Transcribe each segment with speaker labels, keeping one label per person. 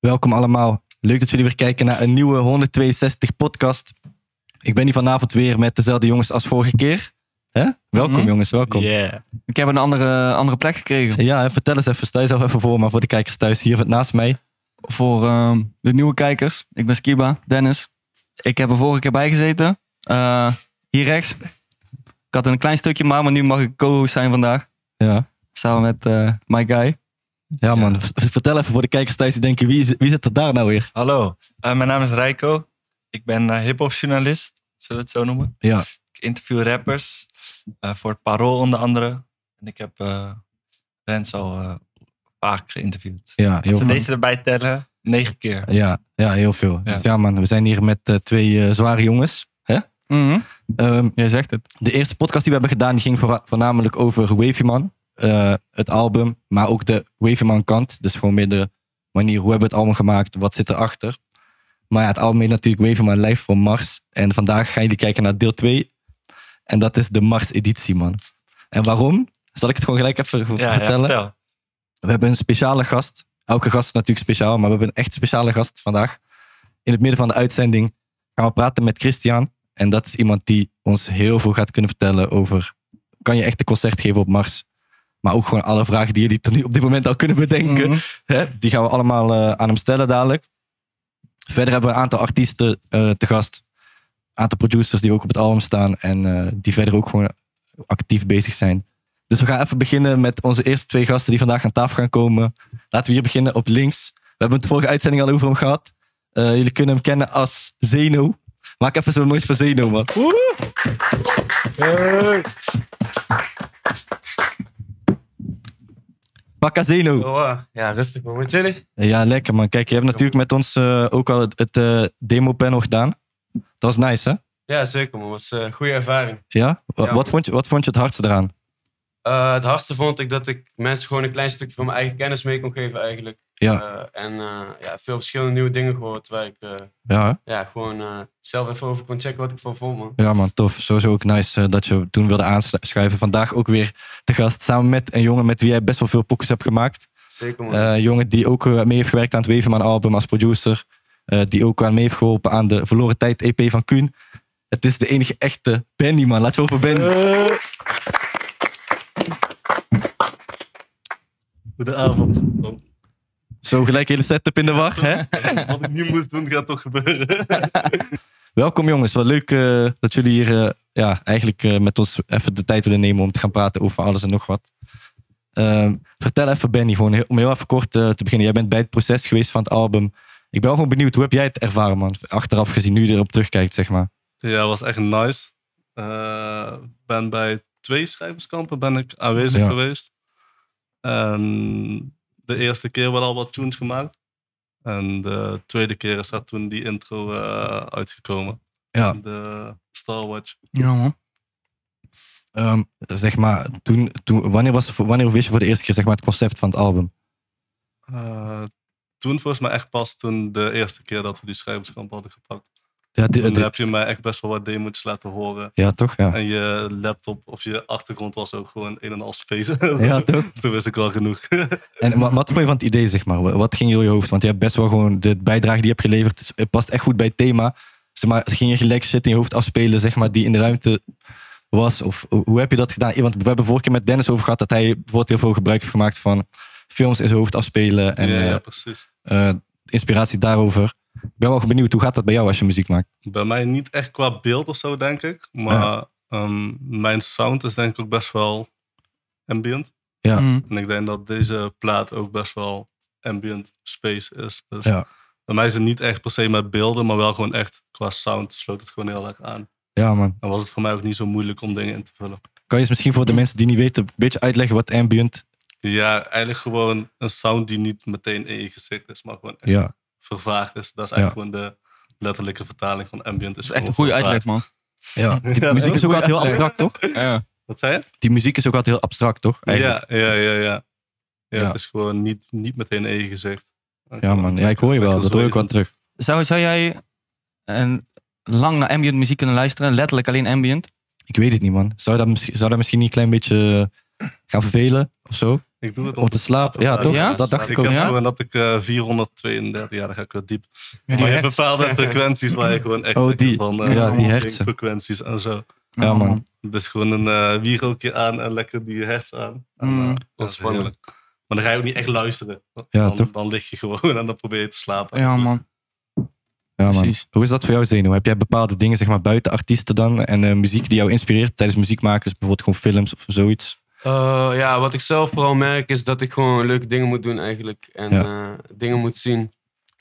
Speaker 1: Welkom allemaal. Leuk dat jullie weer kijken naar een nieuwe 162 podcast. Ik ben hier vanavond weer met dezelfde jongens als vorige keer. Hè? Welkom
Speaker 2: Mhm.
Speaker 1: jongens, welkom.
Speaker 3: Yeah.
Speaker 2: Ik heb een andere, andere plek gekregen
Speaker 1: Ja, hè, vertel eens even, stel jezelf even voor, maar voor de kijkers thuis hier naast mij.
Speaker 2: voor ehm, de nieuwe kijkers. Ik ben Skiba, Dennis. Ik heb er vorige keer bij gezeten. Eh, hier rechts. Ik had een klein stukje maar, maar nu mag ik co-host zijn vandaag.
Speaker 1: Ja,
Speaker 2: Samen met eh, my guy.
Speaker 1: ja man, v- vertel even voor de kijkers thuis die denken, wie, is- wie zit er daar nou weer?
Speaker 3: Hallo, eh, mijn naam is Rijko. Ik ben eh hip-hop journalist, zullen we het zo noemen.
Speaker 1: Ja.
Speaker 3: Ik interview rappers eh, voor het Parool onder andere. En ik heb eh Rens al eh, vaak geïnterviewd.
Speaker 1: Ja, heel
Speaker 3: Als we
Speaker 1: veel.
Speaker 3: deze erbij tellen, negen keer.
Speaker 1: Ja, ja, heel veel.
Speaker 3: Ja.
Speaker 1: Dus ja man, we zijn hier met eh, twee eh, zware jongens. Hè?
Speaker 2: Mhm.
Speaker 1: Ehm,
Speaker 2: Jij zegt het.
Speaker 1: De eerste podcast die we hebben gedaan, die ging voora- voornamelijk over Wavy Man. Eh, het album, maar ook de Wavy Man kant. Dus gewoon meer de manier, hoe hebben we het album gemaakt? Wat zit erachter? Maar ja, het album heet natuurlijk Wavy Man Live voor Mars. En vandaag gaan jullie kijken naar deel 2. En dat is de Mars editie, man. En waarom? Zal ik het gewoon gelijk even
Speaker 3: Ja, ja,
Speaker 1: vertellen?
Speaker 3: vertel.
Speaker 1: We hebben een speciale gast. Elke gast is natuurlijk speciaal, maar we hebben een echt speciale gast vandaag. In het midden van de uitzending gaan we praten met Christian. En dat is iemand die ons heel veel gaat kunnen vertellen over... Kan je echt een concert geven op Mars? Maar ook gewoon alle vragen die jullie tot nu op dit moment al kunnen bedenken.
Speaker 2: Mhm.
Speaker 1: Hè? Die gaan we allemaal eh, aan hem stellen dadelijk. Verder hebben we een aantal artiesten eh, te gast. Een aantal producers die ook op het album staan. En eh, die verder ook gewoon actief bezig zijn. Dus we gaan even beginnen met onze eerste twee gasten die vandaag aan tafel gaan komen. Laten we hier beginnen op links. We hebben het vorige uitzending al over hem gehad. Eh, jullie kunnen hem kennen als Zeno. Maak even zo moois voor Zeno, man. Woehoe! Pakka Zeno.
Speaker 4: Ja, rustig man. Wat jullie?
Speaker 1: Ja, lekker man. Kijk, je hebt natuurlijk met ons eh, ook al het, het eh, demo-panel gedaan. Dat was nice, hè?
Speaker 4: Ja, zeker man. was een goede ervaring.
Speaker 1: Ja? Wa-
Speaker 4: Ja.
Speaker 1: Wat, vond je, wat vond je het hardste eraan?
Speaker 4: Eh, het hardste vond ik dat ik mensen gewoon een klein stukje van mijn eigen kennis mee kon geven eigenlijk.
Speaker 1: Ja,
Speaker 4: Eh, en eh, ja, veel verschillende nieuwe dingen gehoord waar ik eh,
Speaker 1: ja,
Speaker 4: ja, gewoon eh, zelf even over kon checken wat ik van vond man.
Speaker 1: hè? ja man, tof. Sowieso ook nice eh, dat je toen wilde aanschuiven. Vandaag ook weer te gast samen met een jongen met wie jij best wel veel pokus hebt gemaakt.
Speaker 4: Zeker man.
Speaker 1: Eh, Een jongen die ook eh, mee heeft gewerkt aan het Weverman album als producer. Eh, die ook aan mee heeft geholpen aan de Verloren Tijd EP van Kuhn. Het is de enige echte Benny, man. Laten we over Benny.
Speaker 5: Goedenavond. Oh,
Speaker 1: Zo gelijk hele setup in de war, hè?
Speaker 5: Wat ik niet moest doen, gaat toch gebeuren.
Speaker 1: Welkom jongens, wat leuk eh, dat jullie hier eh, ja, eigenlijk eh, met ons even de tijd willen nemen om te gaan praten over alles en nog wat. Ehm, vertel even Benny, gewoon heel- om heel even kort eh, te beginnen. Jij bent bij het proces geweest van het album. Ik ben wel gewoon benieuwd, hoe heb jij het ervaren man? Achteraf gezien, nu je erop terugkijkt zeg maar.
Speaker 5: Ja, was echt nice. Eh, ben bij twee schrijverskampen ben ik aanwezig
Speaker 1: Ja.
Speaker 5: geweest. En de eerste keer werden al wat tunes gemaakt. En de tweede keer is daar toen die intro eh, uitgekomen.
Speaker 1: Ja.
Speaker 5: De Star Watch.
Speaker 2: Ja, man.
Speaker 1: Ehm, zeg maar, toen, toen, wanneer, was, wanneer wist je voor de eerste keer zeg maar, het concept van het album?
Speaker 5: Eh, toen volgens mij echt pas toen de eerste keer dat we die schrijverskamp hadden gepakt.
Speaker 1: Ja, di-
Speaker 5: Toen
Speaker 1: di-
Speaker 5: heb je mij echt best wel wat demo's laten horen.
Speaker 1: ja toch? Ja,
Speaker 5: En je laptop of je achtergrond was ook gewoon een en al space.
Speaker 1: ja toch?
Speaker 5: Dus toen wist ik wel genoeg.
Speaker 1: En wat, wat vond je van het idee, zeg maar? Wat ging je door je hoofd? Want je hebt best wel gewoon de bijdrage die je hebt geleverd, is- het past echt goed bij het thema. Zeg maar, ging je gelijk shit in je hoofd afspelen, zeg maar, die in de ruimte was? Of hoe heb je dat gedaan? Want we hebben vorige keer met Dennis over gehad dat hij bijvoorbeeld heel veel gebruik heeft gemaakt van films in zijn hoofd afspelen en
Speaker 5: ja,
Speaker 1: eh
Speaker 5: ja, precies.
Speaker 1: eh, inspiratie daarover. Ik ben wel benieuwd, hoe gaat dat bij jou als je muziek maakt?
Speaker 5: Bij mij niet echt qua beeld of zo, denk ik. Maar ehm, mijn sound is denk ik ook best wel ambient.
Speaker 1: Ja.
Speaker 2: Mhm.
Speaker 5: En ik denk dat deze plaat ook best wel ambient space is. Dus
Speaker 1: Ja.
Speaker 5: bij mij is het niet echt per se met beelden, maar wel gewoon echt qua sound sloot het gewoon heel erg aan.
Speaker 1: Ja, man.
Speaker 5: En was het voor mij ook niet zo moeilijk om dingen in te vullen.
Speaker 1: Kan je eens misschien voor de mensen die niet weten, een beetje uitleggen wat ambient...
Speaker 5: Ja, eigenlijk gewoon een sound die niet meteen in je gezicht is, maar gewoon echt
Speaker 1: Ja,
Speaker 5: vervaagd is. Dat is
Speaker 1: Ja.
Speaker 5: eigenlijk gewoon de letterlijke vertaling van ambient. Is
Speaker 2: Dat is echt een
Speaker 5: gewoon
Speaker 2: goede uitleg,
Speaker 5: vervaagd.
Speaker 2: man.
Speaker 1: ja. Die
Speaker 5: Ja,
Speaker 1: muziek
Speaker 5: dat
Speaker 1: is ook altijd heel abstract, toch?
Speaker 2: Ja.
Speaker 5: Wat zei je?
Speaker 1: Die muziek is ook altijd heel abstract, toch? Eigenlijk.
Speaker 5: Ja, ja, ja, ja. Ja,
Speaker 1: Ja.
Speaker 5: het is gewoon niet, niet meteen in je gezicht.
Speaker 1: Ja, man. Ja, ik hoor je wel. Dat hoor ik wel terug.
Speaker 2: Zou, zou jij een, lang naar ambient muziek kunnen luisteren? Letterlijk alleen ambient?
Speaker 1: Ik weet het niet, man. Zou dat, misschien- zou dat misschien niet een klein beetje eh, gaan vervelen of zo?
Speaker 5: Ik doe het
Speaker 1: Om te slapen, ja toch?
Speaker 2: Ja?
Speaker 1: Dat dacht ik
Speaker 5: ik
Speaker 1: ook.
Speaker 5: heb
Speaker 2: ja?
Speaker 5: gewoon dat ik eh 432, ja, dan ga ik wat diep.
Speaker 2: die
Speaker 5: maar je hebt
Speaker 2: hertz.
Speaker 5: bepaalde frequenties waar je gewoon echt
Speaker 1: Oh,
Speaker 5: lekker
Speaker 1: die-
Speaker 5: van
Speaker 1: ja, die
Speaker 5: omgeving
Speaker 1: hertzen.
Speaker 5: frequenties en zo.
Speaker 1: Ja, man.
Speaker 5: Dus gewoon een eh wierookje aan en lekker die hertz aan. En,
Speaker 2: Mm.
Speaker 5: eh,
Speaker 3: Dat
Speaker 5: dat
Speaker 3: is
Speaker 5: is wonderlijk. Maar dan ga je ook niet echt luisteren.
Speaker 1: Ja,
Speaker 5: dan,
Speaker 1: toch?
Speaker 5: dan lig je gewoon en dan probeer je te slapen.
Speaker 2: Ja, man.
Speaker 1: Ja, man.
Speaker 2: Precies.
Speaker 1: Hoe is dat voor jou, Zeno? Heb jij bepaalde dingen zeg maar, buiten artiesten dan en eh, muziek die jou inspireert tijdens muziek maken? Dus bijvoorbeeld gewoon films of zoiets?
Speaker 4: Eh, ja, wat ik zelf vooral merk is dat ik gewoon leuke dingen moet doen eigenlijk. En
Speaker 1: Ja.
Speaker 4: eh, dingen moet zien.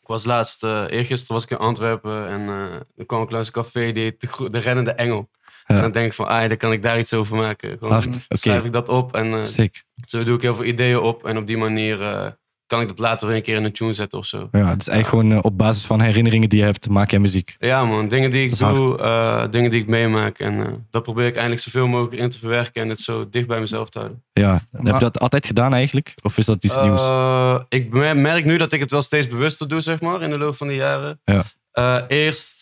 Speaker 4: Ik was laatst, eh eergisteren was ik in Antwerpen en eh dan kwam ik langs een café die heet De, Gro- de Rennende Engel.
Speaker 1: Ja.
Speaker 4: En dan denk ik van, ah, dan kan ik daar iets over maken. Gewoon
Speaker 1: Hard. Oké,
Speaker 4: schrijf ik dat op en eh,
Speaker 1: sick.
Speaker 4: zo doe ik heel veel ideeën op. En op die manier eh, kan ik dat later weer een keer in een tune zetten of zo.
Speaker 1: Ja, het is eigenlijk gewoon eh, op basis van herinneringen die je hebt, maak jij muziek.
Speaker 4: Ja man, dingen die ik
Speaker 1: Dat is
Speaker 4: doe, eh, dingen die ik meemaak. En eh, dat probeer ik eindelijk zoveel mogelijk in te verwerken en het zo dicht bij mezelf te houden.
Speaker 1: Ja. Heb je
Speaker 2: Maar-
Speaker 1: dat altijd gedaan eigenlijk? Of is dat iets nieuws?
Speaker 4: Eh, ik mer- merk nu dat ik het wel steeds bewuster doe, zeg maar, in de loop van de jaren.
Speaker 1: Ja.
Speaker 4: Eh, eerst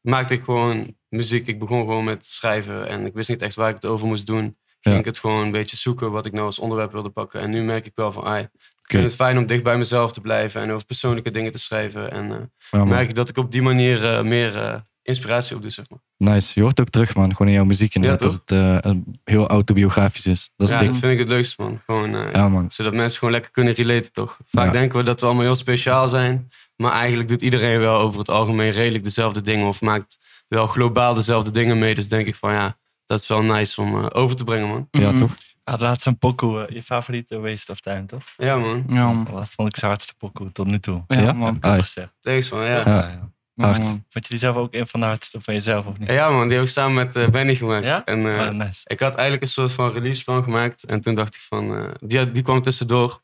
Speaker 4: maakte ik gewoon muziek. Ik begon gewoon met schrijven en ik wist niet echt waar ik het over moest doen.
Speaker 1: Ja.
Speaker 4: Ging ik het gewoon een beetje zoeken wat ik nou als onderwerp wilde pakken. En nu merk ik wel van, ai, ik vind het fijn om dicht bij mezelf te blijven en over persoonlijke dingen te schrijven. En eh,
Speaker 1: Ja, man.
Speaker 4: merk ik dat ik op die manier eh, meer eh, inspiratie opdoe, zeg maar.
Speaker 1: Nice. Je hoort ook terug, man. Gewoon in jouw muziek inderdaad.
Speaker 4: Ja,
Speaker 1: dat
Speaker 4: toch?
Speaker 1: het eh, een- heel autobiografisch is. Dat is
Speaker 4: ja,
Speaker 1: dik.
Speaker 4: dat vind ik het leukste, man. Gewoon, eh,
Speaker 1: Ja, man.
Speaker 4: Zodat mensen gewoon lekker kunnen relaten, toch? Vaak
Speaker 1: Ja.
Speaker 4: denken we dat we allemaal heel speciaal zijn. Maar eigenlijk doet iedereen wel over het algemeen redelijk dezelfde dingen. Of maakt wel globaal dezelfde dingen mee. Dus denk ik van ja, dat is wel nice om eh, over te brengen, man.
Speaker 1: Ja,
Speaker 2: Mhm.
Speaker 1: toch?
Speaker 3: Ja, laatst een pokoe, eh, je favoriete waste of time, toch?
Speaker 4: Ja, man.
Speaker 2: Ja, man.
Speaker 3: Dat vond ik zijn hardste pokoe tot nu toe.
Speaker 2: Ja,
Speaker 1: Ja?
Speaker 2: man.
Speaker 3: Heb ik al
Speaker 1: Ah,
Speaker 3: gezegd.
Speaker 4: Thanks, man. Ja.
Speaker 1: Ja.
Speaker 3: Ja, ja.
Speaker 2: Ja,
Speaker 1: Hard.
Speaker 2: man.
Speaker 3: Vond je die zelf ook een van de hardste van jezelf, of niet?
Speaker 4: ja, man. Die heb ik samen met eh, Benny gemaakt.
Speaker 3: Ja?
Speaker 4: En eh,
Speaker 3: Oh, nice.
Speaker 4: ik had eigenlijk een soort van releaseplan gemaakt. En toen dacht ik van, eh, die, die kwam tussendoor.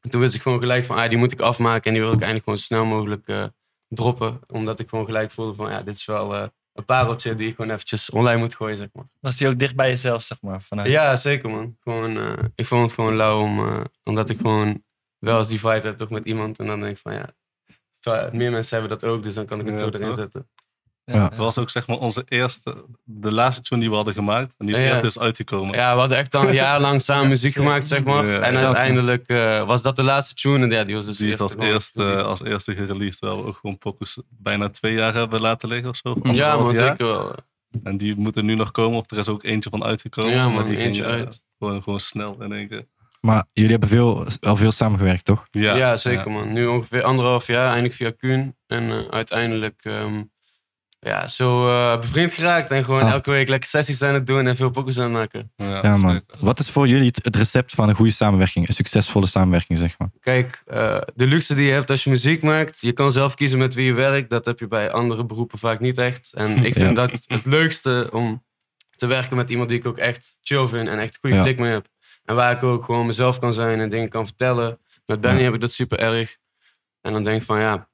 Speaker 4: En toen wist ik gewoon gelijk van, ah, die moet ik afmaken. En die wil ik eigenlijk gewoon zo snel mogelijk eh, droppen. Omdat ik gewoon gelijk voelde van, ja, dit is wel eh, een pareltje die ik gewoon eventjes online moet gooien, zeg maar.
Speaker 3: Was die ook dicht bij jezelf, zeg maar? Vanuit...
Speaker 4: Ja, zeker man. Gewoon, eh, ik vond het gewoon lauw om, eh, omdat ik gewoon wel eens die vibe heb toch met iemand. En dan denk ik van, ja, va- meer mensen hebben dat ook. Dus dan kan ik het
Speaker 5: Ja,
Speaker 4: zo erin
Speaker 5: toch?
Speaker 4: zetten.
Speaker 1: Ja.
Speaker 5: Het was ook zeg maar onze eerste, de laatste tune die we hadden gemaakt. En die
Speaker 4: Ja, ja.
Speaker 5: eerste is uitgekomen.
Speaker 4: Ja, we hadden echt al een jaar lang samen muziek gemaakt, zeg maar.
Speaker 5: Ja,
Speaker 4: en
Speaker 5: ja.
Speaker 4: uiteindelijk eh, was dat de laatste tune. En ja, die was dus
Speaker 5: Die is als
Speaker 4: gewoon
Speaker 5: eerste, als eerste gereleased. Terwijl we ook gewoon pokus bijna twee jaar hebben laten liggen of zo. of
Speaker 4: Ja,
Speaker 5: anderhalf
Speaker 4: man,
Speaker 5: jaar.
Speaker 4: zeker wel.
Speaker 5: En die moeten nu nog komen. Of er is ook eentje van uitgekomen.
Speaker 4: Ja,
Speaker 5: maar
Speaker 4: man,
Speaker 5: die
Speaker 4: eentje
Speaker 5: eh,
Speaker 4: uit.
Speaker 5: Gewoon, gewoon snel in één keer.
Speaker 1: Maar jullie hebben veel, al veel samengewerkt, toch?
Speaker 4: Ja, zeker, man. Nu ongeveer anderhalf jaar, eindelijk via Kuhn. En eh, uiteindelijk ehm, ja, zo eh, bevriend geraakt. En gewoon
Speaker 1: Ah.
Speaker 4: elke week lekker sessies aan het doen en veel pokkers aan het maken.
Speaker 5: Ja,
Speaker 1: Ja, man.
Speaker 5: zeker.
Speaker 1: Wat is voor jullie het, het recept van een goede samenwerking? Een succesvolle samenwerking, zeg maar.
Speaker 4: Kijk, eh, de luxe die je hebt als je muziek maakt. Je kan zelf kiezen met wie je werkt. Dat heb je bij andere beroepen vaak niet echt. En ik
Speaker 1: Ja.
Speaker 4: vind dat het leukste om te werken met iemand die ik ook echt chill vind. En echt een goede
Speaker 1: Ja.
Speaker 4: klik mee heb. En waar ik ook gewoon mezelf kan zijn en dingen kan vertellen. Met Benny heb ik dat super erg. En dan denk ik van ja,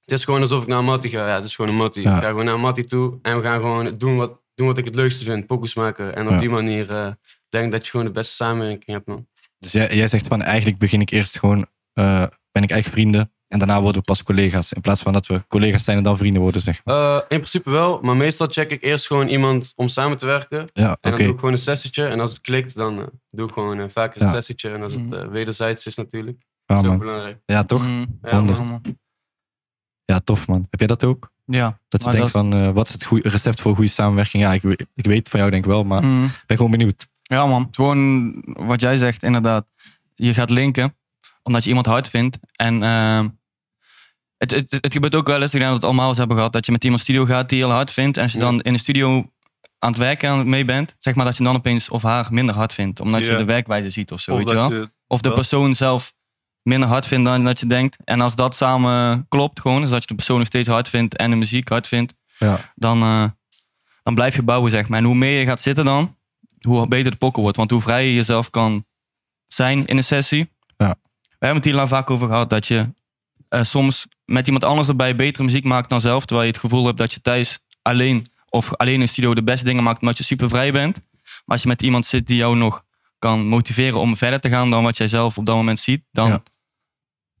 Speaker 4: het is gewoon alsof ik naar Matty ga. Ja, het is gewoon een Matty.
Speaker 1: Ja.
Speaker 4: Ik ga gewoon naar Matty toe en we gaan gewoon doen wat, doen wat ik het leukste vind. Pokus maken. En op
Speaker 1: Ja.
Speaker 4: die manier eh, denk ik dat je gewoon de beste samenwerking hebt, man.
Speaker 1: Dus jij, jij zegt van eigenlijk begin ik eerst gewoon, eh, ben ik echt vrienden. En daarna worden we pas collega's. In plaats van dat we collega's zijn en dan vrienden worden, zeg maar.
Speaker 4: Eh, in principe wel, maar meestal check ik eerst gewoon iemand om samen te werken. En
Speaker 1: Ja, oké.
Speaker 4: dan doe ik gewoon een sessietje. En als het klikt, dan eh, doe ik gewoon eh, vaker een
Speaker 1: Ja.
Speaker 4: sessietje. En als het
Speaker 2: Mhm.
Speaker 4: eh, wederzijds is natuurlijk.
Speaker 1: Ja,
Speaker 4: dat is ook
Speaker 1: man.
Speaker 4: belangrijk.
Speaker 1: Ja, toch?
Speaker 2: Mm,
Speaker 4: Ja,
Speaker 2: ja,
Speaker 1: Honderd.
Speaker 2: man.
Speaker 1: Ja, tof, man. Heb jij dat ook?
Speaker 2: Ja.
Speaker 1: Dat je
Speaker 2: Maar
Speaker 1: denkt van, eh, wat is het goede recept voor goede samenwerking? Ja, ik, we- ik weet het van jou denk ik wel, maar ik
Speaker 2: Mm.
Speaker 1: ben gewoon benieuwd.
Speaker 2: Ja, man. Gewoon wat jij zegt, inderdaad. Je gaat linken, omdat je iemand hard vindt. En ehm, het, het, het gebeurt ook wel eens, ik denk dat we het allemaal wel eens hebben gehad, dat je met iemand studio gaat die je al hard vindt. En als je
Speaker 4: Ja.
Speaker 2: dan in de studio aan het werken aan het mee bent, zeg maar dat je dan opeens of haar minder hard vindt. Omdat je
Speaker 5: Ja.
Speaker 2: de werkwijze ziet of zo,
Speaker 5: Of
Speaker 2: weet je
Speaker 5: dat
Speaker 2: wel.
Speaker 5: je-
Speaker 2: Of de
Speaker 5: dat-
Speaker 2: persoon zelf minder hard vindt dan dat je denkt. En als dat samen klopt, gewoon, dus dat je de persoon nog steeds hard vindt en de muziek hard vindt,
Speaker 1: Ja.
Speaker 2: dan, eh, dan blijf je bouwen, zeg maar. En hoe meer je gaat zitten dan, hoe beter de pokkel wordt. Want hoe vrijer je jezelf kan zijn in een sessie.
Speaker 1: Ja.
Speaker 2: We hebben het hier lang vaak over gehad dat je eh, soms met iemand anders erbij betere muziek maakt dan zelf. Terwijl je het gevoel hebt dat je thuis alleen of alleen in de studio de beste dingen maakt omdat je super vrij bent. Maar als je met iemand zit die jou nog kan motiveren om verder te gaan dan wat jij zelf op dat moment ziet, dan
Speaker 1: Ja.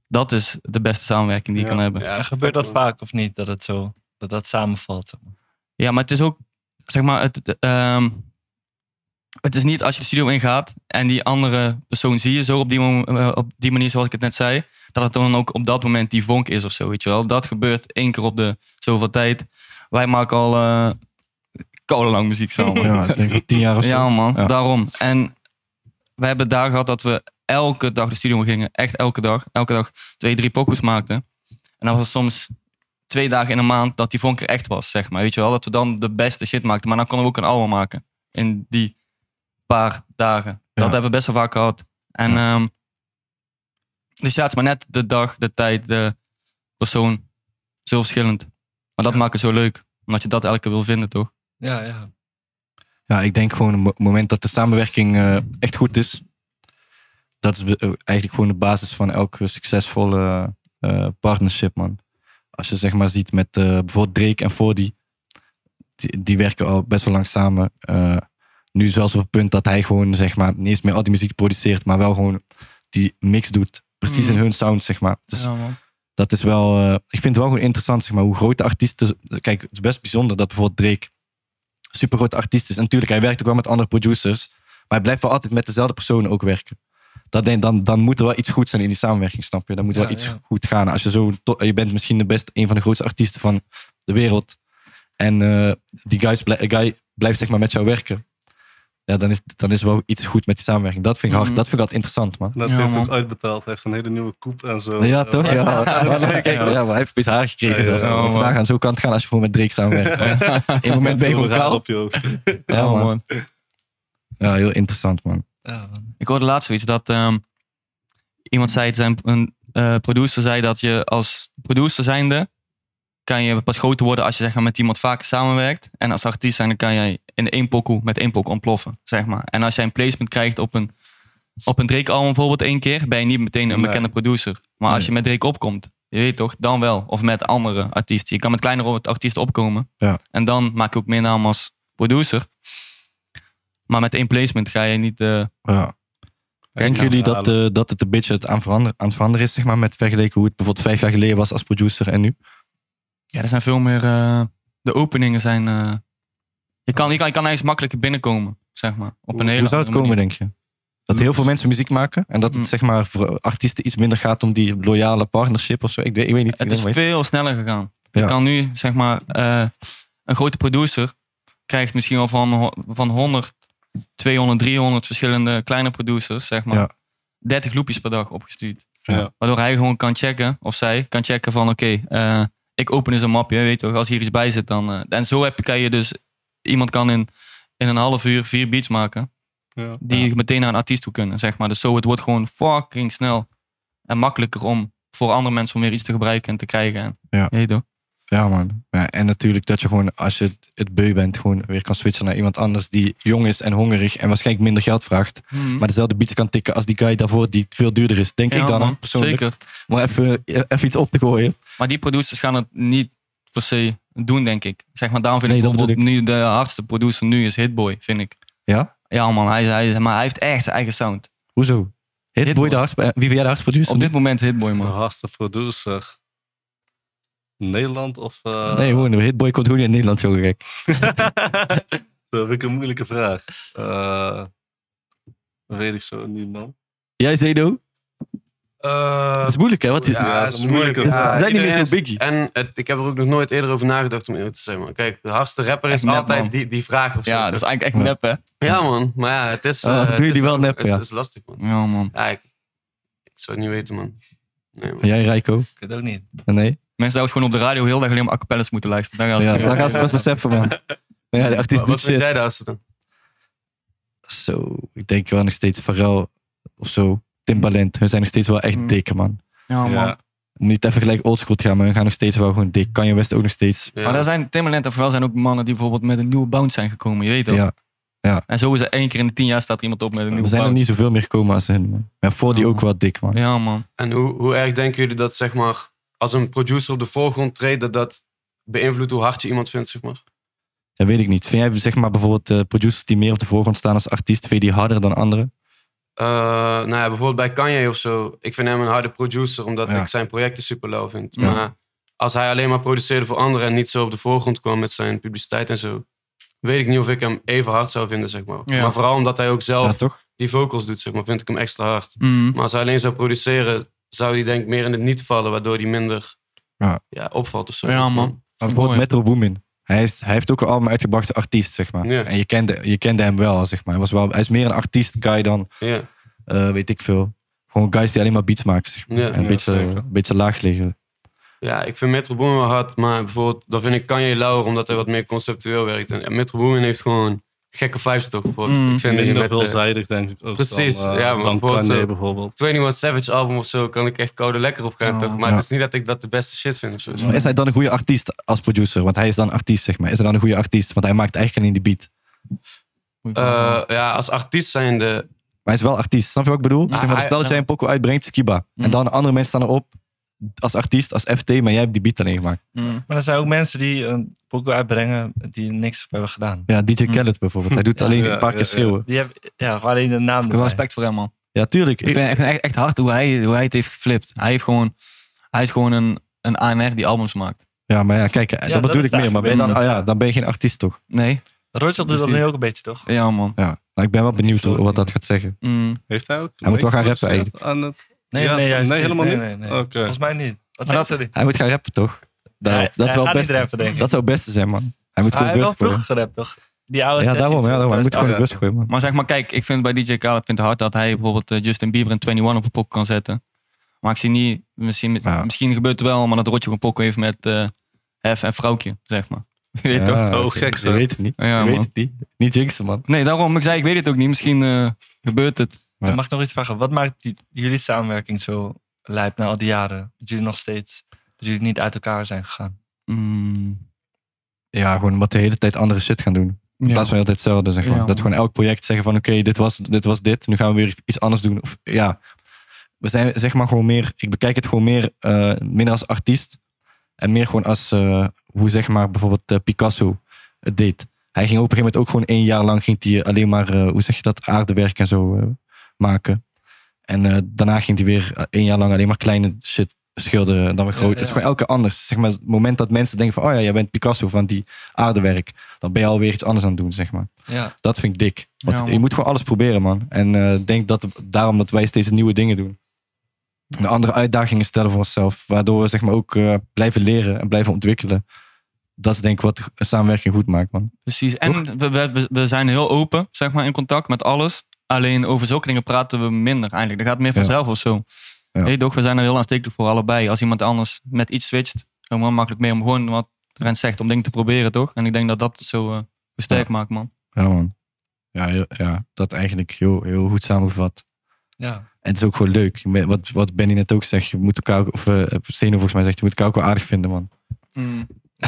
Speaker 2: dat is de beste samenwerking die je
Speaker 5: Ja.
Speaker 2: kan hebben.
Speaker 4: Ja,
Speaker 3: Ja, gebeurt dat
Speaker 4: man.
Speaker 3: vaak of niet? Dat het zo, dat dat samenvalt? zeg maar?
Speaker 2: Ja, maar het is ook, zeg maar, het, ehm, het is niet als je de studio ingaat en die andere persoon zie je zo op die, mom- eh, op die manier zoals ik het net zei. Dat het dan ook op dat moment die vonk is of zo, weet je wel. Dat gebeurt één keer op de zoveel tijd. Wij maken al eh koude lang muziek samen.
Speaker 1: Ja, ik denk ik tien jaar of zo.
Speaker 2: Ja, man,
Speaker 1: Ja.
Speaker 2: daarom. En we hebben daar gehad dat we elke dag de studio in gingen. Echt elke dag. Elke dag twee, drie pokus maakten. En dat was soms twee dagen in een maand dat die vonk er echt was, zeg maar. Weet je wel, dat we dan de beste shit maakten. Maar dan konden we ook een album maken in die paar dagen. Dat
Speaker 1: Ja.
Speaker 2: hebben we best wel vaak gehad. En, ehm, dus ja, het is maar net de dag, de tijd, de persoon. Zo verschillend. Maar dat maakt het zo leuk. Omdat je dat elke keer wil vinden, toch?
Speaker 3: Ja, ja.
Speaker 1: Ja, ik denk gewoon op het moment dat de samenwerking eh, echt goed is, dat is be- eh, eigenlijk gewoon de basis van elke succesvolle eh, partnership, man. Als je zeg maar ziet met eh, bijvoorbeeld Drake en Fordy, die, die werken al best wel lang samen. Eh, nu zelfs op het punt dat hij gewoon zeg maar niet eens meer al die muziek produceert, maar wel gewoon die mix doet. Precies in hun sound, zeg maar. Dus
Speaker 2: man.
Speaker 1: dat is wel. eh, ik vind het wel gewoon interessant, zeg maar, hoe grote artiesten. Kijk, het is best bijzonder dat bijvoorbeeld Drake super grote artiest is. En natuurlijk, hij werkt ook wel met andere producers. Maar hij blijft wel altijd met dezelfde personen ook werken. Dat denk, dan, dan moet er wel iets goed zijn in die samenwerking, snap je? Dan moet er
Speaker 3: Ja,
Speaker 1: wel iets
Speaker 3: ja.
Speaker 1: goed gaan. Als je zo. to- Je bent misschien de best, een van de grootste artiesten van de wereld. En eh, die guys, blij- guy blijft zeg maar met jou werken. Ja, dan is, dan is er wel iets goed met die samenwerking. Dat vind ik hard.
Speaker 2: Mhm.
Speaker 1: Dat vind ik altijd interessant, man.
Speaker 5: Dat
Speaker 2: Ja,
Speaker 5: heeft
Speaker 2: man.
Speaker 5: ook uitbetaald. Hij heeft een hele nieuwe koep en zo.
Speaker 1: Ja, toch? Ja. Kijk,
Speaker 5: Ja.
Speaker 1: ja, maar hij heeft precies haar gekregen.
Speaker 5: Ja, ja,
Speaker 1: zelfs.
Speaker 5: ja,
Speaker 1: Want
Speaker 2: man.
Speaker 1: vandaag aan zo'n kant gaan als je gewoon met Drake samenwerkt. In een moment ben je
Speaker 5: Heel raar
Speaker 1: gewoon kaal.
Speaker 5: op je hoofd.
Speaker 1: Ja, man. Ja, heel interessant, man.
Speaker 3: ja man.
Speaker 2: Ik hoorde laatst zoiets dat ehm, iemand zei, het zijn, een eh, producer zei dat je als producer zijnde kan je pas groter worden als je zeg maar, met iemand vaker samenwerkt. En als artiest zijnde kan jij in één pokoe met één pokoe ontploffen, zeg maar. En als jij een placement krijgt op een, op een Drake album bijvoorbeeld één keer, ben je niet meteen een
Speaker 5: Nee.
Speaker 2: bekende producer. Maar als je met Drake opkomt, je weet toch, dan wel. Of met andere artiesten. Je kan met kleinere artiesten opkomen.
Speaker 1: Ja.
Speaker 2: En dan maak je ook meer naam als producer. Maar met één placement ga je niet... eh,
Speaker 1: Ja. Denken
Speaker 5: kan
Speaker 1: jullie
Speaker 5: het
Speaker 1: dat, eh, dat het een beetje het aan, verander- aan het veranderen is, zeg maar, met vergeleken hoe het bijvoorbeeld vijf jaar geleden was als producer en nu?
Speaker 2: Ja, er zijn veel meer. eh, de openingen zijn. eh, je, kan, je, kan, je kan eigenlijk makkelijker binnenkomen, zeg maar. Op een hele
Speaker 1: Hoe zou het
Speaker 2: andere
Speaker 1: komen,
Speaker 2: manier.
Speaker 1: denk je? Dat heel veel mensen muziek maken en dat het
Speaker 2: Mm.
Speaker 1: zeg maar voor artiesten iets minder gaat om die loyale partnership of zo. Ik, weet- ik weet niet. ik
Speaker 2: Het is
Speaker 1: denk maar-
Speaker 2: veel sneller gegaan. Je
Speaker 1: Ja.
Speaker 2: kan nu, zeg maar, eh, een grote producer krijgt misschien al van, ho- van 100, 200, 300 verschillende kleine producers, zeg maar,
Speaker 1: Ja.
Speaker 2: 30 loopjes per dag opgestuurd.
Speaker 5: Ja.
Speaker 2: Waardoor hij gewoon kan checken, of zij kan checken van, oké, eh, ik open eens een mapje, weet je toch, als hier iets bij zit dan. eh, en zo heb, kan je dus, iemand kan in, in een half uur vier beats maken.
Speaker 5: Ja.
Speaker 2: die meteen naar een artiest toe kunnen, zeg maar. Dus zo, het wordt gewoon fucking snel en makkelijker om voor andere mensen om weer iets te gebruiken en te krijgen. En,
Speaker 1: Ja.
Speaker 2: Weet je toch?
Speaker 1: Ja, man. Ja, en natuurlijk dat je gewoon, als je het- het beu bent, gewoon weer kan switchen naar iemand anders die jong is en hongerig en waarschijnlijk minder geld vraagt. Maar dezelfde beats kan tikken als die guy daarvoor die veel duurder is. Denk
Speaker 2: Mhm. Ja,
Speaker 1: ik dan,
Speaker 2: man,
Speaker 1: hè, persoonlijk.
Speaker 2: Zeker.
Speaker 1: Maar even, eh, even iets op te gooien.
Speaker 2: Maar die producers gaan het niet per se doen, denk ik. Zeg maar, daarom vind
Speaker 1: Nee,
Speaker 2: ik
Speaker 1: dat
Speaker 2: bijvoorbeeld nu de hardste producer nu is Hitboy, vind ik.
Speaker 1: Ja?
Speaker 2: Ja man, hij, hij, maar hij heeft echt zijn eigen sound.
Speaker 1: Hoezo? Hitboy
Speaker 2: Hitboy.
Speaker 1: de hardst- eh, Wie vind jij de hardste producer?
Speaker 2: Op dit moment Hitboy,
Speaker 5: De
Speaker 2: man.
Speaker 5: hardste producer. Nederland of... eh,
Speaker 1: Ah, Nee, gewoon. Hitboy komt gewoon niet in Nederland, zo gek.
Speaker 5: Dat vind ik een moeilijke vraag. Eh, weet ik zo niet, man.
Speaker 1: Jij, Zedo? Eh, Dat is moeilijk, hè? Wat,
Speaker 5: ja,
Speaker 4: Eh, ja,
Speaker 5: dat
Speaker 4: het
Speaker 5: is
Speaker 4: is
Speaker 5: moeilijk.
Speaker 4: moeilijk.
Speaker 5: Dat is-
Speaker 1: we zijn niet
Speaker 4: iedereen
Speaker 1: meer zo
Speaker 4: is-
Speaker 1: biggie.
Speaker 4: En het, ik heb er ook nog nooit eerder over nagedacht om eerlijk te zijn. Man. Kijk, de hardste rapper is
Speaker 2: Echt nep, man.
Speaker 4: altijd die, die vraag of zo.
Speaker 2: Ja, dat is eigenlijk echt nep, hè?
Speaker 4: Ja, man. Maar ja, het is...
Speaker 1: Ah,
Speaker 4: eh,
Speaker 1: dat doe
Speaker 4: het
Speaker 1: je die
Speaker 4: is-
Speaker 1: wel nep,
Speaker 4: Het is,
Speaker 1: ja.
Speaker 4: het is lastig, man.
Speaker 2: Ja, man.
Speaker 4: Ja, ik, ik zou het niet weten, man. Nee, man.
Speaker 1: Jij, Rijko?
Speaker 3: Ik weet het ook niet.
Speaker 1: Nee?
Speaker 2: Mensen zouden gewoon op de radio heel erg alleen maar acapelles moeten luisteren. Daar gaan
Speaker 1: Ja,
Speaker 2: ze.
Speaker 1: daar gaan ze pas beseffen, man. Ja, de artiest
Speaker 4: Wat, wat vind
Speaker 1: doet shit.
Speaker 4: jij de hardste dan?
Speaker 1: Zo, ik denk wel nog steeds Pharrell of zo. Timbaland. Hun zijn nog steeds wel echt
Speaker 2: Mm.
Speaker 1: dikke, man.
Speaker 2: Ja, man.
Speaker 5: Ja.
Speaker 1: Moet niet even gelijk oldschool gaan, maar hun gaan nog steeds wel gewoon dik. Kanye West ook nog steeds.
Speaker 4: Ja.
Speaker 2: Maar daar zijn Timberland en vooral zijn ook mannen die bijvoorbeeld met een nieuwe bounce zijn gekomen, je weet toch?
Speaker 1: Ja.
Speaker 2: En zo is er één keer in de tien jaar staat er iemand op met een
Speaker 1: Er
Speaker 2: nieuwe
Speaker 1: zijn er
Speaker 2: bounce.
Speaker 1: niet zoveel meer gekomen als hun, man. Maar voor die
Speaker 2: Ja,
Speaker 1: ook wel dik, man.
Speaker 2: Ja man.
Speaker 4: En hoe, hoe erg denken jullie dat, zeg maar, als een producer op de voorgrond treedt, dat dat beïnvloedt hoe hard je iemand vindt, zeg maar?
Speaker 1: Dat weet ik niet. Vind jij zeg maar bijvoorbeeld eh, producers die meer op de voorgrond staan als artiest, vind je die harder dan anderen?
Speaker 4: Eh, nou ja, bijvoorbeeld bij Kanye of zo. Ik vind hem een harde producer, omdat
Speaker 1: Ja.
Speaker 4: ik zijn projecten super lauw vind.
Speaker 1: Ja.
Speaker 4: Maar als hij alleen maar produceerde voor anderen en niet zo op de voorgrond kwam met zijn publiciteit en zo, weet ik niet of ik hem even hard zou vinden, zeg maar.
Speaker 2: Ja.
Speaker 4: Maar vooral omdat hij ook zelf
Speaker 1: Ja, toch?
Speaker 4: die vocals doet, zeg maar, vind ik hem extra hard.
Speaker 2: Mhm.
Speaker 4: Maar als hij alleen zou produceren, zou hij denk ik meer in het niet vallen, waardoor hij minder
Speaker 1: Ja.
Speaker 4: ja. opvalt of zo.
Speaker 2: Ja, man.
Speaker 1: Maar bijvoorbeeld
Speaker 2: Mooi.
Speaker 1: Metro Boomin. Hij, is, hij heeft ook een album uitgebracht als artiest, zeg maar.
Speaker 4: Ja.
Speaker 1: En je kende, je kende hem wel, zeg maar. Hij, was wel, hij is meer een artiest-guy dan,
Speaker 4: Ja,
Speaker 1: eh, weet ik veel. Gewoon guys die alleen maar beats maken, zeg maar.
Speaker 4: Ja.
Speaker 1: en een
Speaker 5: Ja,
Speaker 1: beetje,
Speaker 5: zeker.
Speaker 1: een beetje laag liggen.
Speaker 4: ja ik vind Metro Boomin wel hard, maar bijvoorbeeld, dan vind ik Kanye Lauer, omdat hij wat meer conceptueel werkt. En ja, Metro Boomin heeft gewoon gekke vibes toch, bijvoorbeeld.
Speaker 2: Mm.
Speaker 4: Ik vind die
Speaker 5: Minder
Speaker 4: met, eh,
Speaker 5: veelzijdig, denk ik. Ook
Speaker 4: precies,
Speaker 5: Dan, eh,
Speaker 4: ja, maar
Speaker 5: dan
Speaker 4: bijvoorbeeld,
Speaker 5: Kanye
Speaker 4: eh,
Speaker 5: bijvoorbeeld.
Speaker 4: 21 Savage album of zo kan ik echt koude lekker op gaan.
Speaker 2: Ja.
Speaker 4: toch? Maar
Speaker 1: Ja.
Speaker 4: het is niet dat ik dat de beste shit vind of zo.
Speaker 1: Maar is hij dan een goede artiest als producer? Want hij is dan artiest, zeg maar. Is hij dan een goede artiest? Want hij maakt eigenlijk alleen die beat.
Speaker 2: Goeie vraag.
Speaker 4: Eh, ja, als artiest zijnde.
Speaker 1: Maar hij is wel artiest. Snap je wat ik bedoel?
Speaker 4: Ja,
Speaker 1: zeg maar,
Speaker 4: Nou, hij-
Speaker 1: dus stel dat jij een pokoe uitbrengt, Skiba. En dan andere mensen staan erop als artiest, als FT, maar jij hebt die beat alleen gemaakt.
Speaker 2: Mhm.
Speaker 3: Maar er zijn ook mensen die een pokoe uitbrengen die niks hebben gedaan.
Speaker 1: Ja, DJ Khaled bijvoorbeeld. Hij doet alleen
Speaker 5: ja,
Speaker 1: een paar
Speaker 5: ja,
Speaker 1: keer
Speaker 5: ja.
Speaker 1: schreeuwen.
Speaker 3: Die hebben ja, gewoon alleen de naam
Speaker 2: Ik heb wel
Speaker 3: erbij.
Speaker 2: respect voor hem, man.
Speaker 1: Ja, tuurlijk.
Speaker 2: Ik vind, ik vind echt, echt hard hoe hij, hoe hij het heeft geflipt. Hij, heeft gewoon, hij is gewoon een, een ANR die albums maakt.
Speaker 1: Ja, maar ja, kijk, eh, dat
Speaker 3: dat
Speaker 1: bedoel
Speaker 3: is
Speaker 1: ik meer. Maar ben je dan, ah, ja, dan ben je geen artiest toch?
Speaker 2: Nee?
Speaker 3: Roger doet dat nu ook een beetje, toch?
Speaker 2: Ja, man.
Speaker 1: Ja. Nou, ik ben wel benieuwd hoe-
Speaker 3: float
Speaker 1: wat dat gaat zeggen.
Speaker 2: Mm.
Speaker 5: Heeft hij ook?
Speaker 1: Hij moet wel gaan rappen
Speaker 5: meegeproduceerd aan het-
Speaker 3: Nee,
Speaker 5: Ja,
Speaker 3: nee, juist
Speaker 5: nee, helemaal niet?
Speaker 3: Nee, nee, nee.
Speaker 5: Oké.
Speaker 3: Volgens mij niet. Wat
Speaker 2: Maar
Speaker 3: zei
Speaker 2: dat-
Speaker 3: sorry?
Speaker 1: Hij moet gaan rappen toch? Dat,
Speaker 3: Hij-
Speaker 1: dat,
Speaker 3: hij
Speaker 1: is
Speaker 3: gaat
Speaker 1: wel het
Speaker 3: niet
Speaker 1: beste.
Speaker 3: rappen, denk ik.
Speaker 1: dat zou het beste zijn, man. Hij moet
Speaker 3: Ah, hij
Speaker 1: gewoon
Speaker 3: heeft wel vroeg
Speaker 1: rustig worden.
Speaker 3: gerept, toch? Die oude
Speaker 1: Ja,
Speaker 3: sessies
Speaker 1: daarom. Ja,
Speaker 3: van
Speaker 1: daarom. Hij moet gewoon
Speaker 3: 2008.
Speaker 1: rustig worden, man.
Speaker 2: Maar zeg maar, kijk, ik vind bij DJ Khaled vindt het hard dat hij bijvoorbeeld eh, Justin Bieber en 21 op een pok kan zetten. Maar ik zie niet, misschien, met-
Speaker 1: Ja.
Speaker 2: misschien gebeurt het wel, maar dat Rotje een pok heeft met eh Hef en Vrouwtje, zeg maar. Je weet
Speaker 1: Ja,
Speaker 2: toch?
Speaker 5: Zo
Speaker 1: je-
Speaker 5: gek
Speaker 1: Je
Speaker 5: zijn.
Speaker 1: weet het niet.
Speaker 2: Ja,
Speaker 1: je weet
Speaker 2: man.
Speaker 1: het niet. Niet jinxen, man.
Speaker 2: Nee, daarom, ik zei, ik weet het ook niet. Misschien eh, gebeurt het.
Speaker 1: Ja.
Speaker 3: Dan Mag ik nog iets vragen? Wat maakt die- jullie samenwerking zo lijp na al die jaren? Dat jullie nog steeds, dat jullie niet uit elkaar zijn gegaan?
Speaker 2: Mm,
Speaker 1: Ja, gewoon wat de hele tijd andere shit gaan doen. In
Speaker 2: ja.
Speaker 1: plaats van altijd hetzelfde. Zeg maar.
Speaker 2: Ja,
Speaker 1: dat
Speaker 2: man.
Speaker 1: gewoon elk project zeggen van oké, dit, was, dit was dit. Nu gaan we weer iets anders doen. Of ja, we zijn zeg maar gewoon meer. Ik bekijk het gewoon meer eh, minder als artiest. En meer gewoon als eh, hoe zeg maar bijvoorbeeld eh, Picasso het deed. Hij ging op een gegeven moment ook gewoon één jaar lang ging hij alleen maar, eh, hoe zeg je dat, aardewerk en zo eh, maken. En eh, daarna ging hij weer eh, één jaar lang alleen maar kleine shit schilderen en dan weer groot.
Speaker 3: ja.
Speaker 1: Het is gewoon elke anders. Zeg maar, het moment dat mensen denken van, oh ja, jij bent Picasso van die aardewerk. Dan ben je alweer iets anders aan het doen, zeg maar.
Speaker 3: Ja.
Speaker 1: Dat vind ik dik. Want
Speaker 2: Ja, man.
Speaker 1: je moet gewoon alles proberen, man. En eh, ik denk dat daarom dat wij steeds nieuwe dingen doen. En andere uitdagingen stellen voor onszelf. Waardoor we zeg maar, ook eh, blijven leren en blijven ontwikkelen. Dat is denk ik wat een samenwerking goed maakt, man.
Speaker 2: Precies. En we, we, we zijn heel open, zeg maar, in contact met alles. Alleen over zulke dingen praten we minder eigenlijk. Dat gaat meer vanzelf of zo.
Speaker 1: Ja.
Speaker 2: Hey, toch, we zijn er heel aanstekelijk voor allebei. Als iemand anders met iets switcht, dan wordt het makkelijk mee om gewoon wat Rens zegt, om dingen te proberen, toch? En ik denk dat dat zo eh, zo sterk maakt, man.
Speaker 1: Ja, man. Ja, heel- ja dat eigenlijk heel, heel goed samengevat.
Speaker 3: ja.
Speaker 1: En het is ook gewoon leuk. Je moet- Wat, wat Benny net ook zegt, je moet elkaar, ook- of eh Steno volgens mij zegt, je moet elkaar ook wel aardig vinden, man.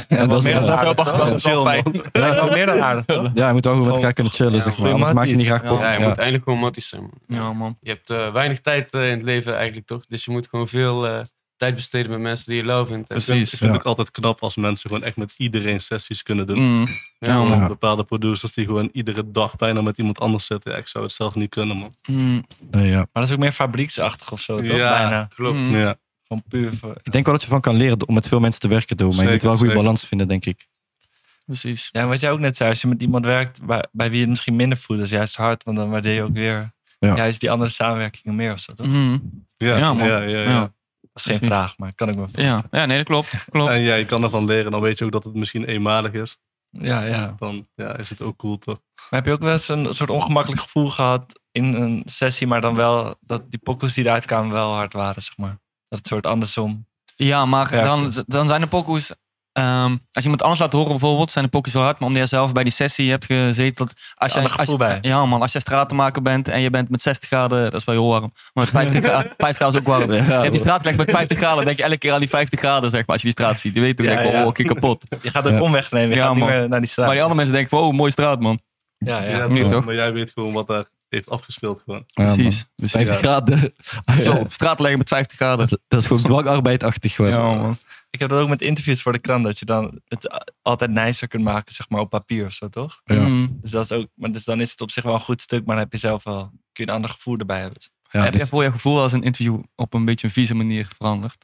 Speaker 1: Ja,
Speaker 3: wat
Speaker 1: dat is
Speaker 3: mm. meer dan
Speaker 1: wel-
Speaker 3: aardig, toch?
Speaker 1: ja,
Speaker 3: Dat is wel fijn. Ja, wat meer dan aardig. toch?
Speaker 1: ja, je moet ook wel met elkaar
Speaker 3: Gewoon-
Speaker 1: kunnen chillen,
Speaker 4: ja,
Speaker 1: zeg maar.
Speaker 3: goeie
Speaker 1: Anders maak je niet graag
Speaker 2: Oh, Ja,
Speaker 1: pop.
Speaker 4: Ja, je
Speaker 1: Ja.
Speaker 4: moet eindelijk gewoon matties zijn. man.
Speaker 2: Ja, man.
Speaker 4: Je hebt eh, weinig tijd eh, in het leven eigenlijk, toch? Dus je moet gewoon veel eh, tijd besteden met mensen die je leuk vindt. En-
Speaker 5: Ik vind- Ik vind
Speaker 1: ja.
Speaker 5: het ook altijd knap als mensen gewoon echt met iedereen sessies kunnen doen.
Speaker 2: Mm. Ja, man.
Speaker 1: Ja.
Speaker 5: Bepaalde producers die gewoon iedere dag bijna met iemand anders zitten. Ja, ik zou het zelf niet kunnen, man.
Speaker 2: Mm.
Speaker 1: Nee, ja.
Speaker 3: Maar dat is ook meer fabrieksachtig of zo, toch?
Speaker 5: Ja.
Speaker 3: Bijna.
Speaker 4: Klopt.
Speaker 2: Mm.
Speaker 5: Ja.
Speaker 3: Gewoon puur voor...
Speaker 1: Ik denk wel dat je van kan leren om met veel mensen te werken, door. Maar je moet
Speaker 5: Zeker,
Speaker 1: wel een goede
Speaker 5: zeker.
Speaker 1: balans vinden, denk ik.
Speaker 2: Precies.
Speaker 3: Ja, en wat jij ook net zei, als je met iemand werkt bij, bij wie je het misschien minder voelt, dat is juist hard, want dan waardeer je ook weer
Speaker 1: Ja.
Speaker 3: juist die andere samenwerkingen meer of zo, toch?
Speaker 2: Mm.
Speaker 5: Ja,
Speaker 2: Ja, man.
Speaker 5: Ja, ja, ja.
Speaker 2: Ja.
Speaker 3: Dat is geen
Speaker 2: is niet-
Speaker 3: vraag, maar kan ik me voorstellen.
Speaker 2: Ja. ja, nee, dat klopt. klopt.
Speaker 5: En ja, je kan ervan leren. Dan weet je ook dat het misschien eenmalig is.
Speaker 3: Ja, ja.
Speaker 5: Dan ja, is het ook cool, toch?
Speaker 3: Maar heb je ook wel eens een soort ongemakkelijk gevoel gehad in een sessie, maar dan wel dat die pokkels die eruit kwamen wel hard waren, zeg maar? Dat het soort andersom.
Speaker 2: Ja, maar
Speaker 3: Ja,
Speaker 2: dan,
Speaker 3: klopt.
Speaker 2: dan zijn de pokoes... ehm, als je iemand anders laat horen bijvoorbeeld, zijn de pokoes wel hard. Maar omdat jij zelf bij die sessie hebt gezeten... Dat als jij,
Speaker 3: ander
Speaker 2: als,
Speaker 3: gevoel bij.
Speaker 2: Ja man, als jij stratenmaker bent en je bent met 60 graden... Dat is wel heel warm. Maar met 50, gra- 50 graden is ook warm. je hebt die straatplek met 50 graden. Dan denk je elke keer aan die 50 graden, zeg maar. Als je die straat ziet. Je weet ook,
Speaker 3: Ja,
Speaker 2: denk je,
Speaker 3: ja.
Speaker 2: oh, ik kapot.
Speaker 3: Je gaat ook
Speaker 1: Ja.
Speaker 3: omweg nemen, je
Speaker 2: Ja,
Speaker 3: gaat niet
Speaker 2: man.
Speaker 3: meer naar die straat.
Speaker 2: Maar die andere mensen denken van, oh, mooie straat man.
Speaker 3: ja, ja.
Speaker 5: Ja,
Speaker 2: niet
Speaker 5: toch?
Speaker 2: toch?
Speaker 5: Maar jij weet gewoon wat daar heeft afgespeeld. Gewoon.
Speaker 1: Ja, man.
Speaker 2: Precies.
Speaker 4: Dus
Speaker 1: 50
Speaker 5: ja.
Speaker 1: graden.
Speaker 2: Zo, op straat leggen met 50 graden.
Speaker 1: Dat, dat is gewoon dwangarbeidachtig geworden.
Speaker 2: Ja man.
Speaker 3: Ik heb dat ook met interviews voor de krant, dat je dan het a- altijd nicer kunt maken, zeg maar, op papier of zo, toch?
Speaker 1: Ja.
Speaker 2: Mm.
Speaker 3: Dus, dat is ook, maar dus dan is het op zich wel een goed stuk, maar dan heb je zelf wel, kun je een ander gevoel erbij hebben.
Speaker 1: Ja,
Speaker 2: Heb
Speaker 1: dus-
Speaker 2: je voor je gevoel als een interview op een beetje een vieze manier veranderd?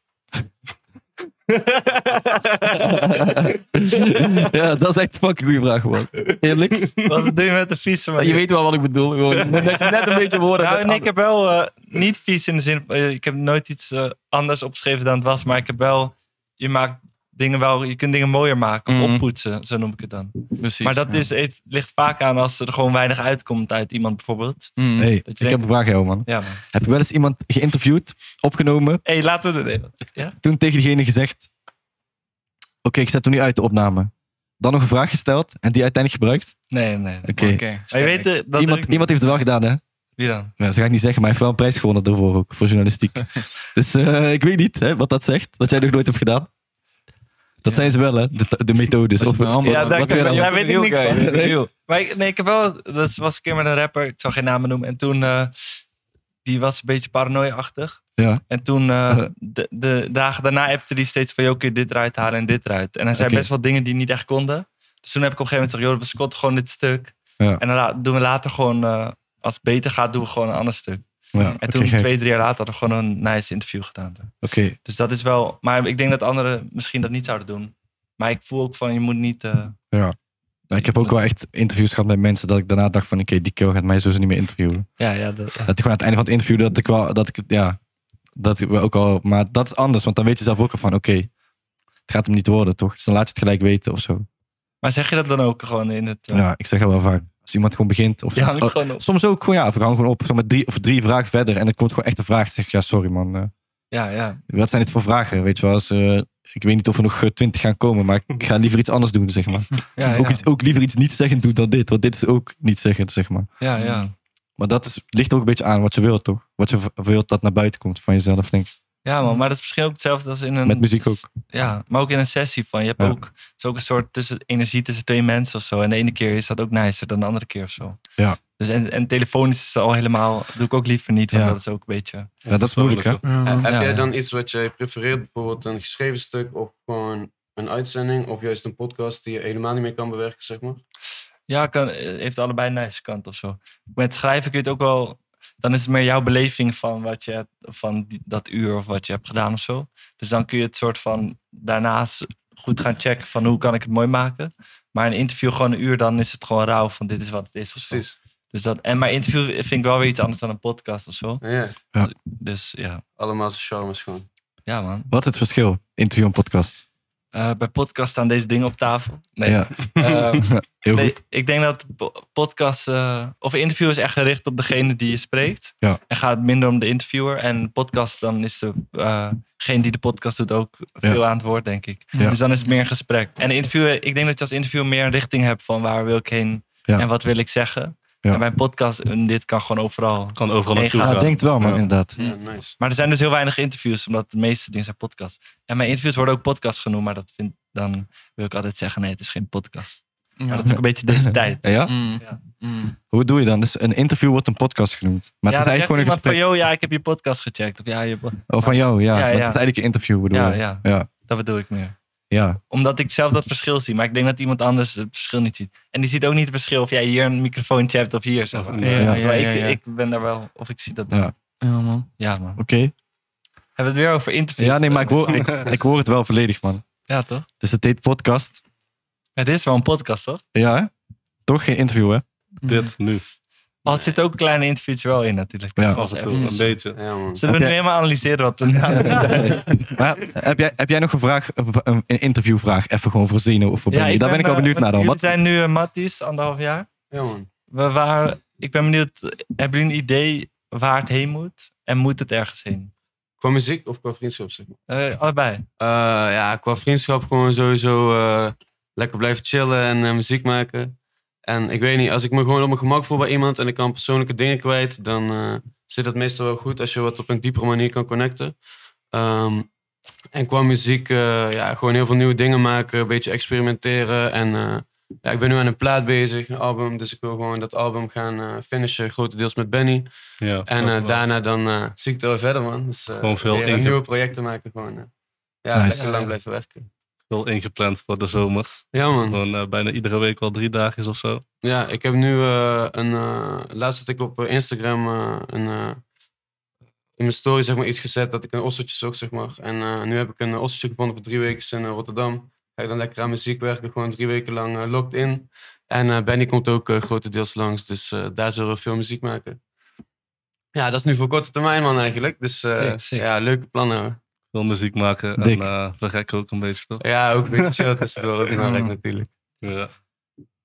Speaker 1: ja, dat is echt een fucking goede vraag, man. Eerlijk.
Speaker 3: Wat bedoel je met de vieze manier?
Speaker 2: Je weet wel wat ik bedoel. Gewoon. Dat je net een beetje woorden
Speaker 3: Nou,
Speaker 2: hebt.
Speaker 3: en ik heb wel eh, niet vies in de zin. eh, ik heb nooit iets eh, anders opgeschreven dan het was. Maar ik heb wel. Je maakt dingen wel. Je kunt dingen mooier maken. Of
Speaker 1: Mm.
Speaker 2: Mhm.
Speaker 3: oppoetsen, zo noem ik het dan.
Speaker 2: Precies,
Speaker 3: maar dat
Speaker 2: ja.
Speaker 3: is, het ligt vaak aan als er gewoon weinig uitkomt uit iemand bijvoorbeeld.
Speaker 2: Mm.
Speaker 1: Hey,
Speaker 3: Dat je
Speaker 1: ik heb
Speaker 3: denkt-
Speaker 1: een vraag aan jou, man.
Speaker 3: Ja, man.
Speaker 1: Heb je wel eens iemand geïnterviewd, opgenomen,
Speaker 3: Hé, hey, laten we de.
Speaker 1: toen tegen diegene gezegd: Oké, ik zet hem nu uit de opname. Dan nog een vraag gesteld en die uiteindelijk gebruikt.
Speaker 3: Nee, nee. nee.
Speaker 1: Oké.
Speaker 2: Oké.
Speaker 3: Maar je weet, eh, dat doe
Speaker 1: Iemand,
Speaker 3: ik niet.
Speaker 1: iemand heeft het wel gedaan, hè?
Speaker 3: Wie dan?
Speaker 1: Nou, dat ga ik niet zeggen, maar hij heeft wel een prijs gewonnen daarvoor ook, voor journalistiek. dus eh, ik weet niet hè, wat dat zegt, dat jij nog nooit hebt gedaan. Dat zijn ze wel, hè? De, de methodes. Of,
Speaker 3: Ja, daar- daar weet ik niks van.
Speaker 2: van.
Speaker 3: Maar ik, nee, ik heb wel. Dat was een keer met een rapper. Ik zal geen namen noemen. En toen. eh, die was een beetje paranoia-achtig.
Speaker 1: ja.
Speaker 3: En toen, eh, de, de dagen daarna, appte hij steeds van... joh, kun je dit eruit halen en dit eruit? En hij zei
Speaker 1: Oké.
Speaker 3: best wel dingen die niet echt konden. Dus toen heb ik op een gegeven moment gezegd... joh, we scotten gewoon dit stuk.
Speaker 1: Ja.
Speaker 3: En dan la- doen we later gewoon... eh, als het beter gaat, doen we gewoon een ander stuk.
Speaker 1: ja.
Speaker 3: En
Speaker 1: Oké,
Speaker 3: toen,
Speaker 1: gek.
Speaker 3: twee, drie jaar later, hadden we gewoon een nice interview gedaan.
Speaker 1: Oké.
Speaker 3: Dus dat is wel... Maar ik denk dat anderen misschien dat niet zouden doen. Maar ik voel ook van, je moet niet... eh,
Speaker 1: Nou, ik heb ook wel echt interviews gehad met mensen dat ik daarna dacht van... Oké, die kerel gaat mij sowieso niet meer interviewen.
Speaker 3: ja, ja, dat, ja.
Speaker 1: Dat ik gewoon aan het einde van het interview dat ik wel... Dat ik, ja, dat ik wel ook al... Maar dat is anders, want dan weet je zelf ook al van... Oké, het gaat hem niet worden, toch? Dus dan laat je het gelijk weten of zo.
Speaker 3: Maar zeg je dat dan ook gewoon in het... eh,
Speaker 1: Ja, ik zeg dat wel vaak. Als iemand gewoon begint of...
Speaker 3: Je hangt
Speaker 1: oh,
Speaker 3: gewoon op.
Speaker 1: Soms ook gewoon, ja, we gaan gewoon op. Zo met drie, of drie vragen verder. En dan komt gewoon echt een vraag. Zeg, ja, sorry man. eh,
Speaker 3: Ja, ja.
Speaker 1: wat zijn dit voor vragen? Weet je wel, als, eh, ik weet niet of er nog eh, twintig gaan komen. Maar ik ga liever iets anders doen, zeg maar.
Speaker 3: Ja,
Speaker 1: Ook,
Speaker 3: ja.
Speaker 1: iets, ook liever iets niet zeggen doen dan dit. Want dit is ook niet zeggen, zeg maar.
Speaker 3: ja, ja.
Speaker 1: Mm. Maar dat is, ligt ook een beetje aan wat je wilt, toch? Wat je v- wilt dat naar buiten komt van jezelf, denk ik.
Speaker 3: Ja, man, maar dat is misschien ook hetzelfde als in een.
Speaker 1: Met muziek ook.
Speaker 3: Ja, maar ook in een sessie van. Je hebt
Speaker 1: Ja.
Speaker 3: ook. Het is ook een soort tussen, energie tussen twee mensen of zo. En de ene keer is dat ook nicer dan de andere keer of zo.
Speaker 1: Ja.
Speaker 3: Dus en, en telefonisch is al helemaal. Doe ik ook liever niet, want
Speaker 1: Ja.
Speaker 3: dat is ook een beetje.
Speaker 1: Ja, dat is moeilijk, hè?
Speaker 4: Heb
Speaker 3: Ja,
Speaker 4: jij
Speaker 3: ja.
Speaker 4: dan iets wat jij prefereert? Bijvoorbeeld een geschreven stuk of gewoon een uitzending? Of juist een podcast die je helemaal niet meer kan bewerken, zeg maar?
Speaker 3: Ja, kan, eh, heeft allebei een nice kant of zo. Met schrijven kun je het ook wel. Dan is het meer jouw beleving van wat je hebt, van die- dat uur of wat je hebt gedaan of zo. Dus dan kun je het soort van daarnaast goed gaan checken van hoe kan ik het mooi maken. Maar een interview gewoon een uur, dan is het gewoon rauw van dit is wat het is. Of zo. Dus dat, en mijn interview vind ik wel weer iets anders dan een podcast of zo.
Speaker 4: Ja,
Speaker 3: Dus ja,
Speaker 4: allemaal zijn charmes gewoon.
Speaker 3: ja man.
Speaker 1: Wat is het verschil? Interview en podcast.
Speaker 3: Eh, bij podcast staan deze dingen op tafel. Nee,
Speaker 1: Ja,
Speaker 3: eh,
Speaker 1: heel
Speaker 3: nee
Speaker 1: goed.
Speaker 3: ik denk dat po- podcast eh, of een interview is echt gericht op degene die je spreekt.
Speaker 1: Ja.
Speaker 3: En gaat het minder om de interviewer. En podcast, dan is eh, degene die de podcast doet ook veel aan het woord, denk ik.
Speaker 1: Ja.
Speaker 3: Dus dan is het meer een gesprek. En een interview, ik denk dat je als interview meer een richting hebt van waar wil ik heen
Speaker 1: Ja.
Speaker 3: en wat wil ik zeggen.
Speaker 1: Ja.
Speaker 3: En bij een podcast, en dit kan gewoon overal.
Speaker 5: kan overal
Speaker 3: Nee,
Speaker 5: naartoe
Speaker 1: Ja,
Speaker 5: gaan.
Speaker 1: ik denk het wel, man,
Speaker 5: Ja.
Speaker 1: inderdaad.
Speaker 4: Ja, nice.
Speaker 3: Maar er zijn dus heel weinig interviews, omdat de meeste dingen zijn podcasts. En mijn interviews worden ook podcasts genoemd, maar dat vind, dan wil ik altijd zeggen, nee, het is geen podcast. Maar dat is ook een beetje deze tijd.
Speaker 1: Ja?
Speaker 2: Mm.
Speaker 3: Ja.
Speaker 2: Mm.
Speaker 1: Hoe doe je dan? Dus een interview wordt een podcast genoemd. Maar
Speaker 3: ja,
Speaker 1: het is
Speaker 3: dan zegt
Speaker 1: eigenlijk gewoon een
Speaker 3: iemand
Speaker 1: gesprek.
Speaker 3: van, joh, ja, ik heb je podcast gecheckt. Of ja, je, po-
Speaker 1: Oh, van jou, ja.
Speaker 3: Ja,
Speaker 1: Maar Het
Speaker 3: ja.
Speaker 1: is eigenlijk een interview, bedoel
Speaker 3: Ja,
Speaker 1: je?
Speaker 3: ja.
Speaker 1: ja.
Speaker 3: dat bedoel ik meer.
Speaker 1: ja.
Speaker 3: Omdat ik zelf dat verschil zie, maar ik denk dat iemand anders het verschil niet ziet. En die ziet ook niet het verschil of jij hier een microfoontje hebt of hier. Zeg maar.
Speaker 5: Ja,
Speaker 1: ja,
Speaker 3: Maar
Speaker 2: ja, ja,
Speaker 3: ik,
Speaker 2: ja.
Speaker 3: ik ben daar wel, of ik zie dat
Speaker 1: Ja.
Speaker 3: dan.
Speaker 2: Ja, man.
Speaker 3: Ja, man.
Speaker 1: Oké.
Speaker 3: Hebben we het weer over interviews?
Speaker 1: Ja, nee, maar ik hoor, ik, ik hoor het wel volledig, man.
Speaker 3: Ja, toch?
Speaker 1: Dus het heet podcast.
Speaker 3: Het is wel een podcast, toch?
Speaker 1: Ja, hè? Toch geen interview, hè?
Speaker 5: Dit, nu.
Speaker 3: Al zit ook een kleine interviewtje wel in natuurlijk.
Speaker 1: Ja.
Speaker 3: Zoals
Speaker 5: Als ik
Speaker 3: Apple.
Speaker 5: wil, een beetje.
Speaker 4: Ja, man.
Speaker 3: Zullen we
Speaker 1: Heb
Speaker 3: nu helemaal analyseren wat we gedaan hebben?
Speaker 1: Maar heb jij, heb jij nog een vraag, een een interviewvraag, even gewoon voor Zeno of voor Benny? Daar ben ik wel
Speaker 3: eh,
Speaker 1: benieuwd naar dan.
Speaker 3: Jullie
Speaker 1: Wat,
Speaker 3: zijn nu eh, Matties, anderhalf jaar.
Speaker 4: Ja, man.
Speaker 3: We waren, ik ben benieuwd, eh, hebben jullie een idee waar het heen moet? En moet het ergens heen?
Speaker 4: Qua muziek of qua vriendschap, zeg maar?
Speaker 3: Eh, allebei.
Speaker 4: Eh, ja, qua vriendschap gewoon sowieso eh, lekker blijven chillen en eh, muziek maken. En ik weet niet, als ik me gewoon op mijn gemak voel bij iemand en ik kan persoonlijke dingen kwijt, dan eh, zit dat meestal wel goed als je wat op een diepere manier kan connecten. Ehm, en qua muziek, eh, ja, gewoon heel veel nieuwe dingen maken, een beetje experimenteren. En eh, ja, ik ben nu aan een plaat bezig, een album, dus ik wil gewoon dat album gaan eh, finishen, grotendeels met Benny.
Speaker 5: Ja,
Speaker 4: En eh,
Speaker 5: dat-
Speaker 4: daarna dan eh zie ik het wel verder, man. Dus, eh,
Speaker 5: Gewoon veel
Speaker 4: weer, eh,
Speaker 5: inge-
Speaker 4: nieuwe projecten maken gewoon. eh. ja,
Speaker 1: Nice.
Speaker 4: lekker lang blijven werken.
Speaker 5: Wel ingepland voor de zomer.
Speaker 4: Ja, man.
Speaker 5: Gewoon eh, bijna iedere week wel drie dagen is of zo.
Speaker 4: Ja, ik heb nu eh, een... eh, laatst had ik op eh, Instagram eh, een... eh, in mijn story zeg maar, iets gezet dat ik een osseltje zoek, zeg maar. En eh, nu heb ik een osseltje gevonden voor drie weken in eh, Rotterdam. Ga ik dan lekker aan muziek werken, gewoon drie weken lang eh, locked in. En eh, Benny komt ook eh, grotendeels langs, dus eh, daar zullen we veel muziek maken. Ja, dat is nu voor korte termijn, man, eigenlijk. Dus eh,
Speaker 1: Sick, sick.
Speaker 4: ja, leuke plannen. hoor.
Speaker 5: Veel muziek maken
Speaker 1: Dik.
Speaker 5: en eh we rekken ook een beetje, toch?
Speaker 4: Ja, ook een beetje chill tussendoor, ook belangrijk natuurlijk.
Speaker 5: Ja.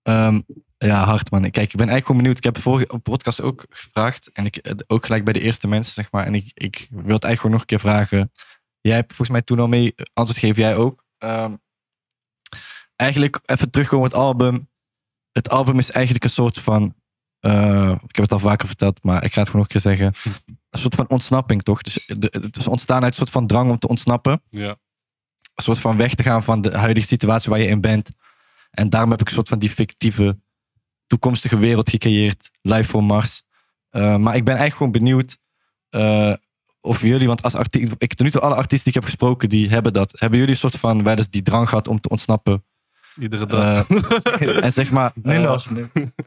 Speaker 1: Ehm, ja, hard man. Kijk, ik ben eigenlijk gewoon benieuwd. Ik heb vorige podcast ook gevraagd. En ik eh, ook gelijk bij de eerste mensen, zeg maar. En ik, ik wil het eigenlijk gewoon nog een keer vragen. Jij hebt volgens mij toen al mee antwoord gegeven, jij ook. Ehm, eigenlijk even terugkomen op het album. Het album is eigenlijk een soort van. eh, ik heb het al vaker verteld, maar ik ga het gewoon nog een keer zeggen. Een soort van ontsnapping, toch? Dus de- het is ontstaan uit een soort van drang om te ontsnappen
Speaker 5: ja.
Speaker 1: een soort van weg te gaan van de huidige situatie waar je in bent. En daarom heb ik een soort van die fictieve toekomstige wereld gecreëerd, live voor Mars. Eh, maar ik ben eigenlijk gewoon benieuwd eh, of jullie, want als artie- ik tot nu toe alle artiesten die ik heb gesproken, die hebben dat. Hebben jullie een soort van wel eens die drang gehad om te ontsnappen?
Speaker 5: Iedere
Speaker 1: Eh,
Speaker 5: dag.
Speaker 1: en zeg maar, eh,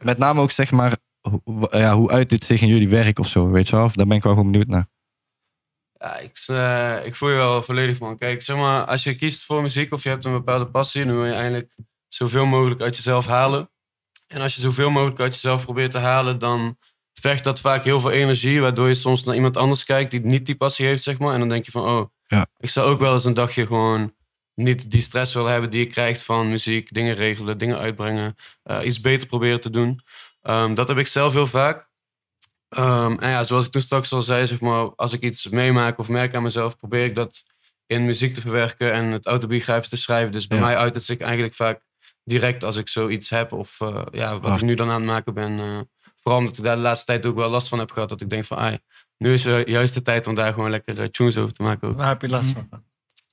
Speaker 1: met name ook zeg maar, hoe- hoe- ja, hoe uit dit zich in jullie werk of zo, weet je wel? Of Daar ben ik wel gewoon benieuwd naar.
Speaker 4: Ja, ik, eh, ik voel je wel volledig man. Kijk, zeg maar, als je kiest voor muziek of je hebt een bepaalde passie, dan wil je eigenlijk zoveel mogelijk uit jezelf halen. En als je zoveel mogelijk uit jezelf probeert te halen, dan vecht dat vaak heel veel energie, waardoor je soms naar iemand anders kijkt die niet die passie heeft, zeg maar. En dan denk je van, oh,
Speaker 1: Ja.
Speaker 4: ik zou ook wel eens een dagje gewoon niet die stress willen hebben die je krijgt van muziek, dingen regelen, dingen uitbrengen, eh, iets beter proberen te doen. Ehm, dat heb ik zelf heel vaak. Ehm, en ja, zoals ik toen straks al zei, zeg maar, als ik iets meemaak of merk aan mezelf, probeer ik dat in muziek te verwerken en het autobiografisch te schrijven. Dus bij
Speaker 1: Ja.
Speaker 4: mij uit het zich eigenlijk vaak direct als ik zoiets heb of eh, ja, wat
Speaker 1: Hard.
Speaker 4: ik nu dan aan het maken ben. eh, vooral omdat ik daar de laatste tijd ook wel last van heb gehad, dat ik denk van, ai, nu is eh, juist de tijd om daar gewoon lekker eh, tunes over te maken. ook.
Speaker 3: Waar heb je last van?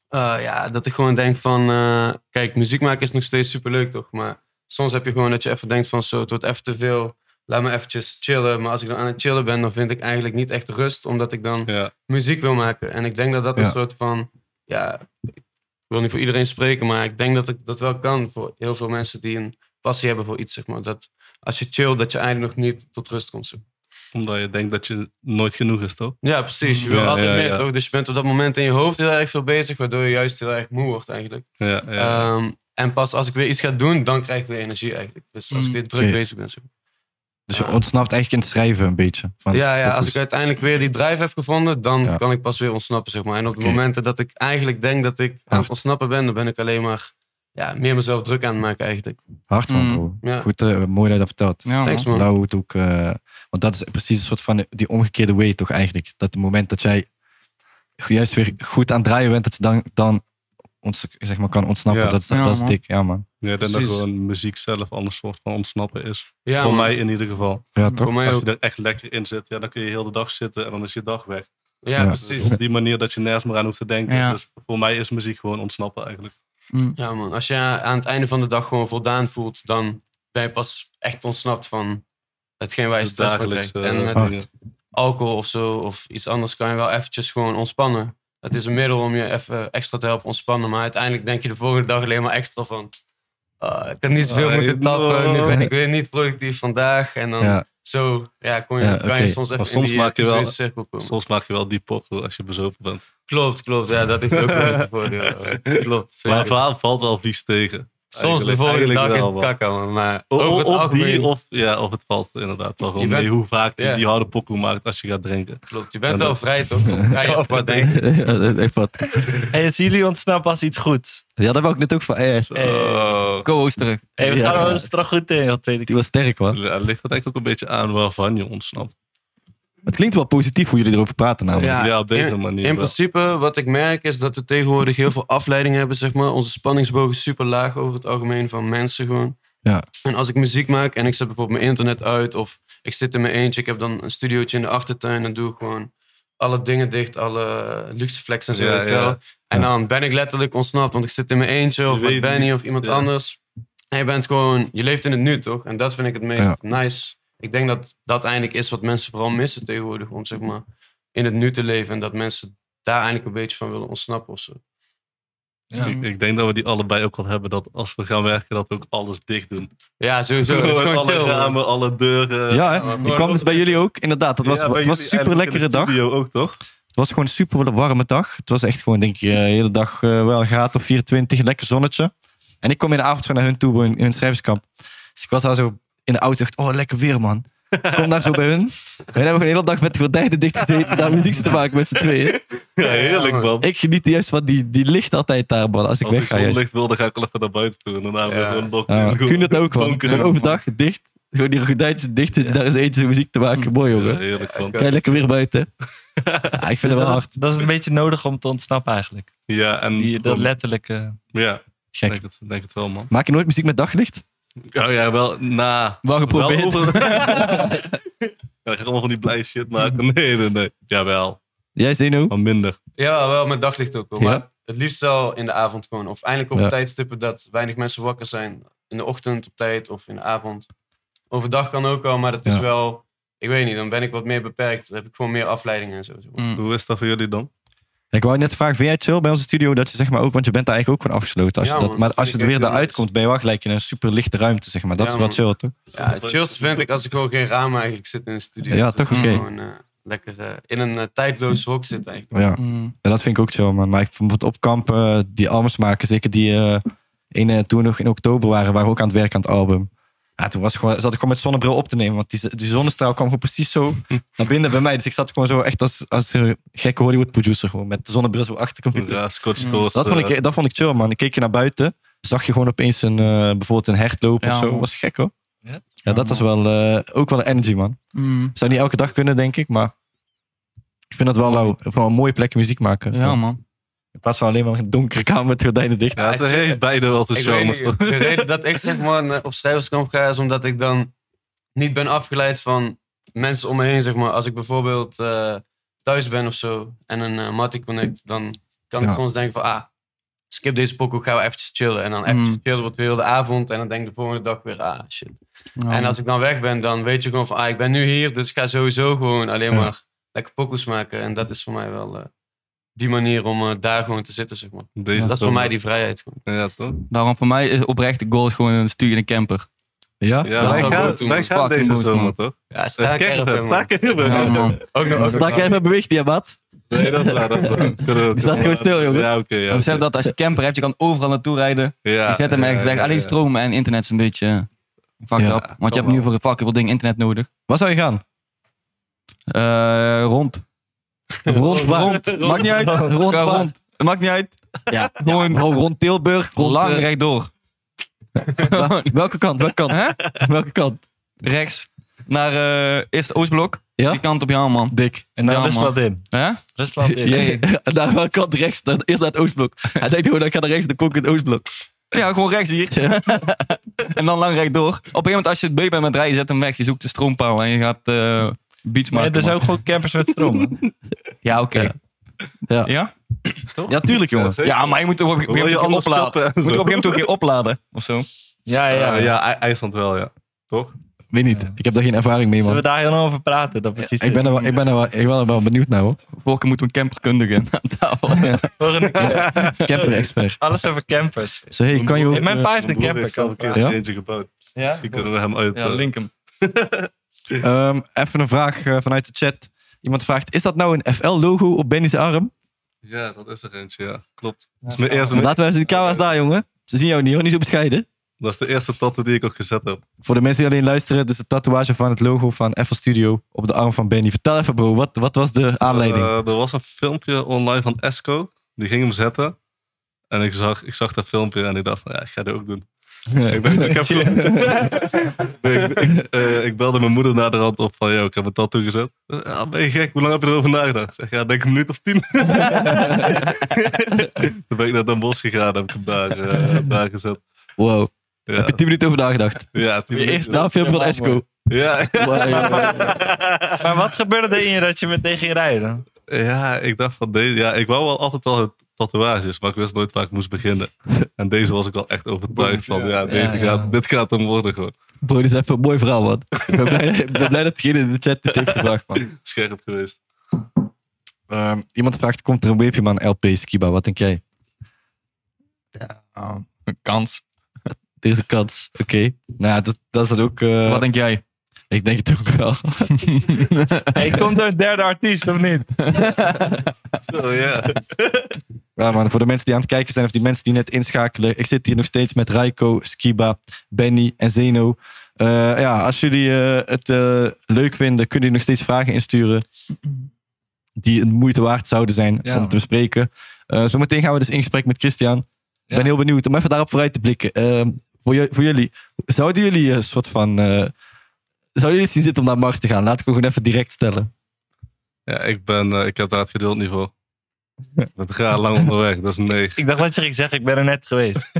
Speaker 4: Eh, ja, dat ik gewoon denk van... eh, kijk, muziek maken is nog steeds superleuk, toch? Maar soms heb je gewoon dat je even denkt van... Zo, het wordt even te veel. Laat me eventjes chillen. Maar als ik dan aan het chillen ben, dan vind ik eigenlijk niet echt rust. Omdat ik dan
Speaker 5: ja.
Speaker 4: muziek wil maken. En ik denk dat dat
Speaker 1: Ja.
Speaker 4: een soort van... Ja, ik wil niet voor iedereen spreken, maar ik denk dat ik dat wel kan. Voor heel veel mensen die een passie hebben voor iets, zeg maar. Dat als je chill, dat je eigenlijk nog niet tot rust komt. zeg maar.
Speaker 5: Omdat je denkt dat je nooit genoeg is, toch?
Speaker 4: Ja, precies. Je wil
Speaker 5: Ja,
Speaker 4: altijd
Speaker 5: ja,
Speaker 4: meer,
Speaker 5: ja.
Speaker 4: toch? Dus je bent op dat moment in je hoofd heel erg veel bezig. Waardoor je juist heel erg moe wordt eigenlijk.
Speaker 5: Ja, ja.
Speaker 4: Ehm, en pas als ik weer iets ga doen, dan krijg ik weer energie eigenlijk. Dus als ik weer druk
Speaker 1: Oké.
Speaker 4: bezig ben. Zo.
Speaker 1: Dus je ontsnapt eigenlijk in het schrijven een beetje. Van
Speaker 4: Ja, ja, als
Speaker 1: pokoes.
Speaker 4: ik uiteindelijk weer die drive heb gevonden, dan
Speaker 1: Ja.
Speaker 4: kan ik pas weer ontsnappen. Zeg maar. En op de
Speaker 1: Oké.
Speaker 4: momenten dat ik eigenlijk denk dat ik aan
Speaker 1: Hard.
Speaker 4: het ontsnappen ben, dan ben ik alleen maar ja, meer mezelf druk aan het maken eigenlijk.
Speaker 1: Hard man,
Speaker 2: Mm.
Speaker 1: bro.
Speaker 4: Ja.
Speaker 1: Goed, eh, mooi dat je dat vertelt.
Speaker 2: Ja,
Speaker 4: Thanks
Speaker 2: man.
Speaker 4: man.
Speaker 1: Nou, het ook, eh, want dat is precies een soort van die omgekeerde way toch eigenlijk. Dat het moment dat jij juist weer goed aan het draaien bent, dat je dan, dan ons, zeg maar, kan ontsnappen.
Speaker 5: Ja.
Speaker 1: Dat, is- dat,
Speaker 2: Ja,
Speaker 1: is
Speaker 2: man.
Speaker 1: dik, ja man.
Speaker 5: Ja, ik denk dat
Speaker 4: precies.
Speaker 5: gewoon muziek zelf anders soort van ontsnappen is.
Speaker 4: Ja,
Speaker 5: Voor
Speaker 4: man.
Speaker 5: mij in ieder geval.
Speaker 1: Ja, toch?
Speaker 4: Voor mij
Speaker 5: Als
Speaker 4: ook.
Speaker 5: je er echt lekker in zit, ja, dan kun je heel de dag zitten en dan is je dag weg.
Speaker 4: Ja,
Speaker 1: Ja.
Speaker 5: Dus
Speaker 4: precies.
Speaker 5: op die manier dat je nergens meer aan hoeft te denken.
Speaker 2: Ja.
Speaker 5: Dus voor mij is muziek gewoon ontsnappen eigenlijk.
Speaker 1: Mm.
Speaker 4: Mm. Ja, man. Als je aan het einde van de dag gewoon voldaan voelt, dan ben je pas echt ontsnapt van hetgeen waar je
Speaker 5: Het
Speaker 4: stress van krijgt.
Speaker 5: dagelijkse,
Speaker 4: En
Speaker 5: eh,
Speaker 4: met
Speaker 5: dingen.
Speaker 4: alcohol of zo of iets anders kan je wel eventjes gewoon ontspannen. Het is een middel om je even extra te helpen ontspannen, maar uiteindelijk denk je de volgende dag alleen maar extra van. "Ah, ik heb niet zoveel
Speaker 5: Ah,
Speaker 4: moeten tappen, nu
Speaker 5: no.
Speaker 4: ben ik weer niet productief vandaag. En dan
Speaker 1: Ja.
Speaker 4: zo ja, kon je,
Speaker 1: Ja,
Speaker 4: kan
Speaker 1: oké.
Speaker 4: je soms even
Speaker 5: Maar soms
Speaker 4: in die dus
Speaker 5: maak je wel-
Speaker 4: visuele cirkel komen.
Speaker 5: Soms maak je wel die pochel als je bezopen bent.
Speaker 4: Klopt, klopt. Ja, dat heeft ook wel een voordeel. Klopt.
Speaker 5: Maar het
Speaker 4: zeker.
Speaker 5: verhaal valt wel vies tegen.
Speaker 4: Soms de
Speaker 5: eigenlijk-
Speaker 4: volgende
Speaker 5: eigenlijk
Speaker 4: dag is
Speaker 5: wel,
Speaker 4: het
Speaker 5: man.
Speaker 4: kakka, man. Maar
Speaker 5: O- o-
Speaker 4: over het
Speaker 5: Of die,
Speaker 4: algemeen-
Speaker 5: of, ja, of het valt inderdaad wel gewoon
Speaker 4: Je bent-
Speaker 5: mee hoe vaak je
Speaker 4: Ja.
Speaker 5: die harde pokoe maakt als je gaat drinken.
Speaker 4: Klopt, je bent
Speaker 5: Ja,
Speaker 4: wel
Speaker 5: dat-
Speaker 4: vrij toch? Vrij of wat denk ik.
Speaker 1: Ja, dat- echt wat.
Speaker 3: Hey, zien jullie ontsnappen als iets goeds?
Speaker 1: Ja, dat wou ik net ook van. eh,
Speaker 5: Zo.
Speaker 2: Co-host terug.
Speaker 3: Hey, we
Speaker 1: Ja.
Speaker 3: gaan wel eens terug goed in, wat weet ik.
Speaker 1: die was sterk, man.
Speaker 5: Ja, Ligt dat eigenlijk ook een beetje aan waarvan je ontsnapt?
Speaker 1: Het klinkt wel positief hoe jullie erover praten namelijk.
Speaker 5: Ja, op deze
Speaker 4: in,
Speaker 5: manier
Speaker 4: In
Speaker 5: wel.
Speaker 4: principe, wat ik merk is dat we tegenwoordig heel veel afleidingen hebben, zeg maar. Onze spanningsboog is super laag over het algemeen van mensen gewoon.
Speaker 1: Ja.
Speaker 4: En als ik muziek maak en ik zet bijvoorbeeld mijn internet uit of ik zit in mijn eentje, ik heb dan een studiootje in de achtertuin en doe ik gewoon alle dingen dicht, alle luxe flex en zo.
Speaker 5: Ja,
Speaker 4: weet je wel.
Speaker 5: ja.
Speaker 4: En dan ben ik letterlijk ontsnapt, want ik zit in mijn eentje of
Speaker 5: Je
Speaker 4: met
Speaker 5: weet
Speaker 4: Benny
Speaker 5: niet.
Speaker 4: of iemand
Speaker 5: Ja.
Speaker 4: anders. En je bent gewoon, je leeft in het nu toch? En dat vind ik het meest
Speaker 1: Ja.
Speaker 4: nice. Ik denk dat dat eigenlijk is wat mensen vooral missen tegenwoordig, om zeg maar in het nu te leven en dat mensen daar eigenlijk een beetje van willen ontsnappen of zo.
Speaker 5: Ik, ik denk dat we die allebei ook wel hebben. Dat als we gaan werken, dat we ook alles dicht doen.
Speaker 4: Ja, sowieso. Dat is gewoon
Speaker 5: alle
Speaker 4: chill. man.
Speaker 5: ramen, alle deuren.
Speaker 1: Ja, hè? ik kwam dus bij jullie ook. Inderdaad, dat was,
Speaker 5: Ja, bij
Speaker 1: het was
Speaker 5: jullie
Speaker 1: een super
Speaker 5: eigenlijk in
Speaker 1: lekkere
Speaker 5: de
Speaker 1: dag.
Speaker 5: studio ook, toch?
Speaker 1: was gewoon een super warme dag. Het was echt gewoon, denk ik, eh, de hele dag eh, wel gaat of 24, lekker zonnetje. En ik kom in de avond zo naar hun toe, in, in hun schrijverskamp. Dus ik was al zo in de auto, dacht, oh, lekker weer, man. Ik kom daar zo bij hun. We hebben gewoon de hele dag met de gordijnen dicht gezeten, daar muziek te maken met z'n tweeën.
Speaker 5: Ja, heerlijk man.
Speaker 1: Ik geniet juist van die, die licht altijd daar, man, als ik
Speaker 5: Als ik
Speaker 1: wegga. juist.
Speaker 5: zonlicht wil, dan ga ik wel even naar buiten toe. En daarna weer
Speaker 4: Ja.
Speaker 5: gewoon dokken.
Speaker 1: Ja, kun je dat ook, man.
Speaker 5: donker.
Speaker 1: Gewoon overdag, dicht. Gewoon die gordijntjes dicht, en daar is eentje muziek te maken. Mooi,
Speaker 5: Ja,
Speaker 1: jongen.
Speaker 5: heerlijk man.
Speaker 1: Ga je lekker weer buiten. Ja, ik vind het wel
Speaker 3: Dus dat, is,
Speaker 1: hard.
Speaker 3: dat is een beetje nodig om te ontsnappen eigenlijk.
Speaker 5: Ja, en
Speaker 3: Die, dat
Speaker 5: gewoon-
Speaker 3: letterlijke...
Speaker 5: ja,
Speaker 1: Gek.
Speaker 5: denk het, denk het wel man.
Speaker 1: Maak je nooit muziek met daglicht?
Speaker 5: Oh ja, wel, na.
Speaker 1: Wel geprobeerd.
Speaker 5: Wel over- ja, dan ga ik allemaal van die blij shit maken. Nee, nee, nee. Jawel,
Speaker 1: Jij, Zeno?
Speaker 5: maar minder.
Speaker 4: Ja, wel met daglicht ook wel.
Speaker 1: Ja.
Speaker 4: Maar het liefst wel in de avond gewoon. Of eindelijk op
Speaker 1: Ja.
Speaker 4: tijdstippen dat weinig mensen wakker zijn. In de ochtend op tijd of in de avond. Overdag kan ook wel, maar dat is
Speaker 1: Ja.
Speaker 4: wel... Ik weet niet, dan ben ik wat meer beperkt. Dan heb ik gewoon meer afleidingen en zo.
Speaker 1: Mm.
Speaker 5: Hoe is dat voor jullie dan?
Speaker 1: Ik wou net vragen, vind jij het chill bij onze studio dat je zeg maar ook, want je bent daar eigenlijk ook van afgesloten. Als
Speaker 4: Ja,
Speaker 1: je dat,
Speaker 4: man,
Speaker 1: maar
Speaker 4: dat
Speaker 1: als je
Speaker 4: vind
Speaker 1: er
Speaker 4: ik
Speaker 1: weer
Speaker 4: echt heel
Speaker 1: daaruit
Speaker 4: nice.
Speaker 1: komt, ben je wel gelijk in een super lichte ruimte, zeg maar. Dat
Speaker 4: Ja,
Speaker 1: is wel
Speaker 4: man.
Speaker 1: chill, toch?
Speaker 4: Ja, het chillst vind ik als ik gewoon geen raam eigenlijk zit in de studio.
Speaker 1: Ja,
Speaker 4: Dus
Speaker 1: toch?
Speaker 4: ik kan
Speaker 1: Oké.
Speaker 4: Gewoon eh, lekker eh, in een eh, tijdloos hok zitten eigenlijk.
Speaker 1: Ja. Ja, dat vind ik ook chill, man. Maar ik bijvoorbeeld op kamp, eh, die albums maken, zeker die eh in, eh, toen we nog in oktober waren, waren we ook aan het werk aan het album. Ja, toen was ik gewoon, zat ik gewoon met zonnebril op te nemen, want die, die zonnestraal kwam gewoon precies zo naar binnen bij mij. Dus ik zat gewoon zo echt als, als een gekke Hollywood producer, gewoon met de zonnebril zo achter de computer.
Speaker 5: Ja, Scott Stoos.
Speaker 1: Dat vond, ik, dat vond ik chill, man. Ik keek je naar buiten, zag je gewoon opeens een, eh, bijvoorbeeld een hert lopen
Speaker 2: Ja,
Speaker 1: of zo.
Speaker 2: man.
Speaker 1: Was gek, hoor.
Speaker 3: Ja?
Speaker 1: Ja, dat was wel, eh, ook wel een energy, man. Zou niet elke dag kunnen, denk ik, maar ik vind dat wel, wel, wel een mooie plek muziek maken.
Speaker 2: Ja, man.
Speaker 1: In plaats van alleen maar een donkere kamer met gordijnen dicht.
Speaker 5: Ja, het heeft beide wel te
Speaker 4: Ik weet
Speaker 5: zomers.
Speaker 4: niet, de reden dat ik zeg maar naar- op schrijverskamp ga is omdat ik dan niet ben afgeleid van mensen om me heen. Zeg maar. Als ik bijvoorbeeld eh, thuis ben of zo en een eh Matty Connect, dan kan ik
Speaker 1: Ja.
Speaker 4: soms denken van ah, skip deze pokoe, gaan we eventjes chillen. En dan eventjes
Speaker 2: Mm.
Speaker 4: chillen wordt weer heel de avond en dan denk ik de volgende dag weer ah shit.
Speaker 2: Ja,
Speaker 4: En
Speaker 2: man.
Speaker 4: als ik dan weg ben, dan weet je gewoon van ah, ik ben nu hier, dus ik ga sowieso gewoon alleen
Speaker 1: Ja.
Speaker 4: maar lekker pokoes maken. En dat is voor mij wel eh, die manier om eh, daar gewoon te zitten, zeg maar.
Speaker 5: Deze
Speaker 4: Dat is voor
Speaker 5: zomer.
Speaker 4: mij die vrijheid gewoon.
Speaker 5: Ja, toch?
Speaker 2: Daarom voor mij is oprecht de goal is gewoon een stuur in een camper.
Speaker 1: Ja?
Speaker 5: Ja, wij
Speaker 4: wel
Speaker 5: gaan,
Speaker 4: goed toen.
Speaker 5: wij gaan
Speaker 2: Fucking
Speaker 5: deze
Speaker 2: goed,
Speaker 5: zomer,
Speaker 2: man.
Speaker 5: toch?
Speaker 4: Ja,
Speaker 5: Dat is
Speaker 4: sterk erop,
Speaker 5: kerken.
Speaker 4: man.
Speaker 5: Sterk hebben.
Speaker 2: Ja, man.
Speaker 4: Ook nog
Speaker 1: Sta ik even bewegen, die wat?
Speaker 5: Nee, dat is waar. Dat is waar. Kunnen we-
Speaker 1: staat gewoon stil, jongen.
Speaker 5: Ja, oké. ja,
Speaker 2: En Besef
Speaker 5: oké.
Speaker 2: dat als je camper hebt, je kan overal naartoe rijden.
Speaker 5: Ja,
Speaker 2: je zet hem
Speaker 5: ja,
Speaker 2: ergens weg.
Speaker 5: ja,
Speaker 2: Alleen
Speaker 5: ja.
Speaker 2: stroom en internet is een beetje eh, fucked
Speaker 1: Ja,
Speaker 2: up. Want je hebt nu voor een fucking veel dingen internet nodig.
Speaker 1: Waar zou je gaan?
Speaker 2: Eh, rond.
Speaker 1: Rond waar?
Speaker 2: Rond. Maakt niet uit.
Speaker 1: Rond
Speaker 2: Ga
Speaker 1: waar?
Speaker 2: rond. Het Maakt niet uit.
Speaker 1: Ja, gewoon rond Tilburg. Rond,
Speaker 2: Lang
Speaker 1: eh,
Speaker 2: rechtdoor.
Speaker 1: waar- welke kant? Welke kant?
Speaker 2: Hè?
Speaker 1: Welke kant?
Speaker 2: Rechts. Naar eh eerst Oostblok.
Speaker 1: Ja?
Speaker 2: Die kant op jou, man.
Speaker 1: Dik.
Speaker 3: En dan
Speaker 2: Ja, man.
Speaker 3: Rusland in.
Speaker 2: Hè?
Speaker 3: Rusland in.
Speaker 1: Jee. Naar welke kant? Rechts. Dan Eerst naar het Oostblok. Hij denkt gewoon, ik ga naar rechts, dan kom ik in het Oostblok.
Speaker 2: Ja, gewoon rechts hier. en dan lang rechtdoor. Op een gegeven moment, als je het beu bent met rijden, zet hem weg. Je zoekt de stroompaal en je gaat eh beats
Speaker 3: Maar
Speaker 2: maken.
Speaker 3: er zijn
Speaker 2: man.
Speaker 3: ook gewoon campers met stroom.
Speaker 2: Ja, oké.
Speaker 1: Ja.
Speaker 2: ja?
Speaker 1: Ja, tuurlijk, jongen.
Speaker 5: zeker.
Speaker 2: Ja, maar je moet op een gegeven
Speaker 5: Wil
Speaker 2: moment
Speaker 5: je
Speaker 2: ook weer
Speaker 5: alles
Speaker 2: opladen.
Speaker 5: kappen
Speaker 2: Je
Speaker 5: en
Speaker 2: moet op een
Speaker 5: zo?
Speaker 2: gegeven moment ook weer opladen of zo.
Speaker 3: ja, ja.
Speaker 5: Eh, Ja, I- IJsland wel, ja. Toch?
Speaker 1: Weet niet. Ik heb daar geen ervaring mee,
Speaker 3: Zullen we
Speaker 1: man.
Speaker 3: daar heel over praten? Dat precies
Speaker 1: Ik ben er wel, ik ben er wel, ik ben er wel benieuwd naar, hoor.
Speaker 2: Volgende keer moeten we een camperkundige aan tafel.
Speaker 3: Volgende keer.
Speaker 1: Camper-expert.
Speaker 3: Alles over campers.
Speaker 1: Zo, hey, kan je ook...
Speaker 3: Mijn
Speaker 1: eh,
Speaker 3: pa heeft een
Speaker 5: Mijn broer
Speaker 3: camper.
Speaker 5: heeft zelf een
Speaker 3: kan-
Speaker 5: keer
Speaker 1: Ja?
Speaker 5: eentje gebouwd. Dus
Speaker 3: Ja?
Speaker 5: Misschien kunnen we hem uit...
Speaker 2: Ja,
Speaker 5: eh,
Speaker 2: link hem.
Speaker 1: Ehm, even een vraag eh, vanuit de chat. Iemand vraagt, is dat nou een FL-logo op Benny's arm?
Speaker 5: Ja, dat is er eentje, ja. Klopt. Dat is, mijn eerste,
Speaker 1: Laten we eens de camera's daar, jongen. Ze zien jou niet, hoor. Niet zo bescheiden.
Speaker 5: dat is de eerste tattoo die ik ook gezet heb.
Speaker 1: Voor de mensen die alleen luisteren, dus de tatoeage van het logo van FL Studio op de arm van Benny. Vertel even, bro, wat, wat was de aanleiding?
Speaker 5: Eh, er was een filmpje online van Esco. Die ging hem zetten. En ik zag, ik zag dat filmpje en ik dacht van, ja, ik ga dat ook doen. Ik, ben, ik, heb, Nee, ik, ik, eh, ik belde mijn moeder naar de hand op van, yo, ik heb een tattoo gezet. Ja, ben je gek? Hoe lang heb je erover nagedacht? Ik Zeg, ja, denk een minuut of tien. Toen ben ik naar Den Bosch gegaan en heb ik hem daar, eh, daar gezet.
Speaker 1: wow,
Speaker 5: Ja,
Speaker 1: heb je tien minuten over nagedacht?
Speaker 5: ja tien
Speaker 1: Je
Speaker 5: minuten.
Speaker 1: eerste filmpje van Esco.
Speaker 5: Ja,
Speaker 3: Maar wat gebeurde er in je dat je meteen ging rijden?
Speaker 5: ja, ik dacht van, deze, ja, ik wou wel altijd al tatoeages, maar ik wist nooit waar ik moest beginnen. En deze was ik al echt overtuigd van, ja, deze
Speaker 3: Ja, ja.
Speaker 5: Gaat, dit gaat hem worden gewoon.
Speaker 1: Bro, dit is even een mooi verhaal, man. Ik ben blij, ik ben blij dat degene in de chat dit heeft gevraagd, man.
Speaker 5: Scherp geweest.
Speaker 1: Ehm, iemand vraagt, komt er een Weepjeman LP, Skiba? Wat denk jij?
Speaker 2: Een kans.
Speaker 1: Er is een kans. Oké. Nou, dat, dat is dan ook... eh,
Speaker 2: Wat denk jij?
Speaker 1: Ik denk het ook wel.
Speaker 3: Hey, komt er een derde artiest of niet?
Speaker 5: Zo, ja.
Speaker 1: Ja, man, voor de mensen die aan het kijken zijn of die mensen die net inschakelen. Ik zit hier nog steeds met Raiko, Skiba, Benny en Zeno. Eh, ja, als jullie eh, het eh, leuk vinden, kunnen jullie nog steeds vragen insturen. Die een moeite waard zouden zijn
Speaker 3: Ja,
Speaker 1: om
Speaker 3: man.
Speaker 1: te bespreken. Eh, zometeen gaan we dus in gesprek met Christian. Ik
Speaker 3: Ja.
Speaker 1: ben heel benieuwd om even daarop vooruit te blikken. Eh, voor, ju- voor jullie, zouden jullie een soort van. eh, zouden jullie zien zitten om naar Mars te gaan? Laat ik het gewoon even direct stellen.
Speaker 5: ja ik, ben, eh, ik heb daar het geduld niet voor. Het gaat lang onderweg, dat is niks.
Speaker 3: Ik dacht dat je ging zeggen, ik ben er net geweest.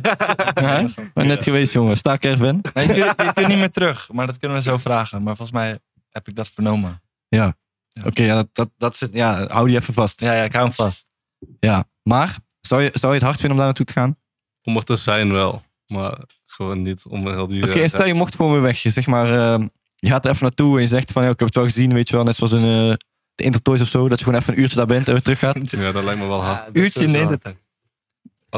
Speaker 1: Ja, net geweest, jongen. Sta caravan.
Speaker 3: Nee, je, kunt, je kunt niet meer terug, maar dat kunnen we zo vragen. Maar volgens mij heb ik dat vernomen.
Speaker 1: Oké, ja, dat, dat, dat zit, ja, hou die even vast.
Speaker 3: Ja, ja ik hou hem vast.
Speaker 1: Ja, maar zou je, zou je het hard vinden om daar naartoe te gaan?
Speaker 5: Om er te zijn wel, maar gewoon niet om heel die...
Speaker 1: Oké,
Speaker 5: eh,
Speaker 1: en stel je mocht gewoon weer weg. Zeg maar, eh, je gaat er even naartoe en je zegt van, ja, ik heb het wel gezien, weet je wel. Net zoals in eh, de Intertoys of zo, dat je gewoon even een uurtje daar bent en weer terug gaat.
Speaker 5: Ja, dat lijkt me wel hard.
Speaker 3: Uurtje in de internet.
Speaker 4: Het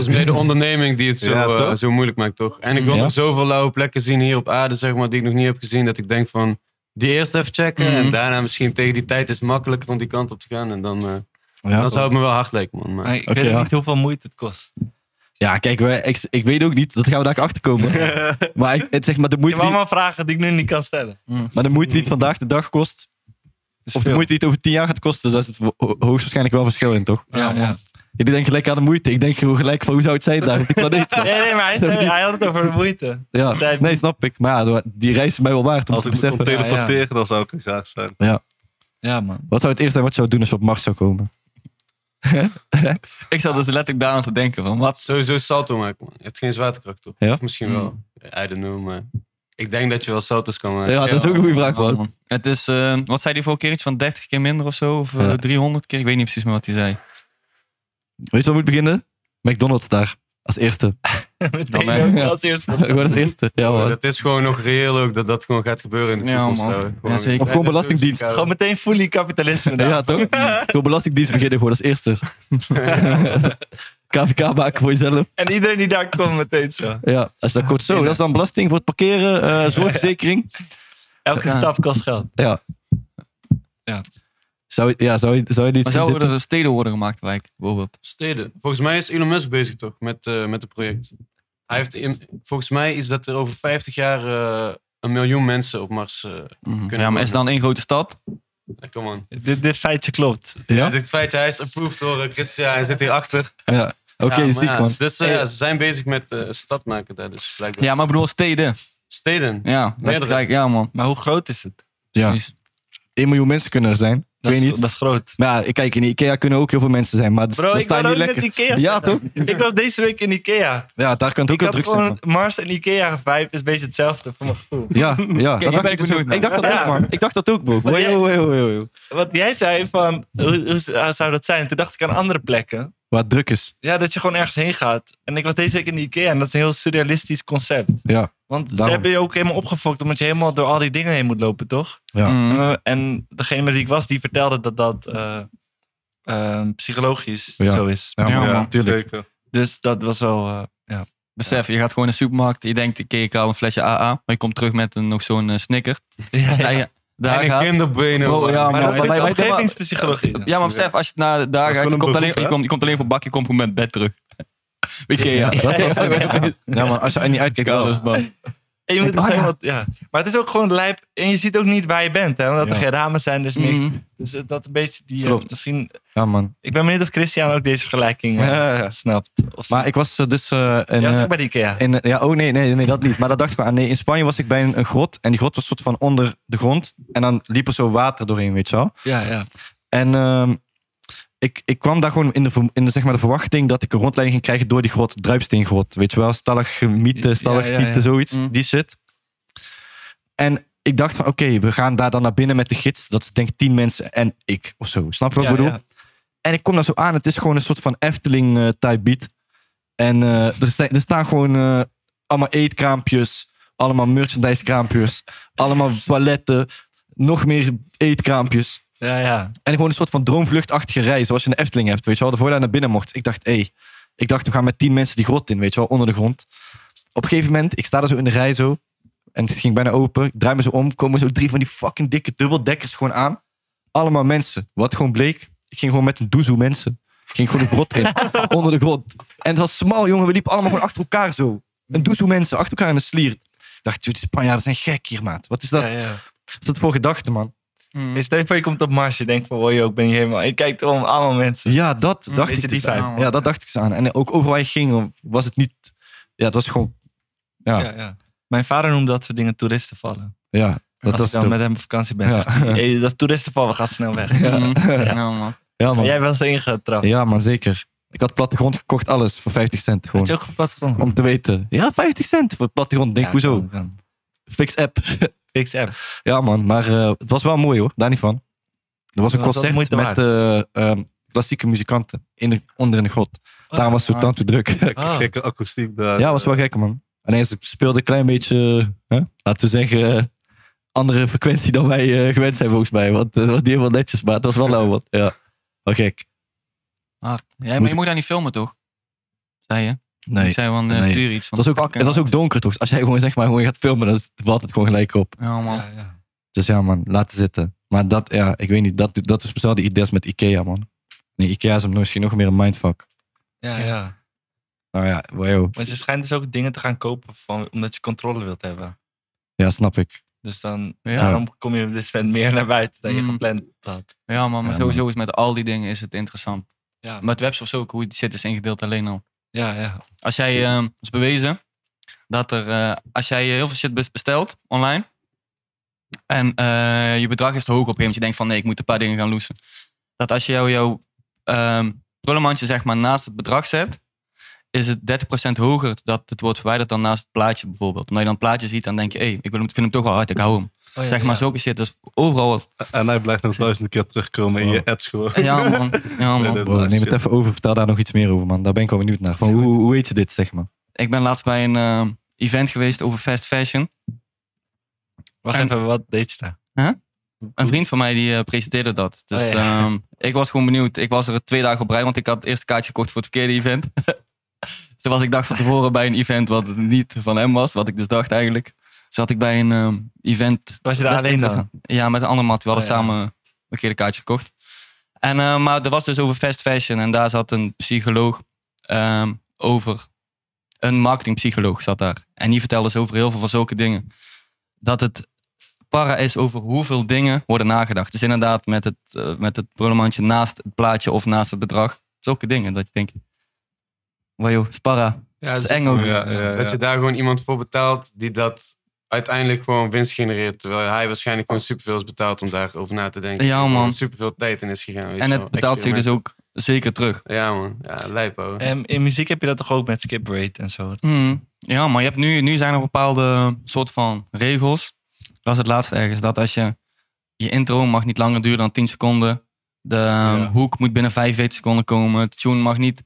Speaker 4: is meer de onderneming die het zo,
Speaker 5: Ja,
Speaker 4: eh,
Speaker 5: toch?
Speaker 4: zo moeilijk maakt, toch? En ik wil
Speaker 1: Ja.
Speaker 4: nog zoveel lauwe plekken zien hier op aarde, zeg maar, die ik nog niet heb gezien. Dat ik denk van, die eerst even checken.
Speaker 2: Mhm.
Speaker 4: En daarna misschien tegen die tijd is het makkelijker om die kant op te gaan. En dan, eh,
Speaker 1: Ja,
Speaker 4: dan zou het me wel hard lijken, man. Maar,
Speaker 3: Maar ik
Speaker 1: Oké,
Speaker 3: weet
Speaker 1: ja.
Speaker 3: ook niet hoeveel moeite het kost.
Speaker 1: ja kijk, wij, ik, ik weet ook niet, dat gaan we daar achter komen. maar ik, het, zeg maar, de
Speaker 3: Je hebt
Speaker 1: moeite, die,
Speaker 3: allemaal vragen die ik nu niet kan stellen.
Speaker 5: Hmm.
Speaker 1: maar de moeite die het vandaag de dag kost, of de moeite die het over tien jaar gaat kosten, daar zit ho- ho- hoogstwaarschijnlijk wel verschil in, toch?
Speaker 3: Ja, ja.
Speaker 1: Jullie denken gelijk aan de moeite. Ik denk gewoon gelijk van, hoe zou het zijn daar op die planeet?
Speaker 3: Nee, nee, maar hij, zei- hij had het over de moeite.
Speaker 1: Ja, nee, snap ik. Maar ja, die reis is mij wel waard om
Speaker 5: Als
Speaker 1: te
Speaker 5: ik me kon
Speaker 1: beseffen.
Speaker 5: teleporteren, dan zou ik er graag zijn.
Speaker 3: Ja, man.
Speaker 1: Wat zou het eerste zijn wat je zou doen als je op Mars zou komen?
Speaker 2: Ik zat dus letterlijk daar aan te denken van, wat?
Speaker 4: Sowieso salto maken, man. Je hebt geen zwaartekracht, toch?
Speaker 1: Ja.
Speaker 4: Of misschien wel. I don't know, maar ik denk dat je wel salto's kan maken.
Speaker 1: Ja, dat is ook een goede vraag,
Speaker 2: Ja,
Speaker 1: man.
Speaker 2: man. Het is, eh, wat zei hij vorige keer? Iets van 30 keer minder of zo? Of eh,
Speaker 1: Ja.
Speaker 2: 300 keer? Ik weet niet precies meer wat hij zei.
Speaker 1: Weet je wat moet beginnen? McDonald's daar. Als eerste.
Speaker 3: Meteen
Speaker 2: ben
Speaker 1: ik-
Speaker 3: ook als eerste.
Speaker 1: Gewoon als eerste. Ja,
Speaker 4: Maar
Speaker 1: man.
Speaker 4: Dat is gewoon nog reëel ook, dat dat gewoon gaat gebeuren in de
Speaker 2: Ja,
Speaker 4: toekomst.
Speaker 2: man.
Speaker 4: ouwe.
Speaker 2: Ja,
Speaker 4: Gewoon-
Speaker 2: zeker.
Speaker 1: Of gewoon belastingdienst.
Speaker 3: Gewoon meteen fully kapitalisme.
Speaker 1: Ja,
Speaker 3: daar.
Speaker 1: toch? Gewoon belastingdienst beginnen gewoon als eerste. KVK maken voor jezelf.
Speaker 3: En iedereen die daar komt meteen zo.
Speaker 1: Ja, als je dat kort zo. Dat is dan belasting voor het parkeren, eh, zorgverzekering.
Speaker 3: Elke
Speaker 2: Ja.
Speaker 3: stap kost geld.
Speaker 1: Ja.
Speaker 3: Ja.
Speaker 1: Zou, je- ja, zou, je- zou je dit
Speaker 2: Maar
Speaker 1: zien
Speaker 2: zouden
Speaker 1: zitten?
Speaker 2: er steden worden gemaakt, wijk, bijvoorbeeld?
Speaker 4: Steden. Volgens mij is Elon Musk bezig toch met, eh met het project. Hij heeft in- volgens mij is dat er over 50 jaar eh, een miljoen mensen op Mars eh kunnen.
Speaker 2: Mhm. Ja, maar is dan één grote stad?
Speaker 4: Ja, Come on.
Speaker 3: Dit, dit feitje klopt.
Speaker 1: Ja?
Speaker 4: Dit feitje, hij is approved door eh, Christian. Hij zit hierachter.
Speaker 1: Ja. Oké,
Speaker 4: ja, maar
Speaker 1: ziek,
Speaker 4: ja,
Speaker 1: man.
Speaker 4: Dus eh, ja, ze zijn bezig met eh stad maken daar dus blijkbaar.
Speaker 2: Ja, maar ik bedoel steden.
Speaker 4: Steden.
Speaker 2: Ja, dat is
Speaker 4: Hm. Meerdere.
Speaker 2: gelijk. Ja, man.
Speaker 3: Maar hoe groot is het?
Speaker 1: Ja.
Speaker 2: Precies.
Speaker 1: 1 miljoen mensen kunnen er zijn. Ik
Speaker 3: Dat,
Speaker 1: weet
Speaker 3: is,
Speaker 1: niet.
Speaker 3: dat is groot.
Speaker 1: Maar ja, kijk, in Ikea kunnen ook heel veel mensen zijn. Maar
Speaker 3: Bro,
Speaker 1: daar
Speaker 3: ik
Speaker 1: dus sta
Speaker 3: ben
Speaker 1: je niet
Speaker 3: ook
Speaker 1: lekker.
Speaker 3: met Ikea.
Speaker 1: ja,
Speaker 3: zitten.
Speaker 1: toch?
Speaker 3: Ik was deze week in Ikea.
Speaker 1: Ja, daar kan het
Speaker 3: Ik
Speaker 1: ook heel
Speaker 3: had
Speaker 1: druk zijn.
Speaker 3: gewoon
Speaker 1: man.
Speaker 3: het Mars en Ikea vibe is een beetje hetzelfde voor mijn gevoel.
Speaker 1: Ja, ja.
Speaker 2: hier
Speaker 1: dat dacht
Speaker 2: ben
Speaker 1: ik,
Speaker 2: ik
Speaker 1: dus
Speaker 2: benieuwd
Speaker 1: ook.
Speaker 2: naar.
Speaker 1: ik dacht dat ook,
Speaker 3: Ja.
Speaker 1: man. Ik dacht dat ook, bro.
Speaker 3: jij-
Speaker 1: Wow, wow, wow, wow.
Speaker 3: Wat jij zei van, hoe, hoe zou dat zijn? Toen dacht ik aan andere plekken.
Speaker 1: Waar het druk is.
Speaker 3: Ja, dat je gewoon ergens heen gaat. En ik was deze week in Ikea en dat is een heel surrealistisch concept.
Speaker 1: Ja.
Speaker 3: Want ze
Speaker 1: Daarom.
Speaker 3: hebben je ook helemaal opgefokt omdat je helemaal door al die dingen heen moet lopen, toch?
Speaker 1: Ja.
Speaker 2: Mm.
Speaker 3: Eh, en degene met wie ik was, die vertelde dat dat eh, eh, psychologisch
Speaker 1: Ja.
Speaker 3: zo is.
Speaker 1: Ja,
Speaker 2: Ja,
Speaker 1: man,
Speaker 2: man.
Speaker 1: tuurlijk.
Speaker 5: zeker.
Speaker 3: Dus dat was wel... eh, ja.
Speaker 2: Besef, je gaat gewoon naar de supermarkt. Je denkt, ik ik haal een flesje AA. Maar je komt terug met een, nog zo'n eh, snicker.
Speaker 3: Ja,
Speaker 2: Ja, ja. Daar
Speaker 4: en een
Speaker 2: gaat.
Speaker 4: kinderbenen.
Speaker 2: Bro,
Speaker 4: man.
Speaker 2: ja,
Speaker 3: Maar
Speaker 2: man.
Speaker 3: dat
Speaker 2: Maar
Speaker 3: is
Speaker 2: weet je wat-
Speaker 3: omgevingspsychologie.
Speaker 2: Ja, maar besef, als je naar daar gaat,
Speaker 5: gewoon
Speaker 2: je
Speaker 5: een
Speaker 2: komt, alleen,
Speaker 5: beroep,
Speaker 2: je,
Speaker 5: hè?
Speaker 2: komt, je komt alleen voor bakje, je komt met bed terug. Ikea.
Speaker 1: Dat is wel zo. Ja, man. Als je er niet uitkijkt, wel.
Speaker 2: Alles, man.
Speaker 3: En je moet dus
Speaker 1: Ah, ja.
Speaker 3: helemaal- ja. Maar het is ook gewoon lijp. En je ziet ook niet waar je bent, hè? Omdat er
Speaker 1: Ja.
Speaker 3: geen ramen zijn, dus niks.
Speaker 2: Mhm.
Speaker 3: Dus eh, dat een beetje die... eh,
Speaker 1: Klopt.
Speaker 3: misschien,
Speaker 1: Ja, man.
Speaker 3: ik ben benieuwd of Christian ook deze vergelijking eh,
Speaker 1: Ja,
Speaker 3: snapt. Of
Speaker 1: Maar ik was eh, dus... eh, in,
Speaker 3: ja,
Speaker 1: eh,
Speaker 3: was ook bij de Ikea.
Speaker 1: in, eh, ja, oh nee, nee, nee, dat niet. Maar dat dacht ik wel aan. Nee, in Spanje was ik bij een, een grot. En die grot was soort van onder de grond. En dan liep er zo water doorheen, weet je wel.
Speaker 3: Ja, ja.
Speaker 1: En ehm, ik, ik kwam daar gewoon in, de, ver- in de, zeg maar de verwachting dat ik een rondleiding ging krijgen door die grot, druipsteengrot. Weet je wel, stalagmieten, stalactieten,
Speaker 3: ja, ja.
Speaker 1: zoiets,
Speaker 2: Mm.
Speaker 1: die shit. En ik dacht van, oké, we gaan daar dan naar binnen met de gids. Dat is denk ik tien mensen en ik of zo. Snap je wat
Speaker 3: Ja,
Speaker 1: ik bedoel?
Speaker 3: ja.
Speaker 1: En ik kom daar zo aan. Het is gewoon een soort van Efteling-type beat. En eh, er, sta- er staan gewoon eh, allemaal eetkraampjes. Allemaal merchandise-kraampjes. allemaal toiletten. Nog meer eetkraampjes.
Speaker 3: Ja, ja.
Speaker 1: En gewoon een soort van droomvluchtachtige reis, zoals je in de Efteling hebt. Weet je wel, voordat je naar binnen mocht. Ik dacht, hé, ik dacht, we gaan met tien mensen die grot in, weet je wel, onder de grond. Op een gegeven moment, ik sta daar zo in de rij zo. En het ging bijna open. Ik draai me zo om. Komen zo drie van die fucking dikke dubbeldekkers gewoon aan. Allemaal mensen. Wat gewoon bleek. Ik ging gewoon met een doezoe mensen. Ik ging gewoon een brot in. onder de grond. En het was smal, jongen. We liepen allemaal gewoon achter elkaar zo. Een doezoe mensen. Achter elkaar in een slier. Ik dacht, joh, die Spanjaarden zijn gek hier, maat. Wat is dat,
Speaker 3: Ja, ja.
Speaker 1: wat is dat voor gedachte, man?
Speaker 3: Hey, Stel je voor, je komt op Mars. Je denkt van, oh, ik ben hier helemaal... Ik kijk om allemaal mensen.
Speaker 1: Ja, dat
Speaker 2: Mm,
Speaker 1: dacht
Speaker 3: beetje
Speaker 1: ik
Speaker 3: die
Speaker 1: dus aan.
Speaker 2: vibe.
Speaker 1: Ja, dat dacht ik dus aan. En ook overal waar je ging, was het niet... Ja, het was gewoon... Ja,
Speaker 3: Ja, ja. Mijn vader noemt dat soort dingen toeristen vallen.
Speaker 1: ja dat
Speaker 3: Als
Speaker 1: was
Speaker 3: ik dan
Speaker 1: het ook.
Speaker 3: met hem op vakantie ben,
Speaker 1: Ja.
Speaker 3: zegt hij, hey, dat is toeristen vallen, ga snel weg.
Speaker 2: Ja.
Speaker 3: nou,
Speaker 2: Ja, man.
Speaker 1: Ja, man.
Speaker 3: Jij was ingetrapt.
Speaker 1: Ja, man, zeker. Ik had plattegrond gekocht, alles voor 50
Speaker 3: Had
Speaker 1: cent
Speaker 3: je
Speaker 1: gewoon.
Speaker 3: ook geplat gewoon?
Speaker 1: Om te weten. Ja, 50 cent voor plattegrond. Denk,
Speaker 3: Ja,
Speaker 1: hoezo?
Speaker 3: kan, kan.
Speaker 1: Fix app.
Speaker 3: Fix app.
Speaker 1: ja, man. Maar eh, het was wel mooi hoor, daar niet van. Er was een
Speaker 3: Was dat
Speaker 1: concert
Speaker 3: moeite
Speaker 1: met eh, ehm, klassieke muzikanten in de, onder in de grot. Daarom was het zo tanto druk.
Speaker 3: Ah.
Speaker 5: Gekke akoestiek daar. eh,
Speaker 1: ja, was wel gek, man. En ze speelde een klein beetje, hè, laten we zeggen, eh, andere frequentie dan wij eh, gewend zijn volgens mij. Want eh, het was niet helemaal netjes, maar het was wel nou wat. Ja, wel gek.
Speaker 2: Hard. Ja, Ah, maar
Speaker 1: Moest-
Speaker 2: je moet daar niet filmen, toch? Zei je?
Speaker 1: Nee.
Speaker 2: Ik zei van, eh,
Speaker 1: Nee.
Speaker 2: stuur iets.
Speaker 1: Het was, ook, het was ook donker toch? Als jij gewoon zeg maar gewoon gaat filmen, dan valt het gewoon gelijk op.
Speaker 2: Ja, man.
Speaker 1: Dus ja man, laten zitten. Maar dat, ja, ik weet niet, dat, dat is dezelfde idees met Ikea man. Nee, Ikea is misschien nog meer een mindfuck.
Speaker 3: Ja, ja.
Speaker 1: Nou ja, wow.
Speaker 3: Maar ze schijnt dus ook dingen te gaan kopen van, omdat je controle wilt hebben.
Speaker 1: Ja, snap ik.
Speaker 3: Dus dan
Speaker 2: Ja.
Speaker 3: daarom kom je dus met meer naar buiten dan je
Speaker 2: Mm.
Speaker 3: gepland had.
Speaker 2: Ja, man. Maar
Speaker 1: Ja,
Speaker 2: sowieso is met al die dingen is het interessant.
Speaker 3: Ja,
Speaker 2: Met webshops ook, hoe die shit is ingedeeld alleen al.
Speaker 3: ja, ja.
Speaker 2: Als jij, ehm is bewezen dat er, eh, als jij heel veel shit bes- bestelt online en eh, je bedrag is te hoog op hem, want je denkt van nee, ik moet een paar dingen gaan loesen. Dat als je jou- jouw ehm prullenmandje zeg maar naast het bedrag zet, is het 30% hoger dat het wordt verwijderd dan naast het plaatje bijvoorbeeld. Omdat je dan het plaatje ziet, dan denk je, hé, ik wil hem, vind hem toch wel hard, ik hou hem.
Speaker 3: Oh, ja,
Speaker 2: zeg maar
Speaker 3: ja.
Speaker 2: zulke shit, dus overal wat.
Speaker 5: En hij blijft nog duizenden keer terugkomen in
Speaker 1: Wow.
Speaker 5: je ads gewoon.
Speaker 2: Ja man, ja
Speaker 5: Nee,
Speaker 2: man.
Speaker 5: dat
Speaker 1: Bro,
Speaker 5: was
Speaker 1: neem het
Speaker 5: shit.
Speaker 1: even over, vertel daar nog iets meer over man. Daar ben ik wel benieuwd naar. Van, hoe, hoe weet je dit zeg maar?
Speaker 2: Ik ben laatst bij een eh, event geweest over fast fashion.
Speaker 3: Wacht
Speaker 2: En-
Speaker 3: even, wat deed je daar?
Speaker 2: Een vriend van mij die eh, presenteerde dat. Dus
Speaker 3: Oh, ja.
Speaker 2: ehm, ik was gewoon benieuwd. Ik was er twee dagen op rij, want ik had het eerste kaartje gekocht voor het verkeerde event. Dus Toen was ik dag van tevoren bij een event wat niet van hem was, wat ik dus dacht eigenlijk. Zat ik bij een ehm, event.
Speaker 3: Was je daar
Speaker 2: Best
Speaker 3: alleen dan?
Speaker 2: interessant. Ja, met een ander mat. We hadden
Speaker 3: Oh, ja.
Speaker 2: samen een verkeerde kaartje gekocht. En, eh, maar er was dus over fast fashion en daar zat een psycholoog ehm, over. Een marketingpsycholoog zat daar. En die vertelde dus over heel veel van zulke dingen. Dat het para is over hoeveel dingen worden nagedacht. Dus inderdaad, met het, eh, met het prullenmandje naast het plaatje of naast het bedrag. Zulke dingen dat je denkt. Wow, joh, spara.
Speaker 4: Ja,
Speaker 2: Dat is
Speaker 4: ze-
Speaker 2: eng ook.
Speaker 5: Ja, ja,
Speaker 4: Dat
Speaker 5: ja.
Speaker 4: je daar gewoon iemand voor betaalt die dat uiteindelijk gewoon winst genereert. Terwijl hij waarschijnlijk gewoon superveel is betaald om daarover na te denken.
Speaker 2: Ja, man.
Speaker 4: Gewoon Superveel tijd in is gegaan. weet
Speaker 2: En
Speaker 4: je
Speaker 2: het
Speaker 4: wel.
Speaker 2: betaalt zich dus ook zeker terug.
Speaker 4: Ja, man. Ja, lijp, hoor.
Speaker 3: En Ehm, in muziek heb je dat toch ook met skip rate en zo? Dat-
Speaker 2: Mm, ja, maar je hebt nu, nu zijn er bepaalde soort van regels. Dat was het laatste ergens. Dat als je je intro mag niet langer duren dan 10 seconden. De ehm, hoek moet binnen 45 seconden komen. De tune mag niet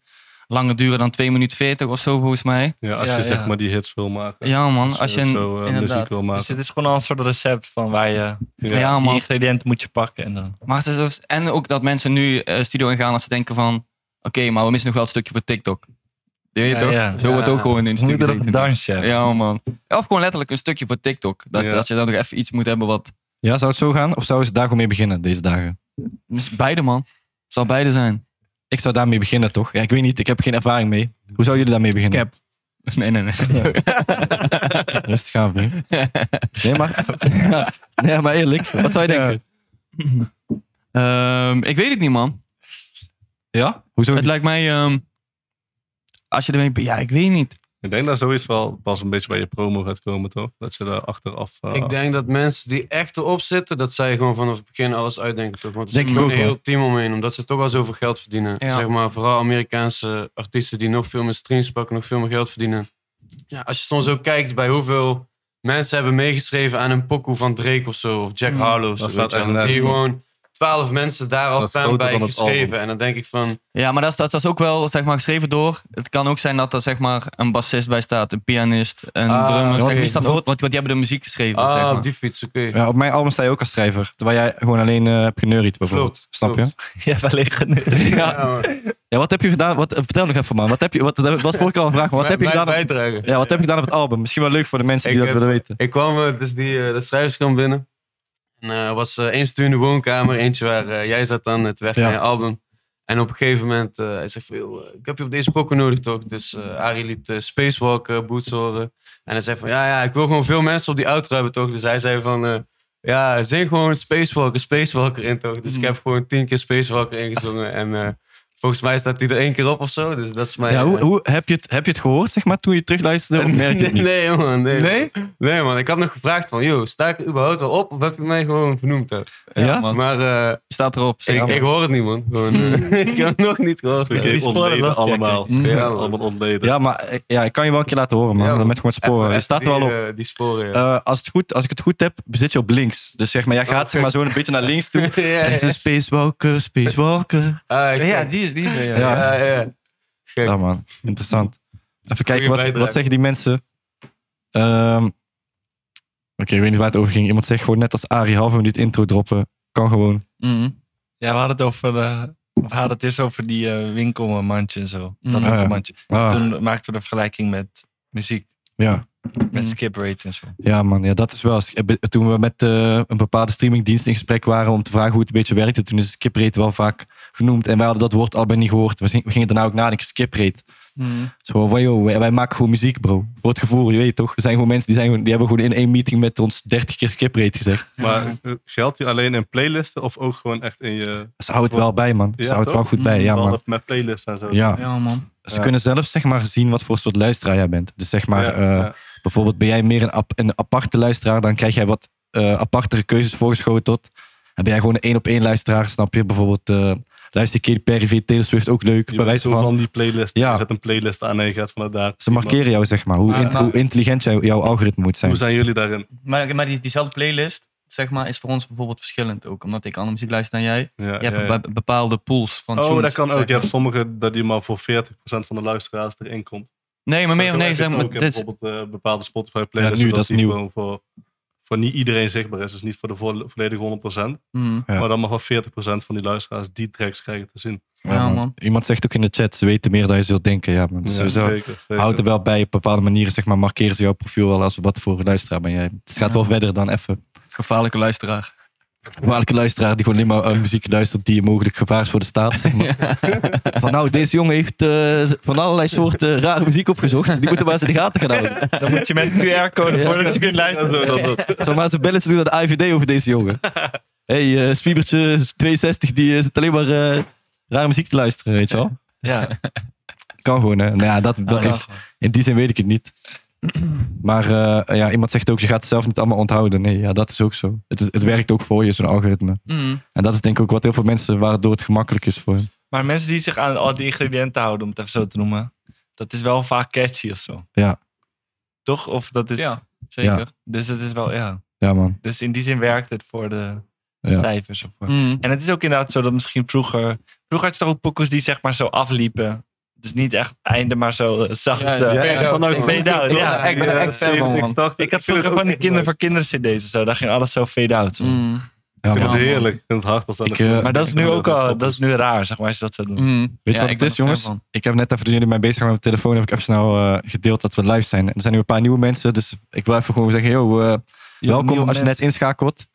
Speaker 2: langer duren dan 2 minuten 40 of zo volgens mij.
Speaker 5: Ja, als
Speaker 3: Ja,
Speaker 5: je zeg
Speaker 3: ja.
Speaker 5: maar die hits wil maken.
Speaker 2: Ja man, als je een-
Speaker 5: zo, eh, muziek
Speaker 2: inderdaad.
Speaker 5: wil
Speaker 3: Dus
Speaker 5: maken.
Speaker 3: het is gewoon al een soort recept van waar je
Speaker 5: Ja.
Speaker 2: Ja
Speaker 3: die
Speaker 2: man,
Speaker 3: ingrediënten moet je pakken. En dan,
Speaker 2: Maar het is dus- en ook dat mensen nu eh, studio ingaan als ze denken van... Oké, maar we missen nog wel een stukje voor TikTok. Je weet
Speaker 3: Ja,
Speaker 2: toch?
Speaker 3: ja.
Speaker 2: Zo wordt
Speaker 4: Ja.
Speaker 2: ook gewoon in een
Speaker 3: je moet
Speaker 2: stukje
Speaker 3: er nog een dansje hebben.
Speaker 2: Ja man. Of gewoon letterlijk een stukje voor TikTok. Dat,
Speaker 5: Ja.
Speaker 2: dat je dan nog even iets moet hebben wat...
Speaker 1: Ja, zou het zo gaan? Of zou ze daar gewoon mee beginnen deze dagen?
Speaker 2: Dus Beide man. Het zal beide zijn.
Speaker 1: Ik zou daarmee beginnen toch? Ja, ik weet niet, ik heb geen ervaring mee. Hoe zouden jullie daarmee beginnen?
Speaker 2: Cap. Nee, nee, nee.
Speaker 1: Rustig aan, vriend. Nee, maar, nee, maar eerlijk, wat zou je denken?
Speaker 2: Ehm, ik weet het niet man.
Speaker 1: Ja? Hoezo
Speaker 2: Het
Speaker 1: niet?
Speaker 2: lijkt mij... ehm, als je ermee... be- Ja, ik weet niet.
Speaker 5: Ik denk dat zoiets wel pas een beetje bij je promo gaat komen, toch? Dat je daar achteraf... eh,
Speaker 4: Ik denk dat mensen die echt erop zitten, dat zij gewoon vanaf het begin alles uitdenken. Toch? Want er
Speaker 1: Denk
Speaker 4: zit
Speaker 1: ik
Speaker 4: gewoon
Speaker 1: ook
Speaker 4: een
Speaker 1: wel.
Speaker 4: heel team omheen, omdat ze toch al zoveel geld verdienen.
Speaker 2: Ja.
Speaker 4: Zeg maar, vooral Amerikaanse artiesten die nog veel meer streams pakken, nog veel meer geld verdienen. Ja, als je soms ook kijkt bij hoeveel mensen hebben meegeschreven aan een pokoe van Drake of zo, of Jack Harlow. of zo,
Speaker 5: Dat staat
Speaker 4: weet je wel.
Speaker 5: echt
Speaker 4: Dan zie je
Speaker 5: nergens
Speaker 4: gewoon twaalf mensen daar als
Speaker 5: Dat
Speaker 4: staan
Speaker 5: groter
Speaker 4: bij
Speaker 5: dan het
Speaker 4: geschreven.
Speaker 5: album.
Speaker 4: En dan denk ik van,
Speaker 2: Ja, maar dat is, dat is ook wel zeg maar, geschreven door. Het kan ook zijn dat er zeg maar, een bassist bij staat, een pianist, een
Speaker 4: Ah,
Speaker 2: drummer.
Speaker 4: oké.
Speaker 2: Zeg, die staat ook, want, want die hebben de muziek geschreven.
Speaker 4: ah,
Speaker 2: zeg maar.
Speaker 4: op die fiets, oké.
Speaker 1: Ja, op mijn album sta je ook als schrijver. Terwijl jij gewoon alleen eh hebt genuried bijvoorbeeld.
Speaker 4: Klopt,
Speaker 1: Snap je?
Speaker 4: klopt.
Speaker 3: Ja, wellicht. Ja.
Speaker 4: Ja, hoor.
Speaker 1: Ja, wat heb je gedaan? Wat, eh, vertel nog even man. Wat heb je, wat, dat was vorige keer al een vraag. Maar wat heb je
Speaker 4: Mijn-
Speaker 1: gedaan?
Speaker 4: mijn
Speaker 1: op-
Speaker 4: bijdrage.
Speaker 1: ja, wat heb je gedaan op het album? Misschien wel leuk voor de mensen die
Speaker 4: Ik
Speaker 1: dat
Speaker 4: heb-
Speaker 1: willen weten.
Speaker 4: Ik kwam eh, dus die, eh, de schrijverskamp binnen. En eh, er was eh, één stuur in de woonkamer, eentje waar eh, jij zat aan het werken
Speaker 1: Ja.
Speaker 4: aan je album. En op een gegeven moment, eh, hij zegt van, "Yo, eh, ik heb je op deze pokken nodig toch? Dus eh Arie liet eh, Spacewalk eh, boots horen. En hij zei van, ja, ja, ik wil gewoon veel mensen op die outro hebben toch? Dus hij zei van, eh, ja, zing gewoon Spacewalker, Spacewalker in toch? Dus
Speaker 1: Mm.
Speaker 4: ik heb gewoon tien keer Spacewalker ingezongen. En eh, volgens mij staat hij er één keer op of zo. Dus dat is mijn...
Speaker 1: Ja, hoe,
Speaker 4: eh,
Speaker 1: hoe, heb, je het, heb je het gehoord zeg maar toen je terugluisterde? Of merk je het niet?
Speaker 4: Nee, man. Nee,
Speaker 2: Nee?
Speaker 4: Nee, man. Ik had nog gevraagd van, joh, sta ik er überhaupt wel op? Of heb je mij gewoon vernoemd? Hè?
Speaker 1: Ja?
Speaker 2: man.
Speaker 4: Maar eh,
Speaker 2: Staat erop.
Speaker 4: ik,
Speaker 2: zeker.
Speaker 4: ik hoor het niet, man. Gewoon, eh, ik heb het nog niet gehoord.
Speaker 5: Oké,
Speaker 4: Ja,
Speaker 5: ontleden
Speaker 3: lastchecken.
Speaker 5: allemaal.
Speaker 4: Ja, man.
Speaker 5: Allemaal ontleden.
Speaker 1: Ja, maar eh, ja, ik kan je wel een keer laten horen man.
Speaker 4: Ja, man.
Speaker 1: Dan met gewoon sporen.
Speaker 4: Even
Speaker 1: Je staat er
Speaker 4: die,
Speaker 1: wel op.
Speaker 4: eh, die sporen, ja.
Speaker 1: Eh, als, het goed, als ik het goed heb, zit je op links. Dus zeg maar, jij gaat zeg maar, zo een beetje naar links toe.
Speaker 4: Oh, Ja, ja.
Speaker 1: En is een spacewalker, spacewalker.
Speaker 4: Ah, ik-
Speaker 2: ja, die is, die is er, ja.
Speaker 1: Ja.
Speaker 4: ja, ja. Kijk.
Speaker 1: Ja, man. Interessant. Even kijken, wat,
Speaker 4: bijdrage.
Speaker 1: wat zeggen die mensen? Ehm, Oké, ik weet niet waar het over ging. Iemand zegt gewoon net als Arie, halve minuut intro droppen. Kan gewoon.
Speaker 2: Mhm.
Speaker 3: Ja, we hadden het over. eh, we hadden het eerst over die eh, winkelmandje en zo.
Speaker 2: Mm.
Speaker 3: Dat
Speaker 1: Ah, ja.
Speaker 3: winkelmandje.
Speaker 1: Ah,
Speaker 3: Toen maakten we de vergelijking met muziek,
Speaker 1: ja.
Speaker 2: Mm.
Speaker 3: met skip rate en zo.
Speaker 1: ja, man. Ja, dat is wel. Toen we met eh, een bepaalde streamingdienst in gesprek waren om te vragen hoe het een beetje werkte, toen is skiprate wel vaak genoemd. En wij hadden dat woord allebei niet gehoord. We zing- we gingen daarna ook nadenken, skiprate.
Speaker 3: Mm.
Speaker 2: Mhm.
Speaker 1: Zo van, joh, wij, wij maken gewoon muziek, bro. Voor het gevoel, je weet toch? Er zijn gewoon mensen die, zijn gewoon, die hebben gewoon in één meeting met ons 30 keer skiprate gezegd.
Speaker 5: Maar eh, geldt die alleen in playlisten of ook gewoon echt in je...
Speaker 1: Ze houden het wel bij, man. Ze
Speaker 5: Ja,
Speaker 1: houden het wel
Speaker 5: toch?
Speaker 1: goed bij, ja,
Speaker 5: wel
Speaker 1: man.
Speaker 5: Met playlisten en zo.
Speaker 1: Ja.
Speaker 2: Ja, man.
Speaker 1: Ze
Speaker 5: Ja.
Speaker 1: kunnen zelf zeg maar, zien wat voor soort luisteraar jij bent. Dus zeg maar,
Speaker 5: Ja,
Speaker 1: eh,
Speaker 5: ja.
Speaker 1: bijvoorbeeld ben jij meer een, ap- een aparte luisteraar, dan krijg jij wat eh, apartere keuzes voorgeschoteld. En ben jij gewoon een één op één luisteraar, snap je? Bijvoorbeeld, eh luister Katy Perry via Taylor Swift ook leuk,
Speaker 5: Je
Speaker 1: bij
Speaker 5: bent
Speaker 1: wijze
Speaker 5: zo
Speaker 1: van.
Speaker 5: van die playlist.
Speaker 1: Ja.
Speaker 5: Je zet een playlist aan en je gaat vanuit daar.
Speaker 1: Ze markeren jou, zeg maar, hoe,
Speaker 2: Maar-
Speaker 1: int-
Speaker 2: maar-
Speaker 1: hoe intelligent jij- jouw algoritme moet zijn.
Speaker 5: Hoe zijn jullie daarin?
Speaker 2: Maar, maar die, diezelfde playlist zeg maar, is voor ons bijvoorbeeld verschillend ook. Omdat ik andere muziek luister dan jij.
Speaker 5: Ja,
Speaker 2: Je hebt
Speaker 5: ja, ja.
Speaker 2: be- bepaalde pools van
Speaker 5: Oh,
Speaker 2: tunes,
Speaker 5: dat kan
Speaker 2: zeg
Speaker 5: ook. Je
Speaker 2: maar.
Speaker 5: hebt sommige dat die maar voor 40% van de luisteraars erin komt.
Speaker 2: Nee, maar
Speaker 5: Zo-
Speaker 2: meer
Speaker 5: zo
Speaker 2: nee,
Speaker 5: heb
Speaker 2: zeg
Speaker 5: ik
Speaker 2: maar.
Speaker 5: ook in
Speaker 2: Dit is,
Speaker 5: bijvoorbeeld eh, bepaalde Spotify playlists.
Speaker 1: Ja, nu,
Speaker 5: zodat
Speaker 1: dat is
Speaker 5: die
Speaker 1: nieuw.
Speaker 5: gewoon Voor, voor niet iedereen zichtbaar is. Dus niet voor de vo- volledige 100%.
Speaker 2: Mhm.
Speaker 1: Ja.
Speaker 5: Maar dan maar wel 40% van die luisteraars die tracks krijgen te zien.
Speaker 2: Ja,
Speaker 1: Ja, man.
Speaker 2: man.
Speaker 1: Iemand zegt ook in de chat, ze weten meer dan je zult denken. Ja, man. Dus
Speaker 5: Ja,
Speaker 1: sowieso
Speaker 5: zeker, zeker.
Speaker 1: Houd er wel bij, op bepaalde manieren zeg maar, markeren ze jouw profiel wel als wat voor luisteraar ben jij. Het gaat
Speaker 2: Ja.
Speaker 1: wel verder dan even.
Speaker 2: gevaarlijke luisteraar.
Speaker 1: Welke luisteraar die gewoon alleen maar eh, muziek luistert die mogelijk gevaar is voor de staat. zeg maar. Van nou, deze jongen heeft eh, van allerlei soorten rare muziek opgezocht. Die moeten maar eens in de gaten gaan houden.
Speaker 3: Dan moet je met QR-code voordat je
Speaker 5: Ja,
Speaker 3: kunt luisteren.
Speaker 5: zo, dat, dat.
Speaker 1: Zo maar ze bellen ze doen naar de IVD over deze jongen. Hé, hey, eh, Spiebertje 62, die eh, zit alleen maar eh, rare muziek te luisteren, weet je wel.
Speaker 2: Ja.
Speaker 1: Kan gewoon, hè? Nou ja, dat, dat,
Speaker 2: Ja.
Speaker 1: ik- in die zin weet ik het niet. Maar eh, ja, iemand zegt ook, je gaat het zelf niet allemaal onthouden. Nee, ja, dat is ook zo. Het, is- het werkt ook voor je, zo'n algoritme.
Speaker 3: Mm.
Speaker 2: Mhm.
Speaker 1: En dat is denk ik ook wat heel veel mensen, waardoor het gemakkelijk is voor hen.
Speaker 3: Maar mensen die zich aan al die ingrediënten houden, om het even zo te noemen, dat is wel vaak catchy of zo.
Speaker 1: Ja.
Speaker 3: Toch? Of dat is.
Speaker 2: Ja, zeker.
Speaker 3: Dus dat is wel, ja.
Speaker 1: Ja, man.
Speaker 3: Dus in die zin werkt het voor de
Speaker 1: Ja.
Speaker 3: cijfers of voor.
Speaker 2: Mhm.
Speaker 3: En het is ook inderdaad zo dat misschien vroeger. Vroeger had je toch ook pokkels die zeg maar zo afliepen. Dus niet echt einde, maar zo eh, zacht.
Speaker 2: Ja,
Speaker 3: eh,
Speaker 2: ja,
Speaker 5: Ja,
Speaker 2: ja.
Speaker 5: kan ook, man.
Speaker 3: Ben je down? Ja,
Speaker 2: Ja, ik ben er echt fan van, man.
Speaker 3: Ik had vroeger van die kinderen voor kinderen CD's en zo. Daar ging alles zo fade out. zo.
Speaker 2: Mhm.
Speaker 1: Ja,
Speaker 5: Ik
Speaker 1: man.
Speaker 5: vind
Speaker 2: man.
Speaker 5: het heerlijk. Ik vind het hard als dat
Speaker 1: Ik,
Speaker 5: nog-
Speaker 1: eh,
Speaker 3: Maar dat is nu
Speaker 5: Ja,
Speaker 3: ook al.
Speaker 5: klopt.
Speaker 3: Dat is nu raar, zeg maar, als je dat zo doen.
Speaker 2: Mhm.
Speaker 1: Weet je
Speaker 2: Ja,
Speaker 1: wat
Speaker 2: ik
Speaker 1: het
Speaker 2: ben
Speaker 1: is,
Speaker 2: er fan
Speaker 1: jongens?
Speaker 2: van.
Speaker 1: Ik heb net even, toen jullie mij bezig waren met mijn telefoon, heb ik even snel eh, gedeeld dat we live zijn. En er zijn nu een paar nieuwe mensen, dus ik wil even gewoon zeggen, yo, eh, welkom
Speaker 3: nieuwe
Speaker 1: als je net
Speaker 3: mensen.
Speaker 1: inschakelt. Er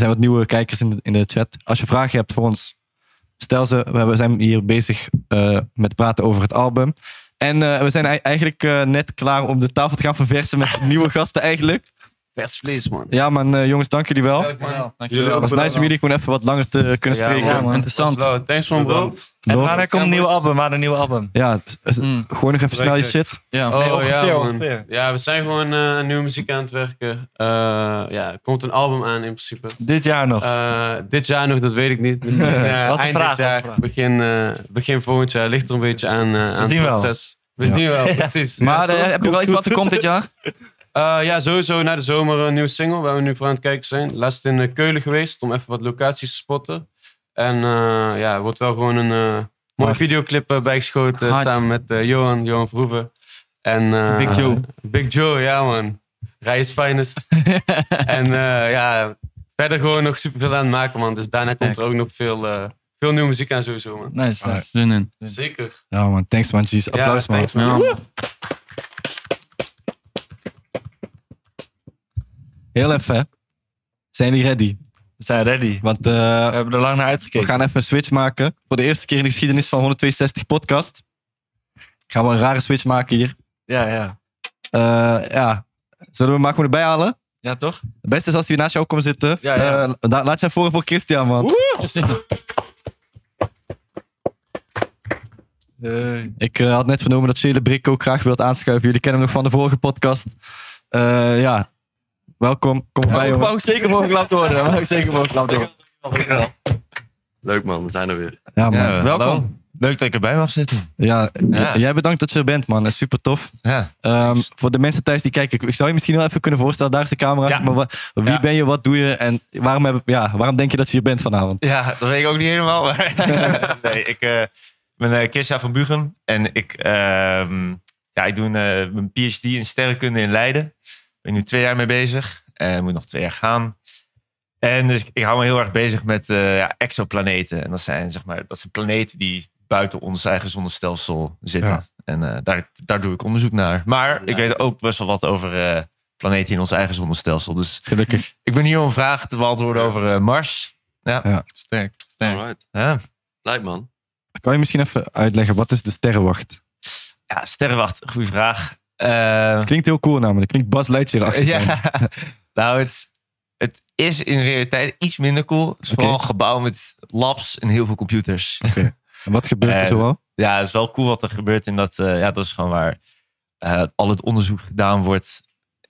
Speaker 1: zijn wat nieuwe kijkers in de, in de chat. Als je vragen hebt voor ons, stel ze. We we zijn hier bezig eh, met praten over het album. En eh, we zijn ei- eigenlijk eh, net klaar om de tafel te gaan verversen met nieuwe gasten eigenlijk.
Speaker 4: Vers vlees, man.
Speaker 1: Ja man, eh, jongens, dank jullie wel.
Speaker 2: Ja, dankjewel.
Speaker 5: Jullie
Speaker 1: Het was nice om jullie gewoon even wat langer te kunnen
Speaker 4: Ja,
Speaker 1: spreken.
Speaker 3: Ja, man.
Speaker 2: Interessant.
Speaker 4: Blauw, Thanks, man, bro.
Speaker 5: Bedankt.
Speaker 3: En
Speaker 1: Love.
Speaker 3: wanneer komt een nieuw album? Wanneer een nieuw album?
Speaker 1: Ja, s- s-
Speaker 2: Mm.
Speaker 1: gewoon nog even snel je shit.
Speaker 2: Ja.
Speaker 4: Oh ja,
Speaker 3: ongeveer.
Speaker 4: man. Ja, we zijn gewoon eh, aan nieuwe muziek aan het werken. Eh, ja, er komt een album aan in principe.
Speaker 3: Dit jaar nog.
Speaker 4: Eh, dit jaar nog, dat weet ik niet. Misschien, eh,
Speaker 3: Wat een
Speaker 4: eind
Speaker 3: vraag,
Speaker 4: dit
Speaker 3: wat een
Speaker 4: jaar,
Speaker 3: vraag.
Speaker 4: begin, eh, begin volgend jaar. Ligt er een beetje aan, eh aan
Speaker 3: zien
Speaker 4: het
Speaker 3: wel.
Speaker 4: proces. We zien wel, precies.
Speaker 2: Maar eh, heb je wel iets wat er komt dit jaar?
Speaker 4: Eh, ja, sowieso na de zomer een nieuwe single waar we nu voor aan het kijken zijn. Laatst in eh, Keulen geweest om even wat locaties te spotten. En eh, ja, er wordt wel gewoon een eh mooie
Speaker 1: Hard.
Speaker 4: videoclip eh, bijgeschoten
Speaker 2: Hard.
Speaker 4: samen met eh, Johan, Johan Vroeven. En, eh,
Speaker 2: Big Joe.
Speaker 4: Big Joe, ja man. Rij is finest. en eh, ja, verder gewoon nog superveel aan het maken man. Dus daarna komt er ook nog veel, eh, veel nieuwe muziek aan sowieso man.
Speaker 3: Nice, nice.
Speaker 2: Zin in.
Speaker 4: Zeker.
Speaker 1: Ja man, thanks man. Jeez. Applaus
Speaker 4: ja,
Speaker 1: man.
Speaker 4: thanks, man.
Speaker 1: Heel even hè. Zijn jullie ready?
Speaker 3: We zijn ready.
Speaker 1: Want eh,
Speaker 3: We hebben er lang naar
Speaker 1: we
Speaker 3: uitgekeken.
Speaker 1: gaan even een switch maken. Voor de eerste keer in de geschiedenis van 162 podcast. Gaan we een rare switch maken hier.
Speaker 3: Ja, ja.
Speaker 1: Eh, ja. Zullen we Marco erbij halen?
Speaker 3: Ja, toch?
Speaker 1: Het beste is als hij naast jou komt zitten.
Speaker 3: Ja, ja.
Speaker 1: Eh, la- laat jij voor voor Christian, man. Ik eh, had net vernomen dat Shele Brik ook graag wilt aanschuiven. Jullie kennen hem nog van de vorige podcast. Eh, ja, welkom. Kom bij,
Speaker 2: Ik
Speaker 1: jongen.
Speaker 2: wou zeker voor geklapt worden. Daar wou ik zeker voor geklapt worden.
Speaker 6: Leuk man, we zijn er weer.
Speaker 1: Ja, man. Ja,
Speaker 7: Welkom. Leuk dat ik erbij mag zitten. Ja.
Speaker 1: j- Jij bedankt dat je er bent, man. Dat is super tof.
Speaker 7: Ja.
Speaker 1: Ehm, voor de mensen thuis die kijken, ik- ik zou je misschien wel even kunnen voorstellen. Daar is de camera.
Speaker 7: Ja.
Speaker 1: Maar wa- wie
Speaker 7: Ja.
Speaker 1: ben je, wat doe je en waarom, heb, ja, waarom denk je dat je hier bent vanavond?
Speaker 7: ja, dat weet ik ook niet helemaal. Maar nee, ik eh, ben eh Kirsta van Buchem en ik, ehm, ja, ik doe een, eh, mijn PhD in sterrenkunde in Leiden. Ik ben nu twee jaar mee bezig en moet nog twee jaar gaan. En dus ik hou me heel erg bezig met eh, ja, exoplaneten. En dat zijn, zeg maar, dat zijn planeten die buiten ons eigen zonnestelsel zitten.
Speaker 1: Ja.
Speaker 7: En eh, daar, daar doe ik onderzoek naar. Maar ik weet ook best wel wat over eh, planeten in ons eigen zonnestelsel. Dus
Speaker 1: Gelukkig.
Speaker 7: Ik ben hier om een vraag te beantwoorden over eh, Mars. Ja.
Speaker 1: Ja.
Speaker 7: Sterk. Sterk.
Speaker 6: Alright.
Speaker 7: Ja.
Speaker 6: Lijp man.
Speaker 1: Kan je misschien even uitleggen, wat is de sterrenwacht?
Speaker 7: ja, sterrenwacht. Goeie vraag. Eh,
Speaker 1: Klinkt heel cool namelijk. Klinkt Bas Leitje erachter.
Speaker 7: ja. nou, het, het is in realiteit iets minder cool. Het is
Speaker 1: Oké.
Speaker 7: vooral een gebouw met labs en heel veel computers.
Speaker 1: En wat gebeurt er
Speaker 7: Eh,
Speaker 1: zoal?
Speaker 7: Ja, het is wel cool wat er gebeurt. En dat, eh, ja, dat is gewoon waar eh, al het onderzoek gedaan wordt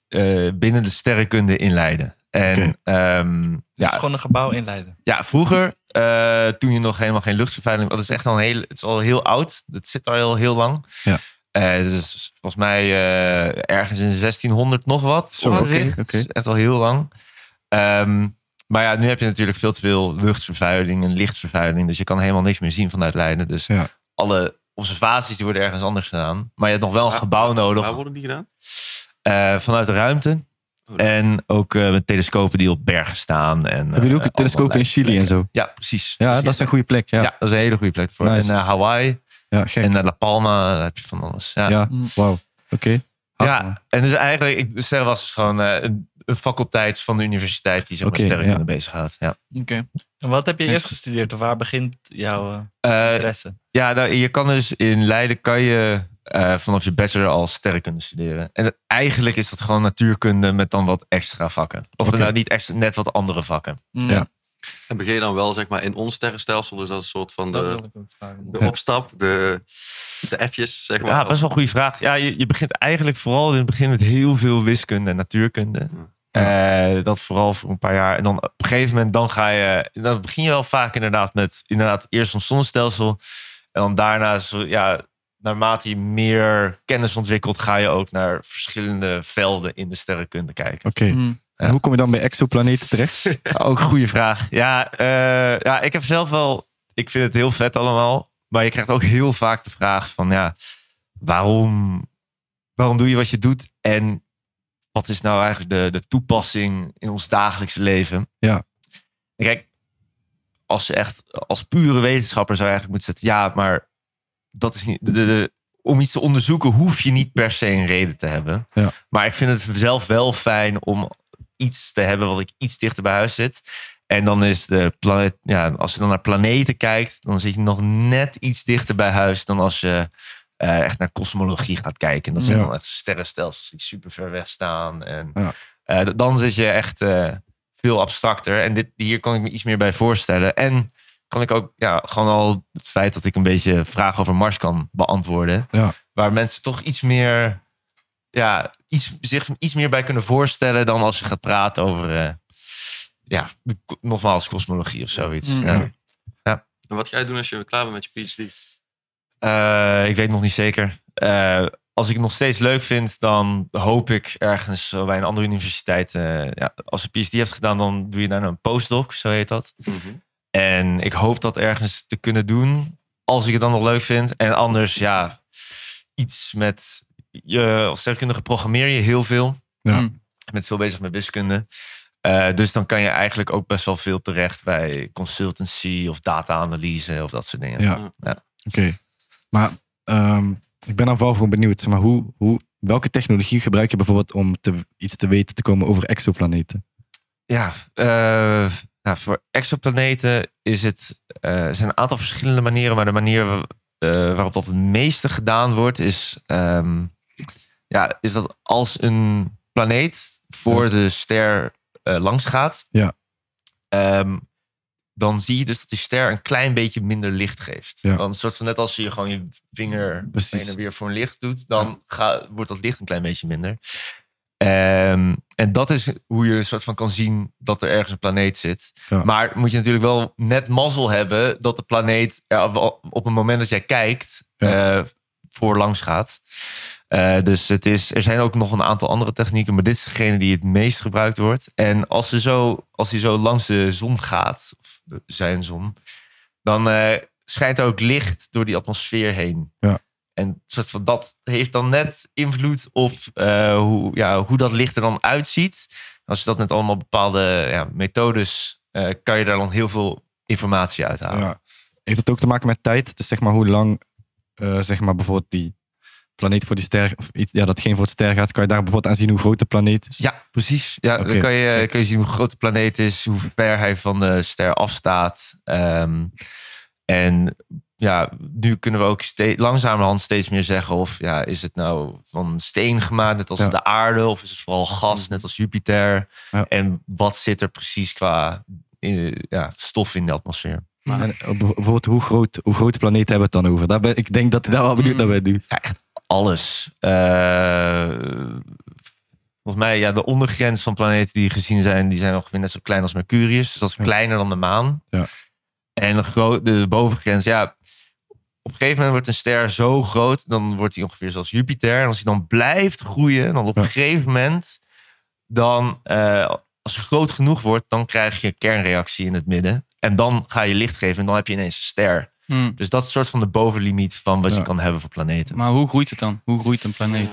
Speaker 7: eh, binnen de sterrenkunde in Leiden. En
Speaker 1: Oké.
Speaker 7: ehm,
Speaker 3: Dit
Speaker 7: ja,
Speaker 3: is gewoon een gebouw inleiden.
Speaker 7: Ja, vroeger, eh, toen je nog helemaal geen luchtvervuiling... Dat is echt al heel, het is al heel oud. Het zit al heel, heel lang.
Speaker 1: Ja.
Speaker 7: Eh, het is volgens mij eh, ergens in 1600 nog wat.
Speaker 1: Zo,
Speaker 7: opgericht.
Speaker 1: oké, oké.
Speaker 7: Het is echt al heel lang. Ehm, maar ja, nu heb je natuurlijk veel te veel luchtvervuiling en lichtvervuiling. Dus je kan helemaal niks meer zien vanuit Leiden. Dus
Speaker 1: Ja.
Speaker 7: alle observaties die worden ergens anders gedaan. Maar je hebt nog wel een
Speaker 6: Waar-
Speaker 7: gebouw nodig
Speaker 6: Waar worden die gedaan?
Speaker 7: eh, vanuit de ruimte.
Speaker 6: Oh, dat-
Speaker 7: En ook eh, met telescopen die op bergen staan. En,
Speaker 1: Hebben jullie ook
Speaker 7: eh,
Speaker 1: een telescoop in
Speaker 7: allerlei
Speaker 1: Chili en
Speaker 7: plekken.
Speaker 1: zo?
Speaker 7: Ja, precies.
Speaker 1: Ja,
Speaker 7: Precies.
Speaker 1: dat is een goede plek. Ja,
Speaker 7: Ja.
Speaker 1: ja.
Speaker 7: dat is een hele goede plek voor.
Speaker 1: Nice.
Speaker 7: En eh, Hawaii
Speaker 1: gek.
Speaker 7: en eh, La Palma, daar heb je van alles. Ja, ja.
Speaker 1: Ja, wauw. Oké. Hard, man.
Speaker 7: en dus eigenlijk, ik, de ster was gewoon eh, een, een faculteit van de universiteit die zich
Speaker 1: Oké,
Speaker 7: met sterrenkunde
Speaker 1: ja.
Speaker 7: bezighoudt. Ja.
Speaker 3: En wat heb je eerst gestudeerd? Of waar begint jouw eh,
Speaker 7: Eh,
Speaker 3: interesse?
Speaker 7: ja, nou, je kan dus in Leiden kan je eh, vanaf je bachelor al sterrenkunde studeren. En dat- eigenlijk is dat gewoon natuurkunde met dan wat extra vakken. Of
Speaker 1: Oké.
Speaker 7: nou niet extra, net wat andere vakken.
Speaker 3: Mm.
Speaker 1: Ja.
Speaker 6: En begin je dan wel zeg maar in ons sterrenstelsel, dus dat is een soort van
Speaker 3: Dat
Speaker 6: de,
Speaker 3: wil ik ook vragen.
Speaker 6: de opstap, de, de F'jes zeg maar.
Speaker 7: Ja, best wel een goede vraag. Ja, je, je begint eigenlijk vooral in het begin met heel veel wiskunde en natuurkunde. Eh, dat vooral voor een paar jaar. En dan op een gegeven moment dan ga je... Dan begin je wel vaak inderdaad met inderdaad eerst ons zonnestelsel. En dan daarna, zo- ja, naarmate je meer kennis ontwikkelt... ga je ook naar verschillende velden in de sterrenkunde kijken.
Speaker 1: Oké.
Speaker 6: Hmm.
Speaker 1: En hoe kom je dan bij exoplaneten terecht?
Speaker 7: Hmm. Ook een goede vraag. Ja, eh, ja, ik heb zelf wel. Ik vind het heel vet allemaal. Maar je krijgt ook heel vaak de vraag van ja, waarom, waarom doe je wat je doet? En wat is nou eigenlijk de, de toepassing in ons dagelijkse leven?
Speaker 1: Ja.
Speaker 7: En kijk, als je echt als pure wetenschapper zou je eigenlijk moeten zetten, ja, maar dat is niet. De, de- de- om iets te onderzoeken hoef je niet per se een reden te hebben.
Speaker 1: Ja.
Speaker 7: Maar ik vind het zelf wel fijn om iets te hebben wat ik iets dichter bij huis zit. En dan is de planeet, ja, als je dan naar planeten kijkt, dan zit je nog net iets dichter bij huis dan als je eh, echt naar kosmologie gaat kijken. En dat zijn
Speaker 1: Ja.
Speaker 7: dan echt sterrenstelsels die super ver weg staan. En
Speaker 1: Ja.
Speaker 7: eh, d- dan zit je echt eh, veel abstracter. En dit, hier kan ik me iets meer bij voorstellen. En kan ik ook ja, gewoon al het feit dat ik een beetje vragen over Mars kan beantwoorden.
Speaker 1: Ja.
Speaker 7: Waar mensen toch iets meer ja, iets, zich iets meer bij kunnen voorstellen dan als je gaat praten over, eh, ja, de ko- nogmaals, kosmologie of zoiets. Ja.
Speaker 6: En wat ga je doen als je klaar bent met je PhD?
Speaker 7: Eh, ik weet nog niet zeker. Eh, als ik het nog steeds leuk vind, dan hoop ik ergens eh, bij een andere universiteit. eh, ja, als je PhD hebt gedaan, dan doe je daarna een postdoc, zo heet dat. En ik hoop dat ergens te kunnen doen, als ik het dan nog leuk vind. En anders, ja, iets met je als sterrenkundige programmeer je heel veel.
Speaker 1: Ja.
Speaker 7: Je bent veel bezig met wiskunde. Eh, dus dan kan je eigenlijk ook best wel veel terecht bij consultancy of data-analyse of dat soort dingen.
Speaker 1: Ja.
Speaker 7: Ja.
Speaker 1: Oké. Maar ehm, ik ben dan vooral gewoon benieuwd. Zeg maar hoe, hoe, welke technologie gebruik je bijvoorbeeld om te, iets te weten te komen over exoplaneten?
Speaker 7: Ja, eh, nou, voor exoplaneten is het, eh, er zijn een aantal verschillende manieren, maar de manier wa- eh, waarop dat het meeste gedaan wordt, is, ehm, ja, is dat als een planeet voor de ster eh, langs gaat,
Speaker 1: Ja.
Speaker 7: ehm, dan zie je dus dat die ster een klein beetje minder licht geeft.
Speaker 1: Ja.
Speaker 7: Dan een soort van net als je gewoon je vinger
Speaker 1: Precies.
Speaker 7: heen en weer voor een licht doet, dan ga- wordt dat licht een klein beetje minder. Ehm, en dat is hoe je een soort van kan zien dat er ergens een planeet zit.
Speaker 1: Ja.
Speaker 7: Maar moet je natuurlijk wel net mazzel hebben dat de planeet er wel op het moment dat jij kijkt
Speaker 1: Ja.
Speaker 7: eh, voorlangs gaat. Eh, dus het is, er zijn ook nog een aantal andere technieken, maar dit is degene die het meest gebruikt wordt. En als ze zo, als hij zo langs de zon gaat, of de- zijn zon, dan eh, schijnt er ook licht door die atmosfeer heen.
Speaker 1: Ja.
Speaker 7: En een soort van dat heeft dan net invloed op eh, hoe, ja, hoe dat licht er dan uitziet. Als je dat met allemaal bepaalde ja, methodes, eh, kan je daar dan heel veel informatie uithalen.
Speaker 1: Ja. Heeft dat ook te maken met tijd? Dus zeg maar hoe lang, eh, zeg maar bijvoorbeeld die planeet voor die ster, of iets, ja, datgene voor de ster gaat, kan je daar bijvoorbeeld aan zien hoe groot de planeet is?
Speaker 7: Ja, precies. Ja,
Speaker 1: Oké.
Speaker 7: dan kan je, kan je zien hoe groot de planeet is, hoe ver hij van de ster afstaat. Ehm, en ja, nu kunnen we ook steeds, langzamerhand steeds meer zeggen of ja, is het nou van steen gemaakt, net als
Speaker 1: Ja.
Speaker 7: de aarde, of is het vooral gas, net als Jupiter.
Speaker 1: Ja.
Speaker 7: En wat zit er precies qua eh, ja, stof in de atmosfeer?
Speaker 1: En, eh, bijv- bijvoorbeeld hoe groot, hoe groot de planeet hebben we het dan over? Daar ben, ik denk dat ik daar wel
Speaker 7: Hmm.
Speaker 1: benieuwd naar ben nu.
Speaker 7: Ja, echt alles. Eh, volgens mij, ja, de ondergrens van planeten die gezien zijn, die zijn ongeveer net zo klein als Mercurius. Dus dat is
Speaker 1: Ja.
Speaker 7: kleiner dan de maan.
Speaker 1: Ja.
Speaker 7: En de, gro- de bovengrens, ja. Op een gegeven moment wordt een ster zo groot, dan wordt hij ongeveer zoals Jupiter. En als hij dan blijft groeien, dan op een
Speaker 1: Ja.
Speaker 7: gegeven moment, dan eh, als hij groot genoeg wordt, dan krijg je een kernreactie in het midden. En dan ga je licht geven en dan heb je ineens een ster.
Speaker 2: Hmm.
Speaker 7: Dus dat is een soort van de bovenlimiet van wat
Speaker 1: Ja.
Speaker 7: je kan hebben voor planeten.
Speaker 2: Maar hoe groeit het dan? Hoe groeit een planeet?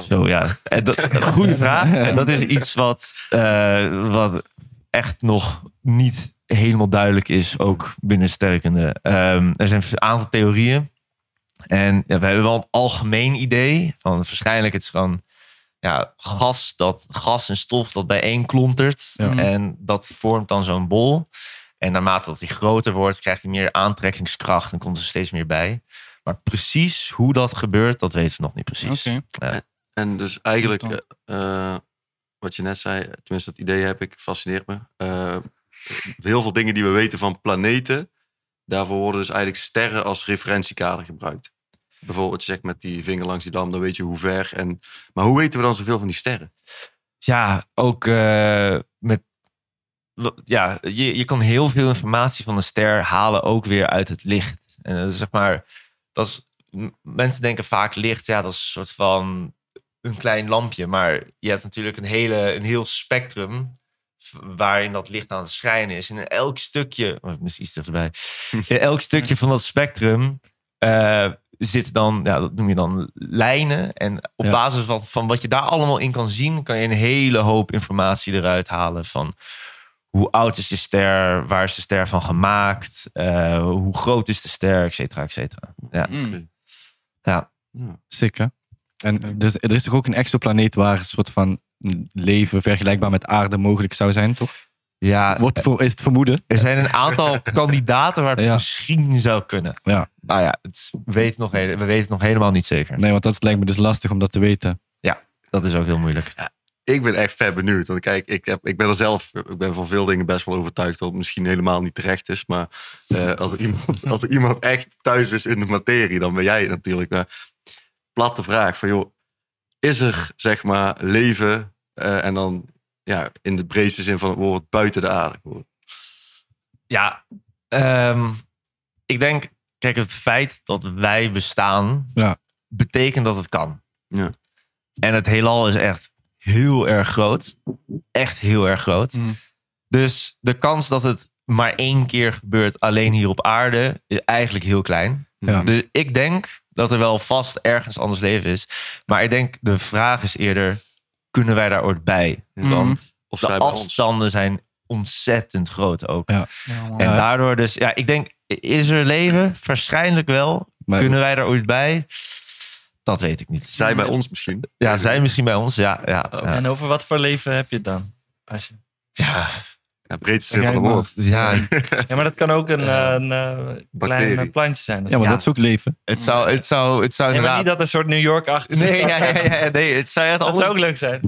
Speaker 7: Zo ja,
Speaker 1: Eh,
Speaker 7: En dat, goede vraag. En dat is iets wat, eh, wat echt nog niet helemaal duidelijk is, ook binnen sterkende. Ehm, er zijn een aantal theorieën. En ja, we hebben wel een algemeen idee van waarschijnlijk het is gewoon ja, gas, dat, gas en stof dat bijeen klontert.
Speaker 1: Ja.
Speaker 7: En dat vormt dan zo'n bol. En naarmate dat die groter wordt, krijgt hij meer aantrekkingskracht en komt er steeds meer bij. Maar precies hoe dat gebeurt, dat weten we nog niet precies.
Speaker 2: Oké.
Speaker 6: En dus eigenlijk, eh, eh, wat je net zei, tenminste dat idee heb ik, fascineert me. Eh, heel veel dingen die we weten van planeten, daarvoor worden dus eigenlijk sterren als referentiekader gebruikt. Bijvoorbeeld, wat je zegt met die vinger langs die dam, dan weet je hoe ver. En, maar hoe weten we dan zoveel van die sterren?
Speaker 7: Ja, ook eh, met. w- Ja, je, je kan heel veel informatie van een ster halen, ook weer uit het licht. En dat is zeg maar, dat is, m- mensen denken vaak licht, ja, dat is een soort van een klein lampje. Maar je hebt natuurlijk een, hele, een heel spectrum v- waarin dat licht aan het schijnen is. En in elk stukje, oh, misschien iets dichterbij, in elk stukje van dat spectrum eh, zitten dan, ja, dat noem je dan lijnen. En op
Speaker 1: Ja.
Speaker 7: basis van, van wat je daar allemaal in kan zien, kan je een hele hoop informatie eruit halen van hoe oud is de ster, waar is de ster van gemaakt, eh, hoe groot is de ster, et cetera, et cetera. Ja.
Speaker 1: Mm.
Speaker 2: Hmm.
Speaker 1: Sick, hè? En dus, er is toch ook een exoplaneet waar een soort van leven vergelijkbaar met aarde mogelijk zou zijn, toch?
Speaker 7: ja,
Speaker 1: Wordt voor, is het vermoeden?
Speaker 7: er zijn een aantal kandidaten waar het
Speaker 1: Ja.
Speaker 7: misschien zou kunnen.
Speaker 1: Ja.
Speaker 7: Nou ja, het is- we weten nog, hele- we weten het nog helemaal niet zeker.
Speaker 1: Nee, want dat lijkt me dus lastig om dat te weten.
Speaker 7: Dat is ook heel moeilijk.
Speaker 6: Ik ben echt vet benieuwd. Want kijk, ik, heb, ik ben er zelf, ik ben van veel dingen best wel overtuigd dat het misschien helemaal niet terecht is. Maar eh, als, er iemand, als er iemand echt thuis is in de materie, dan ben jij het natuurlijk. Maar platte vraag van joh, is er zeg maar leven eh, en dan ja, in de breedste zin van het woord buiten de aarde?
Speaker 7: Ja, ehm, ik denk, kijk, het feit dat wij bestaan,
Speaker 1: Ja.
Speaker 7: betekent dat het kan.
Speaker 6: Ja.
Speaker 7: En het heelal is echt heel erg groot. Echt heel erg groot. Dus de kans dat het maar één keer gebeurt alleen hier op aarde is eigenlijk heel klein.
Speaker 1: Ja.
Speaker 7: Dus ik denk dat er wel vast ergens anders leven is. Maar ik denk de vraag is eerder, kunnen wij daar ooit bij? Want
Speaker 6: Of
Speaker 7: de
Speaker 6: zij bij ons.
Speaker 7: afstanden zijn ontzettend groot ook.
Speaker 1: Ja.
Speaker 7: En daardoor dus, ja, ik denk, is er leven? Waarschijnlijk wel.
Speaker 1: Maar-
Speaker 7: Kunnen wij daar ooit bij? Dat weet ik niet.
Speaker 6: Zij bij ons misschien.
Speaker 7: Ja, zij misschien bij ons. Ja, ja,
Speaker 3: Oh,
Speaker 7: ja.
Speaker 3: En over wat voor leven heb je het dan? Als je...
Speaker 7: ja.
Speaker 6: Ja, breedste zin van
Speaker 3: Ja,
Speaker 6: het woord.
Speaker 7: ja
Speaker 3: Ja, maar dat kan ook een, eh, een eh, klein
Speaker 6: Bacterie.
Speaker 3: eh, plantje zijn.
Speaker 1: Ja, maar dat is ook leven.
Speaker 7: het zou, het zou, het zou
Speaker 3: Nee, maar
Speaker 7: inderdaad...
Speaker 3: niet dat een soort New York achter.
Speaker 7: Nee, ja, ja, ja, nee, het zou echt
Speaker 3: Dat
Speaker 7: alles,
Speaker 3: zou ook leuk zijn.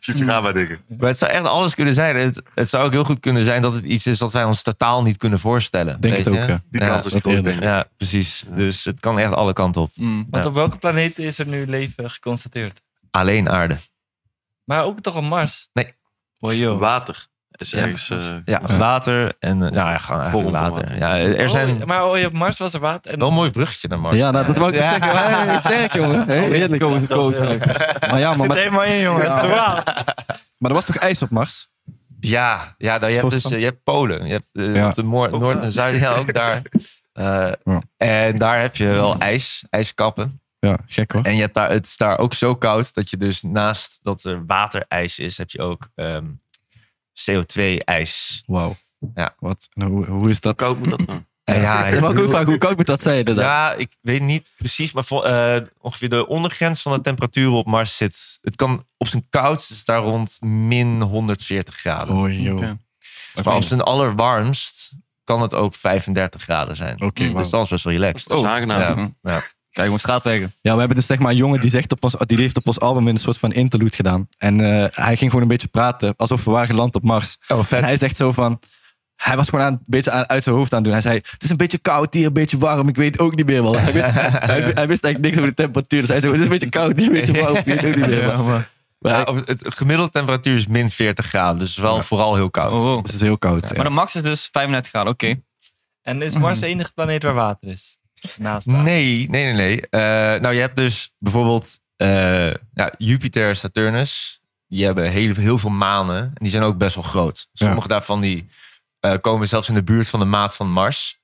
Speaker 6: Futurama dingen.
Speaker 7: maar het zou echt alles kunnen zijn. Het, het zou ook heel goed kunnen zijn dat het iets is dat wij ons totaal niet kunnen voorstellen.
Speaker 1: Denk
Speaker 7: Weet
Speaker 1: het
Speaker 7: je?
Speaker 1: ook, ja.
Speaker 6: Die
Speaker 7: Ja,
Speaker 6: kans is
Speaker 1: dat
Speaker 6: groot,
Speaker 1: eerder.
Speaker 6: denk ik.
Speaker 7: Ja, precies. Dus het kan echt alle kanten op.
Speaker 3: Want
Speaker 7: Ja.
Speaker 3: op welke planeet is er nu leven geconstateerd?
Speaker 7: Alleen aarde.
Speaker 3: Maar ook toch op Mars?
Speaker 7: Nee.
Speaker 3: Oh, joh.
Speaker 6: Water is ergens... eh,
Speaker 7: Ja, water en eh, nou ja, gewoon eigenlijk
Speaker 6: Vorm van
Speaker 7: water.
Speaker 6: water.
Speaker 7: Ja, Eh, er zijn
Speaker 3: Oh, maar oh, ja, op Mars was er water. En...
Speaker 7: wel een mooi bruggetje naar Mars.
Speaker 1: Ja, nou, dat wou ik net
Speaker 7: Ja.
Speaker 1: zeggen. Hey, sterk, jongen. Hey, heerlijk. Maar ja, maar,
Speaker 3: Zit
Speaker 1: maar,
Speaker 3: helemaal in, jongens.
Speaker 1: Ja.
Speaker 3: Normaal.
Speaker 1: maar er was toch ijs op Mars?
Speaker 7: Ja, ja daar, je hebt dus eh, je hebt Polen. Je hebt eh,
Speaker 1: Ja.
Speaker 7: op de moor- Noord- en Zuid, ja, ook daar. Eh,
Speaker 1: Ja.
Speaker 7: En daar heb je wel ijs, ijskappen.
Speaker 1: Ja, gek hoor.
Speaker 7: En je hebt daar, het is daar ook zo koud dat je dus naast dat er waterijs is, heb je ook ehm, CO2-ijs.
Speaker 1: Wauw.
Speaker 7: Ja.
Speaker 1: Wat? Nou, hoe, hoe is dat?
Speaker 6: Koud moet dat nou?
Speaker 7: En ja,
Speaker 1: Ja, maar ik ook vragen, hoe koud moet dat zijn inderdaad?
Speaker 7: Ja, ik weet niet precies, maar vol- eh, ongeveer de ondergrens van de temperaturen op Mars zit. Het kan op zijn koudst is daar rond min 140 graden. Dus
Speaker 1: Oei, joh.
Speaker 2: Oké.
Speaker 7: maar op zijn allerwarmst kan het ook 35 graden zijn.
Speaker 1: Oké, wauw. Hm.
Speaker 7: Dus dat is best wel relaxed.
Speaker 6: Dat is aangenaam.
Speaker 7: Ja.
Speaker 2: Kijk, gewoon straatwegen.
Speaker 1: Ja, we hebben dus zeg maar een jongen die, zegt op ons, die heeft op ons album een soort van interlude gedaan. En eh, hij ging gewoon een beetje praten, alsof we waren geland op Mars.
Speaker 7: Oh,
Speaker 1: En
Speaker 7: vet.
Speaker 1: hij zegt zo van... Hij was gewoon aan, een beetje aan- uit zijn hoofd aan het doen. Hij zei, het is een beetje koud hier, een beetje warm. Ik weet ook niet meer wat. Hij wist, hij, hij wist eigenlijk niks over de temperatuur. Dus hij zei, het is een beetje koud hier, een beetje warm. Ik weet ook niet meer wat. Maar
Speaker 7: Ja,
Speaker 1: hij-
Speaker 7: op- het gemiddelde temperatuur is min 40 graden, dus wel vooral heel koud.
Speaker 2: Oh, wow.
Speaker 1: het is heel koud. ja.
Speaker 2: Maar de max is dus 35 graden, oké.
Speaker 3: En is Mars de enige planeet waar water is? Naast aarde.
Speaker 7: Nee, nee, nee, nee. Eh, nou, je hebt dus bijvoorbeeld eh, ja, Jupiter, Saturnus. Die hebben heel, heel veel manen. En die zijn ook best wel groot. Sommige daarvan die, eh, komen zelfs in de buurt van de maat van Mars.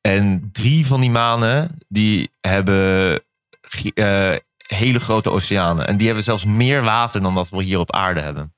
Speaker 7: En drie van die manen die hebben gi- eh, hele grote oceanen. En die hebben zelfs meer water dan dat we hier op aarde hebben.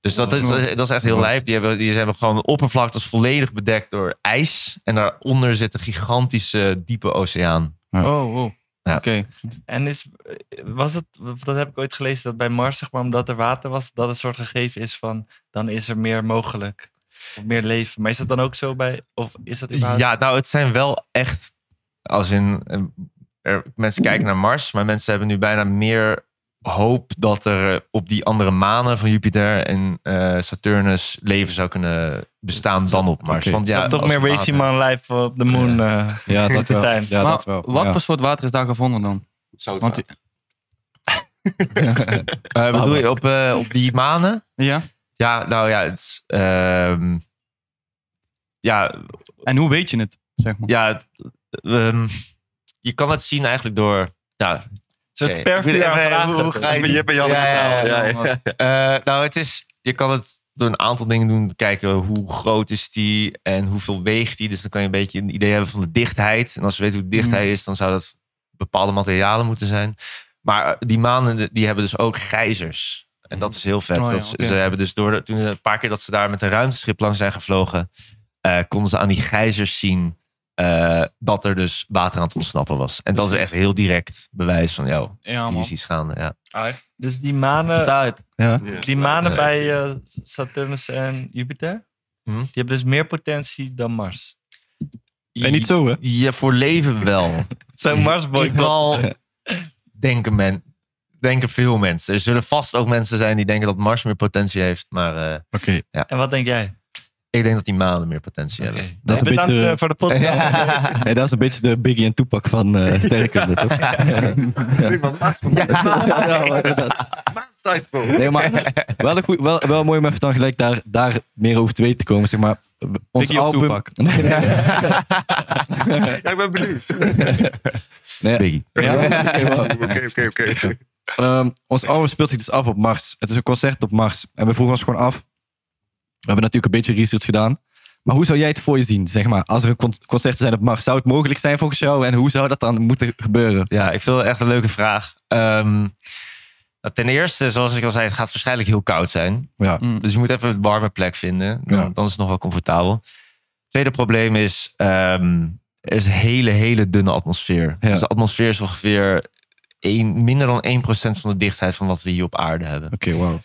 Speaker 7: Dus dat is, dat is echt heel lijp. Die hebben, die hebben gewoon oppervlaktes volledig bedekt door ijs. En daaronder zit een gigantische diepe oceaan.
Speaker 2: Oh, wow.
Speaker 7: Ja.
Speaker 2: Oké.
Speaker 3: En is, eh, was het, dat heb ik ooit gelezen, dat bij Mars, zeg maar, omdat er water was, dat een soort gegeven is van, dan is er meer mogelijk. Of meer leven. Maar is dat dan ook zo bij, of is dat überhaupt...
Speaker 7: Ja, nou, het zijn wel echt. Als in. eh, er- mensen kijken naar Mars, maar mensen hebben nu bijna meer hoop dat er eh, op die andere manen van Jupiter en eh, Saturnus leven zou kunnen bestaan dan op Mars.
Speaker 1: Oké.
Speaker 7: Want
Speaker 3: is
Speaker 7: ja,
Speaker 3: dat toch
Speaker 7: als
Speaker 3: meer
Speaker 7: het
Speaker 3: Wavy
Speaker 7: water-
Speaker 3: Man life op de moon? eh?
Speaker 1: ja, dat wel.
Speaker 3: zijn.
Speaker 1: Ja,
Speaker 2: maar
Speaker 1: dat wel.
Speaker 2: wat
Speaker 1: Ja.
Speaker 2: voor soort water is daar gevonden dan?
Speaker 6: Zout
Speaker 2: Want,
Speaker 7: Eh, wat bedoel je op, eh, op die manen?
Speaker 2: ja?
Speaker 7: Ja, nou ja, het is, ehm, ja,
Speaker 2: En hoe weet je het, zeg maar?
Speaker 7: ja het, ehm, je kan het zien eigenlijk door. Ja,
Speaker 3: Een soort
Speaker 7: Oké.
Speaker 3: perfide
Speaker 7: Hoe-
Speaker 3: vraag.
Speaker 7: hoe- hoe ga je-
Speaker 6: Je hebt een Jan
Speaker 7: Ja, ja,
Speaker 6: vertaald.
Speaker 7: ja,
Speaker 6: Ja, ja.
Speaker 7: Eh, nou, het is, je kan het door een aantal dingen doen. Kijken hoe groot is die en hoeveel weegt die. Dus dan kan je een beetje een idee hebben van de dichtheid. En als je weet hoe dicht
Speaker 2: Mm.
Speaker 7: hij is, dan zou dat bepaalde materialen moeten zijn. Maar eh, die manen die hebben dus ook gijzers. En dat is heel vet.
Speaker 2: Oh ja,
Speaker 7: dat ze,
Speaker 2: oké.
Speaker 7: ze hebben dus door, de- toen ze- een paar keer dat ze daar met een ruimteschip langs zijn gevlogen, eh, konden ze aan die gijzers zien eh, dat er dus water aan het ontsnappen was. En dat is echt heel direct bewijs van, jou.
Speaker 2: Ja,
Speaker 7: hier is iets gaande. Ja.
Speaker 3: Dus die manen,
Speaker 2: Daaruit.
Speaker 3: die manen bij eh, Saturnus en Jupiter,
Speaker 7: Hm?
Speaker 3: die hebben dus meer potentie dan Mars.
Speaker 1: En niet zo, hè?
Speaker 7: Ja, voor leven wel.
Speaker 3: Zo'n Marsboy.
Speaker 7: Ik wel denken, men, denken veel mensen. Er zullen vast ook mensen zijn die denken dat Mars meer potentie heeft. Maar eh,
Speaker 1: Oké.
Speaker 3: En wat denk jij?
Speaker 7: ik denk dat die maanden meer potentie
Speaker 3: Oké.
Speaker 7: hebben.
Speaker 1: Dat is een
Speaker 3: Bedankt
Speaker 1: beetje-
Speaker 3: eh, voor de podcast.
Speaker 1: Nee, dat is een beetje de Biggie en Tupac van eh sterrenkunde, toch?
Speaker 6: Nee, maar Mars komt
Speaker 1: Ja, maar inderdaad.
Speaker 6: uit, bro.
Speaker 1: Nee, maar wel, een goeie- wel, wel mooi om even dan gelijk daar, daar meer over te weten te komen. Zeg maar, ons
Speaker 2: Biggie of
Speaker 1: album,
Speaker 2: Tupac?
Speaker 1: Nee, nee.
Speaker 6: Ja, ik ben benieuwd.
Speaker 1: Nee.
Speaker 7: Biggie.
Speaker 1: Ja.
Speaker 6: Oké, oké, oké.
Speaker 1: Ehm, ons album speelt zich dus af op Mars. Het is een concert op Mars. En we vroegen ons gewoon af. We hebben natuurlijk een beetje research gedaan. Maar hoe zou jij het voor je zien, zeg maar? Als er een con- concerten zijn op Mars, zou het mogelijk zijn volgens jou? En hoe zou dat dan moeten gebeuren?
Speaker 7: Ja, ik vind het echt een leuke vraag. Ehm, nou, ten eerste, zoals ik al zei, het gaat waarschijnlijk heel koud zijn.
Speaker 1: Ja.
Speaker 2: Mm.
Speaker 7: Dus je moet even een warme plek vinden. Dan,
Speaker 1: Ja.
Speaker 7: dan is het nog wel comfortabel. Tweede probleem is, ehm, er is een hele, hele dunne atmosfeer.
Speaker 1: Ja.
Speaker 7: Dus de atmosfeer is ongeveer één- minder dan 1% van de dichtheid van wat we hier op aarde hebben.
Speaker 1: Oké, wauw.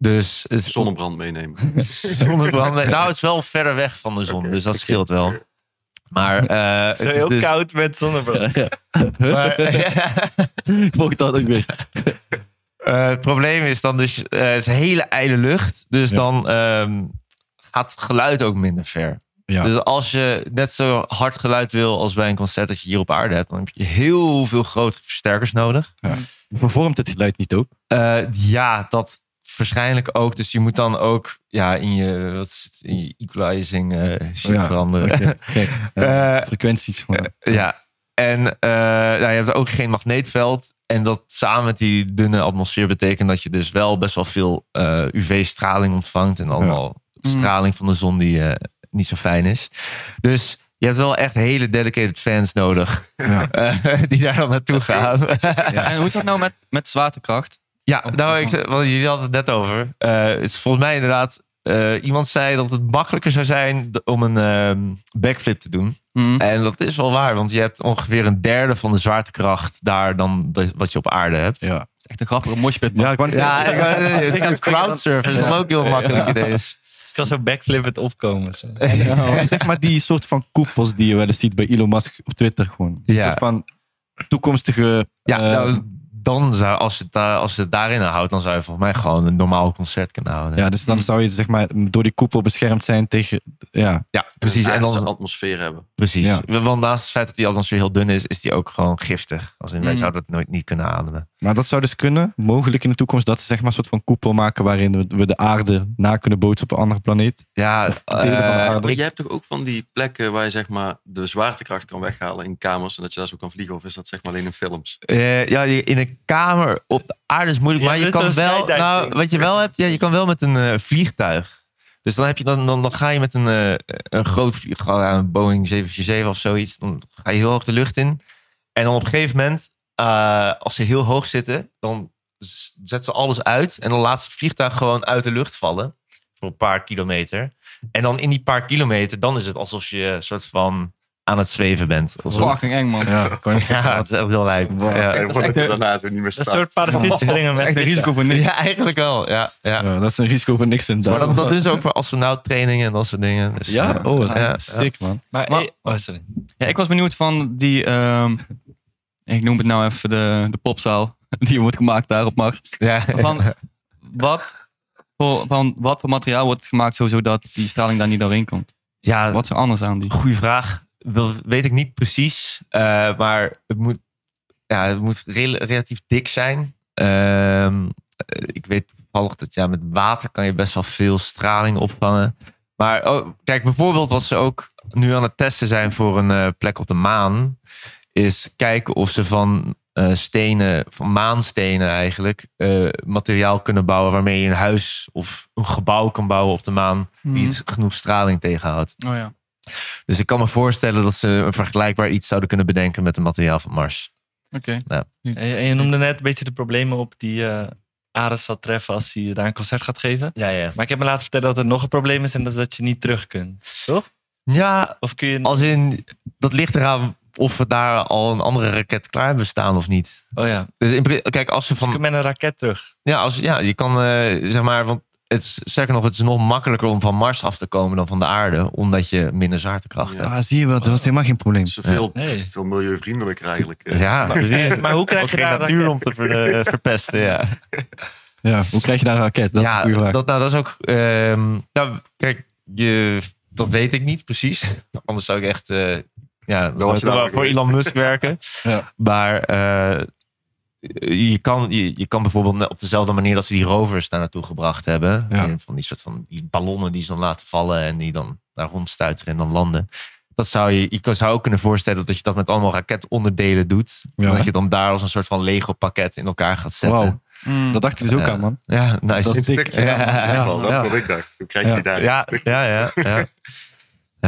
Speaker 7: Dus het is
Speaker 6: Zonnebrand meenemen.
Speaker 7: zonnebrand. nou, het is wel verder weg van de zon, dus dat scheelt wel. Maar eh, het is
Speaker 3: heel
Speaker 7: dus-
Speaker 3: koud met zonnebrand.
Speaker 7: maar-
Speaker 1: Volg dat ook weer.
Speaker 7: Eh, het probleem is dan dus, eh, het is hele ijle lucht. Dus dan ehm, gaat het geluid ook minder ver.
Speaker 1: Ja.
Speaker 7: Dus als je net zo hard geluid wil als bij een concert dat je hier op aarde hebt, dan heb je heel veel grotere versterkers nodig.
Speaker 1: Vervormt het geluid niet ook?
Speaker 7: Eh, ja, dat waarschijnlijk ook. Dus je moet dan ook ja, in, je, wat is het, in je equalizing eh shit
Speaker 1: Oh Ja,
Speaker 7: veranderen.
Speaker 1: Kijk,
Speaker 7: Eh,
Speaker 1: frequenties gewoon.
Speaker 7: ja. En eh, nou, je hebt ook geen magneetveld. En dat samen met die dunne atmosfeer betekent dat je dus wel best wel veel eh, UV-straling ontvangt. En allemaal straling van de zon die eh, niet zo fijn is. Dus je hebt wel echt hele dedicated fans nodig.
Speaker 1: Ja.
Speaker 7: eh, die daar dan naartoe gaan.
Speaker 2: En hoe is dat nou met, met zwaartekracht?
Speaker 7: ja, nou, ik, ze- want jullie hadden het net over. Eh, het is volgens mij inderdaad. eh, iemand zei dat het makkelijker zou zijn d- om een ehm, backflip te doen.
Speaker 2: Mm.
Speaker 7: En dat is wel waar, want je hebt ongeveer een derde van de zwaartekracht daar dan de- wat je op aarde hebt.
Speaker 1: Ja.
Speaker 2: Echt een grappige moshpit.
Speaker 1: Ja, ik wou net
Speaker 7: Ja, ik wou- het is een crowdsurfer, is dan ook heel makkelijk idee. is.
Speaker 3: Ik kan zo backflippend opkomen. zo.
Speaker 1: zeggen, eh, zeg maar die soort van koepels die je wel eens ziet bij Elon Musk op Twitter gewoon. Een
Speaker 7: Ja.
Speaker 1: soort van toekomstige...
Speaker 7: Ja,
Speaker 1: eh,
Speaker 7: nou, dan zou, als je het, daar- als je het daarin houdt, dan zou je volgens mij gewoon een normaal concert kunnen houden.
Speaker 1: ja, dus dan zou je zeg maar door die koepel beschermd zijn tegen... Ja,
Speaker 7: Ja, precies. En
Speaker 6: Aardse
Speaker 7: dan,
Speaker 6: atmosfeer hebben.
Speaker 7: precies.
Speaker 1: Ja.
Speaker 7: Want naast het feit dat die atmosfeer heel dun is, is die ook gewoon giftig. Als in, wij
Speaker 2: Mm.
Speaker 7: zouden dat nooit niet kunnen ademen.
Speaker 1: Maar dat zou dus kunnen, mogelijk in de toekomst, dat ze zeg maar een soort van koepel maken waarin we- we de aarde na kunnen bootsen op een andere planeet.
Speaker 7: Ja,
Speaker 1: Of delen van de
Speaker 7: eh,
Speaker 1: aarde.
Speaker 6: Maar jij hebt toch ook van die plekken waar je zeg maar de zwaartekracht kan weghalen in kamers en dat je daar zo kan vliegen? Of is dat zeg maar alleen in films?
Speaker 7: Eh, ja, je- in een kamer op de aarde is moeilijk.
Speaker 3: Ja,
Speaker 7: maar je
Speaker 3: dit
Speaker 7: kan
Speaker 3: was
Speaker 7: wel.
Speaker 3: skydiving.
Speaker 7: Nou, wat je wel hebt, ja, je kan wel met een eh, vliegtuig. Dus dan, heb je dan, dan, dan ga je met een, eh, een groot vliegtuig, een Boeing 747 of zoiets. Dan ga je heel hoog de lucht in. En dan op een gegeven moment, eh, als ze heel hoog zitten, dan z- zet ze alles uit. En dan laat ze het vliegtuig gewoon uit de lucht vallen. Voor een paar kilometer. En dan in die paar kilometer, dan is het alsof je een soort van aan het zweven bent. Of zo.
Speaker 2: Fucking eng, man.
Speaker 1: Ja, kan je
Speaker 7: Ja, het is echt heel lijp. Ja.
Speaker 6: En dat je daarna zo niet meer
Speaker 3: Dat is
Speaker 6: staat.
Speaker 3: een soort parachutespringen met
Speaker 2: Echt een risico voor niks.
Speaker 7: Ja, eigenlijk wel. Ja, ja.
Speaker 1: Ja, dat is een risico voor niks in
Speaker 7: Maar dat, dat is ook voor astronauttrainingen en dat soort dingen. Dus,
Speaker 1: Ja, oh,
Speaker 7: ja, ja.
Speaker 1: sick man.
Speaker 3: Maar,
Speaker 2: Maar-
Speaker 3: oh, sorry.
Speaker 2: Ja, ik was benieuwd van die, ehm, ik noem het nou even de, de popzaal, die wordt gemaakt daar op Mars.
Speaker 7: Ja.
Speaker 2: Van wat, voor, van wat voor materiaal wordt het gemaakt sowieso dat die straling daar niet doorheen komt?
Speaker 7: ja,
Speaker 2: Wat is er anders aan die?
Speaker 7: goede vraag. Wil- weet ik niet precies. eh, maar het moet, ja, het moet rel- relatief dik zijn. Ehm, eh, ik weet toevallig dat ja, met water kan je best wel veel straling opvangen. Maar oh, kijk, bijvoorbeeld wat ze ook nu aan het testen zijn voor een eh, plek op de maan. Is kijken of ze van eh, stenen, van maanstenen eigenlijk, eh, materiaal kunnen bouwen waarmee je een huis of een gebouw kan bouwen op de maan. Die het genoeg straling tegenhoudt.
Speaker 2: Oh ja.
Speaker 7: Dus ik kan me voorstellen dat ze een vergelijkbaar iets zouden kunnen bedenken met het materiaal van Mars.
Speaker 2: Oké.
Speaker 3: En je, en je noemde net een beetje de problemen op die eh Ares zal treffen als hij daar een concert gaat geven.
Speaker 7: Ja, ja.
Speaker 3: Maar ik heb me laten vertellen dat er nog een probleem is en dat is dat je niet terug kunt.
Speaker 7: Ja,
Speaker 3: Of kun je...
Speaker 7: als in, dat ligt eraan of we daar al een andere raket klaar hebben staan of niet.
Speaker 3: Oh ja,
Speaker 7: Dus in, pri- kijk, als ze
Speaker 3: dus je
Speaker 7: van.
Speaker 3: kunt met een raket terug.
Speaker 7: Ja, als, ja je kan eh, zeg maar. Want het is, sterker nog, het is nog makkelijker om van Mars af te komen dan van de aarde, omdat je minder zwaartekracht
Speaker 6: Ja.
Speaker 7: hebt.
Speaker 1: Ah, zie je wel, dat was helemaal geen probleem.
Speaker 6: Dat is veel,
Speaker 3: Nee.
Speaker 6: veel milieuvriendelijker eigenlijk. eh.
Speaker 7: Ja, precies.
Speaker 3: Maar hoe krijg
Speaker 7: Ook
Speaker 3: je
Speaker 7: geen
Speaker 3: daar een
Speaker 7: natuur om te ver- eh, verpesten, ja.
Speaker 1: Ja, hoe krijg je daar een raket? Dat is een
Speaker 7: ja,
Speaker 1: goede vraag.
Speaker 7: Dat, nou, dat is ook. ehm, nou, kijk, je, dat weet ik niet precies. Anders zou ik echt. eh, ja, dan zou ik
Speaker 6: was je daar
Speaker 7: wel
Speaker 6: ook
Speaker 7: voor
Speaker 6: geweest.
Speaker 7: Elon Musk werken.
Speaker 1: Ja.
Speaker 7: Maar eh, je, kan, je, je kan bijvoorbeeld op dezelfde manier dat ze die rovers daar naartoe gebracht hebben.
Speaker 1: Ja.
Speaker 7: En Van die soort van die ballonnen die ze dan laten vallen en die dan daar rondstuiteren en dan landen. Dat zou je, je kan- zou ook kunnen voorstellen dat je dat met allemaal raketonderdelen doet.
Speaker 1: Ja,
Speaker 7: en
Speaker 1: hè?
Speaker 7: dat je dan daar als een soort van Lego pakket in elkaar gaat zetten.
Speaker 1: Wauw. Dat dacht ik dus ook
Speaker 7: Ja.
Speaker 1: aan, man.
Speaker 7: Ja, nice.
Speaker 1: Dat is
Speaker 6: Een
Speaker 1: dik.
Speaker 6: Mm. stukje, ja.
Speaker 7: Ja.
Speaker 6: Ja, wel, dat
Speaker 1: Ja.
Speaker 6: is wat ik dacht. Hoe krijg
Speaker 1: Ja.
Speaker 6: je die daar?
Speaker 7: Ja,
Speaker 6: Stukjes.
Speaker 7: ja, ja, ja.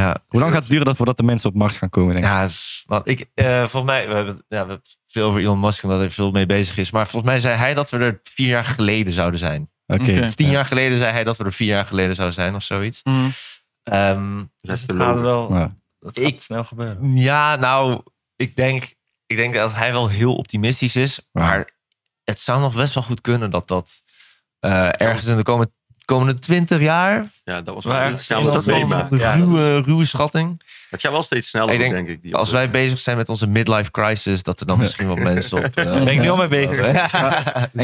Speaker 7: ja.
Speaker 1: Hoe lang gaat het duren dat- voordat de mensen op Mars gaan komen, denk ik?
Speaker 7: Ja, het is- want ik, eh, volgens mij, we hebben, ja, we hebben het veel over Elon Musk en dat hij veel mee bezig is. Maar volgens mij zei hij dat we er vier jaar geleden zouden zijn.
Speaker 1: Oké.
Speaker 2: Oké.
Speaker 7: Dus tien jaar geleden zei hij dat we er vier jaar geleden zouden zijn of zoiets.
Speaker 2: Mm.
Speaker 7: Ehm,
Speaker 6: Dat is te
Speaker 3: We hadden
Speaker 6: lopen.
Speaker 3: wel,
Speaker 1: Ja.
Speaker 3: dat gaat
Speaker 7: Ik-
Speaker 3: snel gebeuren.
Speaker 7: ja, nou, ik denk, ik denk dat hij wel heel optimistisch is. Maar het zou nog best wel goed kunnen dat dat eh, ergens in de komende, komende 20 jaar.
Speaker 6: Ja, dat was
Speaker 3: Maar
Speaker 6: wel
Speaker 3: ergens
Speaker 6: gaan
Speaker 3: is
Speaker 6: we
Speaker 7: is
Speaker 6: dat
Speaker 7: dat wel
Speaker 6: meemaken.
Speaker 7: een
Speaker 6: Ja,
Speaker 7: ruwe, ruwe schatting.
Speaker 6: Het gaat wel steeds sneller,
Speaker 7: Ik denk,
Speaker 6: denk ik. die
Speaker 7: Als wij bezig zijn met onze midlife crisis, dat er dan misschien wat mensen op. eh, ben ik nu al mee bezig.
Speaker 1: En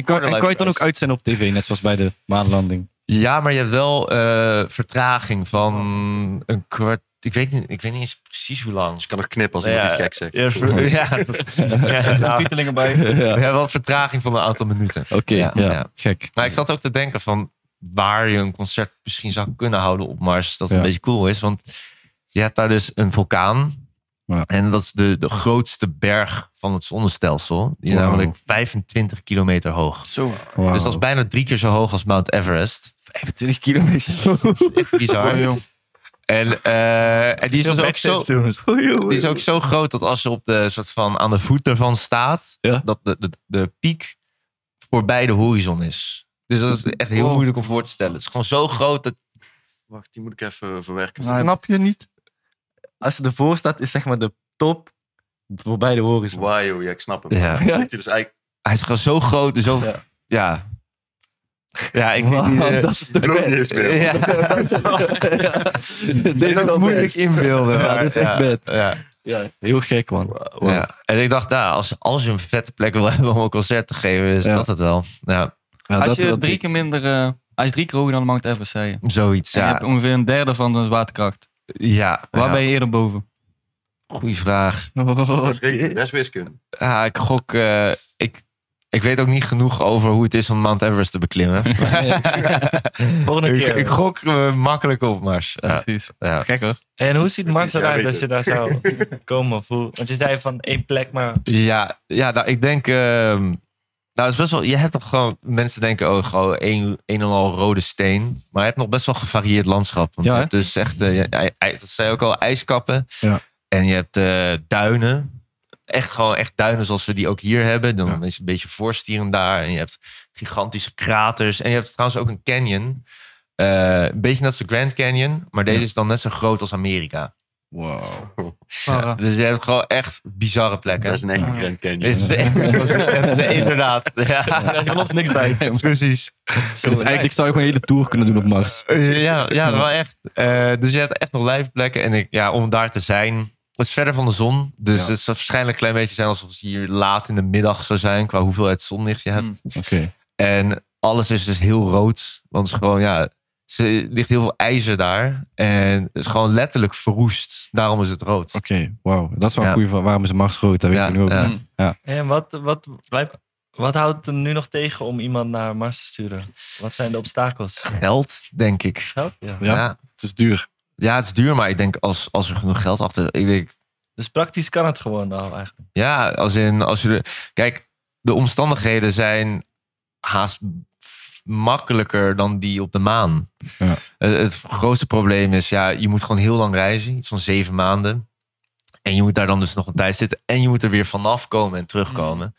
Speaker 1: kan, en kan je het dan ook uitzenden op tv, net zoals bij de maanlanding?
Speaker 7: Ja, maar je hebt wel eh, vertraging van een kwart. Ik weet, niet, ik weet niet eens precies hoe lang.
Speaker 6: Dus ik kan nog knippen als iemand
Speaker 7: Ja,
Speaker 6: iets gek zegt.
Speaker 7: Ja, ver- ja, dat is precies. Ja, nou,
Speaker 3: Piepelingen bij.
Speaker 7: we hebben wel vertraging van een aantal minuten.
Speaker 1: Oké,
Speaker 7: Ja,
Speaker 1: ja,
Speaker 7: ja.
Speaker 1: gek.
Speaker 7: Maar Nou, ik zat ook te denken van waar je een concert misschien zou kunnen houden op Mars. Dat
Speaker 1: Ja.
Speaker 7: een beetje cool is. Want je hebt daar dus een vulkaan.
Speaker 1: Ja.
Speaker 7: En dat is de, de grootste berg van het zonnestelsel. Die is
Speaker 1: Wow.
Speaker 7: namelijk 25 kilometer hoog.
Speaker 2: Zo.
Speaker 1: Wauw.
Speaker 7: Dus dat is bijna drie keer zo hoog als Mount Everest.
Speaker 2: 25 kilometer.
Speaker 7: Bizar.
Speaker 2: Oh, joh.
Speaker 7: En, eh, en die, is dus ook zo,
Speaker 2: joh.
Speaker 7: die is ook zo groot dat als je op de, soort van, aan de voet ervan staat,
Speaker 1: Ja.
Speaker 7: dat de, de, de piek voorbij de horizon is. Dus dat is echt heel
Speaker 2: Wow.
Speaker 7: moeilijk om voor te stellen. Het is gewoon zo groot dat.
Speaker 6: Wacht, die moet ik even verwerken.
Speaker 1: Snap je niet? Als je ervoor staat, is zeg maar de top voorbij de horizon.
Speaker 6: Wauw, ja, ik snap hem.
Speaker 7: Ja.
Speaker 6: Ja. Ligt hij dus eigenlijk
Speaker 7: Hij is gewoon zo groot. dus Zo, ja.
Speaker 1: Ja.
Speaker 7: ja. ik weet
Speaker 1: Wauw,
Speaker 7: niet, eh,
Speaker 1: dat is
Speaker 6: ik
Speaker 1: toch
Speaker 6: loop niet eens meer.
Speaker 7: ja. Dit is moeilijk inbeelden.
Speaker 1: Ja,
Speaker 7: maar
Speaker 1: dit is echt bad.
Speaker 7: Ja.
Speaker 1: Ja, heel gek, man.
Speaker 7: Ja. En ik dacht, nou, als, als je een vette plek wil hebben om een concert te geven, is
Speaker 1: Ja.
Speaker 7: dat het wel. Ja,
Speaker 1: Ja,
Speaker 2: Als
Speaker 1: dat-
Speaker 2: je
Speaker 1: dat-
Speaker 2: drie keer minder... eh, hij is drie keer hoger dan de Mount Everest, zei je. En
Speaker 7: zoiets.
Speaker 2: je
Speaker 7: Ja,
Speaker 2: hebt ongeveer een derde van de zwaartekracht.
Speaker 7: ja.
Speaker 2: Waar
Speaker 7: ja.
Speaker 2: ben je eerder boven?
Speaker 7: Goeie vraag.
Speaker 6: Dat is rekening, dat is wiskunde.
Speaker 7: Ja, ik gok. eh, ik, ik weet ook niet genoeg over hoe het is om Mount Everest te beklimmen.
Speaker 3: Volgende
Speaker 7: ik, ik
Speaker 3: keer.
Speaker 7: gok eh, makkelijk op Mars. Ja,
Speaker 2: Precies.
Speaker 7: ja.
Speaker 2: Gek hoor.
Speaker 3: En hoe ziet Mars
Speaker 6: ja,
Speaker 3: eruit
Speaker 6: weet
Speaker 3: als je daar zou komen? Of hoe- Want je zei van één plek, maar
Speaker 7: ja, ja, nou, ik denk. ehm, nou, het is best wel. Je hebt toch gewoon. Mensen denken, oh, gewoon een, een en al rode steen. Maar je hebt nog best wel gevarieerd landschap. Want je
Speaker 1: Ja, hè?
Speaker 7: hebt dus echt. eh, je- ij- ij- dat zei je ook al, ijskappen.
Speaker 1: Ja.
Speaker 7: En je hebt eh, duinen. Echt gewoon echt duinen zoals we die ook hier hebben. Dan is het een beetje voorstieren daar. En je hebt gigantische kraters. En je hebt trouwens ook een canyon. Eh, een beetje net als de Grand Canyon. Maar deze is dan net zo groot als Amerika.
Speaker 2: Sarah.
Speaker 7: Dus je hebt gewoon echt bizarre plekken.
Speaker 6: Dat is een echte Grand Canyon.
Speaker 7: Is het echt- inderdaad. Ja,
Speaker 2: Daar klopt niks bij.
Speaker 7: precies.
Speaker 1: dus eigenlijk zou je gewoon een hele tour kunnen doen op Mars.
Speaker 7: Eh, Ja, ja wel echt. Eh, dus je hebt echt nog lijfplekken. En ik, ja, om daar te zijn. Het is verder van de zon. Dus het zou waarschijnlijk een klein beetje zijn alsof het hier laat in de middag zou zijn. Qua hoeveelheid zonlicht je hebt.
Speaker 2: Hmm.
Speaker 1: Oké.
Speaker 7: En alles is dus heel rood. Want het is gewoon, ja. ze- Er ligt heel veel ijzer daar. En het is gewoon letterlijk verroest. Daarom is het rood.
Speaker 1: Oké, wauw. Oh, Dat is wel een
Speaker 7: Ja.
Speaker 1: goede van waarom is Mars groot? Dat weet
Speaker 7: Ja,
Speaker 1: ik nu ook.
Speaker 7: ja.
Speaker 1: niet.
Speaker 3: en wat, wat, wat, houdt hem nu nog tegen om iemand naar Mars te sturen? Wat zijn de obstakels?
Speaker 7: Geld, denk ik.
Speaker 3: Geld? Ja.
Speaker 1: Ja.
Speaker 7: ja.
Speaker 1: Het is duur.
Speaker 7: Ja, het is duur, maar ik denk als, als er genoeg geld achter. Ik denk,
Speaker 3: Dus praktisch kan het gewoon nou eigenlijk.
Speaker 7: ja, als in als je. de- Kijk, de omstandigheden zijn haast makkelijker dan die op de maan.
Speaker 1: Ja.
Speaker 7: Het, het grootste probleem is, ja, je moet gewoon heel lang reizen, iets van zeven maanden. En je moet daar dan dus nog een tijd zitten. En je moet er weer vanaf komen en terugkomen.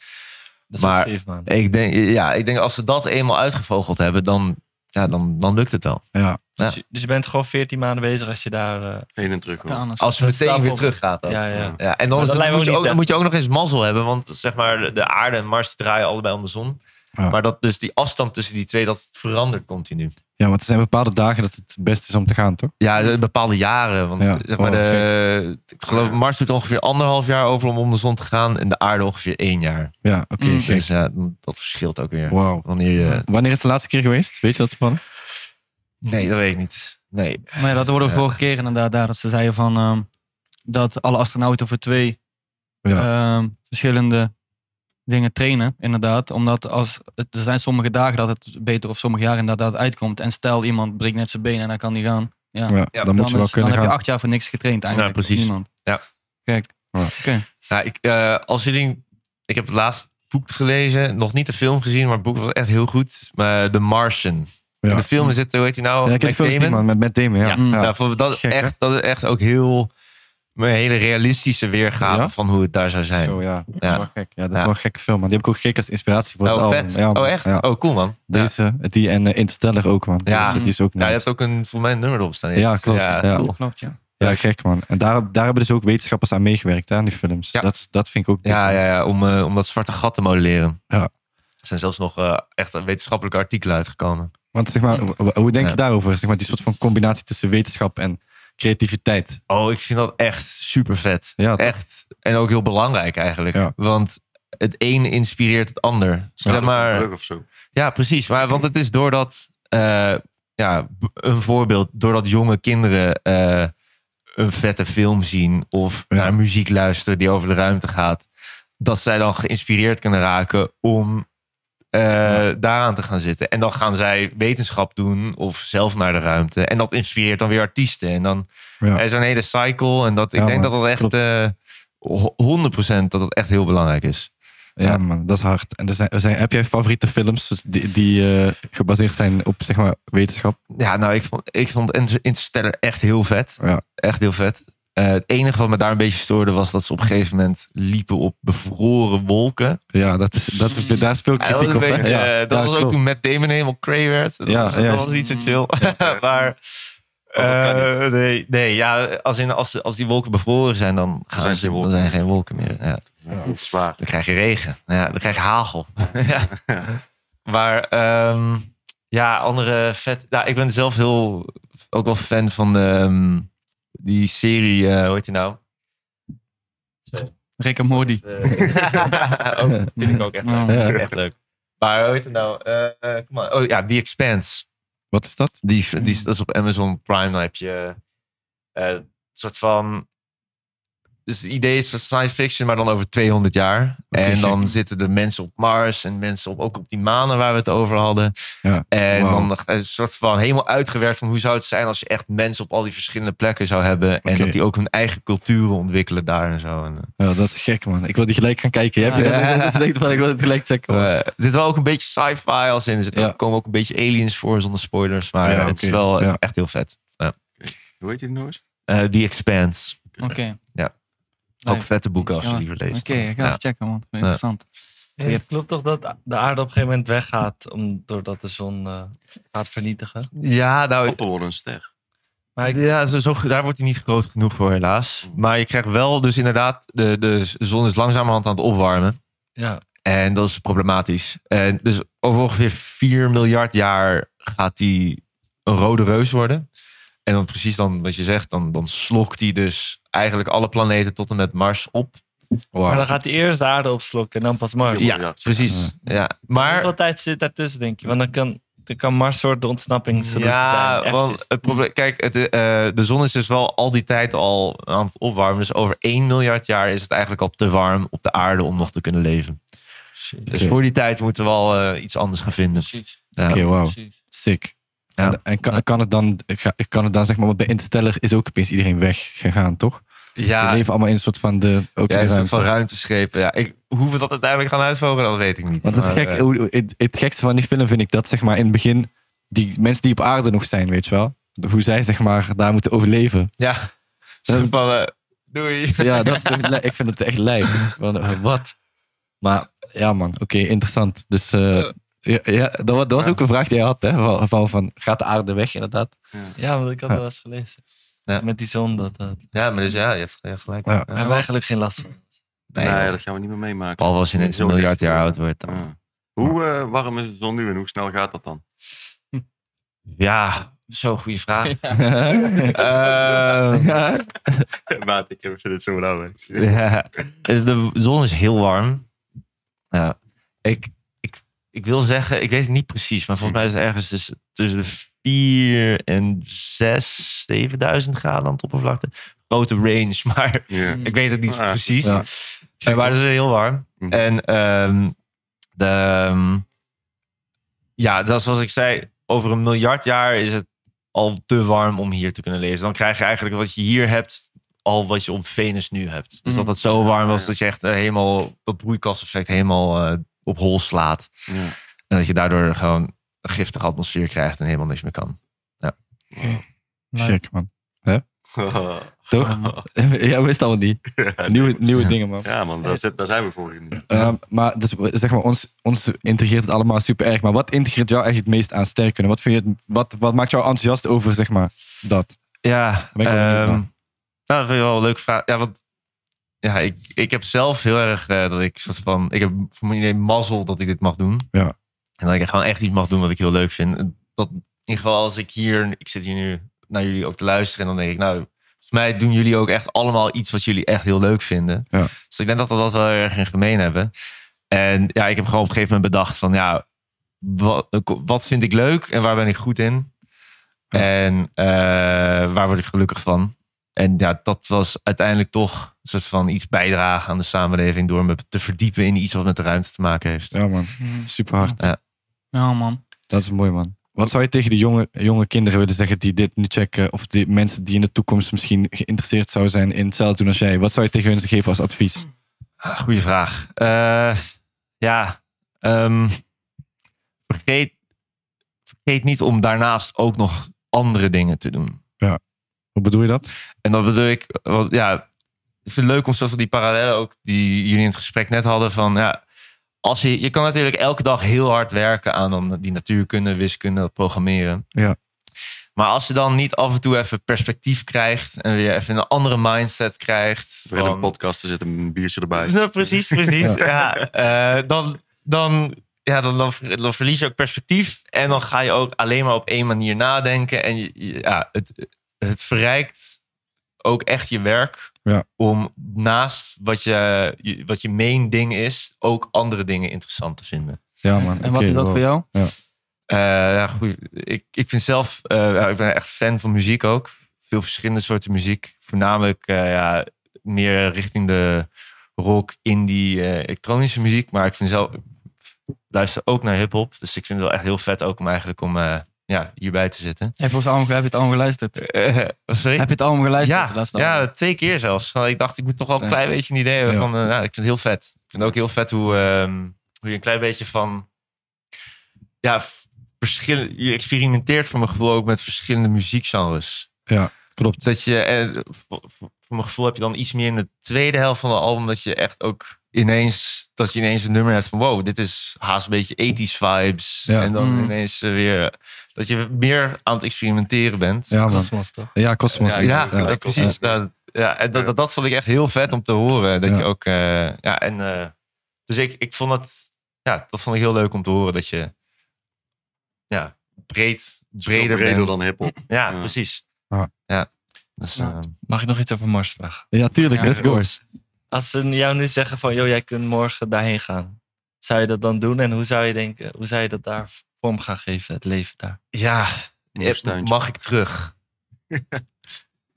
Speaker 3: Dat is
Speaker 7: Maar-
Speaker 3: maar, zeven maanden.
Speaker 7: Ik, denk, ja, ik denk als ze dat eenmaal uitgevogeld hebben, dan, ja, dan, dan lukt het wel. ja.
Speaker 3: Dus, je- dus je bent gewoon 14 maanden bezig als je daar... eh,
Speaker 6: Heen en terug. hoor.
Speaker 2: Ja, anders.
Speaker 7: Als ze meteen
Speaker 3: stapel-
Speaker 7: weer terug gaat.
Speaker 3: ja, ja.
Speaker 7: Ja, en dan,
Speaker 3: Maar
Speaker 7: is
Speaker 3: dat
Speaker 7: het-
Speaker 3: lijkt me
Speaker 7: moet
Speaker 3: ook
Speaker 7: je
Speaker 3: niet,
Speaker 7: ook,
Speaker 3: hè?
Speaker 7: dan moet je ook nog eens mazzel hebben. Want zeg maar, de aarde en Mars draaien allebei om de zon.
Speaker 1: Ja.
Speaker 7: Maar dat, dus die afstand tussen die twee, dat verandert continu.
Speaker 1: Ja, want er zijn bepaalde dagen dat het het best is om te gaan, toch?
Speaker 7: Ja, de- bepaalde jaren. Want
Speaker 1: Ja,
Speaker 7: zeg maar,
Speaker 1: oh,
Speaker 7: de, ik geloof Mars doet ongeveer anderhalf jaar over om om de zon te gaan. En de aarde ongeveer één jaar.
Speaker 1: Ja, oké.
Speaker 2: Mm.
Speaker 1: gek.
Speaker 7: Dus ja, dat verschilt ook weer.
Speaker 1: Wauw.
Speaker 7: Wanneer je...
Speaker 1: Wanneer is de laatste keer geweest? Weet je dat van?
Speaker 7: Nee, dat weet ik niet. Nee.
Speaker 2: Maar ja, dat hoorde we vorige keer inderdaad daar. Dat ze zeiden van ehm, dat alle astronauten voor twee ehm, verschillende dingen trainen. Inderdaad. Omdat als, het- er zijn sommige dagen dat het beter of sommige jaren inderdaad uitkomt. En stel iemand breekt net zijn been en dan kan die gaan. Ja.
Speaker 1: Ja, dan moet je wel
Speaker 2: is-
Speaker 1: kunnen
Speaker 2: Dan heb
Speaker 1: gaan.
Speaker 2: je acht jaar voor niks getraind eigenlijk.
Speaker 7: Ja, precies.
Speaker 2: Niemand.
Speaker 7: Ja.
Speaker 2: Kijk.
Speaker 1: Ja.
Speaker 2: Oké.
Speaker 7: Nou, ik, eh, als jullie, ik heb het laatst boek gelezen, nog niet de film gezien, maar het boek was echt heel goed. Maar eh, The Martian.
Speaker 1: Ja.
Speaker 7: In de film zit, hoe heet hij nou?
Speaker 1: Ja, ik heb
Speaker 7: Matt
Speaker 1: veel gezien,
Speaker 7: Damon.
Speaker 1: man. Met, met Damon, ja.
Speaker 7: Ja,
Speaker 1: Ja.
Speaker 7: nou, voor- dat, is
Speaker 1: Gek, hè?
Speaker 7: echt, dat is echt ook heel. Een hele realistische weergave
Speaker 1: Ja?
Speaker 7: van hoe het daar zou zijn.
Speaker 1: Zo, ja. Dat is
Speaker 7: Ja.
Speaker 1: wel gek. Ja, dat is
Speaker 7: Ja.
Speaker 1: wel een gekke film, man. Die heb ik ook gek als inspiratie voor het
Speaker 7: Oh,
Speaker 1: album.
Speaker 7: vet.
Speaker 1: Ja, man.
Speaker 7: oh, echt?
Speaker 1: Ja.
Speaker 7: Oh, cool, man. Ja.
Speaker 1: Deze, die en eh, Interstellar ook, man.
Speaker 7: Ja.
Speaker 1: Dus Die is ook
Speaker 7: Ja,
Speaker 1: nice.
Speaker 7: je
Speaker 1: Ja,
Speaker 7: hebt ook een, voor mij een nummer erop staan.
Speaker 1: Ja, klopt. Ja.
Speaker 7: cool.
Speaker 2: Klopt, ja.
Speaker 1: gek, man. En daar, daar hebben dus ook wetenschappers aan meegewerkt, hè, aan die films.
Speaker 7: Ja.
Speaker 1: Dat, is- dat vind ik ook...
Speaker 7: Ja, ja, ja om, eh, om dat zwarte gat te modelleren.
Speaker 1: Ja.
Speaker 7: Er zijn zelfs nog eh, echt wetenschappelijke artikelen uitgekomen.
Speaker 1: Want zeg maar, w- w- hoe denk
Speaker 7: Ja.
Speaker 1: je daarover? Zeg maar, die soort van combinatie tussen wetenschap en creativiteit.
Speaker 7: Oh, ik vind dat echt super vet.
Speaker 1: Ja, toch?
Speaker 7: echt. En ook heel belangrijk eigenlijk.
Speaker 1: Ja.
Speaker 7: Want het een inspireert het ander. Zeg maar,
Speaker 6: Of zo.
Speaker 7: ja, precies. Maar, want het is doordat, eh, ja, b- een voorbeeld, doordat jonge kinderen eh, een vette film zien of
Speaker 1: Ja.
Speaker 7: naar muziek luisteren die over de ruimte gaat, dat zij dan geïnspireerd kunnen raken om eh, daaraan te gaan zitten. En dan gaan zij wetenschap doen of zelf naar de ruimte. En dat inspireert dan weer artiesten. En dan
Speaker 1: Ja.
Speaker 7: er is zo'n hele cycle. En dat, ik
Speaker 1: Ja,
Speaker 7: denk
Speaker 1: man,
Speaker 7: dat dat echt
Speaker 1: klopt.
Speaker 7: eh, ho- 100% dat dat echt heel belangrijk is.
Speaker 1: Ja, man, dat is hard. En er zijn, er zijn, heb jij favoriete films dus die, die eh, gebaseerd zijn op zeg maar, wetenschap?
Speaker 7: Ja, nou, ik vond, ik vond Inter- Interstellar echt heel vet.
Speaker 1: Ja.
Speaker 7: Echt heel vet. Eh, het enige wat me daar een beetje stoorde was dat ze op een gegeven moment liepen op bevroren wolken.
Speaker 1: Ja, dat is, dat is, daar is veel
Speaker 7: Ja, dat was,
Speaker 1: kritiek op.
Speaker 7: een
Speaker 1: hè?
Speaker 7: beetje, eh,
Speaker 1: ja,
Speaker 7: dat
Speaker 1: ja,
Speaker 7: was ook
Speaker 1: klopt.
Speaker 7: toen Matt Damon helemaal cray werd. Dat,
Speaker 1: Ja,
Speaker 7: was, dat
Speaker 1: ja, Oh,
Speaker 7: was
Speaker 1: is-
Speaker 7: niet zo chill. maar eh, nee, nee, ja, als, in, als, als die wolken bevroren zijn, dan, gaan
Speaker 6: zijn
Speaker 7: ze,
Speaker 6: geen
Speaker 7: dan
Speaker 6: wolken.
Speaker 7: zijn geen wolken meer. Ja.
Speaker 6: Zwaar.
Speaker 7: Dan krijg je regen. Nou Ja, dan krijg je hagel. ja. Maar ehm, ja, andere vet. Nou, ik ben zelf heel ook wel fan van ehm, die serie. eh, hoe heet die nou?
Speaker 2: Rick en Morty.
Speaker 7: Eh, ook, vind ik ook echt leuk.
Speaker 1: Ja.
Speaker 7: Echt leuk. Maar hoe heet het nou? Eh, eh, kom maar. Oh ja, The Expanse.
Speaker 1: Wat is dat?
Speaker 7: Die, is- die is, dat is op Amazon Prime. Dan heb je eh, een soort van. Dus het idee is van science fiction, maar dan over 200 jaar.
Speaker 1: Oké,
Speaker 7: en dan
Speaker 1: gek.
Speaker 7: zitten de mensen op Mars en mensen op, ook op die manen waar we het over hadden.
Speaker 1: Ja,
Speaker 7: en
Speaker 1: wauw.
Speaker 7: dan nog een soort van helemaal uitgewerkt van hoe zou het zijn als je echt mensen op al die verschillende plekken zou hebben. En
Speaker 1: Oké.
Speaker 7: dat die ook hun eigen culturen ontwikkelen daar en zo. En, eh,
Speaker 1: Ja, dat is gek, man. Ik wil die gelijk gaan kijken. Heb je
Speaker 7: Ja.
Speaker 1: dat- dat? denkt van, Ik wil het gelijk checken. man.
Speaker 7: Eh, er zit wel ook een beetje sci-fi als in. Er zitten
Speaker 1: Ja.
Speaker 7: ook- komen ook een beetje aliens voor zonder spoilers. Maar
Speaker 1: Ja,
Speaker 7: eh, het is
Speaker 1: oké.
Speaker 7: wel het is
Speaker 1: Ja.
Speaker 7: echt heel vet.
Speaker 6: Hoe heet die nou eens?
Speaker 7: Eh The Expanse.
Speaker 2: Oké.
Speaker 7: Ja.
Speaker 2: Nee.
Speaker 7: Ook vette boeken als je
Speaker 2: Ja,
Speaker 7: liever leest.
Speaker 2: Oké, ik ga
Speaker 7: Ja.
Speaker 2: eens checken, man. Interessant.
Speaker 3: Ja, het klopt toch dat de aarde op een gegeven moment weggaat om, doordat de zon eh, gaat vernietigen?
Speaker 7: Ja, nou,
Speaker 6: Poppen worden een ster.
Speaker 3: Maar ik,
Speaker 7: ja zo, zo, daar wordt hij niet groot genoeg voor helaas. Maar je krijgt wel, dus inderdaad, de, de zon is langzamerhand aan het opwarmen.
Speaker 3: ja,
Speaker 7: En dat is problematisch. En dus over ongeveer 4 miljard jaar gaat die een rode reus worden. En dan precies dan wat je zegt, dan, dan slokt hij dus eigenlijk alle planeten tot en met Mars op.
Speaker 3: maar dan gaat hij eerst de aarde opslokken en dan pas Mars.
Speaker 7: Ja,
Speaker 6: miljard.
Speaker 7: precies. Ja. Maar
Speaker 3: Hoeveel tijd zit daartussen, denk je? Want dan kan, dan kan Mars soort de ontsnappingsroute zijn.
Speaker 7: Ja,
Speaker 3: eventjes.
Speaker 7: want het probleem. Kijk, het, eh, de zon is dus wel al die tijd al aan het opwarmen. Dus over 1 miljard jaar is het eigenlijk al te warm op de aarde om nog te kunnen leven. Dus voor die tijd moeten we al eh, iets anders gaan vinden. Ja.
Speaker 1: Oké, wauw. Sick.
Speaker 7: Ja.
Speaker 1: En, en kan, kan het dan, ga- kan het dan zeg maar, want bij Interstellar is ook opeens iedereen weggegaan, toch? Die
Speaker 7: Ja,
Speaker 1: leven allemaal in een soort van de, ook
Speaker 7: ja een
Speaker 1: in de
Speaker 7: soort
Speaker 1: ruimte.
Speaker 7: van ruimteschepen. Ja, ik, hoe we dat uiteindelijk gaan uitvogelen, dat weet ik niet.
Speaker 1: Want het, is
Speaker 7: Maar,
Speaker 1: gek,
Speaker 7: eh,
Speaker 1: hoe- hoe- het, het gekste van die film vind ik dat, zeg maar, in het begin, die mensen die op aarde nog zijn, weet je wel. Hoe zij, zeg maar, daar moeten overleven.
Speaker 7: ja, soort van, eh, doei.
Speaker 1: Ja, dat is toch li- ik vind het echt lijp. Van, eh, Wat? Maar ja, man, oké, interessant. Dus eh, ja, ja, dat, wa- dat was ook een vraag die jij had, hè? Van, van, van, gaat de aarde weg, inderdaad?
Speaker 3: Ja, want ik had dat wel eens gelezen.
Speaker 7: Ja.
Speaker 3: Met die zon dat
Speaker 1: eh,
Speaker 3: dat.
Speaker 7: Ja, maar dus ja, je hebt, je hebt gelijk.
Speaker 1: Ja.
Speaker 7: Ja.
Speaker 3: hebben wij gelukkig geen last van.
Speaker 7: Nee,
Speaker 6: Nee, dat gaan we niet meer meemaken.
Speaker 7: Behalve als je net een
Speaker 6: Heel
Speaker 7: miljard
Speaker 6: dicht.
Speaker 7: jaar oud wordt. Dan.
Speaker 6: Ja. Hoe eh, warm is het dan nu en hoe snel gaat dat dan?
Speaker 7: Ja, zo'n goede vraag. Eh,
Speaker 6: Maat, ik vind het zo lauw. hè.
Speaker 7: Ja, de zon is heel warm. Ja. Ik, ik, ik wil zeggen, ik weet het niet precies, maar volgens mij is het ergens tussen- tussen de 4 en 6, 7000 graden aan het oppervlakte. Grote range, maar
Speaker 6: Ja. Ah,
Speaker 7: ik weet het niet
Speaker 6: Ja.
Speaker 7: precies.
Speaker 1: Ja.
Speaker 7: Eh, maar het is heel warm.
Speaker 6: Mhm.
Speaker 7: En ehm, de, ehm, ja, dat is zoals ik zei, over een miljard jaar is het al te warm om hier te kunnen lezen. Dan krijg je eigenlijk wat je hier hebt, al wat je op Venus nu hebt. Dus dat
Speaker 2: Mhm.
Speaker 7: het zo warm was dat je echt eh, helemaal dat broeikaseffect helemaal eh, op hol slaat.
Speaker 6: Ja.
Speaker 7: En dat je daardoor gewoon een giftige atmosfeer krijgt en helemaal niks meer kan.
Speaker 1: Check, man. Toch? Jij wist al niet. Nieuwe, nieuwe dingen, man.
Speaker 6: ja, man, daar, zit, daar zijn we voor in.
Speaker 1: Ehm, maar dus, we- zeg maar, ons, ons integreert het allemaal super erg. Maar wat integreert jou echt het meest aan sterk kunnen? Wat, vind je, het- wat, wat maakt jou enthousiast over zeg maar, dat?
Speaker 7: Ja,
Speaker 1: Ben ik wel benieuwd
Speaker 7: ehm,
Speaker 1: naar.
Speaker 7: nou, dat vind ik wel een leuke vraag. Ja, want ja, ik, ik heb zelf heel erg eh, dat ik soort van. Ik heb voor mijn idee mazzel dat ik dit mag doen.
Speaker 1: Ja.
Speaker 7: En dat ik gewoon echt iets mag doen wat ik heel leuk vind. Dat in ieder geval als ik hier. Ik zit hier nu naar jullie ook te luisteren. En dan denk ik, nou, volgens mij doen jullie ook echt allemaal iets wat jullie echt heel leuk vinden.
Speaker 1: Ja.
Speaker 7: Dus ik denk dat we dat wel heel erg in gemeen hebben. En ja, ik heb gewoon op een gegeven moment bedacht van ja, wat, wat vind ik leuk en waar ben ik goed in?
Speaker 1: Ja.
Speaker 7: En eh, waar word ik gelukkig van? En ja, dat was uiteindelijk toch een soort van iets bijdragen aan de samenleving door me te verdiepen in iets wat met de ruimte te maken heeft.
Speaker 1: Ja, man. Super hard.
Speaker 2: Ja, Nou, man.
Speaker 1: Dat is mooi, man. Wat zou je tegen de jonge, jonge kinderen willen zeggen die dit nu checken? Of die mensen die in de toekomst misschien geïnteresseerd zouden zijn in hetzelfde doen als jij? Wat zou je tegen hun geven als advies?
Speaker 7: Ah, Goeie vraag. Eh, ja, ehm, vergeet, vergeet niet om daarnaast ook nog andere dingen te doen.
Speaker 1: Hoe bedoel je dat?
Speaker 7: En dat bedoel ik, want ja, ik vind het leuk om zo van die parallellen ook die jullie in het gesprek net hadden van ja, als je, je kan natuurlijk elke dag heel hard werken aan dan die natuurkunde, wiskunde, dat programmeren.
Speaker 1: Ja.
Speaker 7: Maar als je dan niet af en toe even perspectief krijgt en weer even een andere mindset krijgt.
Speaker 6: We hebben een
Speaker 7: van-
Speaker 6: podcast, er zit een biertje erbij.
Speaker 7: nou, precies, precies.
Speaker 1: Ja.
Speaker 7: Ja. eh, dan, dan, ja, dan, dan, ver- dan verlies je ook perspectief. En dan ga je ook alleen maar op één manier nadenken. En je- je- ja, het, het verrijkt ook echt je werk.
Speaker 1: Ja.
Speaker 7: Om naast wat je, je- wat je main ding is, ook andere dingen interessant te vinden.
Speaker 1: Ja, man.
Speaker 2: En wat is dat voor jou?
Speaker 7: Eh, ja, goed. Ik, ik vind zelf, eh, ja, ik ben echt fan van muziek ook. Veel verschillende soorten muziek. Voornamelijk eh, ja, meer richting de rock, indie, eh, elektronische muziek. Maar ik vind zelf, ik luister ook naar hip-hop. Dus ik vind het wel echt heel vet ook om eigenlijk om, eh, ja, hierbij te zitten.
Speaker 2: Heb je, ons allemaal, heb je het allemaal geluisterd?
Speaker 7: Eh, sorry?
Speaker 2: Heb je het allemaal geluisterd?
Speaker 7: Ja,
Speaker 2: de laatste
Speaker 7: ja,
Speaker 2: album?
Speaker 7: twee keer zelfs. Want Ik dacht, ik moet toch wel een
Speaker 2: Ja.
Speaker 7: klein beetje een idee hebben.
Speaker 1: Ja.
Speaker 7: Van, eh, nou, ik vind het heel vet. Ik vind ook heel vet hoe, ehm, hoe je een klein beetje van... Ja, f- verschillen, je experimenteert voor mijn gevoel ook met verschillende muziekgenres.
Speaker 1: Klopt.
Speaker 7: Dat je, eh, voor, voor- voor mijn gevoel heb je dan iets meer in de tweede helft van het album... dat je echt ook ineens, dat je ineens een nummer hebt van... wow, dit is haast een beetje 80s vibes.
Speaker 1: Ja.
Speaker 7: En dan
Speaker 2: Mm.
Speaker 7: ineens eh, weer... dat je meer aan het experimenteren bent.
Speaker 1: Ja, man.
Speaker 3: Cosmos, toch?
Speaker 1: Ja, Cosmos.
Speaker 7: Ja, ja,
Speaker 1: Ja.
Speaker 7: ja, precies. Ja, ja, en dat, dat, dat vond ik echt heel vet om te horen. Dat
Speaker 1: Ja.
Speaker 7: je ook, eh, ja, en eh, dus ik, ik vond dat, ja, dat vond ik heel leuk om te horen. Dat je, ja, breed, breder,
Speaker 6: Breder, breder
Speaker 7: bent.
Speaker 6: dan hip-hop.
Speaker 7: Ja,
Speaker 6: Ja.
Speaker 7: precies.
Speaker 1: Ja.
Speaker 7: Ja. Dus,
Speaker 2: Ja.
Speaker 7: eh,
Speaker 3: Mag ik nog iets over Mars vragen?
Speaker 1: Ja, tuurlijk.
Speaker 2: Ja,
Speaker 1: Let's go.
Speaker 3: Als ze jou nu zeggen van, joh, jij kunt morgen daarheen gaan. Zou je dat dan doen? En hoe zou je, denken, hoe zou je dat daar vorm gaan geven, het leven daar?
Speaker 7: ja,
Speaker 6: moestuintje.
Speaker 7: mag ik terug?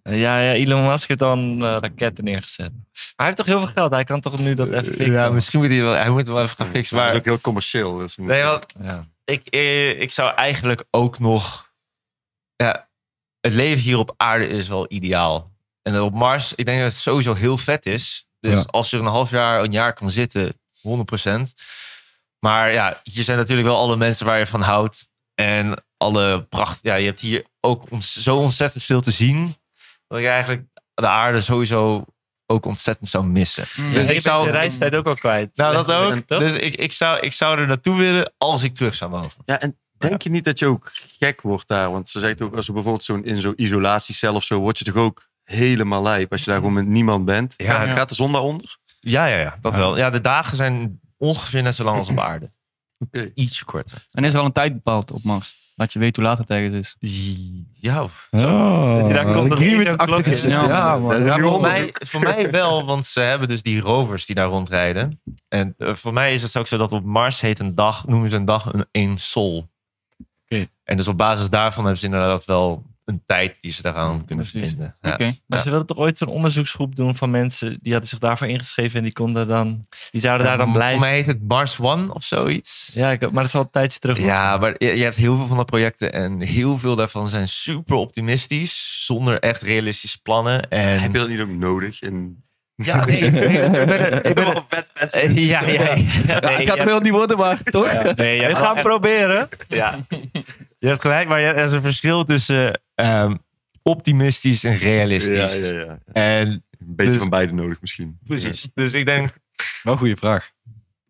Speaker 3: Eh, ja, ja, Elon Musk heeft al een eh, raket neergezet. Maar hij heeft toch heel veel geld? Hij kan toch nu dat even fixen?
Speaker 7: Eh, ja, misschien moet hij wel, hij moet wel even gaan fixen.
Speaker 6: Dat is
Speaker 7: Maar,
Speaker 6: ook heel commercieel. Dus
Speaker 7: nee, want
Speaker 3: Ja.
Speaker 7: ik, eh, ik zou eigenlijk ook nog. Ja, het leven hier op aarde is wel ideaal. En op Mars, ik denk dat het sowieso heel vet is. Dus
Speaker 1: Ja.
Speaker 7: als je er een half jaar, een jaar kan zitten, 100%. Maar ja, hier zijn natuurlijk wel alle mensen waar je van houdt. En alle pracht. Ja, je hebt hier ook ont- zo ontzettend veel te zien. Dat ik eigenlijk de aarde sowieso ook ontzettend zou missen.
Speaker 2: Mm.
Speaker 7: Dus
Speaker 3: ik
Speaker 7: ik zou-
Speaker 3: de reistijd ook al kwijt.
Speaker 7: Nou, dat ook.
Speaker 3: Toch?
Speaker 7: Dus ik, ik, zou, ik zou er naartoe willen als ik terug zou mogen.
Speaker 6: Ja, en denk je niet dat je ook gek wordt daar? Want ze zegt ook, als je bijvoorbeeld zo'n, in zo'n isolatiecel of zo, word je toch ook helemaal lijp als je daar gewoon met niemand bent?
Speaker 7: Ja,
Speaker 6: Gaat-
Speaker 7: ja.
Speaker 6: Gaat de zon daaronder?
Speaker 7: Ja, ja, ja, dat wel. Ja, de dagen zijn ongeveer net zo lang als op aarde.
Speaker 6: Oké.
Speaker 7: Ietsje korter.
Speaker 2: En is er al een tijd bepaald op Mars? Dat je weet hoe laat het ergens is.
Speaker 7: Ja,
Speaker 1: Oh,
Speaker 3: Dat je daar komt, dat
Speaker 1: drie
Speaker 3: één
Speaker 1: minuten
Speaker 3: klok
Speaker 1: achter
Speaker 3: is.
Speaker 1: is. Ja,
Speaker 2: Ja,
Speaker 1: man.
Speaker 7: Ja, Nou, voor, mij, voor mij wel, want ze hebben dus die rovers die daar rondrijden. En eh, voor mij is het ook zo dat op Mars heet een dag, noemen ze een dag een, een sol.
Speaker 1: Oké.
Speaker 7: En dus op basis daarvan hebben ze inderdaad wel een tijd die ze daaraan kunnen
Speaker 2: Precies.
Speaker 7: verbinden.
Speaker 2: Oké.
Speaker 7: Ja.
Speaker 3: Maar
Speaker 7: Ja.
Speaker 3: ze wilden toch ooit zo'n onderzoeksgroep doen van mensen die hadden zich daarvoor ingeschreven en die konden dan, die zouden daar dan
Speaker 7: Voor
Speaker 3: blijven.
Speaker 7: mij heet het Mars One of zoiets.
Speaker 3: Ja, ik, maar dat is al een tijdje terug. hoor.
Speaker 7: Ja, maar je je hebt heel veel van dat projecten en heel veel daarvan zijn super optimistisch, zonder echt realistische plannen. En
Speaker 6: Heb je dat niet ook nodig? In...
Speaker 7: ja, nee, nee, ik ben er- ik ben er-
Speaker 6: Of wet- wet-
Speaker 7: eh, ja, ja, ja.
Speaker 1: Ja,
Speaker 7: Nee,
Speaker 1: het gaat
Speaker 7: ja,
Speaker 1: wel niet worden, maar toch?
Speaker 7: nee, ja,
Speaker 3: We gaan
Speaker 7: ja.
Speaker 3: proberen.
Speaker 7: Ja. Je hebt gelijk, maar er is een verschil tussen ehm, optimistisch en realistisch.
Speaker 6: Ja, ja, ja.
Speaker 7: En
Speaker 6: Een beetje
Speaker 7: Dus-
Speaker 6: van beide nodig misschien.
Speaker 7: precies. Dus ik denk,
Speaker 1: Wel een goede vraag.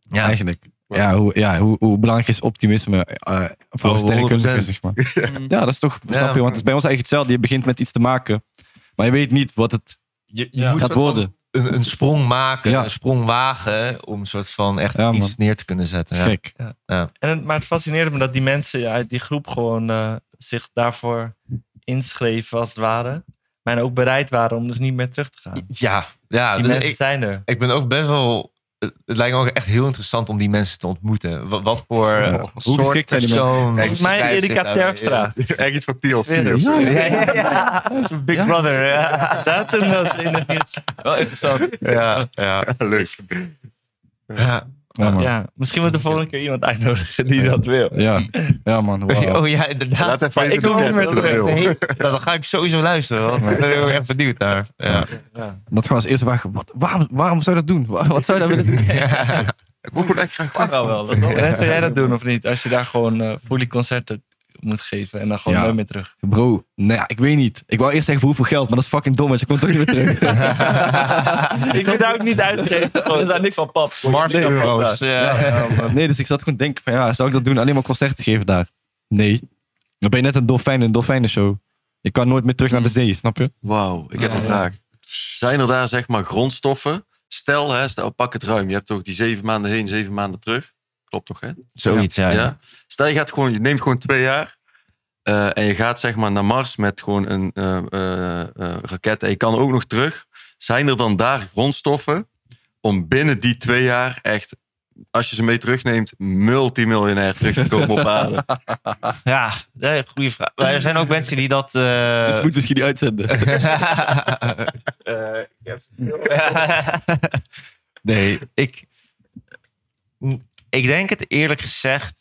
Speaker 7: ja,
Speaker 1: Eigenlijk. Ja, hoe, ja, hoe, hoe belangrijk is optimisme eh voor
Speaker 7: Oh,
Speaker 1: een sterrenkundige,
Speaker 7: 100%.
Speaker 1: zeg maar. Ja, dat is toch, snap je, want het is bij ons eigenlijk hetzelfde. Je begint met iets te maken, maar je weet niet wat het
Speaker 7: je, je
Speaker 2: Ja.
Speaker 7: moet
Speaker 1: gaat
Speaker 7: soort van
Speaker 1: worden.
Speaker 7: Een, een sprong maken,
Speaker 1: Ja.
Speaker 7: een sprong wagen, om een soort van echt
Speaker 1: Ja, man.
Speaker 7: iets neer te kunnen zetten. Ja.
Speaker 1: Gek.
Speaker 3: En het, maar het fascineerde me dat die mensen ja, uit die groep gewoon eh, zich daarvoor inschreven als het ware. Maar ook bereid waren om dus niet meer terug te gaan.
Speaker 7: Ja, ja
Speaker 3: Die
Speaker 7: dus
Speaker 3: mensen
Speaker 7: ik,
Speaker 3: zijn er.
Speaker 7: ik ben ook best wel. Het lijkt me ook echt heel interessant om die mensen te ontmoeten. Wat, wat voor.
Speaker 6: Oh,
Speaker 7: eh,
Speaker 1: Hoe
Speaker 7: soort
Speaker 1: geschikt zijn die mensen?
Speaker 7: persoon-
Speaker 3: Volgens mij
Speaker 7: Kijk, zit
Speaker 3: Erika
Speaker 7: nou weer-
Speaker 3: Terpstra.
Speaker 6: Echt iets van TLC of zo.
Speaker 7: Ja, ja, ja. ja. Dat is een Big Brother. Ja.
Speaker 3: Zaten toen dat in het nieuws? Wel interessant.
Speaker 7: Ja, ja.
Speaker 6: Leuk.
Speaker 7: ja.
Speaker 1: Ja, man. Ja,
Speaker 3: Ja, misschien moet de volgende keer iemand uitnodigen die dat wil.
Speaker 1: ja. man. wauw.
Speaker 7: Oh ja, inderdaad.
Speaker 6: Laat even
Speaker 7: Maar
Speaker 6: even
Speaker 7: ik wil
Speaker 6: de
Speaker 7: niet meer
Speaker 6: chat, als je
Speaker 7: terug.
Speaker 6: dat wil.
Speaker 7: Nee, dan ga ik sowieso luisteren. Want ik ben heel erg benieuwd naar. Ja.
Speaker 1: Dat gewoon als eerste vraag. Wat, waarom, waarom zou je dat doen? Wa- Wat zou je dat willen doen?
Speaker 6: Ik word gewoon echt graag
Speaker 3: Mag al wel. Dat wel. En zou jij dat doen of niet? Als je daar gewoon eh fully concerten moet geven en dan gewoon
Speaker 1: Ja.
Speaker 3: nooit meer terug.
Speaker 1: Bro, nou ja, ik weet niet. Ik wou eerst zeggen voor hoeveel geld, maar dat is fucking dom, want je komt toch niet meer terug.
Speaker 3: Ik wil daar ook niet uitgeven. Er staat niks van pap.
Speaker 7: Smart euro's. Ja.
Speaker 1: Nee, dus ik zat gewoon te denken van ja, zou ik dat doen? Alleen maar concerten geven daar? Nee. Dan ben je net een dolfijn in een dolfijnenshow. Je kan nooit meer terug naar de zee, snap je?
Speaker 6: Wauw, ik heb een vraag. Zijn er daar zeg maar grondstoffen? Stel, hè, stel, pak het ruim. Je hebt toch die zeven maanden heen, zeven maanden terug. Klopt toch, hè?
Speaker 7: Zoiets, ja.
Speaker 6: Ja. Stel, je, gaat gewoon, je neemt gewoon twee jaar. eh, en je gaat zeg maar naar Mars met gewoon een eh, eh, eh, raket. En je kan ook nog terug. Zijn er dan daar grondstoffen om binnen die twee jaar echt, als je ze mee terugneemt, multimiljonair terug te komen op aarde?
Speaker 7: Ja, nee, goede vraag. Maar er zijn ook mensen die dat. eh,
Speaker 1: Moet misschien die uitzenden.
Speaker 7: nee, ik. Ik denk het eerlijk gezegd.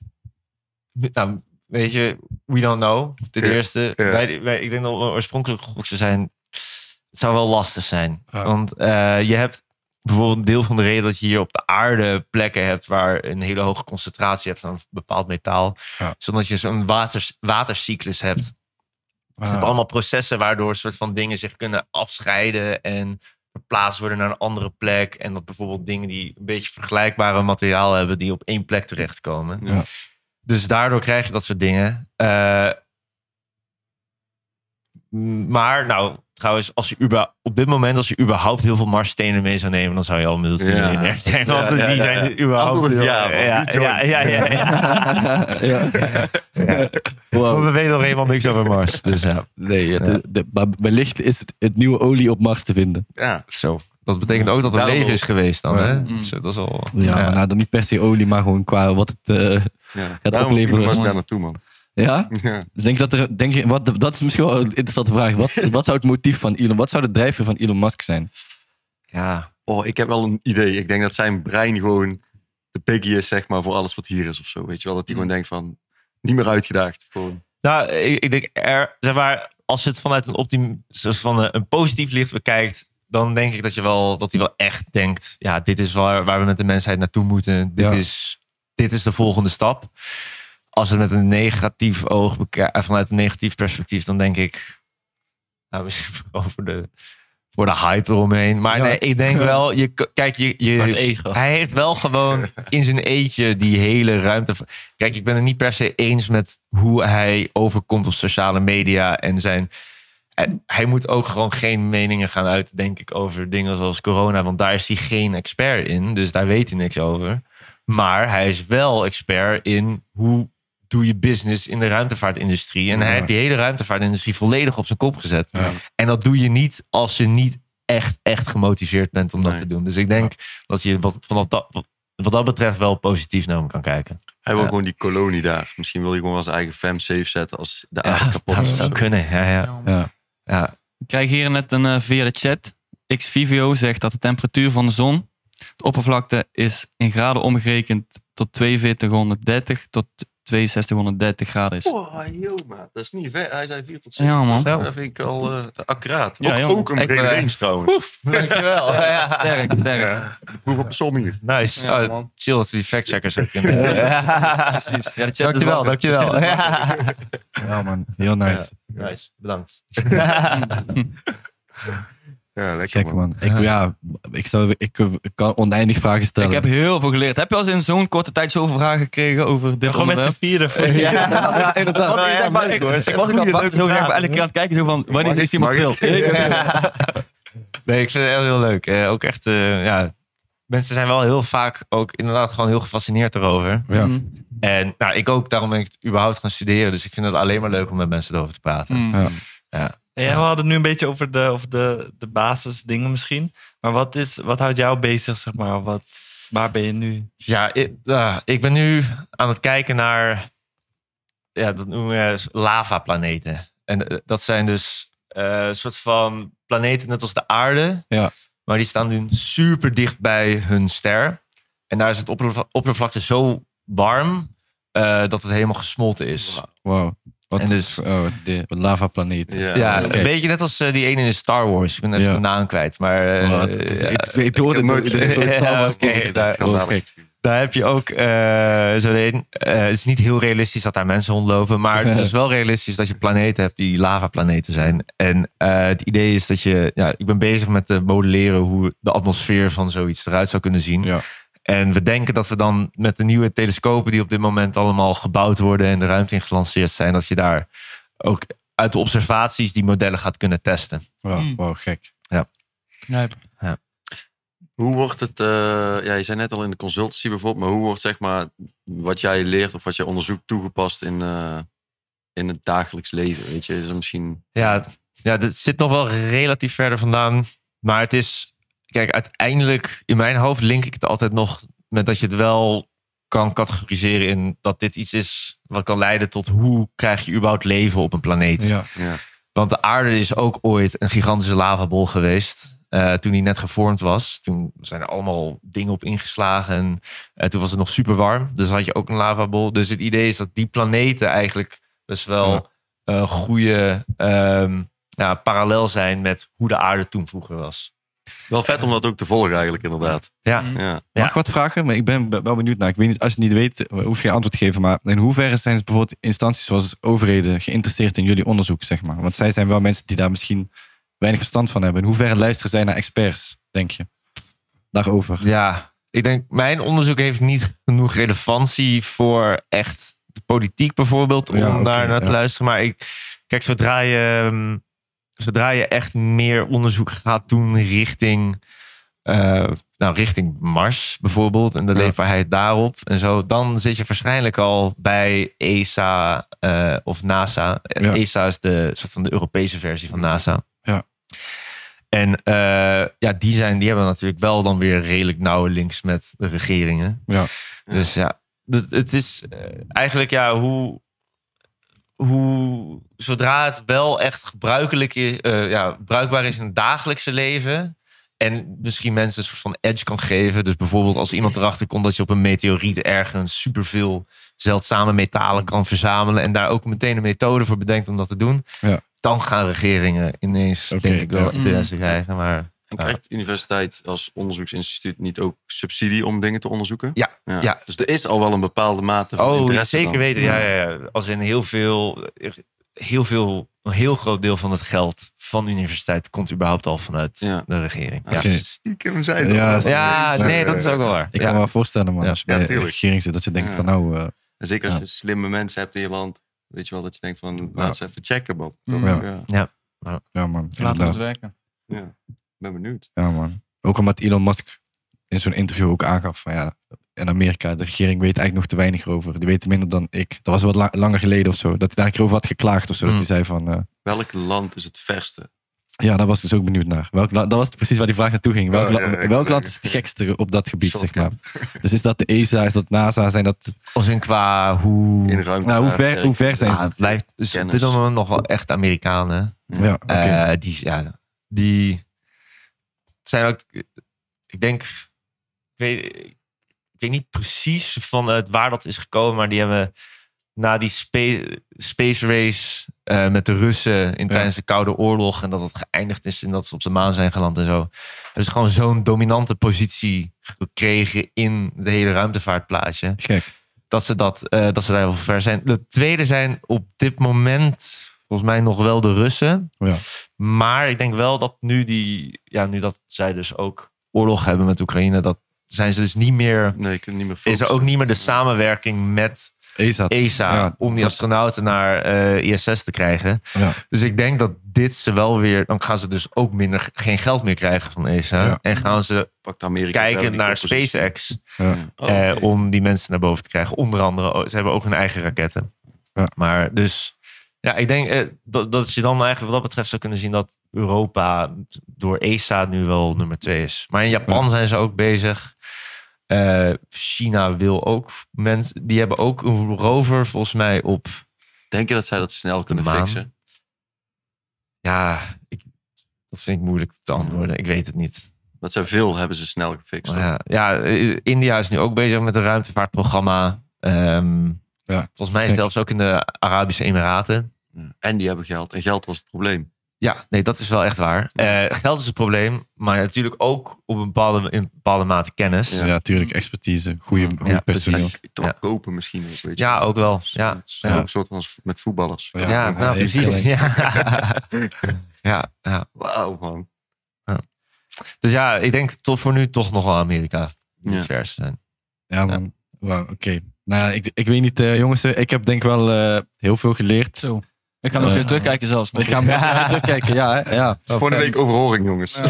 Speaker 7: Nou, weet je, we don't know. Ten
Speaker 6: Ja,
Speaker 7: eerste,
Speaker 6: ja.
Speaker 7: Wij, wij- ik denk dat we oorspronkelijk goed zou zijn. Het zou wel lastig zijn. Want eh, je hebt bijvoorbeeld een deel van de reden dat je hier op de aarde plekken hebt waar een hele hoge concentratie hebt van een bepaald metaal.
Speaker 1: Ja.
Speaker 7: Zodat je zo'n waters, watercyclus hebt. Ze
Speaker 1: Ah.
Speaker 7: hebben allemaal processen waardoor soort van dingen zich kunnen afscheiden en verplaatst worden naar een andere plek. En dat bijvoorbeeld dingen die een beetje vergelijkbare materiaal hebben, die op één plek terechtkomen.
Speaker 1: Ja.
Speaker 7: Dus daardoor krijg je dat soort dingen. Eh, m- maar nou, trouwens, als je uber, op dit moment, als je überhaupt heel veel marsstenen mee zou nemen, dan zou je al multimiljonair
Speaker 6: Ja.
Speaker 7: zijn. Want
Speaker 6: Ja, ja,
Speaker 7: die
Speaker 6: ja,
Speaker 7: zijn
Speaker 6: ja.
Speaker 7: überhaupt...
Speaker 6: Antwoord is ja, man.
Speaker 7: ja,
Speaker 6: Niet
Speaker 7: ja, ja, ja, ja.
Speaker 1: Ja.
Speaker 7: Want
Speaker 1: Wow.
Speaker 7: We weten nog helemaal niks over Mars. Dus ja,
Speaker 1: Nee, het- de- maar wellicht is het, het nieuwe olie op Mars te vinden.
Speaker 6: Ja,
Speaker 7: Zo. Dat betekent ook dat er
Speaker 6: Daarom-
Speaker 7: leven is geweest dan, hè?
Speaker 2: Mm.
Speaker 7: Zo, dat is al...
Speaker 1: Ja, maar nou, dan niet per se olie, maar gewoon qua wat het eh,
Speaker 6: ja.
Speaker 1: gaat
Speaker 6: Daarom
Speaker 1: opleveren.
Speaker 6: was daar naartoe, man.
Speaker 1: Ja?
Speaker 6: Ja.
Speaker 1: Dus denk je dat er, denk je, wat, dat is misschien wel een interessante vraag. Wat, wat zou het motief van Elon, wat zou de drijfveer van Elon Musk zijn?
Speaker 7: Ja.
Speaker 6: Oh, ik heb wel een idee. Ik denk dat zijn brein gewoon de piggy is, zeg maar, voor alles wat hier is of zo. Weet je wel, dat hij
Speaker 7: Mm.
Speaker 6: gewoon denkt van, niet meer uitgedaagd. Gewoon.
Speaker 7: Nou, ik, ik denk, er, zeg maar, als je het vanuit een, optim, zoals van een, een positief licht bekijkt... dan denk ik dat, je wel, dat hij wel echt denkt... ja, dit is waar, waar we met de mensheid naartoe moeten. Dit,
Speaker 1: Ja.
Speaker 7: is, dit is de volgende stap. Als we het met een negatief oog bekijken... vanuit een negatief perspectief, dan denk ik... Nou, misschien over de... Voor de hype eromheen. Maar
Speaker 1: Ja.
Speaker 7: nee, ik denk wel. Je, k- kijk, je,
Speaker 3: Voor het
Speaker 7: je,
Speaker 3: ego.
Speaker 7: Hij heeft wel gewoon in zijn eetje die hele ruimte. van- Kijk, ik ben het niet per se eens met hoe hij overkomt op sociale media en zijn. en hij moet ook gewoon geen meningen gaan uiten, denk ik, over dingen zoals corona. Want daar is hij geen expert in. Dus daar weet hij niks over. Maar hij is wel expert in hoe doe je business in de ruimtevaartindustrie. En hij heeft die hele ruimtevaartindustrie volledig op zijn kop gezet. En dat doe je niet als je niet echt, echt gemotiveerd bent om dat
Speaker 6: Nee.
Speaker 7: te doen. Dus ik denk dat je wat, van dat, wat dat betreft wel positief naar hem kan kijken.
Speaker 6: Hij wil gewoon die kolonie daar. Misschien wil hij gewoon wel zijn eigen fam safe zetten als de aarde kapot
Speaker 7: dat
Speaker 6: is. of
Speaker 7: zou
Speaker 6: zo.
Speaker 7: kunnen. Ja, ja.
Speaker 1: Ja.
Speaker 7: Ja.
Speaker 2: Ik krijg hier net een eh, via de chat. Xvivio zegt dat de temperatuur van de zon, de oppervlakte, is in graden omgerekend tot 4230 tot 6230 graden is.
Speaker 6: Oh, joh, maat. Dat is niet ver. Hij zei 4 tot 6.
Speaker 2: Ja, man.
Speaker 7: Zo.
Speaker 6: Dat vind ik al eh, accuraat.
Speaker 2: Ja,
Speaker 6: ook,
Speaker 2: joh.
Speaker 6: ook een
Speaker 7: Ik,
Speaker 6: brede
Speaker 7: eh,
Speaker 6: range trouwens.
Speaker 7: Dankjewel. Ja.
Speaker 2: Sterk, sterk.
Speaker 6: Proef op de som hier.
Speaker 7: Nice.
Speaker 2: Ja,
Speaker 7: Oh,
Speaker 2: man.
Speaker 7: chill dat we die factcheckers ook kunnen. Ja.
Speaker 2: Precies. Ja, de chat is
Speaker 7: Dankjewel,
Speaker 2: wakker.
Speaker 7: dankjewel. Ja.
Speaker 1: Ja, man. Heel nice.
Speaker 7: Nice, bedankt.
Speaker 6: Ja, lekker
Speaker 1: Gek,
Speaker 6: man.
Speaker 1: man. Ik, ja, ik, zou, ik, ik kan oneindig vragen stellen.
Speaker 2: Ik heb heel veel geleerd. Heb je al eens in zo'n korte tijd zoveel vragen gekregen over dit
Speaker 3: Gewoon met z'n
Speaker 2: onderwerp?
Speaker 3: vieren. voor-
Speaker 1: Ja, ja, inderdaad.
Speaker 2: Wat ik
Speaker 7: ja,
Speaker 2: zeg maar,
Speaker 7: leuk,
Speaker 2: ik-
Speaker 7: hoor.
Speaker 2: ik was ook aan het wachten, zo graag elke keer aan het kijken, zo van, wanneer is iemand stil?
Speaker 7: Nee, ik vind het echt heel leuk. Eh, ook echt, eh, ja. Mensen zijn wel heel vaak ook inderdaad gewoon heel gefascineerd erover.
Speaker 1: Ja.
Speaker 7: En nou, ik ook, daarom ben ik het überhaupt gaan studeren. Dus ik vind het alleen maar leuk om met mensen erover te praten.
Speaker 2: Mm.
Speaker 3: Ja, we hadden het nu een beetje over de, over de, de basisdingen misschien. Maar wat, is, wat houdt jou bezig, zeg maar? Wat, waar ben je nu?
Speaker 7: Ja, ik, ah, ik ben nu aan het kijken naar, ja, dat noemen we lavaplaneten. En eh, dat zijn dus eh, een soort van planeten net als de aarde.
Speaker 1: Ja.
Speaker 7: Maar die staan nu super dicht bij hun ster. En daar is het oppervla- oppervlakte zo warm eh, dat het helemaal gesmolten is.
Speaker 1: Wow. Wat
Speaker 7: En
Speaker 1: dus, oh, de lavaplaneet.
Speaker 6: Ja.
Speaker 7: Ja,
Speaker 1: oké.
Speaker 7: een beetje net als eh, die ene in Star Wars. Ik ben even
Speaker 1: Ja.
Speaker 7: de naam kwijt. Maar eh,
Speaker 1: Wow, het is-
Speaker 7: ja,
Speaker 1: ik, ik hoorde het
Speaker 6: nooit-
Speaker 1: nooit. Dit is nooit Star Wars.
Speaker 7: Ja, oké, daar-
Speaker 1: Oh, kijk.
Speaker 7: daar heb je ook eh, zo een. eh, het is niet heel realistisch dat daar mensen rondlopen. Maar het is wel realistisch dat je planeten hebt die lavaplaneten zijn. En eh, het idee is dat je. Ja, ik ben bezig met te modelleren hoe de atmosfeer van zoiets eruit zou kunnen zien.
Speaker 1: Ja.
Speaker 7: En we denken dat we dan met de nieuwe telescopen die op dit moment allemaal gebouwd worden en de ruimte in gelanceerd zijn, dat je daar ook uit de observaties die modellen gaat kunnen testen.
Speaker 1: Wow, wow, gek.
Speaker 6: Hoe wordt het, eh, ja, je zei net al in de consultancy bijvoorbeeld, maar hoe wordt zeg maar wat jij leert of wat jij onderzoekt toegepast in, eh, in het dagelijks leven? Weet je, is er misschien.
Speaker 7: Ja, het- ja, dit zit nog wel relatief verder vandaan. Maar het is, kijk, uiteindelijk in mijn hoofd link ik het altijd nog met dat je het wel kan categoriseren in dat dit iets is wat kan leiden tot hoe krijg je überhaupt leven op een planeet.
Speaker 1: Ja.
Speaker 6: Ja.
Speaker 7: Want de aarde is ook ooit een gigantische lavabol geweest. eh, toen die net gevormd was. Toen zijn er allemaal dingen op ingeslagen. En eh, toen was het nog super warm. Dus had je ook een lavabol. Dus het idee is dat die planeten eigenlijk best wel een goede ehm, ja, parallel zijn met hoe de aarde toen vroeger was.
Speaker 6: Wel vet om dat ook te volgen eigenlijk, inderdaad.
Speaker 7: Ja,
Speaker 6: Ja.
Speaker 7: Ja.
Speaker 1: Mag ik wat vragen? Maar ik ben be- wel benieuwd naar. Ik weet niet, als je het niet weet, eh, hoef je geen antwoord te geven. Maar in hoeverre zijn ze bijvoorbeeld instanties zoals overheden geïnteresseerd in jullie onderzoek, zeg maar? Want zij zijn wel mensen die daar misschien weinig verstand van hebben. In hoeverre luisteren zij naar experts, denk je? Daarover.
Speaker 7: ja. Ik denk, mijn onderzoek heeft niet genoeg relevantie voor echt de politiek bijvoorbeeld. Om
Speaker 1: Ja, oké,
Speaker 7: daar naar te
Speaker 1: ja.
Speaker 7: luisteren. Maar ik, kijk, zodra je, ehm, zodra je echt meer onderzoek gaat doen richting, eh, nou, richting Mars bijvoorbeeld. En de leefbaarheid daarop en zo. Dan zit je waarschijnlijk al bij ESA eh, of NASA. Eh,
Speaker 1: Ja.
Speaker 7: ESA is de soort van de Europese versie van NASA.
Speaker 1: Ja.
Speaker 7: En eh, ja, die, zijn, die hebben natuurlijk wel dan weer redelijk nauwe links met de regeringen.
Speaker 1: Ja.
Speaker 7: Dus ja, dat- het is eh, eigenlijk ja, hoe, hoe zodra het wel echt gebruikelijk is, eh, ja, bruikbaar is in het dagelijkse leven. En misschien mensen een soort van edge kan geven. Dus bijvoorbeeld als iemand erachter komt dat je op een meteoriet ergens superveel zeldzame metalen kan verzamelen. En daar ook meteen een methode voor bedenkt om dat te doen.
Speaker 1: Ja.
Speaker 7: Dan gaan regeringen ineens
Speaker 1: Oké,
Speaker 7: denk ik wel
Speaker 1: ja.
Speaker 7: interesse
Speaker 6: Mm.
Speaker 7: krijgen. Maar
Speaker 6: En krijgt de universiteit als onderzoeksinstituut niet ook subsidie om dingen te onderzoeken?
Speaker 7: Ja, ja.
Speaker 6: Dus er is al wel een bepaalde mate van
Speaker 7: oh,
Speaker 6: interesse.
Speaker 7: zeker
Speaker 6: dan.
Speaker 7: weten. Ja, ja, ja. Als in heel veel, heel veel, een heel groot deel van het geld van de universiteit komt überhaupt al vanuit
Speaker 6: Ja.
Speaker 7: de regering.
Speaker 6: Ja,
Speaker 7: Ja.
Speaker 6: Stiekem zijn ze
Speaker 1: Ja,
Speaker 6: al wel.
Speaker 7: Ja,
Speaker 1: Ja,
Speaker 7: nee, dat is ook wel waar.
Speaker 1: Ik
Speaker 7: ja.
Speaker 1: kan me wel voorstellen, man,
Speaker 7: Ja.
Speaker 1: als je bij
Speaker 6: Ja,
Speaker 1: de
Speaker 6: tuurlijk.
Speaker 1: regering zit, dat je denkt
Speaker 6: Ja.
Speaker 1: van nou... eh,
Speaker 6: En zeker als
Speaker 1: Ja.
Speaker 6: je slimme mensen hebt in je land, weet je wel dat je denkt van, laat
Speaker 1: Ja.
Speaker 6: eens even checken, man. Toch?
Speaker 1: Ja.
Speaker 6: Ja.
Speaker 1: ja,
Speaker 2: Laten
Speaker 1: man.
Speaker 2: we het
Speaker 1: inderdaad.
Speaker 2: werken.
Speaker 6: ben benieuwd.
Speaker 1: Ja, man. Ook omdat Elon Musk in zo'n interview ook aangaf van ja, in Amerika, de regering weet eigenlijk nog te weinig over. Die weten minder dan ik. Dat was wat la- langer geleden of zo. Dat hij daar een keer over had geklaagd of zo. Dat
Speaker 7: Mm.
Speaker 1: hij zei van, eh,
Speaker 6: Welk land is het verste?
Speaker 1: Ja, daar was ik dus ook benieuwd naar. Welk, la- dat was precies waar die vraag naartoe ging. Welk,
Speaker 6: Oh,
Speaker 1: la-
Speaker 6: ja, ja, ik
Speaker 1: welk
Speaker 6: weet
Speaker 1: land is het gekste op dat gebied,
Speaker 6: Sorry.
Speaker 1: zeg maar? Dus is dat de ESA, is dat NASA, zijn dat...
Speaker 7: Als in qua hoe...
Speaker 6: In ruimte.
Speaker 1: Nou, hoe ver, hoe ver zijn
Speaker 7: Ja,
Speaker 1: ze?
Speaker 7: het blijft dus op dit
Speaker 6: Kennis.
Speaker 7: moment nog wel echt Amerikanen.
Speaker 1: Ja, oké.
Speaker 7: Eh, die, ja, die zijn ook, ik denk, ik weet, ik weet niet precies van het waar dat is gekomen, maar die hebben na die spe- space race eh, met de Russen in, tijdens de Koude Oorlog en dat het geëindigd is en dat ze op de maan zijn geland en zo, hebben ze gewoon zo'n dominante positie gekregen in de hele ruimtevaartplaatje
Speaker 1: Gek.
Speaker 7: dat ze, dat, eh, dat ze daar heel ver zijn. De tweede zijn op dit moment volgens mij nog wel de Russen.
Speaker 1: Ja.
Speaker 7: Maar ik denk wel dat nu, die, ja, nu dat zij dus ook oorlog hebben met Oekraïne, dat zijn ze dus niet meer.
Speaker 6: Nee, ik kan niet meer
Speaker 7: Is er ook niet meer de samenwerking met
Speaker 1: ESA.
Speaker 7: ESA
Speaker 1: Ja,
Speaker 7: om die
Speaker 1: klopt.
Speaker 7: astronauten naar eh, ISS te krijgen.
Speaker 1: Ja.
Speaker 7: Dus ik denk dat dit ze wel weer. Dan gaan ze dus ook minder geen geld meer krijgen van ESA.
Speaker 1: Ja.
Speaker 7: En gaan ze
Speaker 6: Pakt Amerika wel
Speaker 7: kijken
Speaker 6: die
Speaker 7: naar
Speaker 6: koppositie.
Speaker 7: SpaceX.
Speaker 6: Oh,
Speaker 7: Eh,
Speaker 6: oké.
Speaker 7: om die mensen naar boven te krijgen. Onder andere, oh, ze hebben ook hun eigen raketten.
Speaker 1: Ja.
Speaker 7: Maar dus, ja, ik denk eh, dat, dat je dan eigenlijk wat dat betreft zou kunnen zien dat Europa door ESA nu wel nummer twee is. Maar in Japan zijn ze ook bezig. Eh, China wil ook mensen, die hebben ook een rover volgens mij op.
Speaker 6: Denk je dat zij dat snel kunnen
Speaker 7: Maan.
Speaker 6: fixen?
Speaker 7: Ja, ik, dat vind ik moeilijk te antwoorden. Ik weet het niet.
Speaker 6: Dat zijn veel hebben ze snel gefixt.
Speaker 7: Maar Ja, ja, eh, India is nu ook bezig met een ruimtevaartprogramma. Ehm,
Speaker 1: Ja,
Speaker 7: volgens mij
Speaker 1: kijk.
Speaker 7: zelfs ook in de Arabische Emiraten.
Speaker 6: Ja. En die hebben geld. En geld was het probleem.
Speaker 7: Ja, nee, dat is wel echt waar. Eh, geld is een probleem, maar natuurlijk ook op een bepaalde, in bepaalde mate kennis.
Speaker 1: Ja,
Speaker 7: Ja,
Speaker 1: natuurlijk. Expertise. Goede goed
Speaker 7: Ja,
Speaker 1: personeel.
Speaker 6: Dus toch
Speaker 7: Ja.
Speaker 6: kopen misschien ook. Weet je.
Speaker 7: ook wel. Ja,
Speaker 6: Het is ook een soort van als met voetballers.
Speaker 7: ja,
Speaker 1: Ja,
Speaker 7: nou,
Speaker 1: nee,
Speaker 7: precies.
Speaker 1: stelling.
Speaker 7: Ja. ja, ja.
Speaker 6: Wauw, man.
Speaker 7: Dus ja, ik denk tot voor nu toch nog wel Amerika.
Speaker 6: Ja.
Speaker 7: Ja. Vers zijn.
Speaker 1: Ja, man. Wauw, oké. Nou, ja, ik, ik weet niet, eh, jongens. eh, Ik heb denk wel eh, heel veel geleerd.
Speaker 2: Zo. Ik ga nog
Speaker 1: Eh,
Speaker 2: weer terugkijken zelfs.
Speaker 1: Ik ga hem even terugkijken, ja. Hè? ja.
Speaker 6: Gewoon een week overhoring, jongens.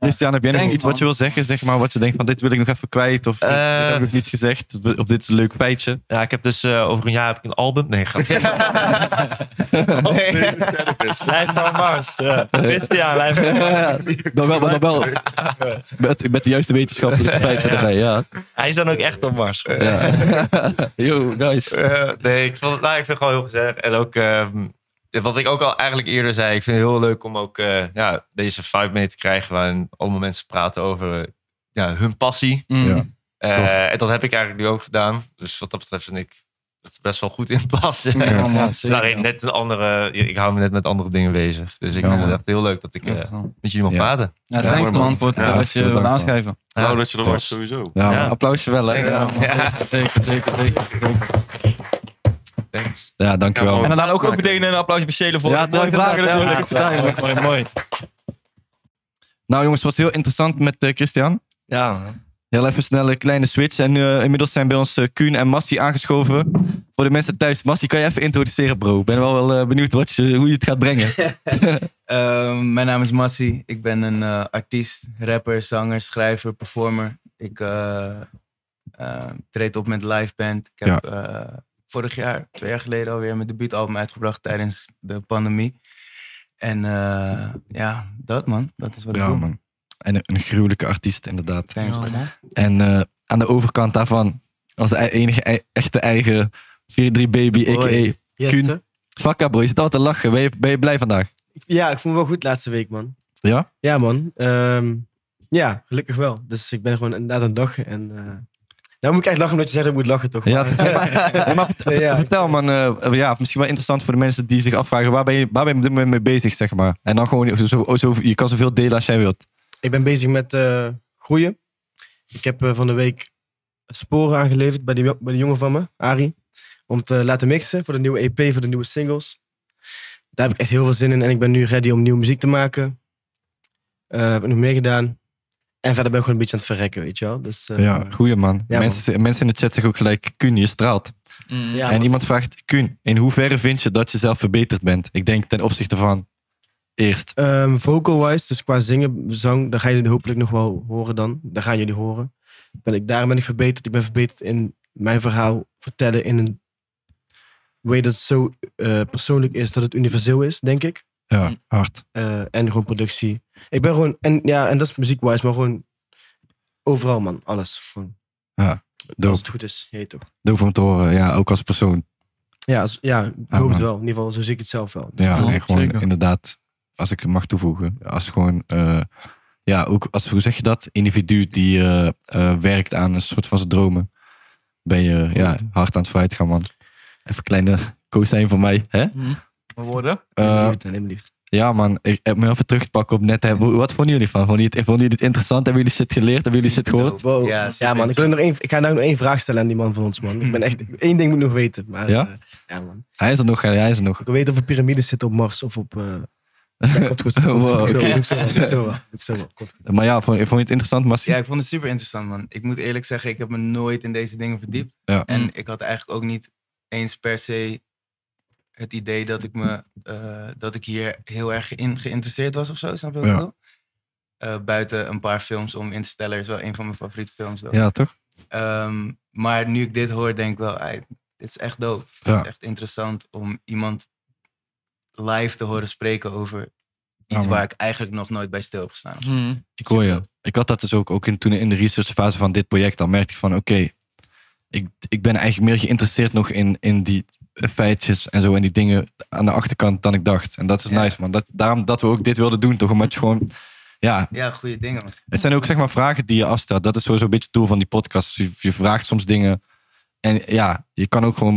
Speaker 1: Christian, heb jij nog
Speaker 2: Thanks,
Speaker 1: iets wat je wil zeggen? Zeg maar wat je denkt van dit wil ik nog even kwijt. Of eh,
Speaker 7: Eh.
Speaker 1: dit heb ik niet gezegd. Of dit is een leuk feitje.
Speaker 7: Ja, ik heb dus eh, over een jaar heb ik een album. Nee, grapje. nee.
Speaker 3: Lijf van Mars. Ja. Christian, lijf van Mars.
Speaker 1: Dan wel, maar dan wel met, met de juiste wetenschappelijke feiten erbij. Ja.
Speaker 3: Hij is dan ook echt op Mars.
Speaker 1: Yo, nice.
Speaker 7: Eh, nee, ik, vond het, nou, ik vind het gewoon heel gezellig. En ook, ehm, wat ik ook al eigenlijk eerder zei, ik vind het heel leuk om ook eh, ja, deze vibe mee te krijgen. Waarin allemaal mensen praten over eh, ja, hun passie.
Speaker 1: Ja.
Speaker 8: Mm.
Speaker 7: Eh,
Speaker 1: Tof.
Speaker 7: en dat heb ik eigenlijk nu ook gedaan. Dus wat dat betreft vind ik het best wel goed in passen.
Speaker 2: Ja,
Speaker 7: Ja.
Speaker 2: man,
Speaker 7: Dus
Speaker 2: zeker.
Speaker 7: daarin net een andere, ik hou me net met andere dingen bezig. Dus ik
Speaker 1: Ja,
Speaker 7: vind het
Speaker 1: man.
Speaker 7: echt heel leuk dat ik eh,
Speaker 2: Ja,
Speaker 7: met jullie mag
Speaker 1: Ja.
Speaker 7: praten.
Speaker 2: Ja, thanks man voor het
Speaker 1: Ja,
Speaker 2: dat je
Speaker 1: heel
Speaker 2: wil
Speaker 1: dank,
Speaker 2: aanschrijven.
Speaker 6: Nou, dat je er
Speaker 1: Ja.
Speaker 6: was, sowieso.
Speaker 1: Ja,
Speaker 7: Ja.
Speaker 1: applausje wel. Hè? Ja,
Speaker 7: Ja.
Speaker 2: Zeker, zeker, zeker.
Speaker 1: dankjewel.
Speaker 2: En dan ook, ook meteen een applausje speciale voor.
Speaker 1: Ja,
Speaker 2: Mooie
Speaker 1: dank-
Speaker 2: vragen
Speaker 1: dank-
Speaker 2: natuurlijk.
Speaker 1: dank- dank-
Speaker 2: mooi, mooi.
Speaker 1: Nou jongens, het was heel interessant met eh, Christian.
Speaker 3: Ja, man.
Speaker 1: Heel even snel een kleine switch. En eh, inmiddels zijn bij ons eh, Kuhn en Massi aangeschoven. Voor de mensen thuis, Massi, kan je even introduceren, bro? Ik ben wel, wel eh, benieuwd wat je, hoe je het gaat brengen.
Speaker 8: Ehm, mijn naam is Massi. Ik ben een eh, artiest, rapper, zanger, schrijver, performer. Ik eh, eh, treed op met live band. Ik heb eh, vorig jaar, twee jaar geleden alweer, mijn debuutalbum uitgebracht tijdens de pandemie. En eh, ja, dat man, dat is wat ik
Speaker 1: Ja,
Speaker 8: doe.
Speaker 1: man. En een, een gruwelijke artiest, inderdaad.
Speaker 8: Thanks man.
Speaker 1: En eh, aan de overkant daarvan, onze e- enige e- echte eigen 4-3 baby, a.k.a.
Speaker 9: Hoi.
Speaker 1: Kuhn.
Speaker 9: Jetse.
Speaker 1: Vakka, bro. Je zit altijd te lachen. Ben je, ben je blij vandaag?
Speaker 9: Ja, ik voel me wel goed laatste week, man.
Speaker 1: Ja?
Speaker 9: Ja, man. Ehm, ja, gelukkig wel. Dus ik ben gewoon inderdaad aan het lachen. En, eh nou moet ik echt lachen omdat je zegt dat ik moet lachen, toch?
Speaker 1: Ja,
Speaker 9: Maar-
Speaker 1: Ja, maar vert-
Speaker 9: Nee, ja.
Speaker 1: vertel man, eh, eh, ja, misschien wel interessant voor de mensen die zich afvragen, waar ben je, waar ben je op dit moment mee bezig, zeg maar? En dan gewoon, zo, zo, je kan zoveel delen als jij wilt.
Speaker 9: Ik ben bezig met eh, groeien. Ik heb eh, van de week sporen aangeleverd bij die, jo- bij die jongen van me, Ari. Om te eh, laten mixen voor de nieuwe EP, voor de nieuwe singles. Daar heb ik echt heel veel zin in. En ik ben nu ready om nieuwe muziek te maken. Eh heb ik nog meer gedaan. En verder ben ik gewoon een beetje aan het verrekken, weet je wel. Dus, eh,
Speaker 1: Ja, goeie man.
Speaker 9: Ja,
Speaker 1: mensen, mensen in de chat zeggen ook gelijk, Kun, je straalt.
Speaker 9: Mm. ja,
Speaker 1: en
Speaker 9: man.
Speaker 1: iemand vraagt, Kun, in hoeverre vind je dat je zelf verbeterd bent? Ik denk ten opzichte van, eerst.
Speaker 9: Ehm, Vocal-wise, dus qua zingen, zang, daar ga je hopelijk nog wel horen dan. Daar gaan jullie horen. Ben ik, daarom ben ik verbeterd. Ik ben verbeterd in mijn verhaal vertellen in een way dat zo eh, persoonlijk is dat het universeel is, denk ik. Eh,
Speaker 1: Ja, hard.
Speaker 9: en gewoon productie. Ik ben gewoon, en ja, en dat is muziekwise, maar gewoon overal, man. Alles. Gewoon,
Speaker 1: Ja,
Speaker 9: als
Speaker 1: dope.
Speaker 9: het goed is, heet ook.
Speaker 1: Dope om te horen. Ja, ook als persoon.
Speaker 9: Ja, als- ja ik hoop
Speaker 1: man.
Speaker 9: het wel. In ieder geval, zo zie ik het zelf wel.
Speaker 1: Ja,
Speaker 9: Dus-
Speaker 1: en gewoon inderdaad, als ik het mag toevoegen, als gewoon, eh, ja, ook als, hoe zeg je dat? Individu die eh, eh, werkt aan een soort van zijn dromen, ben je ja, hard aan het vooruit gaan, man. Even een kleine co-sign van mij, hè?
Speaker 2: Worden?
Speaker 1: Eh,
Speaker 9: neem liefde.
Speaker 1: ja, man, ik heb me even terug te pakken op net. hè. Hoe- Wat vonden jullie van? Vonden jullie, het, vonden jullie het interessant? Hebben jullie shit geleerd? Hebben jullie shit gehoord?
Speaker 9: Wow. Ja, man. Ik, wil nog één, ik ga nou nog één vraag stellen aan die man van ons, man. Ik ben
Speaker 8: Hmm.
Speaker 9: echt... één ding moet ik nog weten. Maar,
Speaker 1: Ja?
Speaker 9: eh, ja, man.
Speaker 1: Hij is er nog, hè? hij is er nog.
Speaker 9: Ik wil weten of er piramides zitten op Mars of op... eh ja, komt goed. Komt
Speaker 1: Wow.
Speaker 9: goed. Komt goed. Komt zo wel, komt zo wel, komt zo wel. Komt goed.
Speaker 1: Maar ja, vond, vond je het interessant, Massi?
Speaker 8: Ja, ik vond het super interessant, man. Ik moet eerlijk zeggen, ik heb me nooit in deze dingen verdiept.
Speaker 1: Ja.
Speaker 8: En ik had eigenlijk ook niet eens per se het idee dat ik, me, eh, dat ik hier heel erg in, geïnteresseerd was of zo. Snap je wat ik
Speaker 1: Ja.
Speaker 8: bedoel? Eh, buiten een paar films om Interstellar is wel een van mijn favoriete films. dan.
Speaker 1: Ja, toch?
Speaker 8: Ehm, maar nu ik dit hoor, denk ik wel, "Ai, dit is echt dope.
Speaker 1: Ja.
Speaker 8: Het is echt interessant om iemand live te horen spreken over
Speaker 1: Ja,
Speaker 8: iets
Speaker 1: man.
Speaker 8: waar ik eigenlijk nog nooit bij stil heb gestaan.
Speaker 2: Hmm.
Speaker 1: Ik hoor je. Ik had dat dus ook, ook in, toen in de researchfase van dit project. Dan merkte ik van, oké, ik, ik ben eigenlijk meer geïnteresseerd nog in, in die feitjes en zo. En die dingen aan de achterkant dan ik dacht. En dat is nice, man. Dat, daarom dat we ook dit wilden doen, toch? Omdat je gewoon, ja...
Speaker 8: Ja, goede dingen. man.
Speaker 1: Het zijn ook, zeg maar, vragen die je afstelt. Dat is sowieso een beetje het doel van die podcast. Je, je vraagt soms dingen. En ja, je kan ook gewoon...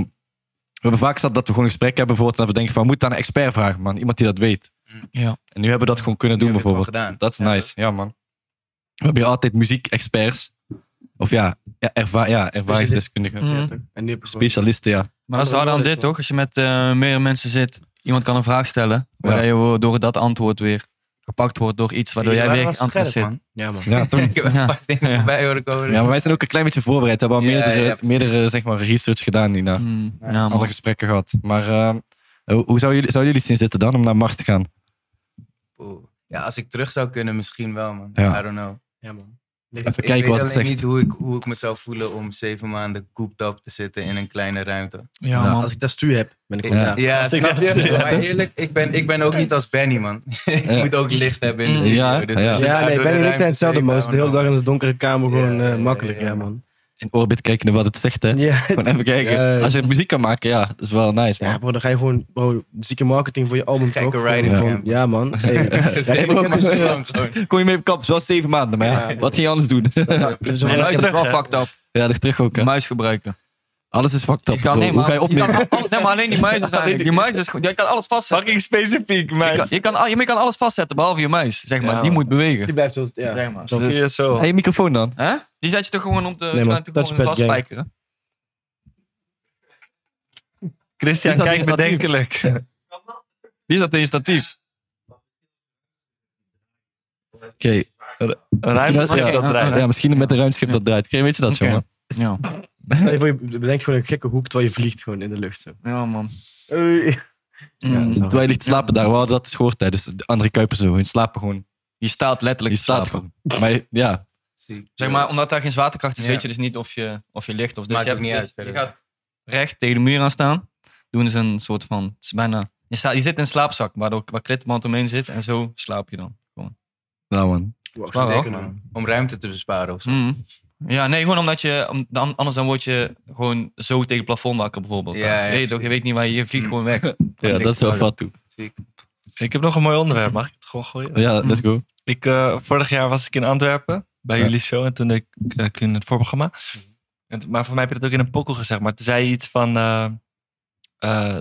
Speaker 1: We hebben vaak zat dat we gewoon een gesprek hebben bijvoorbeeld. En dat we denken van, we moeten aan een expert vragen, man. Iemand die dat weet.
Speaker 2: Ja.
Speaker 1: En nu hebben we dat gewoon kunnen
Speaker 8: Nu
Speaker 1: doen,
Speaker 8: hebben we
Speaker 1: bijvoorbeeld.
Speaker 8: het gewoon
Speaker 1: Dat is nice. Ja, man. We hebben hier altijd muziekexperts. Of ja, ja, erva ja ervaringsdeskundigen.
Speaker 2: Mhm.
Speaker 9: En nu heb ik gewoon-
Speaker 1: Specialisten, ja.
Speaker 2: Maar dat is harder dan dit, toch? Als je met eh meerdere mensen zit, iemand kan een vraag stellen, waardoor je wo- door dat antwoord weer gepakt wordt door iets waardoor
Speaker 8: Jullie
Speaker 2: jij
Speaker 8: waren
Speaker 2: weer
Speaker 8: wel scherp,
Speaker 2: antwoord zit.
Speaker 8: man.
Speaker 9: Ja, man.
Speaker 1: Ja, toch?
Speaker 8: Ik heb een paar dingen voorbij horen komen.
Speaker 1: ja, maar wij zijn ook een klein beetje voorbereid. We hebben al
Speaker 8: Ja,
Speaker 1: meerdere,
Speaker 8: ja, precies.
Speaker 1: meerdere zeg maar, research gedaan hierna.
Speaker 2: Mm, ja,
Speaker 1: Alle
Speaker 2: man.
Speaker 1: gesprekken gehad. Maar eh, hoe hoe zou jullie, zouden jullie zien zitten dan om naar Mars te gaan?
Speaker 8: Oeh. Ja, als ik terug zou kunnen, misschien wel, man.
Speaker 1: Ja.
Speaker 8: I don't know.
Speaker 9: Ja, man.
Speaker 1: Even
Speaker 8: ik
Speaker 1: kijken
Speaker 8: weet
Speaker 1: wat het
Speaker 8: alleen
Speaker 1: zegt.
Speaker 8: niet hoe ik, hoe ik me zou voelen om zeven maanden koeptap te zitten in een kleine ruimte.
Speaker 2: Ja, man.
Speaker 9: Als ik dat stuur heb, ben ik
Speaker 8: Ik-
Speaker 9: gewoon
Speaker 8: Ja,
Speaker 9: daar.
Speaker 8: snap je? Maar eerlijk, ik ben, ik ben ook niet als Benny, man. ik
Speaker 1: Ja.
Speaker 8: moet ook licht hebben in de video.
Speaker 1: Ja,
Speaker 8: dus
Speaker 1: ja.
Speaker 8: als je
Speaker 9: Ja,
Speaker 8: daar
Speaker 9: nee,
Speaker 8: door
Speaker 9: ben
Speaker 8: de
Speaker 9: je niet
Speaker 8: ruimte
Speaker 9: zijn hetzelfde,
Speaker 8: steekt,
Speaker 9: man.
Speaker 8: I
Speaker 9: Als de hele
Speaker 8: don't
Speaker 9: dag in de donkere kamer gewoon
Speaker 8: Ja,
Speaker 9: eh,
Speaker 8: ja,
Speaker 9: makkelijk,
Speaker 8: ja,
Speaker 9: ja,
Speaker 8: ja.
Speaker 9: man.
Speaker 1: In orbit kijken naar wat het zegt, hè?
Speaker 9: Ja,
Speaker 1: Gewoon even kijken.
Speaker 9: Ja, ja.
Speaker 1: Als je het muziek kan maken, ja, dat is wel nice, man.
Speaker 9: Ja, bro, dan ga je gewoon, bro, zieke marketing voor je album,
Speaker 8: Gekke
Speaker 9: toch?
Speaker 8: writing,
Speaker 9: Gewoon-
Speaker 8: ja.
Speaker 9: Ja, man. Hey,
Speaker 8: know. Zeven
Speaker 1: Ja, ik heb
Speaker 8: maanden
Speaker 1: dus, eh,
Speaker 8: lang gewoon.
Speaker 1: Kom je mee op kap? Het is wel zeven maanden, maar ja, wat ga je anders doen?
Speaker 9: nou, dat is wel-
Speaker 2: En
Speaker 9: ja,
Speaker 2: luister, dat is wel fucked up.
Speaker 1: ja, dat terug ook, hè?
Speaker 2: Muis gebruiken.
Speaker 1: Alles is fucked up.
Speaker 2: Ik kan,
Speaker 1: bro.
Speaker 2: nee,
Speaker 1: Hoe
Speaker 2: maar,
Speaker 1: ga je opnemen?
Speaker 2: kan alles- nee, maar alleen die muis. is eigenlijk- Die muis is gewoon, jij kan alles vastzetten.
Speaker 7: Fucking specifiek,
Speaker 2: Je kan,
Speaker 7: maar.
Speaker 2: je, kan, al- je kan alles vastzetten, behalve je muis, zeg maar. die moet bewegen.
Speaker 9: Die blijft zo, ja.
Speaker 3: Nee, man.
Speaker 9: Zo.
Speaker 3: Kun je zo.
Speaker 1: Hé, Dus- je microfoon dan.
Speaker 2: Hè? Die zet je toch gewoon op de
Speaker 9: Nee, man.
Speaker 2: gewoon
Speaker 9: Touchpad game.
Speaker 2: vastspijkeren?
Speaker 7: Christian,
Speaker 2: Is dat
Speaker 7: kijk
Speaker 2: initiatief?
Speaker 7: bedenkelijk.
Speaker 2: Wie is dat in statief?
Speaker 1: Oké.
Speaker 7: Ruim
Speaker 1: Ja,
Speaker 2: dat draait.
Speaker 1: Ja, misschien met een ruimschip dat draait. Oké, Weet je dat,
Speaker 2: Oké.
Speaker 1: jongen?
Speaker 2: Ja.
Speaker 9: Stel je voor, je bedenkt gewoon een gekke hoek terwijl je vliegt gewoon in de lucht. Zo.
Speaker 2: ja, man. Mm.
Speaker 9: Ja, zo.
Speaker 1: Terwijl je ligt te slapen daar. We hadden dat dus gehoord tijdens de andere Kuipers. zo. Hun slapen gewoon.
Speaker 2: Je staat letterlijk
Speaker 1: Je
Speaker 2: te
Speaker 1: staat
Speaker 2: slapen.
Speaker 1: gewoon. Maar je- ja,
Speaker 2: Zeg maar, omdat daar geen zwaartekracht is,
Speaker 8: Ja.
Speaker 2: weet je dus niet of je, of je ligt. Of, dus
Speaker 8: Maakt
Speaker 2: je
Speaker 8: ook niet uit
Speaker 2: Je,
Speaker 8: verder.
Speaker 2: gaat recht tegen de muur aan staan. Doen ze een soort van... het is bijna, je, staat, je zit in een slaapzak, waardoor, waar klittenband omheen zit. En zo slaap je dan.
Speaker 1: nou man.
Speaker 2: Waarom?
Speaker 9: Zeker, man.
Speaker 8: Om ruimte te besparen of zo.
Speaker 2: Mm. Ja, nee, gewoon omdat je... om- dan- Anders dan word je gewoon zo tegen het plafond wakker bijvoorbeeld.
Speaker 8: Ja, ja,
Speaker 2: je, weet, toch, je weet niet waar je... Je vliegt gewoon weg.
Speaker 1: Ja, dat is wel wat toe.
Speaker 3: Ik heb nog een mooi onderwerp. Mag ik het gewoon gooien?
Speaker 1: Ja, let's go.
Speaker 3: Ik, eh, vorig jaar was ik in Antwerpen bij
Speaker 1: Ja.
Speaker 3: jullie show en toen deed ik eh, kun het voorprogramma. En, t- maar voor mij heb je dat ook in een pokkel gezegd. Maar toen zei je iets van eh, eh,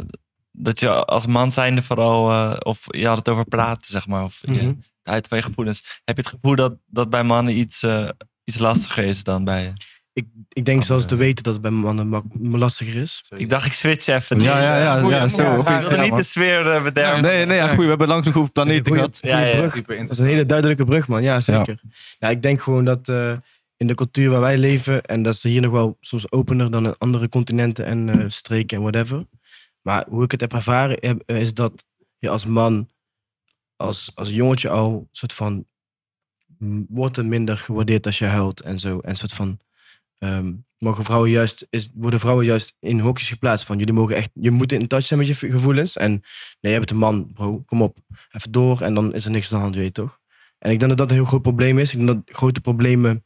Speaker 3: dat je als man zijnde vooral, eh, of je had het over praten, zeg maar, of je,
Speaker 9: Mhm.
Speaker 3: het uit van je gevoelens. Heb je het gevoel dat, dat bij mannen iets, eh, iets lastiger is dan bij.
Speaker 9: Ik, ik denk zelfs te weten dat het bij mannen mak- lastiger is.
Speaker 3: Ik dacht, ik switch even.
Speaker 1: Ja, ja, ja. ja, zo,
Speaker 3: Ik
Speaker 1: oké,
Speaker 3: wilde
Speaker 1: ja,
Speaker 3: niet
Speaker 1: man.
Speaker 3: de sfeer eh, bederven.
Speaker 1: Nee, nee, ja, goed. We hebben langs nog over planeten
Speaker 9: Goeie-
Speaker 1: gehad.
Speaker 9: goeie
Speaker 3: Ja, ja, ja.
Speaker 9: brug.
Speaker 8: Super
Speaker 9: Dat is een
Speaker 8: interessant.
Speaker 9: hele duidelijke brug, man. Ja, zeker. Nou, ik denk gewoon dat eh, in de cultuur waar wij leven, en dat is hier nog wel soms opener dan in andere continenten en eh, streken en whatever. Maar hoe ik het heb ervaren, heb- eh, is dat je als man, als, als jongetje al, een soort van m- wordt er minder gewaardeerd als je huilt en zo. En een soort van ehm, mogen vrouwen juist, is, worden vrouwen juist in hokjes geplaatst. Van jullie mogen echt, je moet in touch zijn met je v- gevoelens. En nee, je bent een man, bro, kom op. Even door en dan is er niks aan de hand, weet je toch? En ik denk dat dat een heel groot probleem is. Ik denk dat grote problemen.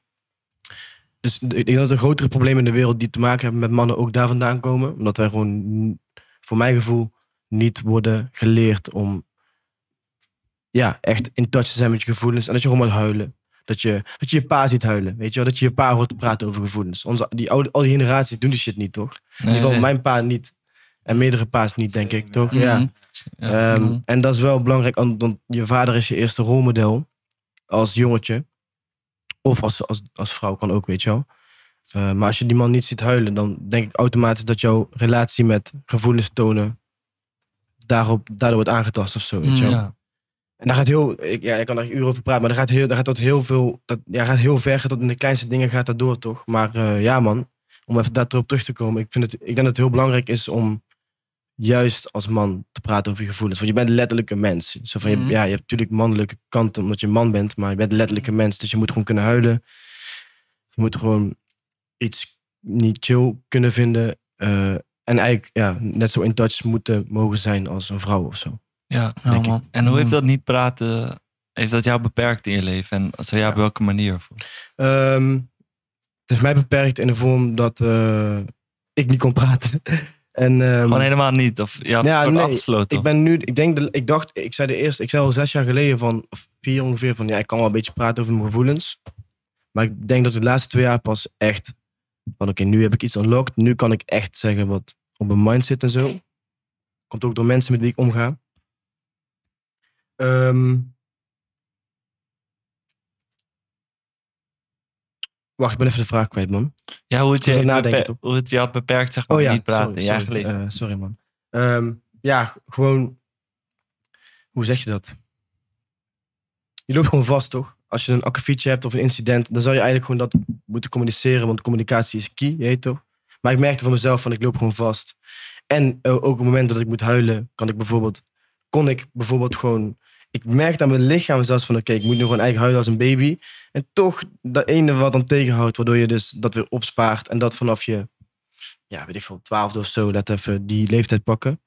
Speaker 9: Dus ik denk dat er grotere problemen in de wereld die te maken hebben met mannen ook daar vandaan komen. Omdat wij gewoon, voor mijn gevoel, niet worden geleerd om ja, echt in touch te zijn met je gevoelens. En dat je gewoon moet huilen. Dat je, dat je je pa ziet huilen, weet je wel? Dat je je pa hoort praten over gevoelens. Onze, die oude, al die generaties doen die shit niet, toch? in ieder geval
Speaker 3: nee.
Speaker 9: mijn pa niet. En meerdere pa's niet, denk ik, toch?
Speaker 2: Mhm.
Speaker 9: Ja.
Speaker 3: Ja.
Speaker 9: Ehm,
Speaker 2: Mhm.
Speaker 9: En dat is wel belangrijk, an- want je vader is je eerste rolmodel als jongetje. Of als, als, als vrouw kan ook, weet je wel. Eh, maar als je die man niet ziet huilen, dan denk ik automatisch dat jouw relatie met gevoelens tonen daarop, daardoor wordt aangetast of zo, weet je wel.
Speaker 3: Ja.
Speaker 9: En daar gaat heel, ik, ja, ik kan daar uren over praten, maar daar gaat heel, daar gaat dat heel veel, dat, ja, gaat heel ver, gaat tot in de kleinste dingen gaat dat door, toch? Maar eh, ja, man, om even daarop terug te komen, ik, vind het, ik denk dat het heel belangrijk is om juist als man te praten over je gevoelens. Want je bent letterlijk een mens. Zo van, je,
Speaker 2: Mhm.
Speaker 9: ja, je hebt natuurlijk mannelijke kanten omdat je een man bent, maar je bent letterlijk een mens, dus je moet gewoon kunnen huilen. Je moet gewoon iets niet chill kunnen vinden. eh, en eigenlijk ja, net zo in touch moeten mogen zijn als een vrouw of zo.
Speaker 3: Ja,
Speaker 9: Oh,
Speaker 2: Nou,
Speaker 3: denk ik.
Speaker 2: man.
Speaker 3: En hoe heeft
Speaker 9: Mm.
Speaker 2: Mhm.
Speaker 3: dat niet praten, heeft dat jou beperkt in je leven? En zo ja, op welke manier?
Speaker 9: Ehm, het heeft mij beperkt in de vorm dat eh, ik niet kon praten. en, ehm,
Speaker 3: Gewoon helemaal niet? Of je had
Speaker 9: Ja,
Speaker 3: het soort
Speaker 9: nee,
Speaker 3: afgesloten?
Speaker 9: ik ben nu, ik denk, de- ik dacht, ik zei de eerste, ik zei al zes jaar geleden van, of vier ongeveer, van ja, ik kan wel een beetje praten over mijn gevoelens. Maar ik denk dat de laatste twee jaar pas echt van oké, nu heb ik iets unlocked. Nu kan ik echt zeggen wat op mijn mind zit en zo. Komt ook door mensen met wie ik omga. Ehm, wacht, ik ben even de vraag kwijt, man.
Speaker 3: Ja, hoe
Speaker 9: Ik
Speaker 3: het, je,
Speaker 9: moet even nadenken,
Speaker 3: beper-
Speaker 9: toch?
Speaker 3: hoe het je had beperkt, zeg maar, niet praten.
Speaker 9: sorry,
Speaker 3: in je
Speaker 9: sorry,
Speaker 3: eigen leven.
Speaker 9: eh, sorry, man. Ehm, ja, g- gewoon. Hoe zeg je dat? Je loopt gewoon vast, toch? Als je een akkefietje hebt of een incident, dan zou je eigenlijk gewoon dat moeten communiceren, want communicatie is key, je weet toch? Maar ik merkte van mezelf van ik loop gewoon vast. En eh, ook op het moment dat ik moet huilen, kan ik bijvoorbeeld, kon ik bijvoorbeeld gewoon. Ik merkte aan mijn lichaam zelfs van oké, ik moet nu gewoon eigenlijk huilen als een baby. En toch dat ene wat dan tegenhoudt, waardoor je dus dat weer opspaart en dat vanaf je ja, weet ik veel, twaalfde of zo, laat even die leeftijd pakken.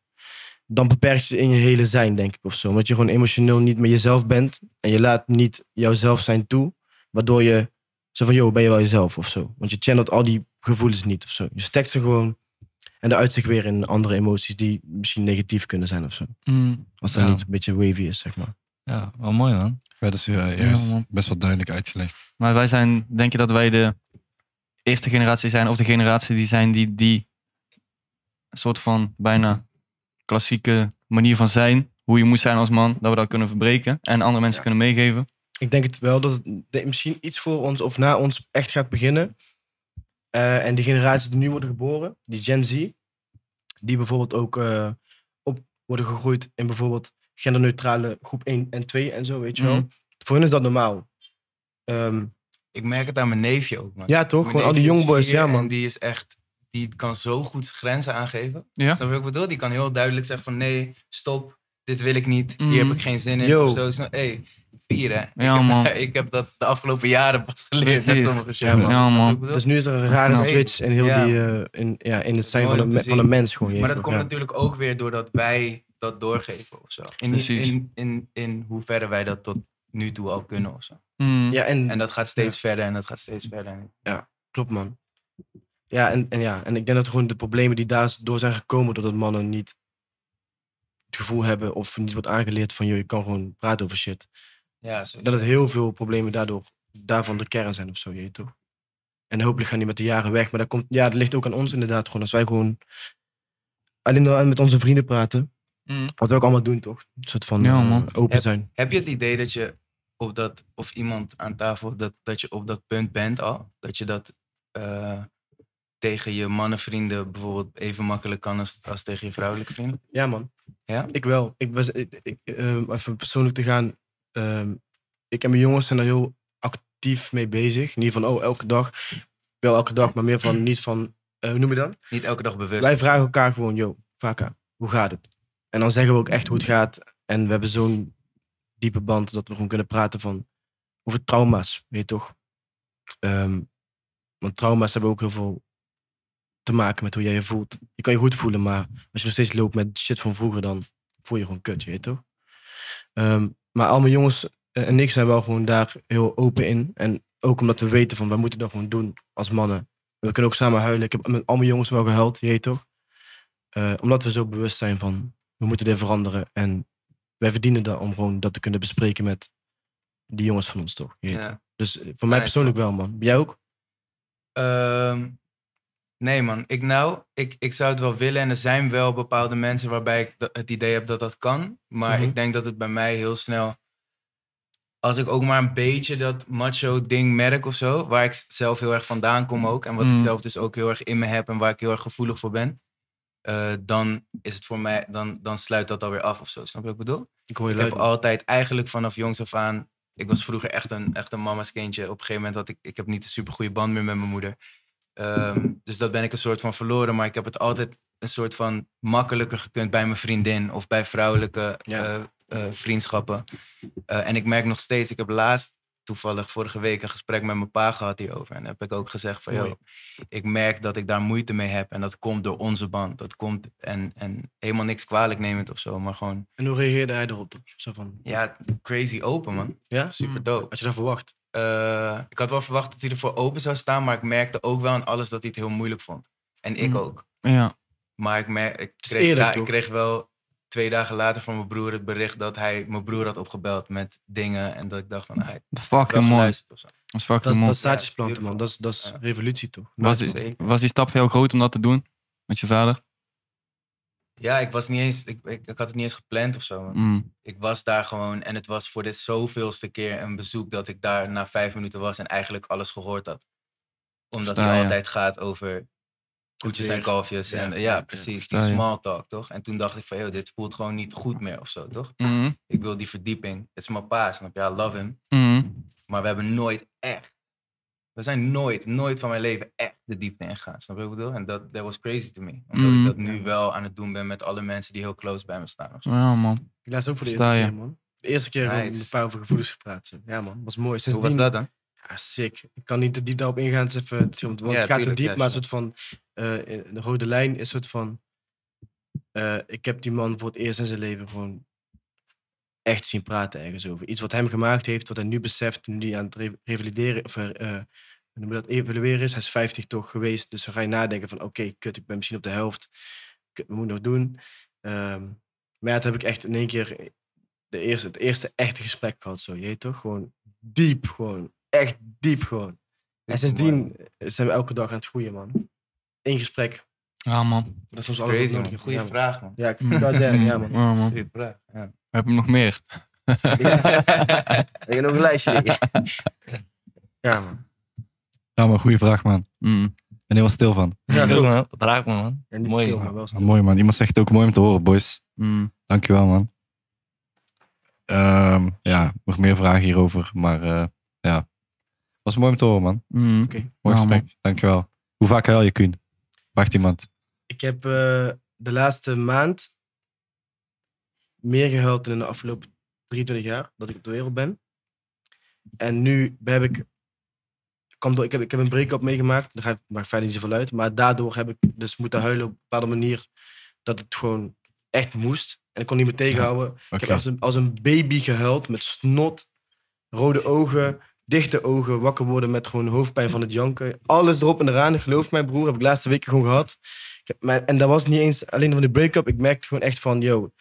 Speaker 9: Dan beperk je je in je hele zijn, denk ik, of zo. Omdat je gewoon emotioneel niet met jezelf bent. En je laat niet jouzelf zijn toe. Waardoor je zo van, yo, ben je wel jezelf of zo. Want je channelt al die gevoelens niet of zo. Je stekt ze gewoon. En de uitzicht weer in andere emoties die misschien negatief kunnen zijn of zo. Als dat
Speaker 3: Mm. Ja.
Speaker 9: niet een beetje wavy is, zeg maar.
Speaker 3: Ja, wel mooi man.
Speaker 10: Dat is eh,
Speaker 2: Ja,
Speaker 10: juist
Speaker 2: man.
Speaker 10: best wel duidelijk uitgelegd.
Speaker 2: Maar wij zijn, denk je dat wij de eerste generatie zijn, of de generatie die zijn die die soort van bijna klassieke manier van zijn, hoe je moet zijn als man, dat we dat kunnen verbreken en andere mensen kunnen meegeven.
Speaker 9: Ik denk het wel dat het de- misschien iets voor ons of na ons echt gaat beginnen. Eh, en die generaties die nu worden geboren, die Gen Z, die bijvoorbeeld ook eh, op worden gegroeid in bijvoorbeeld genderneutrale groep 1 en 2 en zo, weet je wel.
Speaker 2: Mhm.
Speaker 9: Voor hen is dat normaal. Ehm,
Speaker 8: Ik merk het aan mijn neefje ook, man.
Speaker 9: ja, toch?
Speaker 8: Mijn
Speaker 9: Gewoon al die
Speaker 8: neefje is
Speaker 9: jongboys,
Speaker 8: vier
Speaker 9: ja,
Speaker 8: en
Speaker 9: man.
Speaker 8: die is echt, die kan zo goed grenzen aangeven.
Speaker 2: Ja.
Speaker 8: Snap je wat ik bedoel? Die kan heel duidelijk zeggen van nee, stop, dit wil ik niet, hier
Speaker 2: Mhm.
Speaker 8: heb ik geen zin in.
Speaker 9: Yo.
Speaker 8: Of zo. Snap- hey, vier hè.
Speaker 2: Ja,
Speaker 8: ik, heb,
Speaker 2: man.
Speaker 8: ik heb dat de afgelopen jaren pas geleerd.
Speaker 2: Precies.
Speaker 8: met sommige shit,
Speaker 9: Ja, man.
Speaker 8: Snap je
Speaker 2: Ja,
Speaker 8: wat
Speaker 2: man.
Speaker 8: ik bedoel?
Speaker 9: Dus nu is er een rare
Speaker 8: Nou.
Speaker 9: switch in, heel
Speaker 8: Ja.
Speaker 9: die, eh, in, ja, in het zijn
Speaker 8: Mooi
Speaker 9: van
Speaker 8: om
Speaker 9: een,
Speaker 8: te
Speaker 9: me- van
Speaker 8: zien.
Speaker 9: een mens gewoon. je
Speaker 8: Maar
Speaker 9: weet
Speaker 8: dat
Speaker 9: toch,
Speaker 8: komt
Speaker 9: ja.
Speaker 8: natuurlijk ook weer doordat wij dat doorgeven of zo. In, in,
Speaker 2: Precies.
Speaker 8: in, in, hoeverre wij dat tot nu toe al kunnen of zo.
Speaker 9: Ja, en
Speaker 8: En dat gaat steeds verder en dat gaat steeds verder.
Speaker 9: Klopt, man. Ja en, en ja, en ik denk dat gewoon de problemen die daardoor zijn gekomen, doordat mannen niet het gevoel hebben of niet wordt aangeleerd van, joh, je kan gewoon praten over shit.
Speaker 8: Ja, zo.
Speaker 9: Dat het heel veel problemen daardoor, daarvan de kern zijn of zo, je weet toch? En hopelijk gaan die met de jaren weg. Maar dat, komt, ja, dat ligt ook aan ons inderdaad gewoon. Als wij gewoon alleen al met onze vrienden praten,
Speaker 2: Mm.
Speaker 9: wat we ook allemaal doen, toch? Een soort van
Speaker 2: Ja,
Speaker 9: eh,
Speaker 2: man.
Speaker 9: open zijn.
Speaker 8: Heb je het idee dat je op dat, of iemand aan tafel, dat, dat je op dat punt bent al? Dat je dat eh, tegen je mannenvrienden bijvoorbeeld even makkelijk kan als, als tegen je vrouwelijke vrienden?
Speaker 9: Ja, man.
Speaker 8: Ja?
Speaker 9: Ik wel. Ik was, ik, ik, ehm, even persoonlijk te gaan. ehm, ik en mijn jongens zijn er heel actief mee bezig. Niet van, oh, elke dag. Wel elke dag, maar meer van, niet van, eh, hoe noem je dat?
Speaker 8: Niet elke dag bewust.
Speaker 9: Wij vragen elkaar gewoon, yo, Vaka, hoe gaat het? En dan zeggen we ook echt hoe het
Speaker 8: Mm.
Speaker 9: gaat. En we hebben zo'n diepe band dat we gewoon kunnen praten van over trauma's, weet je toch? Ehm, Want trauma's hebben ook heel veel te maken met hoe jij je voelt. Je kan je goed voelen, maar als je nog steeds loopt met shit van vroeger, dan voel je gewoon kut, je weet toch? Ehm, maar al mijn jongens eh, en ik zijn wel gewoon daar heel open in. En ook omdat we weten van, we moeten dat gewoon doen als mannen. We kunnen ook samen huilen. Ik heb met al mijn jongens wel gehuild, je weet toch? Eh, omdat we zo bewust zijn van, we moeten dit veranderen. En wij verdienen dat om gewoon dat te kunnen bespreken met die jongens van ons, toch? Je weet
Speaker 8: Ja.
Speaker 9: toch? Dus eh, voor mij
Speaker 8: Ja, ik
Speaker 9: persoonlijk wel, man. Jij ook?
Speaker 8: Ehm, nee, man. Ik, nou, ik, ik zou het wel willen. En er zijn wel bepaalde mensen waarbij ik da- het idee heb dat dat kan. Maar
Speaker 9: Mhm.
Speaker 8: ik denk dat het bij mij heel snel. Als ik ook maar een beetje dat macho-ding merk of zo. Waar ik s- zelf heel erg vandaan kom ook. En wat
Speaker 9: Mhm.
Speaker 8: ik
Speaker 11: Mm.
Speaker 8: zelf dus ook heel erg in me heb. En waar ik heel erg gevoelig voor ben. eh, dan is het voor mij. Dan, dan sluit dat alweer af of zo. Snap je wat ik bedoel?
Speaker 9: Ik hoor je
Speaker 8: ik
Speaker 9: luid,
Speaker 8: heb altijd eigenlijk vanaf jongs af aan. Ik was vroeger echt een, echt een mama's kindje. Op een gegeven moment had ik, ik heb niet een super goede band meer met mijn moeder. Ehm, dus dat ben ik een soort van verloren. Maar ik heb het altijd een soort van makkelijker gekund bij mijn vriendin of bij vrouwelijke eh, eh, vriendschappen. Eh, en ik merk nog steeds, ik heb laatst toevallig vorige week een gesprek met mijn pa gehad hierover. En heb ik ook gezegd van,
Speaker 9: Mooi.
Speaker 8: joh, ik merk dat ik daar moeite mee heb. En dat komt door onze band. Dat komt, en, en helemaal niks kwalijk nemend of zo, maar gewoon
Speaker 9: En hoe reageerde hij erop? Zo van,
Speaker 8: ja, crazy open, man.
Speaker 9: Ja?
Speaker 8: Super dope. Eh,
Speaker 9: Had je dat verwacht?
Speaker 8: ik had wel verwacht dat hij ervoor open zou staan, maar ik merkte ook wel aan alles dat hij het heel moeilijk vond. En ik
Speaker 11: Mm.
Speaker 8: ook.
Speaker 11: Ja.
Speaker 8: Maar ik, mer- ik,
Speaker 9: is
Speaker 8: kreeg,
Speaker 9: eerlijk,
Speaker 8: ja, ik
Speaker 9: toch?
Speaker 8: kreeg wel twee dagen later van mijn broer het bericht dat hij mijn broer had opgebeld met dingen. En dat ik dacht van, ah, hij
Speaker 2: Fucking mooi. Dat is
Speaker 9: dat,
Speaker 2: fucking
Speaker 9: is- dat
Speaker 2: mooi.
Speaker 9: is zaadjes planten, man. Dat is, dat is revolutie, toch?
Speaker 2: Was,
Speaker 9: Nice, man.
Speaker 2: die- was die stap heel groot om dat te doen? Met je vader?
Speaker 8: Ja, ik was niet eens. Ik, ik, ik had het niet eens gepland of zo. man.
Speaker 2: Mm.
Speaker 8: Ik was daar gewoon en het was voor de zoveelste keer een bezoek dat ik daar na vijf minuten was en eigenlijk alles gehoord had. Omdat
Speaker 2: Versta
Speaker 8: het
Speaker 2: je.
Speaker 8: altijd gaat over koetjes en
Speaker 9: weer.
Speaker 8: kalfjes. En, ja, precies. Die
Speaker 2: Versta je.
Speaker 8: small talk, toch? En toen dacht ik van, joh, dit voelt gewoon niet goed meer of zo, toch?
Speaker 2: Mhm.
Speaker 8: Ik wil die verdieping. Het is mijn pa, snap je? I love him.
Speaker 2: Mhm.
Speaker 8: Maar we hebben nooit echt. We zijn nooit, nooit van mijn leven echt de diepte ingegaan. Snap je wat ik bedoel? En dat that was crazy to me. Omdat
Speaker 2: Mm.
Speaker 8: ik dat nu wel aan het doen ben met alle mensen die heel close bij me staan. of zo.
Speaker 2: Ja, man.
Speaker 9: Ik laatst ook voor de
Speaker 2: Sta
Speaker 9: eerste
Speaker 2: je.
Speaker 9: keer, man. De eerste keer gewoon met
Speaker 8: Nice.
Speaker 9: een paar over gevoelens gepraat. zo. Ja, man. was mooi.
Speaker 8: Hoe was
Speaker 9: Sindsdien,
Speaker 8: dat dan?
Speaker 9: ja, sick. Ik kan niet te diep daarop ingaan. Het, is even, het, is- want het
Speaker 8: Ja,
Speaker 9: gaat te
Speaker 8: tuurlijk,
Speaker 9: diep,
Speaker 8: ja,
Speaker 9: maar een soort van... eh, in de rode lijn is een soort van... eh, ik heb die man voor het eerst in zijn leven gewoon echt zien praten ergens over. Iets wat hem gemaakt heeft, wat hij nu beseft, nu hij aan het re- revalideren... Of, eh, eh, hoe noem je dat, evalueren is. Hij is 50 toch geweest, dus dan ga je nadenken van... Oké, kut, ik ben misschien op de helft. Kut, wat moet ik nog doen? Ehm, maar ja, dat heb ik echt in één keer... De eerste, het eerste echte gesprek gehad, zo. Je weet toch? Gewoon diep, gewoon. Echt diep, gewoon. En sindsdien zijn we elke dag aan het groeien, man. Eén gesprek.
Speaker 2: Ja, man.
Speaker 9: Dat is soms alles wat
Speaker 8: Crazy,
Speaker 9: nodig
Speaker 8: man.
Speaker 9: is.
Speaker 8: Goeie
Speaker 9: ja, man.
Speaker 8: vraag, man.
Speaker 9: Ja, ik goddamn, ja, man.
Speaker 2: Ja, man.
Speaker 8: Goeie vraag. Ja.
Speaker 2: Heb je nog meer?
Speaker 9: Ik heb nog een lijstje liggen. Ja, man.
Speaker 1: Ja, Nou, maar goede vraag, man. Ik
Speaker 2: Mm.
Speaker 1: ben heel stil van.
Speaker 3: Ja, doe man. Dat raakt me, man.
Speaker 9: En niet
Speaker 3: Mooi,
Speaker 9: stil, maar
Speaker 3: man.
Speaker 9: wel
Speaker 1: Ah,
Speaker 9: stil.
Speaker 1: mooi, man. Iemand zegt het ook mooi om te horen, boys.
Speaker 2: Mm.
Speaker 1: Dankjewel, man. Ehm, ja, nog meer vragen hierover. Maar eh, ja, was mooi om te horen, man.
Speaker 2: Mm. Ja,
Speaker 1: Mooi gesprek. Dankjewel. Hoe vaak huil je, Kuhn? Wacht iemand.
Speaker 9: Ik heb eh, de laatste maand meer gehuild dan in de afgelopen 23 jaar dat ik op de wereld ben. En nu heb ik, kwam door, ik, heb, ik heb een break-up meegemaakt. Daar ga ik- maakt verder niet zoveel uit. Maar daardoor heb ik dus moeten huilen op een bepaalde manier dat het gewoon echt moest. En ik kon niet meer tegenhouden. Ik
Speaker 1: Oké.
Speaker 9: heb als een, als een baby gehuild met snot, rode ogen, dichte ogen, wakker worden met gewoon hoofdpijn van het janken. Alles erop en eraan, geloof mij broer, heb ik de laatste weken gewoon gehad. Ik heb- maar- en dat was niet eens alleen van die break-up. Ik merkte gewoon echt van, yo,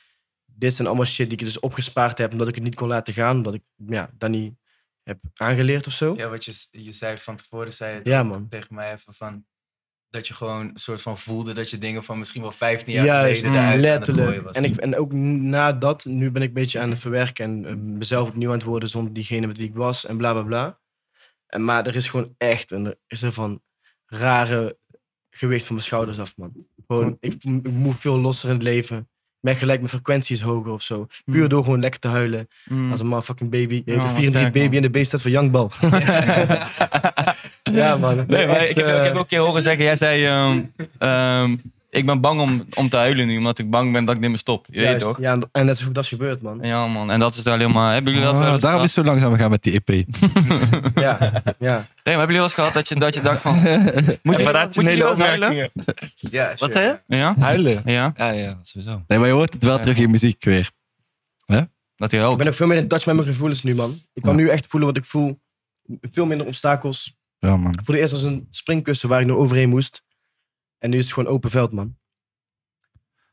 Speaker 9: dit zijn allemaal shit die ik dus opgespaard heb omdat ik het niet kon laten gaan. Omdat ik ja, dat niet heb aangeleerd of zo. Ja,
Speaker 8: Ja, wat je, s- je zei van tevoren, zei je
Speaker 9: man.
Speaker 8: tegen mij even van... Dat je gewoon een soort van voelde dat je dingen van misschien wel 15 jaar
Speaker 9: Juist,
Speaker 8: geleden eruit aan het gooien
Speaker 9: letterlijk.
Speaker 8: was.
Speaker 9: En, ik, en ook na dat, nu ben ik een beetje aan het verwerken en eh, mezelf opnieuw aan het worden zonder diegene met wie ik was en bla bla bla. En, maar er is gewoon echt, en er is er van rare gewicht van mijn schouders af, man.
Speaker 2: Hm.
Speaker 9: Gewoon, ik, ik moet veel losser in het leven. Ik merk gelijk, mijn frequentie is hoger of zo. Puur door gewoon lekker te huilen
Speaker 2: Mm.
Speaker 9: als een motherfucking baby. Je
Speaker 2: Hm. Ja,
Speaker 9: heet
Speaker 2: man,
Speaker 9: een 4
Speaker 2: sterk, man.
Speaker 9: baby en de B staat voor Youngbal. ja, man.
Speaker 2: Nee, maar ik,
Speaker 9: Echt,
Speaker 2: heb, ik
Speaker 9: eh,
Speaker 2: heb ook een keer horen zeggen, jij zei, ehm, ehm, ik ben bang om, om te huilen nu, omdat ik bang ben dat ik niet meer stop. Je weet
Speaker 9: Juist,
Speaker 2: toch?
Speaker 9: Ja, en- en dat is, dat is gebeurd, man.
Speaker 2: Ja, man. En dat is daar helemaal... Hebben jullie dat
Speaker 1: Ah,
Speaker 2: wel eens
Speaker 1: daarom
Speaker 2: gehad?
Speaker 1: is het zo langzaam gegaan met die E EP.
Speaker 9: Ja, ja.
Speaker 2: Nee, maar hebben jullie wel eens gehad dat je, dat je dacht van... Moet je, moet je wel eens huilen?
Speaker 8: Ja,
Speaker 2: Wat zei je? Ja?
Speaker 3: Huilen?
Speaker 2: Ja?
Speaker 3: Ja, ja, sowieso.
Speaker 1: Nee, maar je hoort het wel terug in je muziek weer.
Speaker 2: Dat hij
Speaker 9: Ik
Speaker 2: helpt.
Speaker 9: ben ook veel meer in touch met mijn gevoelens nu, man. Ik kan nu echt voelen wat ik voel. Veel minder obstakels.
Speaker 1: Ja, man.
Speaker 9: Voor de eerst als een springkussen waar ik nog overheen moest. En nu is het gewoon open veld, man. Ik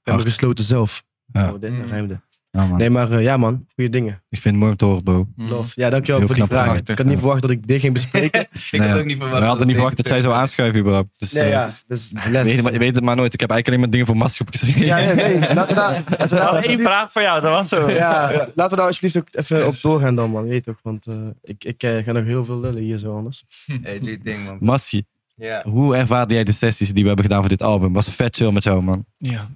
Speaker 9: ben
Speaker 1: Hard.
Speaker 9: me gesloten zelf.
Speaker 1: Ja.
Speaker 9: Oh, dit
Speaker 8: Mm.
Speaker 9: ruimde.
Speaker 1: Ja, man.
Speaker 9: Nee, maar eh, ja, man. Goede dingen.
Speaker 1: Ik vind het mooi om te horen, bro.
Speaker 8: Mm.
Speaker 9: Love. Ja, dankjewel
Speaker 1: Heel
Speaker 9: voor die
Speaker 1: knap
Speaker 9: vraag.
Speaker 1: gemaakt,
Speaker 9: Ik had niet verwacht dat ik dit ging bespreken.
Speaker 8: Ik
Speaker 1: Nee,
Speaker 8: had ook niet
Speaker 1: We
Speaker 8: verwacht.
Speaker 1: hadden niet verwacht dat zij
Speaker 8: deze
Speaker 1: zo aanschuiven, überhaupt. Dus,
Speaker 9: nee,
Speaker 1: eh,
Speaker 9: ja. Dus
Speaker 1: je, weet het
Speaker 9: les.
Speaker 1: maar, je weet het maar nooit. Ik heb eigenlijk alleen maar dingen voor Masters opgeschreven.
Speaker 9: Ja, nee, nee. Laten we daar, laten we daar
Speaker 3: Eén
Speaker 9: alsjeblieft-
Speaker 3: vraag voor jou, dat was zo.
Speaker 9: ja, laten we daar alsjeblieft ook even op doorgaan dan, man. Je Weet toch, want eh, ik, ik eh, ga nog heel veel lullen hier zo anders.
Speaker 8: Hey, doe je ding, man.
Speaker 1: Massie,
Speaker 8: Ja,
Speaker 1: hoe ervaarde jij de sessies die we hebben gedaan voor dit album? Was vet chill met jou, man.
Speaker 10: Ja.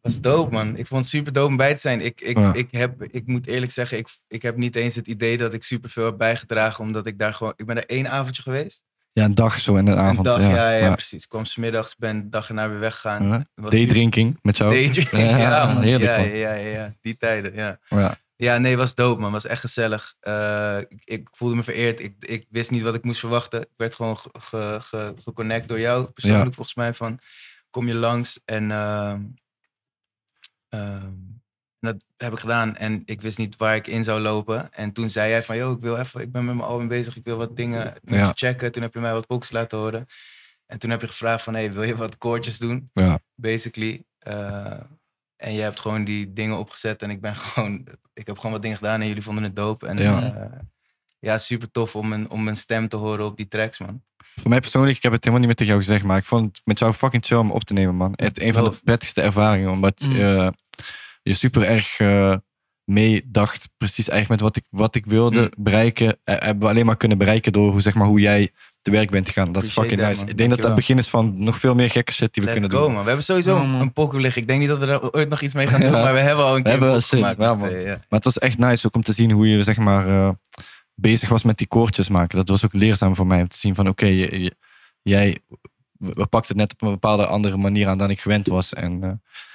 Speaker 8: was dope, man. Ik vond het super dope om bij te zijn. Ik, ik,
Speaker 1: Ja.
Speaker 8: ik, heb, ik moet eerlijk zeggen, ik, ik heb niet eens het idee dat ik super veel heb bijgedragen, omdat ik daar gewoon... Ik ben er één avondje geweest.
Speaker 1: Ja, een dag zo en een avond.
Speaker 8: een dag, ja, ja,
Speaker 1: ja.
Speaker 8: precies. Ik kwam smiddags, ben de dag erna weer weggegaan.
Speaker 1: Ja.
Speaker 8: Was
Speaker 1: Daydrinking met jou.
Speaker 8: super- Daydrinking,
Speaker 1: Ja,
Speaker 8: ja, man.
Speaker 1: heerlijk,
Speaker 8: ja,
Speaker 1: man.
Speaker 8: ja, ja, ja, die tijden, ja.
Speaker 1: Ja.
Speaker 8: Ja, nee, was dope, man. Was echt gezellig. Eh, ik, ik voelde me vereerd. Ik, ik wist niet wat ik moest verwachten. Ik werd gewoon ge- ge- ge- geconnect door jou persoonlijk,
Speaker 1: Ja.
Speaker 8: volgens mij. Van kom je langs en ehm, ehm, dat heb ik gedaan. En ik wist niet waar ik in zou lopen. En toen zei jij van, yo, ik wil even, ik ben met mijn album bezig. Ik wil wat dingen met
Speaker 1: Ja.
Speaker 8: je checken. Toen heb je mij wat box laten horen. En toen heb je gevraagd van, hey, wil je wat koortjes doen?
Speaker 1: Ja.
Speaker 8: Basically. Eh, en je hebt gewoon die dingen opgezet en ik ben gewoon, ik heb gewoon wat dingen gedaan en jullie vonden het dope. En
Speaker 1: Ja.
Speaker 8: ja, ja super tof om mijn, om mijn stem te horen op die tracks, man.
Speaker 1: Voor mij persoonlijk, ik heb het helemaal niet meer tegen jou gezegd, maar ik vond het met jou fucking chill om op te nemen, man. Echt een van de
Speaker 8: Love.
Speaker 1: prettigste ervaringen, omdat
Speaker 8: Mm.
Speaker 1: eh, je super erg eh, meedacht, precies eigenlijk met wat ik, wat ik wilde
Speaker 8: Mm.
Speaker 1: bereiken. Eh, hebben we alleen maar kunnen bereiken door hoe, zeg maar, hoe jij te werk bent gegaan. Dat is
Speaker 8: Appreciate
Speaker 1: fucking
Speaker 8: that,
Speaker 1: nice.
Speaker 8: man.
Speaker 1: Ik denk dat dat
Speaker 8: Dankjewel.
Speaker 1: het begin is van nog veel meer gekke shit die we
Speaker 8: Let's go,
Speaker 1: kunnen doen.
Speaker 8: man. We hebben sowieso een pokoe liggen. Ik denk niet dat we daar ooit nog iets mee gaan doen,
Speaker 1: Ja.
Speaker 8: maar we hebben al een keer
Speaker 1: hebben
Speaker 8: een
Speaker 1: wel
Speaker 8: pokoe
Speaker 1: zin,
Speaker 8: gemaakt. met
Speaker 1: ja,
Speaker 8: z'n
Speaker 1: man.
Speaker 8: tweeën, ja.
Speaker 1: Maar het was echt nice ook om te zien hoe je zeg maar, eh, bezig was met die koortjes maken. Dat was ook leerzaam voor mij om te zien van oké, je- je- jij we we pakten het net op een bepaalde andere manier aan dan ik gewend was. En eh,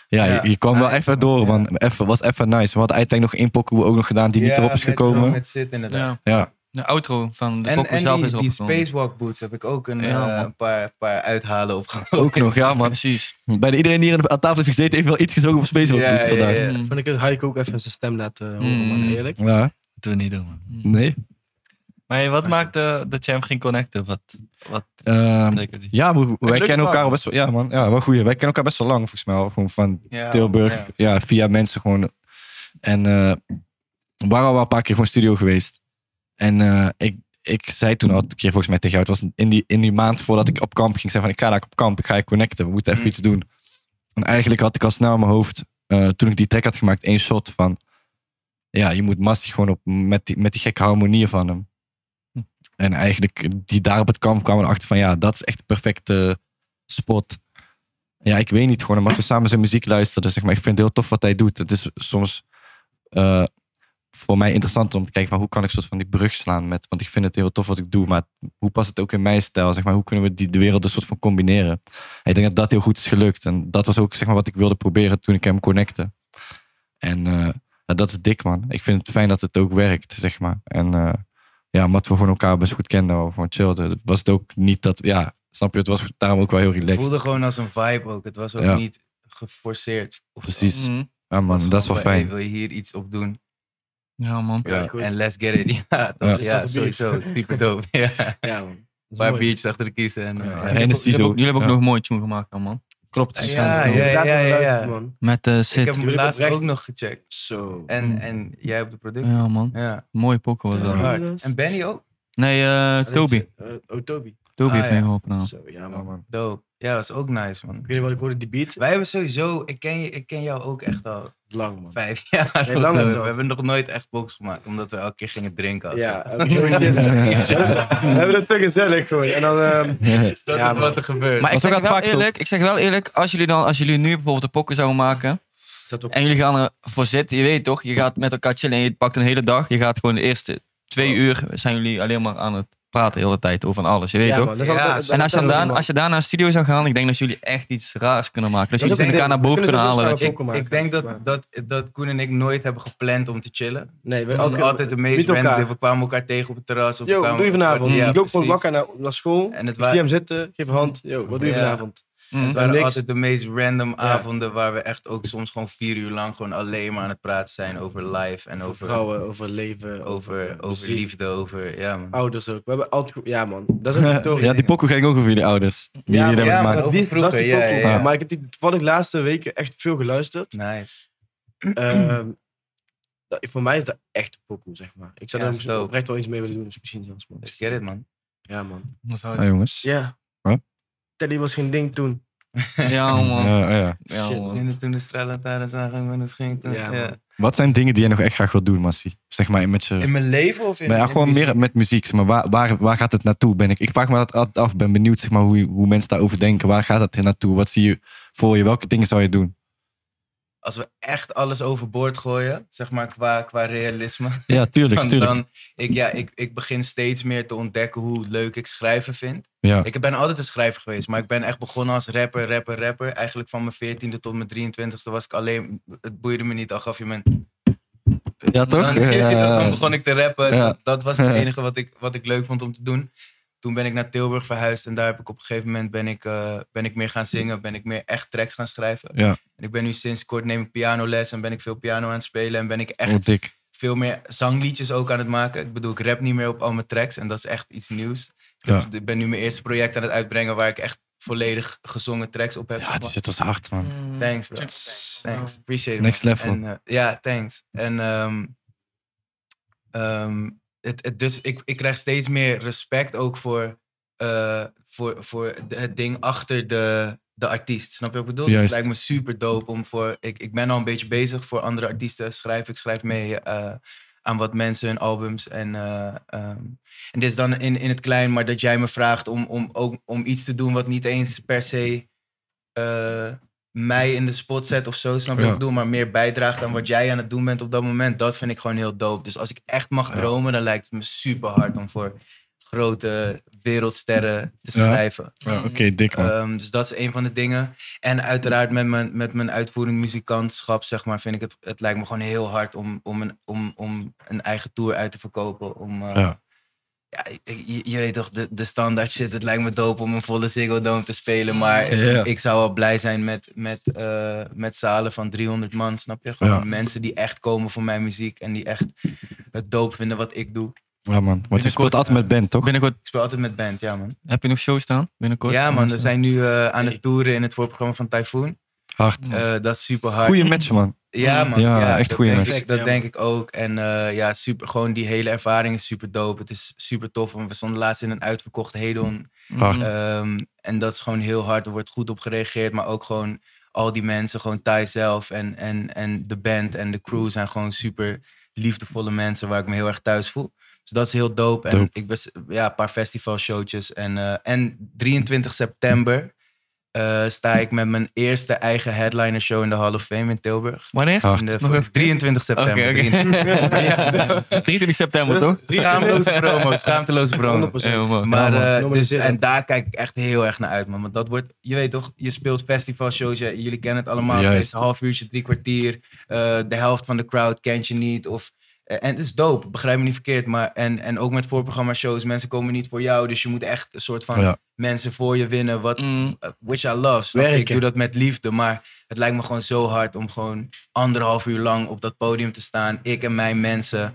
Speaker 1: ja,
Speaker 8: Ja,
Speaker 1: je, je kwam wel
Speaker 8: nice,
Speaker 1: even
Speaker 8: man.
Speaker 1: door,
Speaker 8: Ja.
Speaker 1: man. Even, was even nice. We hadden uiteindelijk nog één pokoe ook nog gedaan die niet
Speaker 8: Ja,
Speaker 1: erop is
Speaker 8: met-
Speaker 1: gekomen.
Speaker 8: Met zit inderdaad.
Speaker 2: Ja.
Speaker 1: Ja.
Speaker 2: De outro van de
Speaker 8: En,
Speaker 2: pokoe
Speaker 8: en
Speaker 2: zelf
Speaker 8: die,
Speaker 2: is
Speaker 8: die
Speaker 2: opgenomen.
Speaker 8: Spacewalk Boots heb ik ook een
Speaker 2: Ja,
Speaker 8: eh,
Speaker 2: man.
Speaker 8: een paar, paar uithalen opgehaald.
Speaker 1: Ook nog, ja man.
Speaker 2: Precies.
Speaker 1: Bijna iedereen die hier aan tafel heeft gezeten heeft wel iets gezogen op Spacewalk
Speaker 8: Ja,
Speaker 1: Boots
Speaker 8: ja,
Speaker 1: vandaag.
Speaker 8: ja.
Speaker 9: Vond ik het Heiko ook even zijn stem laten horen, man.
Speaker 2: Mm.
Speaker 9: Eerlijk.
Speaker 1: Ja.
Speaker 3: moeten we niet doen, man.
Speaker 1: nee.
Speaker 3: Maar hey, wat maakte dat jij hem ging connecten? Wat, wat
Speaker 1: Ehm,
Speaker 3: trekken die?
Speaker 1: ja, we- wij
Speaker 3: leuke
Speaker 1: kennen elkaar
Speaker 3: band.
Speaker 1: best wel, ja man, ja, wel goeie. Wij kennen elkaar best wel lang volgens mij. al. Gewoon van
Speaker 8: Ja,
Speaker 1: Tilburg.
Speaker 8: man, ja.
Speaker 1: ja. via mensen gewoon. En eh, we waren al wel een paar keer gewoon studio geweest. En eh, ik, ik zei toen al een keer volgens mij tegen jou, het was in die, in die maand voordat ik op kamp ging, zei van ik ga daar op kamp, ik ga je connecten, we moeten
Speaker 8: Mm.
Speaker 1: even iets doen. En eigenlijk had ik al snel in mijn hoofd, eh, toen ik die track had gemaakt, één shot van, ja, je moet Massie gewoon op, met, die, met die gekke harmonieën van hem.
Speaker 8: Hm.
Speaker 1: En eigenlijk, die daar op het kamp kwamen erachter van, ja, dat is echt de perfecte spot. Ja, ik weet niet gewoon, omdat we samen zijn muziek luisteren. dus Zeg maar, ik vind het heel tof wat hij doet. Het is soms eh, voor mij interessant om te kijken van hoe kan ik soort van die brug slaan met. Want ik vind het heel tof wat ik doe, maar hoe past het ook in mijn stijl? Zeg maar, hoe kunnen we die, de wereld een soort van combineren? En ik denk dat dat heel goed is gelukt. En dat was ook zeg maar, wat ik wilde proberen toen ik hem connecte. En eh, ja, dat is dik, man. Ik vind het fijn dat het ook werkt, zeg maar. En eh, ja, omdat we gewoon elkaar best goed kenden, we gewoon chillden. Was het ook niet dat, ja, snap je, het was daarom ook wel heel
Speaker 8: Het
Speaker 1: relaxed.
Speaker 8: voelde gewoon als een vibe ook. Het was ook
Speaker 1: Ja.
Speaker 8: niet geforceerd. of zo.
Speaker 1: Precies.
Speaker 2: Mhm.
Speaker 1: Ja,
Speaker 8: Het was
Speaker 1: man, dat is wel
Speaker 8: gewoon van, hey,
Speaker 1: fijn.
Speaker 8: wil je hier iets op doen?
Speaker 2: Ja, man.
Speaker 8: Ja, en let's get it. Ja, toch?
Speaker 1: Ja.
Speaker 8: ja.
Speaker 9: Ja,
Speaker 8: sowieso. Super dope. Ja. Een
Speaker 9: Ja, man. Dat is
Speaker 8: paar
Speaker 9: mooi.
Speaker 8: biertjes achter de kiezen. En, eh, ja,
Speaker 1: En
Speaker 2: Jullie hebben ook, jullie hebben ook
Speaker 1: Ja.
Speaker 2: nog een mooie tune gemaakt, dan, man. Klopt.
Speaker 8: Ah, ja, ja,
Speaker 9: Ik heb
Speaker 8: ja,
Speaker 9: daar
Speaker 8: ja,
Speaker 9: veel
Speaker 8: ja,
Speaker 9: geluisterd, man.
Speaker 2: Met eh
Speaker 8: Ik
Speaker 2: Sid. Mm.
Speaker 8: heb hem
Speaker 9: Jullie
Speaker 8: laatst
Speaker 9: oprecht.
Speaker 8: ook nog gecheckt.
Speaker 9: Zo.
Speaker 8: En, en jij op de productie.
Speaker 2: Ja, man.
Speaker 8: Ja,
Speaker 2: Mooie pokoe was
Speaker 8: dat is
Speaker 2: dat.
Speaker 8: hard. En Benny ook.
Speaker 2: Nee, eh Toby.
Speaker 9: Eh, oh, Toby.
Speaker 2: Toby
Speaker 8: Ah,
Speaker 2: heeft
Speaker 8: ja.
Speaker 2: meegeholpen. nou.
Speaker 9: Zo, ja, man.
Speaker 8: Dope. Ja, was ook nice, man.
Speaker 9: Ik weet niet wat ik hoorde, die beat.
Speaker 8: Wij hebben sowieso, ik ken, je, ik ken jou ook echt al
Speaker 9: Lang, man.
Speaker 8: vijf jaar.
Speaker 9: Nee, langer
Speaker 8: of zo.
Speaker 9: zelfs.
Speaker 8: we hebben nog nooit echt box gemaakt, omdat we elke keer gingen drinken. Als
Speaker 9: Ja, we hebben het te gezellig gewoon. En dan, ehm,
Speaker 8: Dat
Speaker 9: Ja,
Speaker 8: is
Speaker 9: man.
Speaker 8: wat er gebeurt.
Speaker 2: Maar ik zeg,
Speaker 1: Was ook aan
Speaker 2: wel
Speaker 1: het vak,
Speaker 2: eerlijk, ik zeg wel eerlijk, als jullie, dan, als jullie nu bijvoorbeeld een pokken zouden maken.
Speaker 9: Zet op.
Speaker 2: En jullie gaan ervoor zitten, je weet
Speaker 9: Oh.
Speaker 2: toch? Je gaat met elkaar chillen en je pakt een hele dag. Je gaat gewoon de eerste twee uur zijn jullie alleen maar aan het praten de hele tijd over van alles. Je weet
Speaker 9: Ja,
Speaker 2: toch?
Speaker 9: man, dat is altijd-
Speaker 2: en als je, dan,
Speaker 9: dat is
Speaker 2: daar- als je daar naar een studio zou gaan, ik denk dat jullie echt iets raars kunnen maken. Dat,
Speaker 9: Dat is
Speaker 2: jullie
Speaker 9: ook
Speaker 2: elkaar
Speaker 9: een
Speaker 2: naar
Speaker 9: ding. We
Speaker 2: boven kunnen
Speaker 9: kunnen
Speaker 2: halen.
Speaker 9: sowieso
Speaker 2: weet je.
Speaker 9: ook al maken.
Speaker 8: Ik denk dat, dat, dat Koen en ik nooit hebben gepland om te chillen.
Speaker 9: Nee,
Speaker 8: We
Speaker 9: we
Speaker 8: hadden altijd de meest
Speaker 9: Niet elkaar.
Speaker 8: random. We kwamen elkaar tegen op het terras. Of we
Speaker 9: Yo,
Speaker 8: kwamen
Speaker 9: wat doe je vanavond?
Speaker 8: Ja,
Speaker 9: ik loop gewoon
Speaker 8: precies.
Speaker 9: wakker naar, naar school.
Speaker 8: En het
Speaker 9: Ik zie hem
Speaker 8: waren,
Speaker 9: zitten, geef een hand. Yo, wat doe je
Speaker 8: Ja. Mm.
Speaker 9: vanavond?
Speaker 8: het waren
Speaker 9: niks.
Speaker 8: altijd de meest random avonden waar we echt ook soms gewoon vier uur lang gewoon alleen maar aan het praten zijn over life en over, over,
Speaker 9: Vrouwen, over leven,
Speaker 8: over,
Speaker 9: muziek.
Speaker 8: liefde, over... Ja, man.
Speaker 9: ouders ook. We hebben altijd... goed- Ja, man. Dat is ook een toren.
Speaker 1: Ja, die pokoe ging ook over jullie ouders. Die
Speaker 9: Ja,
Speaker 1: jullie
Speaker 9: maar-
Speaker 1: hebben
Speaker 8: ja, maar
Speaker 1: gemaakt.
Speaker 8: dat-
Speaker 9: die,
Speaker 8: over
Speaker 9: dat is die
Speaker 8: vroeger, ja,
Speaker 9: pokoe.
Speaker 8: ja, ja.
Speaker 9: Maar ik heb die toevallig de laatste weken echt veel geluisterd.
Speaker 8: Nice.
Speaker 9: Ehm, dat- voor mij is dat echt pokoe, zeg maar. Ik zou
Speaker 8: Ja,
Speaker 9: daar
Speaker 8: is
Speaker 9: misschien
Speaker 8: dope.
Speaker 9: oprecht wel iets mee willen doen. Dus misschien zelfs, man.
Speaker 8: Let's get it, man.
Speaker 9: Ja, man.
Speaker 1: Ah, jongens. Ja,
Speaker 9: Ja.
Speaker 1: Wat?
Speaker 9: Teddy was geen ding toen.
Speaker 2: Ja, man.
Speaker 1: ja, ja.
Speaker 2: Ja, man.
Speaker 8: En toen de straalantaarns aangingen, dat ging toen.
Speaker 9: Ja,
Speaker 8: Ja,
Speaker 9: man.
Speaker 1: Wat zijn dingen die jij nog echt graag wilt doen, Massi? Zeg maar met je...
Speaker 8: In mijn leven of in
Speaker 1: Maar ja,
Speaker 8: in
Speaker 1: gewoon
Speaker 8: muziek?
Speaker 1: meer met muziek. zeg Maar waar, waar, waar gaat het naartoe? Ben ik, ik vraag me dat altijd af. Ben benieuwd zeg maar, hoe, hoe mensen daarover denken. Waar gaat dat naartoe? Wat zie je voor je? Welke dingen zou je doen?
Speaker 8: Als we echt alles overboord gooien, zeg maar qua, qua realisme.
Speaker 1: Ja, tuurlijk.
Speaker 8: Dan,
Speaker 1: tuurlijk.
Speaker 8: dan ik, ja, ik, ik begin steeds meer te ontdekken hoe leuk ik schrijven vind.
Speaker 1: ja.
Speaker 8: Ik ben altijd een schrijver geweest, maar ik ben echt begonnen als rapper, rapper, rapper. Eigenlijk van mijn 14e tot mijn 23e was ik alleen. Het boeide me niet, al gaf je me een
Speaker 1: ja, toch?
Speaker 8: Dan,
Speaker 1: Ja, ja, ja.
Speaker 8: dan begon ik te rappen.
Speaker 1: Ja.
Speaker 8: Dat, dat was het
Speaker 1: Ja.
Speaker 8: enige wat ik, wat ik leuk vond om te doen. Toen ben ik naar Tilburg verhuisd en daar heb ik op een gegeven moment ben ik, eh, ben ik meer gaan zingen, ben ik meer echt tracks gaan schrijven.
Speaker 1: Ja.
Speaker 8: En ik ben nu sinds kort neem ik pianoles en ben ik veel piano aan het spelen en ben ik echt
Speaker 1: Oh, dik.
Speaker 8: veel meer zangliedjes ook aan het maken. Ik bedoel, ik rap niet meer op al mijn tracks en dat is echt iets nieuws. Ik, heb- ik ben nu mijn eerste project aan het uitbrengen waar ik echt volledig gezongen tracks op heb.
Speaker 1: Ja, dit zit ons hard, man.
Speaker 8: Thanks, bro. Thanks. Appreciate it.
Speaker 1: Next
Speaker 8: man.
Speaker 1: level.
Speaker 8: En, eh, ja, thanks. En ehm, ehm, het, het, dus ik, ik krijg steeds meer respect ook voor, eh, voor, voor de- het ding achter de, de artiest. Snap je wat ik bedoel? Dus het
Speaker 1: Juist.
Speaker 8: lijkt me super dope om voor. Ik, ik ben al een beetje bezig voor andere artiesten. Schrijf, ik schrijf mee eh, aan wat mensen, hun albums. En, eh, ehm, en dit is dan in, in het klein, maar dat jij me vraagt om, om, ook, om iets te doen wat niet eens per se. eh, mij in de spot zet of zo, snap je wat ik
Speaker 1: Ja.
Speaker 8: bedoel? Maar meer bijdraagt aan wat jij aan het doen bent op dat moment. Dat vind ik gewoon heel dope. Dus als ik echt mag dromen, dan lijkt het me super hard om voor grote wereldsterren
Speaker 1: Ja.
Speaker 8: te schrijven.
Speaker 1: Ja, Oké, dik, man.
Speaker 8: Ehm, dus dat is een van de dingen. En uiteraard met mijn, met mijn uitvoering muzikantschap, zeg maar, vind ik het, het lijkt me gewoon heel hard om, om, een, om, om een eigen tour uit te verkopen. Om, eh,
Speaker 1: Ja.
Speaker 8: ja. je, je- je weet toch, de, de standaard shit, het lijkt me dope om een volle Ziggo Dome te spelen, maar
Speaker 1: Ja.
Speaker 8: ik zou al blij zijn met, met, eh, met zalen van 300 man, snap je? Gewoon
Speaker 1: Ja.
Speaker 8: mensen die echt komen voor mijn muziek en die echt het dope vinden wat ik doe.
Speaker 1: Ja, man. Want je speelt
Speaker 2: Binnenkort, eh,
Speaker 1: altijd met band, toch?
Speaker 2: Binnenkort,
Speaker 8: Ik speel altijd met band, ja man.
Speaker 2: heb je nog shows staan? Binnenkort?
Speaker 8: Ja man, we zijn nu eh, aan het toeren in het voorprogramma van Typhoon.
Speaker 1: Hard.
Speaker 8: Eh, dat is super hard.
Speaker 1: Goeie match, man.
Speaker 8: Ja, man.
Speaker 1: Ja, echt
Speaker 8: dat
Speaker 1: goeie
Speaker 8: denk
Speaker 1: mensen.
Speaker 8: ik, Dat denk ik ook. En eh, ja, super, gewoon die hele ervaring is super dope. Het is super tof. En we stonden laatst in een uitverkocht Hedon.
Speaker 1: Hard.
Speaker 8: Ehm, en dat is gewoon heel hard. Er wordt goed op gereageerd. Maar ook gewoon al die mensen, gewoon Thij zelf en, en, en de band en de crew zijn gewoon super liefdevolle mensen waar ik me heel erg thuis voel. Dus dat is heel dope. En ik was ja, een paar festivalshowtjes. En, eh, en 23 september eh, sta ik met mijn eerste eigen headliner show in de Hall of Fame in Tilburg.
Speaker 2: Wanneer?
Speaker 1: Hard.
Speaker 8: In de-
Speaker 2: Nog even.
Speaker 8: 23
Speaker 2: Oké,
Speaker 8: september.
Speaker 2: oké.
Speaker 8: 23.
Speaker 2: 23 september, toch?
Speaker 8: Schaamteloze promo, schaamteloze promo.
Speaker 9: 100%.
Speaker 8: Maar, eh, dus,
Speaker 9: normaliserend.
Speaker 8: en daar kijk ik echt heel erg naar uit, man. Want dat wordt, je weet toch, je speelt festivalshows, je- jullie kennen het allemaal. Het
Speaker 1: Juist.
Speaker 8: eerste half uurtje, drie kwartier. eh, de helft van de crowd kent je niet. Of, eh, en het is dope, begrijp me niet verkeerd. Maar, en, en ook met voorprogramma-shows, mensen komen niet voor jou. Dus je moet echt een soort van
Speaker 1: Ja.
Speaker 8: mensen voor je winnen. Wat,
Speaker 2: Mm,
Speaker 8: eh, which I love. snap je? Ik
Speaker 9: Werken.
Speaker 8: doe dat met liefde, maar het lijkt me gewoon zo hard om gewoon anderhalf uur lang op dat podium te staan. Ik en mijn mensen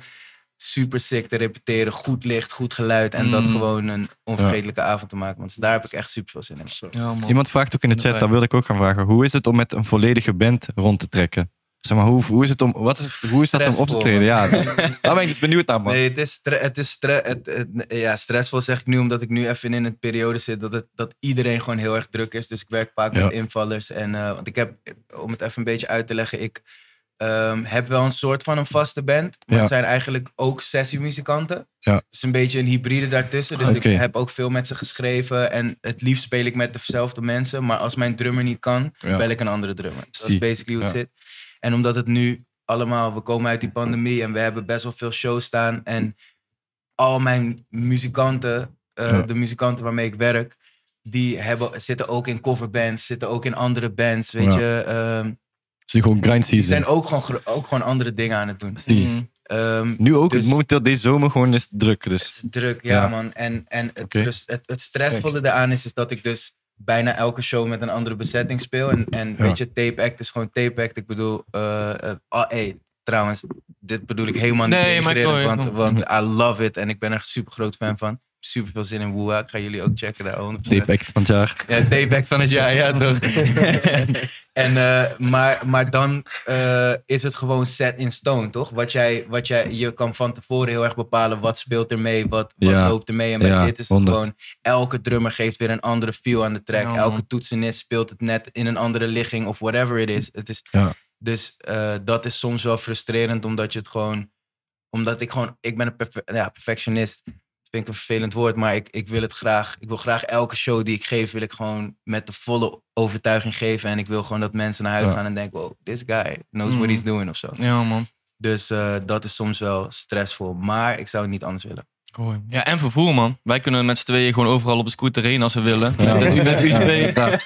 Speaker 8: super sick te repeteren, goed licht, goed geluid en dat
Speaker 2: Mm.
Speaker 8: gewoon een onvergetelijke avond te maken. Want daar heb ik echt super veel zin in.
Speaker 2: ja, man.
Speaker 1: Iemand vraagt ook in de chat, daar wilde ik ook gaan vragen. Hoe is het om met een volledige band rond te trekken? Zeg maar, hoe, hoe is het om, wat is, hoe is dat om op te
Speaker 8: Stressvol,
Speaker 1: treden? Ja, daar ben ik dus benieuwd naar, man.
Speaker 8: Nee, het is, stre- het is stre- het, het- ja, stressvol, zeg ik nu, omdat ik nu even in een periode zit dat, het, dat iedereen gewoon heel erg druk is. Dus ik werk vaak
Speaker 1: Ja.
Speaker 8: met invallers. En, eh, want ik heb, om het even een beetje uit te leggen, ik ehm, heb wel een soort van een vaste band. Maar
Speaker 1: Ja.
Speaker 8: het zijn eigenlijk ook sessiemuzikanten.
Speaker 1: Ja.
Speaker 8: Het is een beetje een hybride daartussen. Dus
Speaker 1: Oké.
Speaker 8: ik heb ook veel met ze geschreven. En het liefst speel ik met dezelfde mensen. Maar als mijn drummer niet kan,
Speaker 1: Ja.
Speaker 8: bel ik een andere drummer. Dat is
Speaker 1: Zie.
Speaker 8: basically hoe het
Speaker 1: Ja.
Speaker 8: zit. En omdat het nu allemaal, we komen uit die pandemie en we hebben best wel veel shows staan. En al mijn muzikanten, eh,
Speaker 1: Ja.
Speaker 8: de muzikanten waarmee ik werk, die hebben, zitten ook in coverbands, zitten ook in andere bands, weet
Speaker 1: Ja.
Speaker 8: je. ehm,
Speaker 1: Het is nu gewoon grind
Speaker 8: die
Speaker 1: season.
Speaker 8: zijn ook gewoon, gro- ook gewoon andere dingen aan het doen.
Speaker 1: Zie.
Speaker 8: Ehm,
Speaker 1: nu ook,
Speaker 8: dus-
Speaker 1: momenteel deze zomer gewoon is het druk. Dus.
Speaker 8: druk, ja,
Speaker 1: Ja.
Speaker 8: man. En, en het,
Speaker 1: Oké.
Speaker 8: dus het, het stressvolle daaraan is, is dat ik dus bijna elke show met een andere bezetting speel. En, en
Speaker 1: Ja.
Speaker 8: weet je, tape act is gewoon tape act. Ik bedoel, eh eh, oh, hey, trouwens, dit bedoel ik helemaal niet
Speaker 2: Nee, maar ik
Speaker 8: denigrerend,
Speaker 2: hoor je.
Speaker 8: want, want I love it. En ik ben er echt super groot fan van. Super veel zin in Woeha. Ik ga jullie ook checken daar 100%.
Speaker 1: Tape act van het jaar.
Speaker 8: Ja, payback van het jaar, ja toch. en, eh, maar, maar dan eh, is het gewoon set in stone, toch? Wat jij, wat jij, je kan van tevoren heel erg bepalen wat speelt er mee, wat, wat
Speaker 1: Ja.
Speaker 8: loopt er mee. En bij
Speaker 1: Ja,
Speaker 8: dit is het
Speaker 1: 100.
Speaker 8: gewoon, elke drummer geeft weer een andere feel aan de track.
Speaker 2: Ja, man.
Speaker 8: elke toetsenist speelt het net in een andere ligging of whatever it is. Het is
Speaker 1: Ja.
Speaker 8: Dus eh, dat is soms wel frustrerend, omdat je het gewoon, omdat ik gewoon, ik ben een perfe- ja, perfectionist vind ik een vervelend woord, maar ik, ik wil het graag. Ik wil graag elke show die ik geef, wil ik gewoon met de volle overtuiging geven. En ik wil gewoon dat mensen naar huis
Speaker 1: Ja.
Speaker 8: gaan en denken, wow, this guy knows
Speaker 2: Mm.
Speaker 8: what he's doing of zo.
Speaker 2: Ja, man.
Speaker 8: Dus eh, dat is soms wel stressvol, maar ik zou het niet anders willen.
Speaker 2: Ja, en vervoer, man. Wij kunnen met z'n tweeën gewoon overal op de scooter heen als we willen.
Speaker 1: Ja.
Speaker 2: Met, met USB.
Speaker 1: Ja.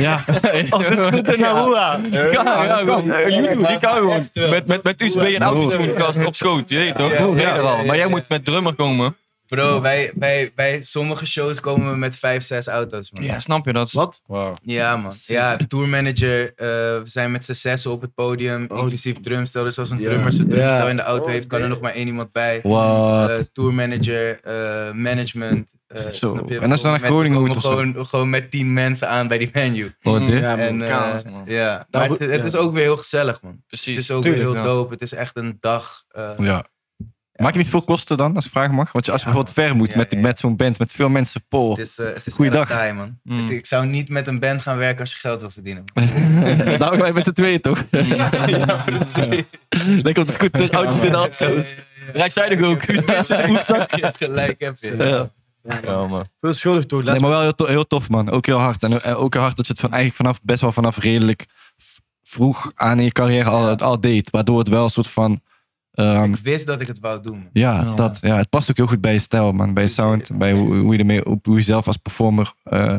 Speaker 2: Ja. Oh, Ja, ja, gewoon. YouTube, die kan gewoon. Met, met, met USB en autotune op schoot, je weet toch? Ben je er al. Maar jij moet met drummer komen.
Speaker 8: Bro, wij, wij, wij sommige shows komen we met vijf, zes auto's, man.
Speaker 2: Ja, snap je dat?
Speaker 9: Wat?
Speaker 8: Ja, man. Ja, tourmanager. eh, we zijn met z'n zessen op het podium,
Speaker 1: Oh,
Speaker 8: inclusief drumstel. Dus als een drummer zijn drumstel
Speaker 9: Ja.
Speaker 8: in de
Speaker 2: Oh,
Speaker 8: auto heeft, kan er nog maar één iemand bij.
Speaker 1: Wat?
Speaker 8: eh tourmanager, eh, management. eh,
Speaker 1: Zo.
Speaker 8: snap je?
Speaker 1: En als je dan naar
Speaker 8: Met-
Speaker 1: Groningen
Speaker 8: we
Speaker 1: moet
Speaker 8: komen
Speaker 1: of zo?
Speaker 8: Gewoon, gewoon met tien mensen aan bij die venue.
Speaker 1: Oh, dit? Nou,
Speaker 9: Ja, man.
Speaker 8: en, eh,
Speaker 2: kaas, man.
Speaker 8: ja. Maar het, het
Speaker 9: ja.
Speaker 8: is ook weer heel gezellig, man.
Speaker 2: Precies.
Speaker 8: Het is ook
Speaker 9: Tuurlijk,
Speaker 8: weer heel
Speaker 2: ja.
Speaker 8: dope. Het is echt een dag. eh,
Speaker 10: Ja.
Speaker 1: Maak je niet veel kosten dan, als ik vragen mag? Want je- als je
Speaker 8: Ja,
Speaker 1: bijvoorbeeld ver moet
Speaker 8: Ja,
Speaker 1: met,
Speaker 8: ja, ja.
Speaker 1: met zo'n band, met veel mensen, Paul.
Speaker 8: het is, eh, het is
Speaker 1: Oh. Goeiedag.
Speaker 8: erg taai, man.
Speaker 2: Mm.
Speaker 8: Het- ik zou niet met een band gaan werken als je geld wil verdienen. man.
Speaker 1: Daarom wij met z'n tweeën, toch? Lekker op de
Speaker 2: Dus
Speaker 1: scooter, auto's binnen, auto's.
Speaker 2: Rijkszijdig ook.
Speaker 8: Gelijk heb je.
Speaker 1: Ja.
Speaker 9: Veel schuldig toch? Laat
Speaker 1: Nee, maar wel heel, to- heel tof, man. Ook heel hard. En eh, ook heel hard dat je het van eigenlijk vanaf, best wel vanaf redelijk v- vroeg aan in je carrière al, al deed. Waardoor het wel een soort van... ehm,
Speaker 8: Ik wist dat ik het wou doen. man.
Speaker 1: ja, dat, ja, het past ook heel goed bij je stijl, man. Bij je sound, bij hoe, hoe je ermee, op, hoe je zelf als performer eh,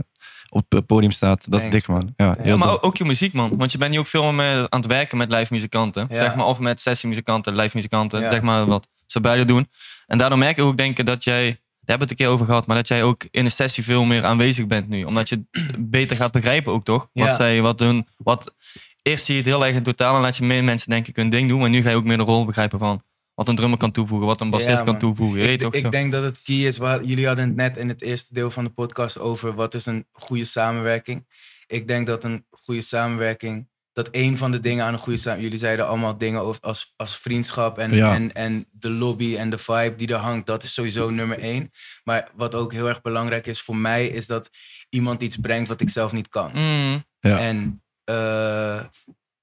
Speaker 1: op het podium staat. Dat is
Speaker 8: Thanks,
Speaker 1: dik, man. Ja, heel
Speaker 2: maar
Speaker 1: tof.
Speaker 2: ook, ook je muziek, man. Want je bent nu ook veel meer aan het werken met live muzikanten.
Speaker 8: Ja.
Speaker 2: Zeg maar, of met sessiemuzikanten, live muzikanten.
Speaker 8: Ja.
Speaker 2: Zeg maar wat ze beide doen. En daardoor merk ik ook, denk ik, dat jij... Daar hebben we het een keer over gehad. Maar dat jij ook in een sessie veel meer aanwezig bent nu. Omdat je het beter gaat begrijpen ook, toch? Wat
Speaker 8: Ja.
Speaker 2: zij, wat hun... Wat, eerst zie je het heel erg in totaal. En laat je meer mensen, denk ik, hun ding doen. Maar nu ga je ook meer de rol begrijpen van... Wat een drummer kan toevoegen. Wat een bassist
Speaker 8: Ja,
Speaker 2: kan
Speaker 8: man.
Speaker 2: toevoegen. Je weet
Speaker 8: Ik,
Speaker 2: toch
Speaker 8: ik
Speaker 2: zo.
Speaker 8: denk dat het key is. Waar, jullie hadden het net in het eerste deel van de podcast over wat is een goede samenwerking. Ik denk dat een goede samenwerking, dat een van de dingen aan een goede samenwerking, jullie zeiden allemaal dingen over, als, als vriendschap en,
Speaker 1: Ja.
Speaker 8: en, en de lobby en de vibe die er hangt, dat is sowieso nummer één. Maar wat ook heel erg belangrijk is voor mij, is dat iemand iets brengt wat ik zelf niet kan.
Speaker 2: Mm,
Speaker 1: Ja.
Speaker 8: En eh,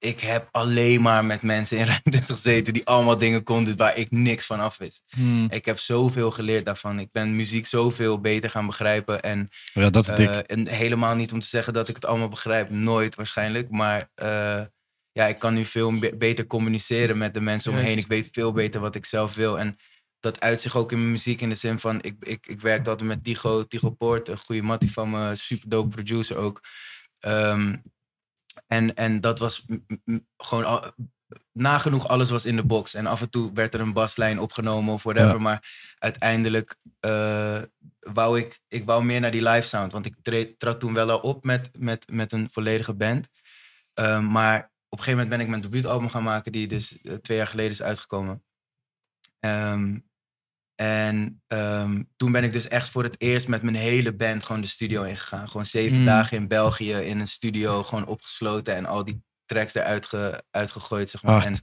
Speaker 8: ik heb alleen maar met mensen in ruimtes gezeten die allemaal dingen konden waar ik niks van af wist.
Speaker 1: Hmm.
Speaker 2: mm.
Speaker 8: Ik heb zoveel geleerd daarvan. Ik ben muziek zoveel beter gaan begrijpen. En,
Speaker 1: ja, dat is dik.
Speaker 8: eh, en helemaal niet om te zeggen dat ik het allemaal begrijp. Nooit waarschijnlijk. Maar eh, ja, ik kan nu veel be- beter communiceren met de mensen omheen.
Speaker 2: Juist.
Speaker 8: Ik weet veel beter wat ik zelf wil. En dat uit zich ook in mijn muziek. In de zin van, ik, ik, ik werkte altijd met Tigo, Tigo Poort. Een goede mattie van me. Super dope producer ook. Ehm, en, en dat was m- m- m- gewoon... al- nagenoeg alles was in de box. En af en toe werd er een baslijn opgenomen of whatever.
Speaker 1: Ja.
Speaker 8: Maar uiteindelijk eh, wou ik, ik wou meer naar die live sound. Want ik tre- trad toen wel al op met, met, met een volledige band. Eh, maar op een gegeven moment ben ik mijn debuutalbum gaan maken, die dus eh, twee jaar geleden is uitgekomen. Ehm, en ehm, toen ben ik dus echt voor het eerst met mijn hele band gewoon de studio ingegaan. Gewoon zeven
Speaker 2: Mm.
Speaker 8: dagen in België in een studio, gewoon opgesloten en al die tracks eruit ge- uitgegooid, zeg maar.
Speaker 1: Hard.
Speaker 8: En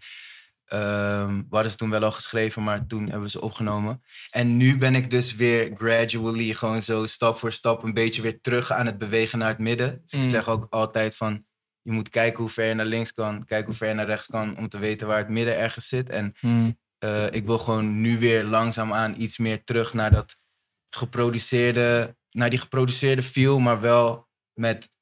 Speaker 8: ehm, we hadden ze toen wel al geschreven, maar toen hebben we ze opgenomen. En nu ben ik dus weer gradually, gewoon zo stap voor stap, een beetje weer terug aan het bewegen naar het midden. Dus ik
Speaker 2: Mm.
Speaker 8: zeg ook altijd van, je moet kijken hoe ver je naar links kan, kijken hoe ver je naar rechts kan, om te weten waar het midden ergens zit. En
Speaker 2: Mm.
Speaker 8: eh, ik wil gewoon nu weer langzaamaan iets meer terug naar dat geproduceerde, naar die geproduceerde feel, maar wel met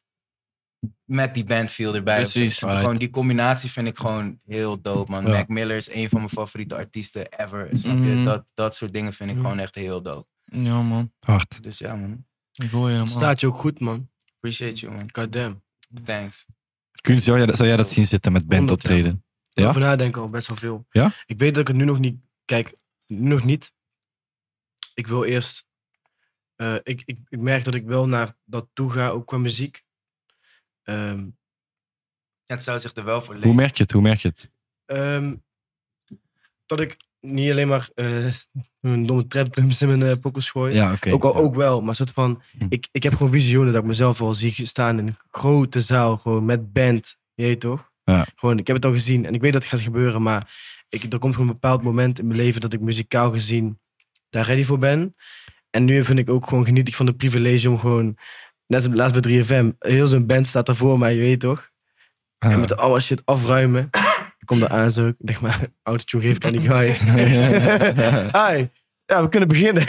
Speaker 8: met die band feel erbij. of zo.
Speaker 2: Precies,
Speaker 8: Snap je?
Speaker 2: right.
Speaker 8: Gewoon die combinatie vind ik gewoon heel dope, man.
Speaker 2: Ja.
Speaker 8: Mac Miller is een van mijn favoriete artiesten ever. Snap je?
Speaker 2: Mhm.
Speaker 8: Dat, dat soort dingen vind ik gewoon echt heel dope.
Speaker 2: Ja, man.
Speaker 1: Hard.
Speaker 8: Dus ja, man.
Speaker 2: Ik hoor je, man.
Speaker 9: Staat je ook goed, man.
Speaker 8: Appreciate you, man.
Speaker 9: Goddamn.
Speaker 8: Thanks.
Speaker 1: Kun, zou, jij, zou jij dat zien zitten met band
Speaker 9: Honderd, ja.
Speaker 1: optreden? Ja?
Speaker 9: Over nadenken al best wel veel.
Speaker 1: Ja?
Speaker 9: Ik weet dat ik het nu nog niet... Kijk, nu nog niet. Ik wil eerst... eh, ik, ik, ik merk dat ik wel naar dat toe ga, ook qua muziek. Ehm,
Speaker 8: Ja, het zou zich er wel voor
Speaker 1: Hoe
Speaker 8: lenen.
Speaker 1: merk je het? Hoe merk je het?
Speaker 9: Ehm, dat ik niet alleen maar eh mijn domme trapdrums in mijn eh, pokkels gooi.
Speaker 1: Ja, oké.
Speaker 9: Ook, al, ook wel, maar soort van,
Speaker 1: Hm.
Speaker 9: ik, ik heb gewoon visioenen dat ik mezelf al zie staan in een grote zaal, gewoon met band. Je weet toch?
Speaker 1: Ja.
Speaker 9: Gewoon, ik heb het al gezien en ik weet dat het gaat gebeuren, maar ik, er komt gewoon een bepaald moment in mijn leven dat ik muzikaal gezien daar ready voor ben. En nu vind ik ook gewoon geniet ik van de privilege om gewoon, net als laatst bij 3FM, heel zo'n band staat daar voor mij, je weet toch? En
Speaker 1: Ja.
Speaker 9: met allemaal shit afruimen. Ik kom daar aan zo. Ik denk maar, autotune geef ik aan die guy. Hi. Ja, we kunnen beginnen.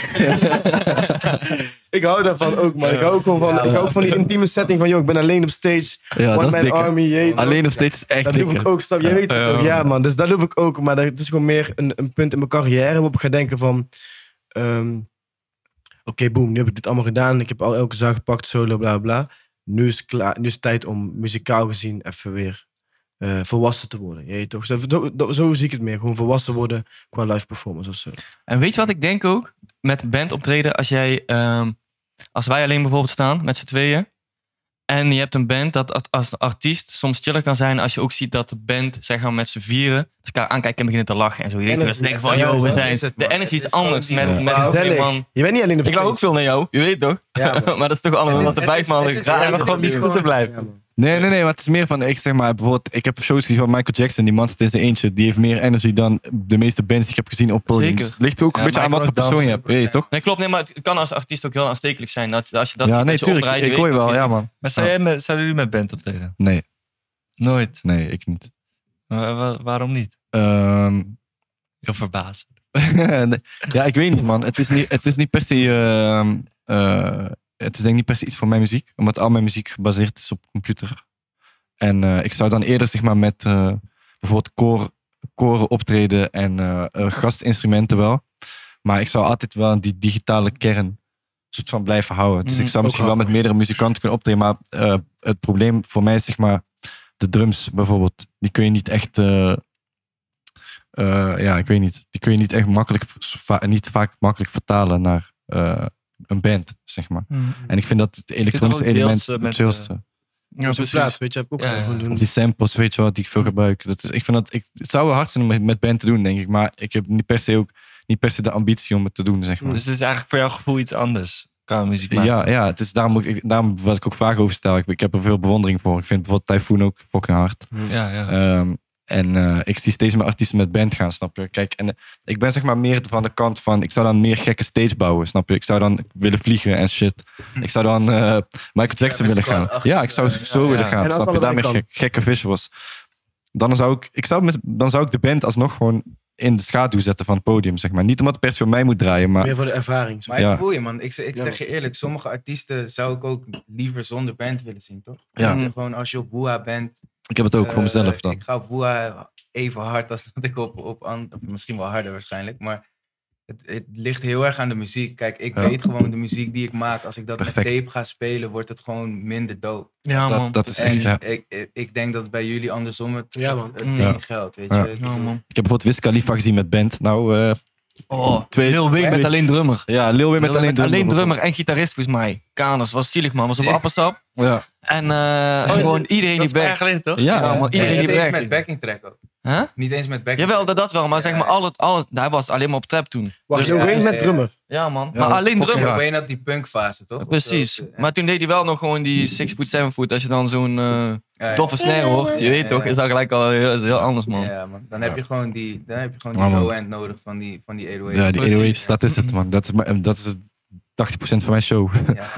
Speaker 9: ik hou daarvan ook, man. Ik hou ook gewoon van, ik hou ook van die intieme setting van, joh, ik ben alleen op stage.
Speaker 1: Ja,
Speaker 9: One
Speaker 1: dat is
Speaker 9: man
Speaker 1: dikker.
Speaker 9: army, jee.
Speaker 1: Alleen nog steeds is echt
Speaker 9: Dat doe ik
Speaker 1: dikker.
Speaker 9: ook, snap je? weet het ook. Ja, man. Dus dat doe ik ook. Maar dat is gewoon meer een, een punt in mijn carrière waarop ik ga denken van... ehm, Oké, boom, nu heb ik dit allemaal gedaan. Ik heb al elke zaak gepakt, solo, bla, bla. Nu is, het klaar, nu is het tijd om muzikaal gezien even weer eh, volwassen te worden. Je weet toch? Zo, zo- zo zie ik het meer. Gewoon volwassen worden qua live performance of zo.
Speaker 2: En weet je wat ik denk ook? Met band optreden, als jij, ehm, als wij alleen bijvoorbeeld staan met z'n tweeën. En je hebt een band dat als- als artiest soms chiller kan zijn als je ook ziet dat de band zeg maar, met z'n vieren elkaar aankijken en beginnen te lachen. En zo. Je weet
Speaker 9: Energy,
Speaker 2: wel, ze denken
Speaker 9: ja,
Speaker 2: van,
Speaker 9: dat
Speaker 2: yo,
Speaker 9: is-
Speaker 2: we
Speaker 9: dat
Speaker 2: zijn,
Speaker 8: is het,
Speaker 2: de
Speaker 8: man.
Speaker 2: energy
Speaker 8: Het
Speaker 2: is
Speaker 8: is gewoon
Speaker 2: anders
Speaker 8: die-
Speaker 2: met,
Speaker 8: Ja.
Speaker 2: met
Speaker 9: Wauw,
Speaker 2: hey,
Speaker 9: Dennis,
Speaker 2: man.
Speaker 9: Je bent niet alleen op
Speaker 2: Ik
Speaker 9: stage.
Speaker 2: lach ook veel naar jou, je weet toch?
Speaker 9: Ja, man.
Speaker 2: maar dat is toch anders
Speaker 8: Het
Speaker 2: dan
Speaker 8: is-
Speaker 2: dat de
Speaker 8: het
Speaker 2: vijf
Speaker 8: is-
Speaker 2: man
Speaker 8: het is
Speaker 2: elkaar en
Speaker 8: wel-
Speaker 2: gewoon
Speaker 8: het is
Speaker 2: niet goed te
Speaker 8: gewoon-
Speaker 2: blijven.
Speaker 9: Ja, man.
Speaker 1: Nee, nee, nee. Maar het is meer van, ik zeg maar, bijvoorbeeld, ik heb shows gezien van Michael Jackson. Die man zit in zijn eentje. Die heeft meer energy dan de meeste bands die ik heb gezien op podiums.
Speaker 2: Zeker.
Speaker 1: Het ligt ook een
Speaker 2: Ja,
Speaker 1: beetje aan wat voor
Speaker 2: Michael
Speaker 1: persoon je hebt. Weet je toch?
Speaker 2: Nee, klopt. Nee, maar het kan als artiest ook heel aanstekelijk zijn. Dat, als je dat
Speaker 1: ja,
Speaker 2: een
Speaker 1: nee,
Speaker 2: beetje
Speaker 1: tuurlijk.
Speaker 2: opdraait,
Speaker 1: Ik
Speaker 2: weet
Speaker 1: hoor je
Speaker 2: toch,
Speaker 1: wel, ja, man.
Speaker 3: Maar zou, jij met, zouden jullie met band optreden?
Speaker 1: Nee,
Speaker 3: Nooit.
Speaker 1: nee, ik niet.
Speaker 3: Wa- wa- waarom niet?
Speaker 1: Ehm,
Speaker 3: Heel verbaasd.
Speaker 1: Nee. ja, ik weet niet, man. Het is niet, het is niet per se. ehm, eh, het is denk ik niet per se iets voor mijn muziek, omdat al mijn muziek gebaseerd is op computer. En eh, ik zou dan eerder zeg maar, met eh, bijvoorbeeld koor, koren optreden en eh, eh, gastinstrumenten wel. Maar ik zou altijd wel die digitale kern soort van blijven houden. Dus
Speaker 2: Mm,
Speaker 1: ik zou
Speaker 9: Mhm. ook
Speaker 1: misschien wel met
Speaker 9: handig.
Speaker 1: meerdere muzikanten kunnen optreden. Maar eh, het probleem voor mij is zeg maar de drums bijvoorbeeld. Die kun je niet echt eh, eh, ja, ik weet niet. Die kun je niet echt makkelijk, va- niet vaak makkelijk vertalen naar eh, een band, zeg maar. En ik vind dat het elektronische
Speaker 3: ook deels,
Speaker 1: element
Speaker 3: eh,
Speaker 1: het
Speaker 3: met, eh,
Speaker 1: chillste.
Speaker 2: Ja,
Speaker 9: Zo'n
Speaker 2: precies.
Speaker 9: plaat, weet je, heb ik ook
Speaker 3: Ja,
Speaker 9: gewoon
Speaker 3: ja.
Speaker 9: doen.
Speaker 1: Of die samples, weet je wat, die ik veel gebruik. Dat is, ik vind dat, ik, het zou wel hard zijn om het met band te doen, denk ik. Maar ik heb niet per se ook niet per se de ambitie om het te doen, zeg maar.
Speaker 3: Dus het is eigenlijk voor jouw gevoel iets anders qua muziek maken.
Speaker 1: Ja, ja, het is daarom, moet ik, daarom wat ik ook vragen over stel. Ik, ik heb er veel bewondering voor. Ik vind bijvoorbeeld Typhoon ook fucking hard.
Speaker 3: ja, ja.
Speaker 1: Ehm, en eh, ik zie steeds meer artiesten met band gaan, snap je? Kijk, en eh, ik ben zeg maar meer van de kant van... Ik zou dan meer gekke stage bouwen, snap je? Ik zou dan willen vliegen en shit.
Speaker 8: Hm.
Speaker 1: Ik zou dan eh, Michael
Speaker 8: dus
Speaker 1: Jackson willen gaan.
Speaker 8: Scott-achtig,
Speaker 1: Ja, ik zou
Speaker 8: eh,
Speaker 1: zo
Speaker 8: ja,
Speaker 1: willen
Speaker 3: ja.
Speaker 1: gaan,
Speaker 9: En als
Speaker 1: snap je?
Speaker 9: allebei
Speaker 1: Daarmee
Speaker 9: kan.
Speaker 1: gek- gekke visuals. Dan zou ik, ik zou met, dan zou ik de band alsnog gewoon in de schaduw zetten van het podium, zeg maar. Niet omdat het per se om mij moet draaien, maar...
Speaker 9: Meer voor de ervaring. zo.
Speaker 8: Maar ik
Speaker 1: Ja.
Speaker 8: voel je, man. Ik, ik zeg je eerlijk, sommige artiesten zou ik ook liever zonder band willen zien, toch? Ja. Gewoon als je op Boa bent,
Speaker 1: Ik heb het ook voor
Speaker 8: Eh,
Speaker 1: mezelf dan.
Speaker 8: Ik ga op Boa even hard als dat ik op, op an- of misschien wel harder waarschijnlijk, maar het, het ligt heel erg aan de muziek. Kijk, ik
Speaker 1: Ja.
Speaker 8: weet gewoon de muziek die ik maak. Als ik dat
Speaker 1: Perfect.
Speaker 8: met tape ga spelen, wordt het gewoon minder dope.
Speaker 2: Ja, man.
Speaker 1: Dat, dat is
Speaker 8: En
Speaker 1: echt, ja.
Speaker 8: ik, ik, ik denk dat het bij jullie andersom het,
Speaker 9: Ja, man.
Speaker 8: het
Speaker 2: Mm.
Speaker 8: ding
Speaker 1: Ja.
Speaker 8: geldt, weet je.
Speaker 1: Ja.
Speaker 8: Ik
Speaker 2: Ja,
Speaker 8: bedoel,
Speaker 2: man.
Speaker 1: Ik heb bijvoorbeeld Wiz Khalifa gezien met band. Nou, eh,
Speaker 2: Oh,
Speaker 1: twee...
Speaker 2: Lil Wayne met alleen drummer.
Speaker 1: Ja, Lil Wayne
Speaker 2: Lil
Speaker 1: met
Speaker 2: Wayne
Speaker 1: alleen
Speaker 2: met alleen
Speaker 1: drummer.
Speaker 2: drummer en gitarist volgens mij. Kaners, was zielig man, was op appelsap.
Speaker 1: Ja.
Speaker 2: En eh,
Speaker 8: Oh,
Speaker 2: gewoon iedereen die back.
Speaker 3: toch?
Speaker 1: Ja,
Speaker 2: Ja, man, iedereen
Speaker 8: niet
Speaker 2: die
Speaker 8: eens
Speaker 2: back.
Speaker 8: met backing track ook.
Speaker 2: Huh?
Speaker 8: Niet eens met backing
Speaker 2: Jawel, dat,
Speaker 8: track.
Speaker 2: dat wel, maar zeg maar, al het, al het, hij was alleen maar op trap toen.
Speaker 9: Wacht,
Speaker 8: Dus
Speaker 9: Lil
Speaker 8: ja,
Speaker 9: Wayne
Speaker 8: ja,
Speaker 9: met
Speaker 8: ja.
Speaker 9: drummer.
Speaker 2: Ja, man.
Speaker 1: Ja,
Speaker 2: maar
Speaker 1: dat
Speaker 2: alleen drummer.
Speaker 8: Lil Wayne had die punkfase, toch? Of
Speaker 2: Precies.
Speaker 8: zo.
Speaker 2: Maar toen deed hij wel nog gewoon die 6 foot, 7 foot. Als je dan zo'n eh
Speaker 8: Ja, ja.
Speaker 2: doffe snare hoort, je
Speaker 8: Ja,
Speaker 2: weet
Speaker 8: ja.
Speaker 2: toch, is dat gelijk al heel, is heel anders, man.
Speaker 8: Ja, man. Dan heb je gewoon die, dan heb je gewoon
Speaker 1: Ja,
Speaker 8: die
Speaker 1: man.
Speaker 8: low-end nodig van die, van die 808's.
Speaker 1: Ja, die
Speaker 2: Precies.
Speaker 1: 808's, dat is het, man. Dat is, mijn- dat is het 80% van mijn show.
Speaker 8: Ja.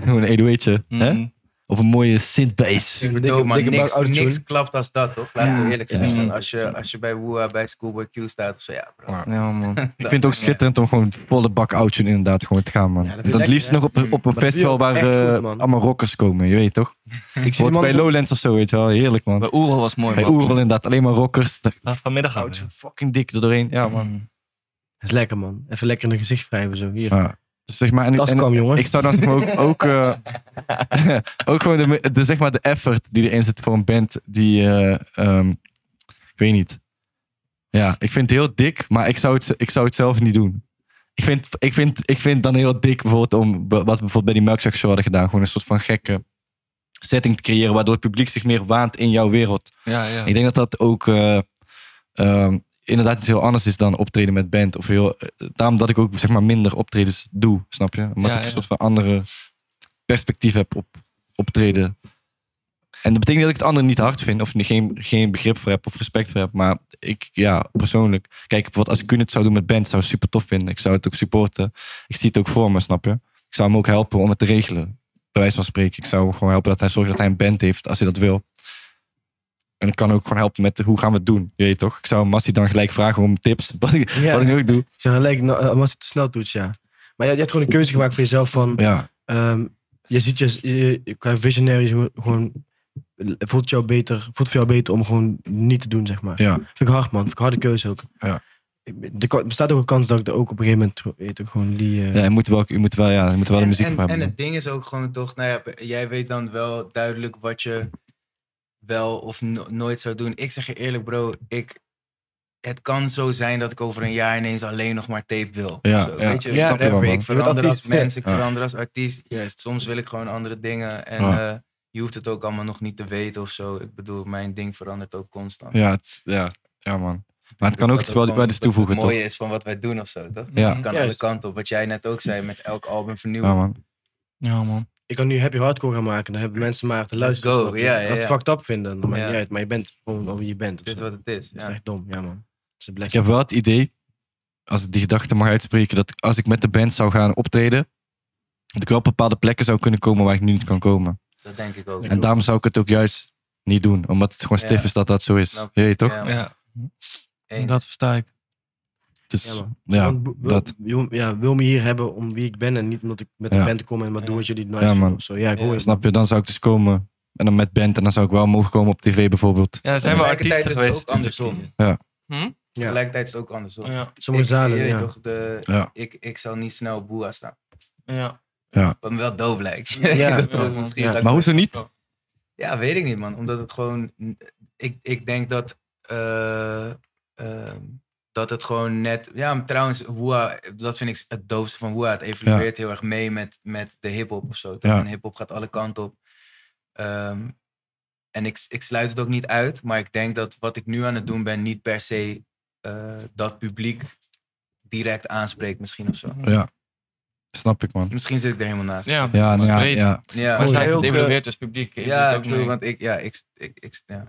Speaker 1: Gewoon een 808'tje. hè?
Speaker 2: Mm.
Speaker 1: Of een mooie synth-bass.
Speaker 8: Superdope, maar niks, niks klapt als dat, toch? Laten
Speaker 1: Ja.
Speaker 8: we eerlijk
Speaker 1: Ja.
Speaker 8: zijn.
Speaker 1: Mm.
Speaker 8: Als, je, als je bij Woeha, bij Schoolboy Q staat of zo, ja bro.
Speaker 1: Ja, man. Ik vind het ook schitterend om gewoon volle bak outje inderdaad gewoon te gaan, man.
Speaker 8: vind
Speaker 1: dat
Speaker 8: ik
Speaker 1: het
Speaker 8: lekker,
Speaker 1: liefst
Speaker 8: hè?
Speaker 1: nog op, op een
Speaker 8: Maar dat
Speaker 1: festival
Speaker 8: doe je
Speaker 1: waar
Speaker 8: ook echt
Speaker 1: eh,
Speaker 8: goed, man.
Speaker 1: allemaal rockers komen, je weet toch? Ik
Speaker 3: die
Speaker 1: bij
Speaker 3: mannen-
Speaker 1: Lowlands of zo, weet je wel. Heerlijk, man. Bij
Speaker 2: Oerol was mooi,
Speaker 1: Bij
Speaker 2: man.
Speaker 1: Oerol inderdaad, alleen maar rockers.
Speaker 3: Vanmiddag
Speaker 1: houdt ze fucking dik er doorheen. Ja, man.
Speaker 9: Mm. Dat is lekker, man. Even lekker in het gezicht wrijven zo. Hier.
Speaker 1: Ja. Dus zeg maar, en,
Speaker 9: Dat
Speaker 1: en-
Speaker 9: kwam, jongen.
Speaker 1: Ik zou dan zeg maar ook, ook, eh, ook gewoon de, de, zeg maar de effort die erin zit voor een band die, eh, ehm, ik weet niet. Ja, ik vind het heel dik, maar ik zou het, ik zou het zelf niet doen. Ik vind, ik, vind, ik vind dan heel dik bijvoorbeeld om, wat we bijvoorbeeld bij die Milkshake Show hadden gedaan, gewoon een soort van gekke setting te creëren waardoor het publiek zich meer waant in jouw wereld.
Speaker 10: Ja, ja.
Speaker 1: Ik denk dat dat ook eh, ehm, inderdaad iets heel anders is dan optreden met band. Of heel, eh, daarom dat ik ook zeg maar minder optredens doe, snap je?
Speaker 10: Ja,
Speaker 1: Omdat ik een
Speaker 10: ja.
Speaker 1: soort van andere perspectief heb op optreden. En dat betekent dat ik het andere niet hard vind of niet- geen, geen begrip voor heb of respect voor heb. Maar ik, ja, persoonlijk. Kijk, bijvoorbeeld als ik het zou doen met band, zou ik super tof vinden. Ik zou het ook supporten. Ik zie het ook voor me, snap je? Ik zou hem ook helpen om het te regelen. Bij wijze van spreken. Ik zou hem gewoon helpen dat hij zorgt dat hij een band heeft als hij dat wil. En ik kan ook gewoon helpen met hoe gaan we het doen. Je weet toch? Ik zou Massi dan gelijk vragen om tips. Wat ik,
Speaker 9: Ja.
Speaker 1: wat ik nu ook doe.
Speaker 9: Ik zeg, lijkt nou, eh, als je het te snel doet, ja. Maar je, je hebt gewoon een keuze gemaakt voor jezelf van...
Speaker 1: Ja.
Speaker 9: ehm, je ziet je, je, je- qua visionary gewoon- gewoon... Voelt, jou beter, voelt voor jou beter om gewoon niet te doen, zeg maar.
Speaker 1: Ja.
Speaker 9: Vind ik hard, man. Vind ik een harde keuze ook.
Speaker 1: Ja.
Speaker 9: Ik- Er kan- bestaat ook een kans dat ik er ook op een gegeven moment... gewoon- weet je, gewoon die... eh,
Speaker 1: Ja, je moet wel, je moet wel, ja, je moet wel de
Speaker 9: En-
Speaker 1: muziek
Speaker 9: en-
Speaker 1: voor hebben.
Speaker 9: en
Speaker 8: En het ding is ook gewoon toch, nou ja, jij weet dan wel duidelijk wat je wel of no- nooit zou doen. Ik zeg je eerlijk, bro, ik, het kan zo zijn dat ik over een jaar ineens alleen nog maar tape wil.
Speaker 1: Ja,
Speaker 8: Zo,
Speaker 1: ja.
Speaker 8: Weet je,
Speaker 1: Ja, snap je wel,
Speaker 8: whatever.
Speaker 1: man.
Speaker 8: ik
Speaker 1: Je bent
Speaker 8: verander als
Speaker 1: artiest.
Speaker 8: mens, ik
Speaker 1: Ja.
Speaker 8: verander als artiest. Soms wil ik gewoon andere dingen en
Speaker 1: Ja.
Speaker 8: eh, je hoeft het ook allemaal nog niet te weten of zo. Ik bedoel, mijn ding verandert ook constant.
Speaker 1: Ja, het, ja, ja, man. Maar het kan ook
Speaker 8: Dat
Speaker 1: iets wel,
Speaker 8: gewoon
Speaker 1: wel iets toevoegen,
Speaker 8: Het
Speaker 1: toch?
Speaker 8: mooie is van wat wij doen of zo, toch?
Speaker 1: Ja.
Speaker 8: Je kan alle
Speaker 9: Juist.
Speaker 8: kanten op. Wat jij net ook zei, met elk album vernieuwen.
Speaker 1: Ja, man. Ja, man.
Speaker 9: Ik kan nu happy hardcore gaan maken. Dan hebben mensen maar te
Speaker 8: Let's
Speaker 9: luisteren.
Speaker 8: go,
Speaker 9: snap je?
Speaker 8: ja, ja,
Speaker 9: Als ze
Speaker 8: ja.
Speaker 9: het fucked up vinden, dan maakt
Speaker 8: Ja.
Speaker 9: niet uit. Maar je bent gewoon wel wie je bent. Dit
Speaker 8: is wat het is.
Speaker 9: Dat is echt dom, ja man. Dat is een
Speaker 1: Ik
Speaker 9: blessing.
Speaker 1: heb wel het idee, als ik die gedachte mag uitspreken, dat als ik met de band zou gaan optreden, dat ik wel op bepaalde plekken zou kunnen komen waar ik nu niet kan komen.
Speaker 8: Dat denk ik ook.
Speaker 1: En daarom zou ik het ook juist niet doen, omdat het gewoon
Speaker 8: Ja.
Speaker 1: stif is dat dat zo is.
Speaker 8: Snap ik.
Speaker 1: Je weet toch?
Speaker 8: Ja,
Speaker 10: man.
Speaker 1: Dat versta ik. Dus
Speaker 9: Ja,
Speaker 1: ja,
Speaker 9: man. wil,
Speaker 1: dat.
Speaker 9: Wil, ja, wil me hier hebben om wie ik ben en niet omdat ik met
Speaker 1: Ja.
Speaker 9: de band kom en maar doe wat jullie nice
Speaker 1: Ja,
Speaker 9: vinden
Speaker 1: man.
Speaker 9: of zo. Ja, ik hoor je.
Speaker 1: Snap je? Dan zou ik dus komen en dan met band en dan zou ik wel mogen komen op tv bijvoorbeeld.
Speaker 2: Ja, zijn we artiesten
Speaker 8: Tegelijkertijd is het
Speaker 2: geweest
Speaker 8: ook andersom.
Speaker 1: Ja.
Speaker 2: Hm?
Speaker 8: Tegelijkertijd is het ook andersom.
Speaker 2: Ja.
Speaker 9: Sommige
Speaker 8: Ik-
Speaker 9: zalen,
Speaker 8: je weet
Speaker 9: ja.
Speaker 8: toch, de,
Speaker 1: Ja.
Speaker 8: ik, ik zal niet snel boa staan.
Speaker 2: Ja.
Speaker 1: Ja.
Speaker 8: Wat me wel doof lijkt.
Speaker 9: Ja.
Speaker 8: dat, dat
Speaker 9: Ja.
Speaker 8: misschien
Speaker 9: Ja.
Speaker 8: dat ik-
Speaker 1: Maar hoezo niet?
Speaker 8: Ja, weet ik niet, man. Omdat het gewoon... Ik, ik denk dat... eh, ehm, dat het gewoon net... Ja, maar trouwens, Woeha, dat vind ik het doofste van Woeha. Het evolueert heel erg mee met, met de hiphop of zo. toch?
Speaker 1: Ja.
Speaker 8: En hiphop gaat alle kanten op. Ehm, en ik, ik sluit het ook niet uit, maar ik denk dat wat ik nu aan het doen ben, niet per se eh, dat publiek direct aanspreekt, misschien of zo.
Speaker 1: Ja. Snap ik, man.
Speaker 8: Misschien zit ik er helemaal naast.
Speaker 2: Ja,
Speaker 1: Ja,
Speaker 2: dat is
Speaker 1: ja,
Speaker 2: breed.
Speaker 1: ja.
Speaker 8: Ja.
Speaker 2: Maar
Speaker 8: Oh,
Speaker 2: zij
Speaker 8: heel,
Speaker 2: het
Speaker 8: eh,
Speaker 2: evalueert dus publiek. Ik
Speaker 8: Ja,
Speaker 2: doe het
Speaker 8: ik
Speaker 2: ook
Speaker 8: bedoel,
Speaker 2: mee.
Speaker 8: want ik, ja, ik, ik, ik, ja.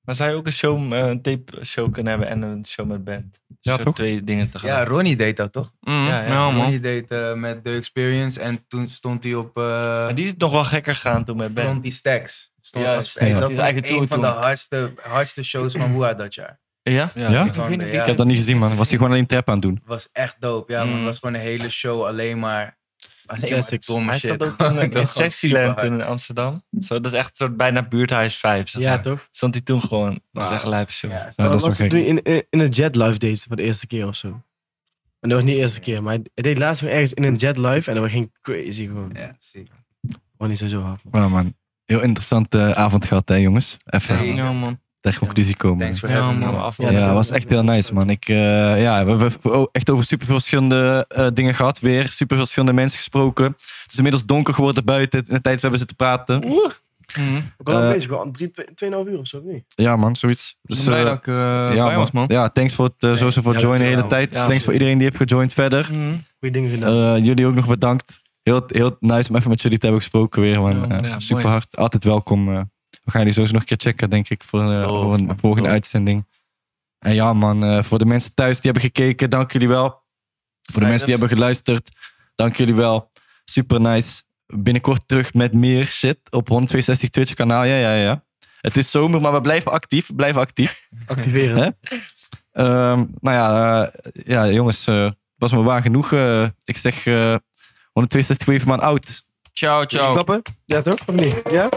Speaker 3: Maar zou je ook een, show, eh, een tape show kunnen hebben en een show met band? Ja,
Speaker 1: toch?
Speaker 3: twee dingen tegelijk.
Speaker 8: ja, Ronnie deed dat toch?
Speaker 2: Mm,
Speaker 3: Ja,
Speaker 2: ja,
Speaker 3: ja.
Speaker 2: man.
Speaker 8: Ronnie deed eh, met The Experience en toen stond hij op eh
Speaker 3: Maar die is nog wel gekker gegaan toen met band.
Speaker 8: Fronty Stacks. Stond
Speaker 2: Ja,
Speaker 8: als,
Speaker 2: ja.
Speaker 8: en
Speaker 2: Die
Speaker 8: dat
Speaker 2: is
Speaker 8: was
Speaker 2: eigen tour
Speaker 8: een van de
Speaker 2: toen.
Speaker 8: hardste, hardste shows van Woeha dat jaar.
Speaker 2: Ja?
Speaker 10: Ja.
Speaker 1: Ja?
Speaker 10: Ja?
Speaker 1: Ik
Speaker 8: Van,
Speaker 2: weet het
Speaker 8: ja,
Speaker 1: heb dat niet gezien, man. Was hij gewoon alleen trap aan het doen?
Speaker 8: was echt dope. Ja,
Speaker 2: Mhm.
Speaker 8: maar het was gewoon een hele show alleen maar, alleen maar
Speaker 9: Classics.
Speaker 8: domme
Speaker 3: Hij
Speaker 8: shit.
Speaker 3: staat ook in
Speaker 8: Dat
Speaker 3: een
Speaker 8: was gewoon
Speaker 3: Sexyland
Speaker 8: superhard.
Speaker 3: toen in Amsterdam. Zo, dat is echt een soort bijna buurthuis vibes. zeg
Speaker 9: Ja,
Speaker 3: maar.
Speaker 9: toch?
Speaker 3: Stond hij toen gewoon. Dat was
Speaker 8: Wauw.
Speaker 3: echt een lijpe show.
Speaker 8: Ja,
Speaker 1: Ja, dat is wel
Speaker 9: was
Speaker 1: gek.
Speaker 9: toen in, in, in een jet live deed voor de eerste keer of zo. En dat was niet de eerste keer, maar hij deed laatst gewoon ergens in een jet live en dat ging crazy gewoon.
Speaker 8: ja, zie.
Speaker 9: Gewoon niet sowieso hard. man.
Speaker 1: Ja, man. Heel interessante eh, avond gehad, hè, jongens. Even
Speaker 8: Hey,
Speaker 2: Ja, man.
Speaker 1: ter conclusie komen.
Speaker 8: Thanks for
Speaker 2: Ja,
Speaker 8: having
Speaker 2: man.
Speaker 8: me.
Speaker 1: Ja,
Speaker 9: Ja,
Speaker 1: dat
Speaker 9: dat
Speaker 1: was
Speaker 9: was
Speaker 1: echt heel nice, man. Ik, eh, ja, we hebben o- echt over super verschillende eh, dingen gehad. Weer super verschillende mensen gesproken. Het is inmiddels donker geworden buiten. In de tijd we hebben zitten praten.
Speaker 2: Mm.
Speaker 9: Ik was al
Speaker 1: Eh,
Speaker 9: bezig, wel drie- twee- 2,5 uur of zo, of niet?
Speaker 1: Ja, man, zoiets.
Speaker 2: Ik ben
Speaker 1: Dus,
Speaker 2: blij
Speaker 1: eh,
Speaker 2: dat ik eh,
Speaker 1: ja,
Speaker 2: bij was, man.
Speaker 1: Ja, thanks voor het, eh, sowieso voor het
Speaker 9: Ja, Mhm.
Speaker 1: joinen de hele
Speaker 9: dankjewel.
Speaker 1: tijd.
Speaker 2: Ja,
Speaker 1: thanks voor iedereen die heeft gejoind verder.
Speaker 2: Mm.
Speaker 9: Goeie dingen gedaan.
Speaker 1: Eh, jullie ook nog bedankt. Heel, heel nice om even met jullie te hebben gesproken weer, man.
Speaker 2: Ja,
Speaker 1: Eh,
Speaker 2: ja,
Speaker 1: super
Speaker 2: mooi.
Speaker 1: hard. Altijd welkom. eh. we gaan jullie sowieso nog een keer checken, denk ik, voor, eh,
Speaker 8: Doof,
Speaker 1: voor een
Speaker 8: man,
Speaker 1: volgende
Speaker 8: doof.
Speaker 1: uitzending. En ja, man, eh, voor de mensen thuis die hebben gekeken, dank jullie wel. Voor de mensen die hebben geluisterd, dank jullie wel. Super nice. binnenkort terug met meer shit op 162 Twitch kanaal. Ja, ja, ja. Het is zomer, maar we blijven actief. Blijven actief.
Speaker 9: Activeren.
Speaker 1: Hè? Ehm, nou ja, eh, ja jongens, eh, het was me waar genoeg. eh. ik zeg eh 162 voor even maar een out.
Speaker 2: Ciao, ciao.
Speaker 9: Klappen? Ja, toch? Of niet? Ja?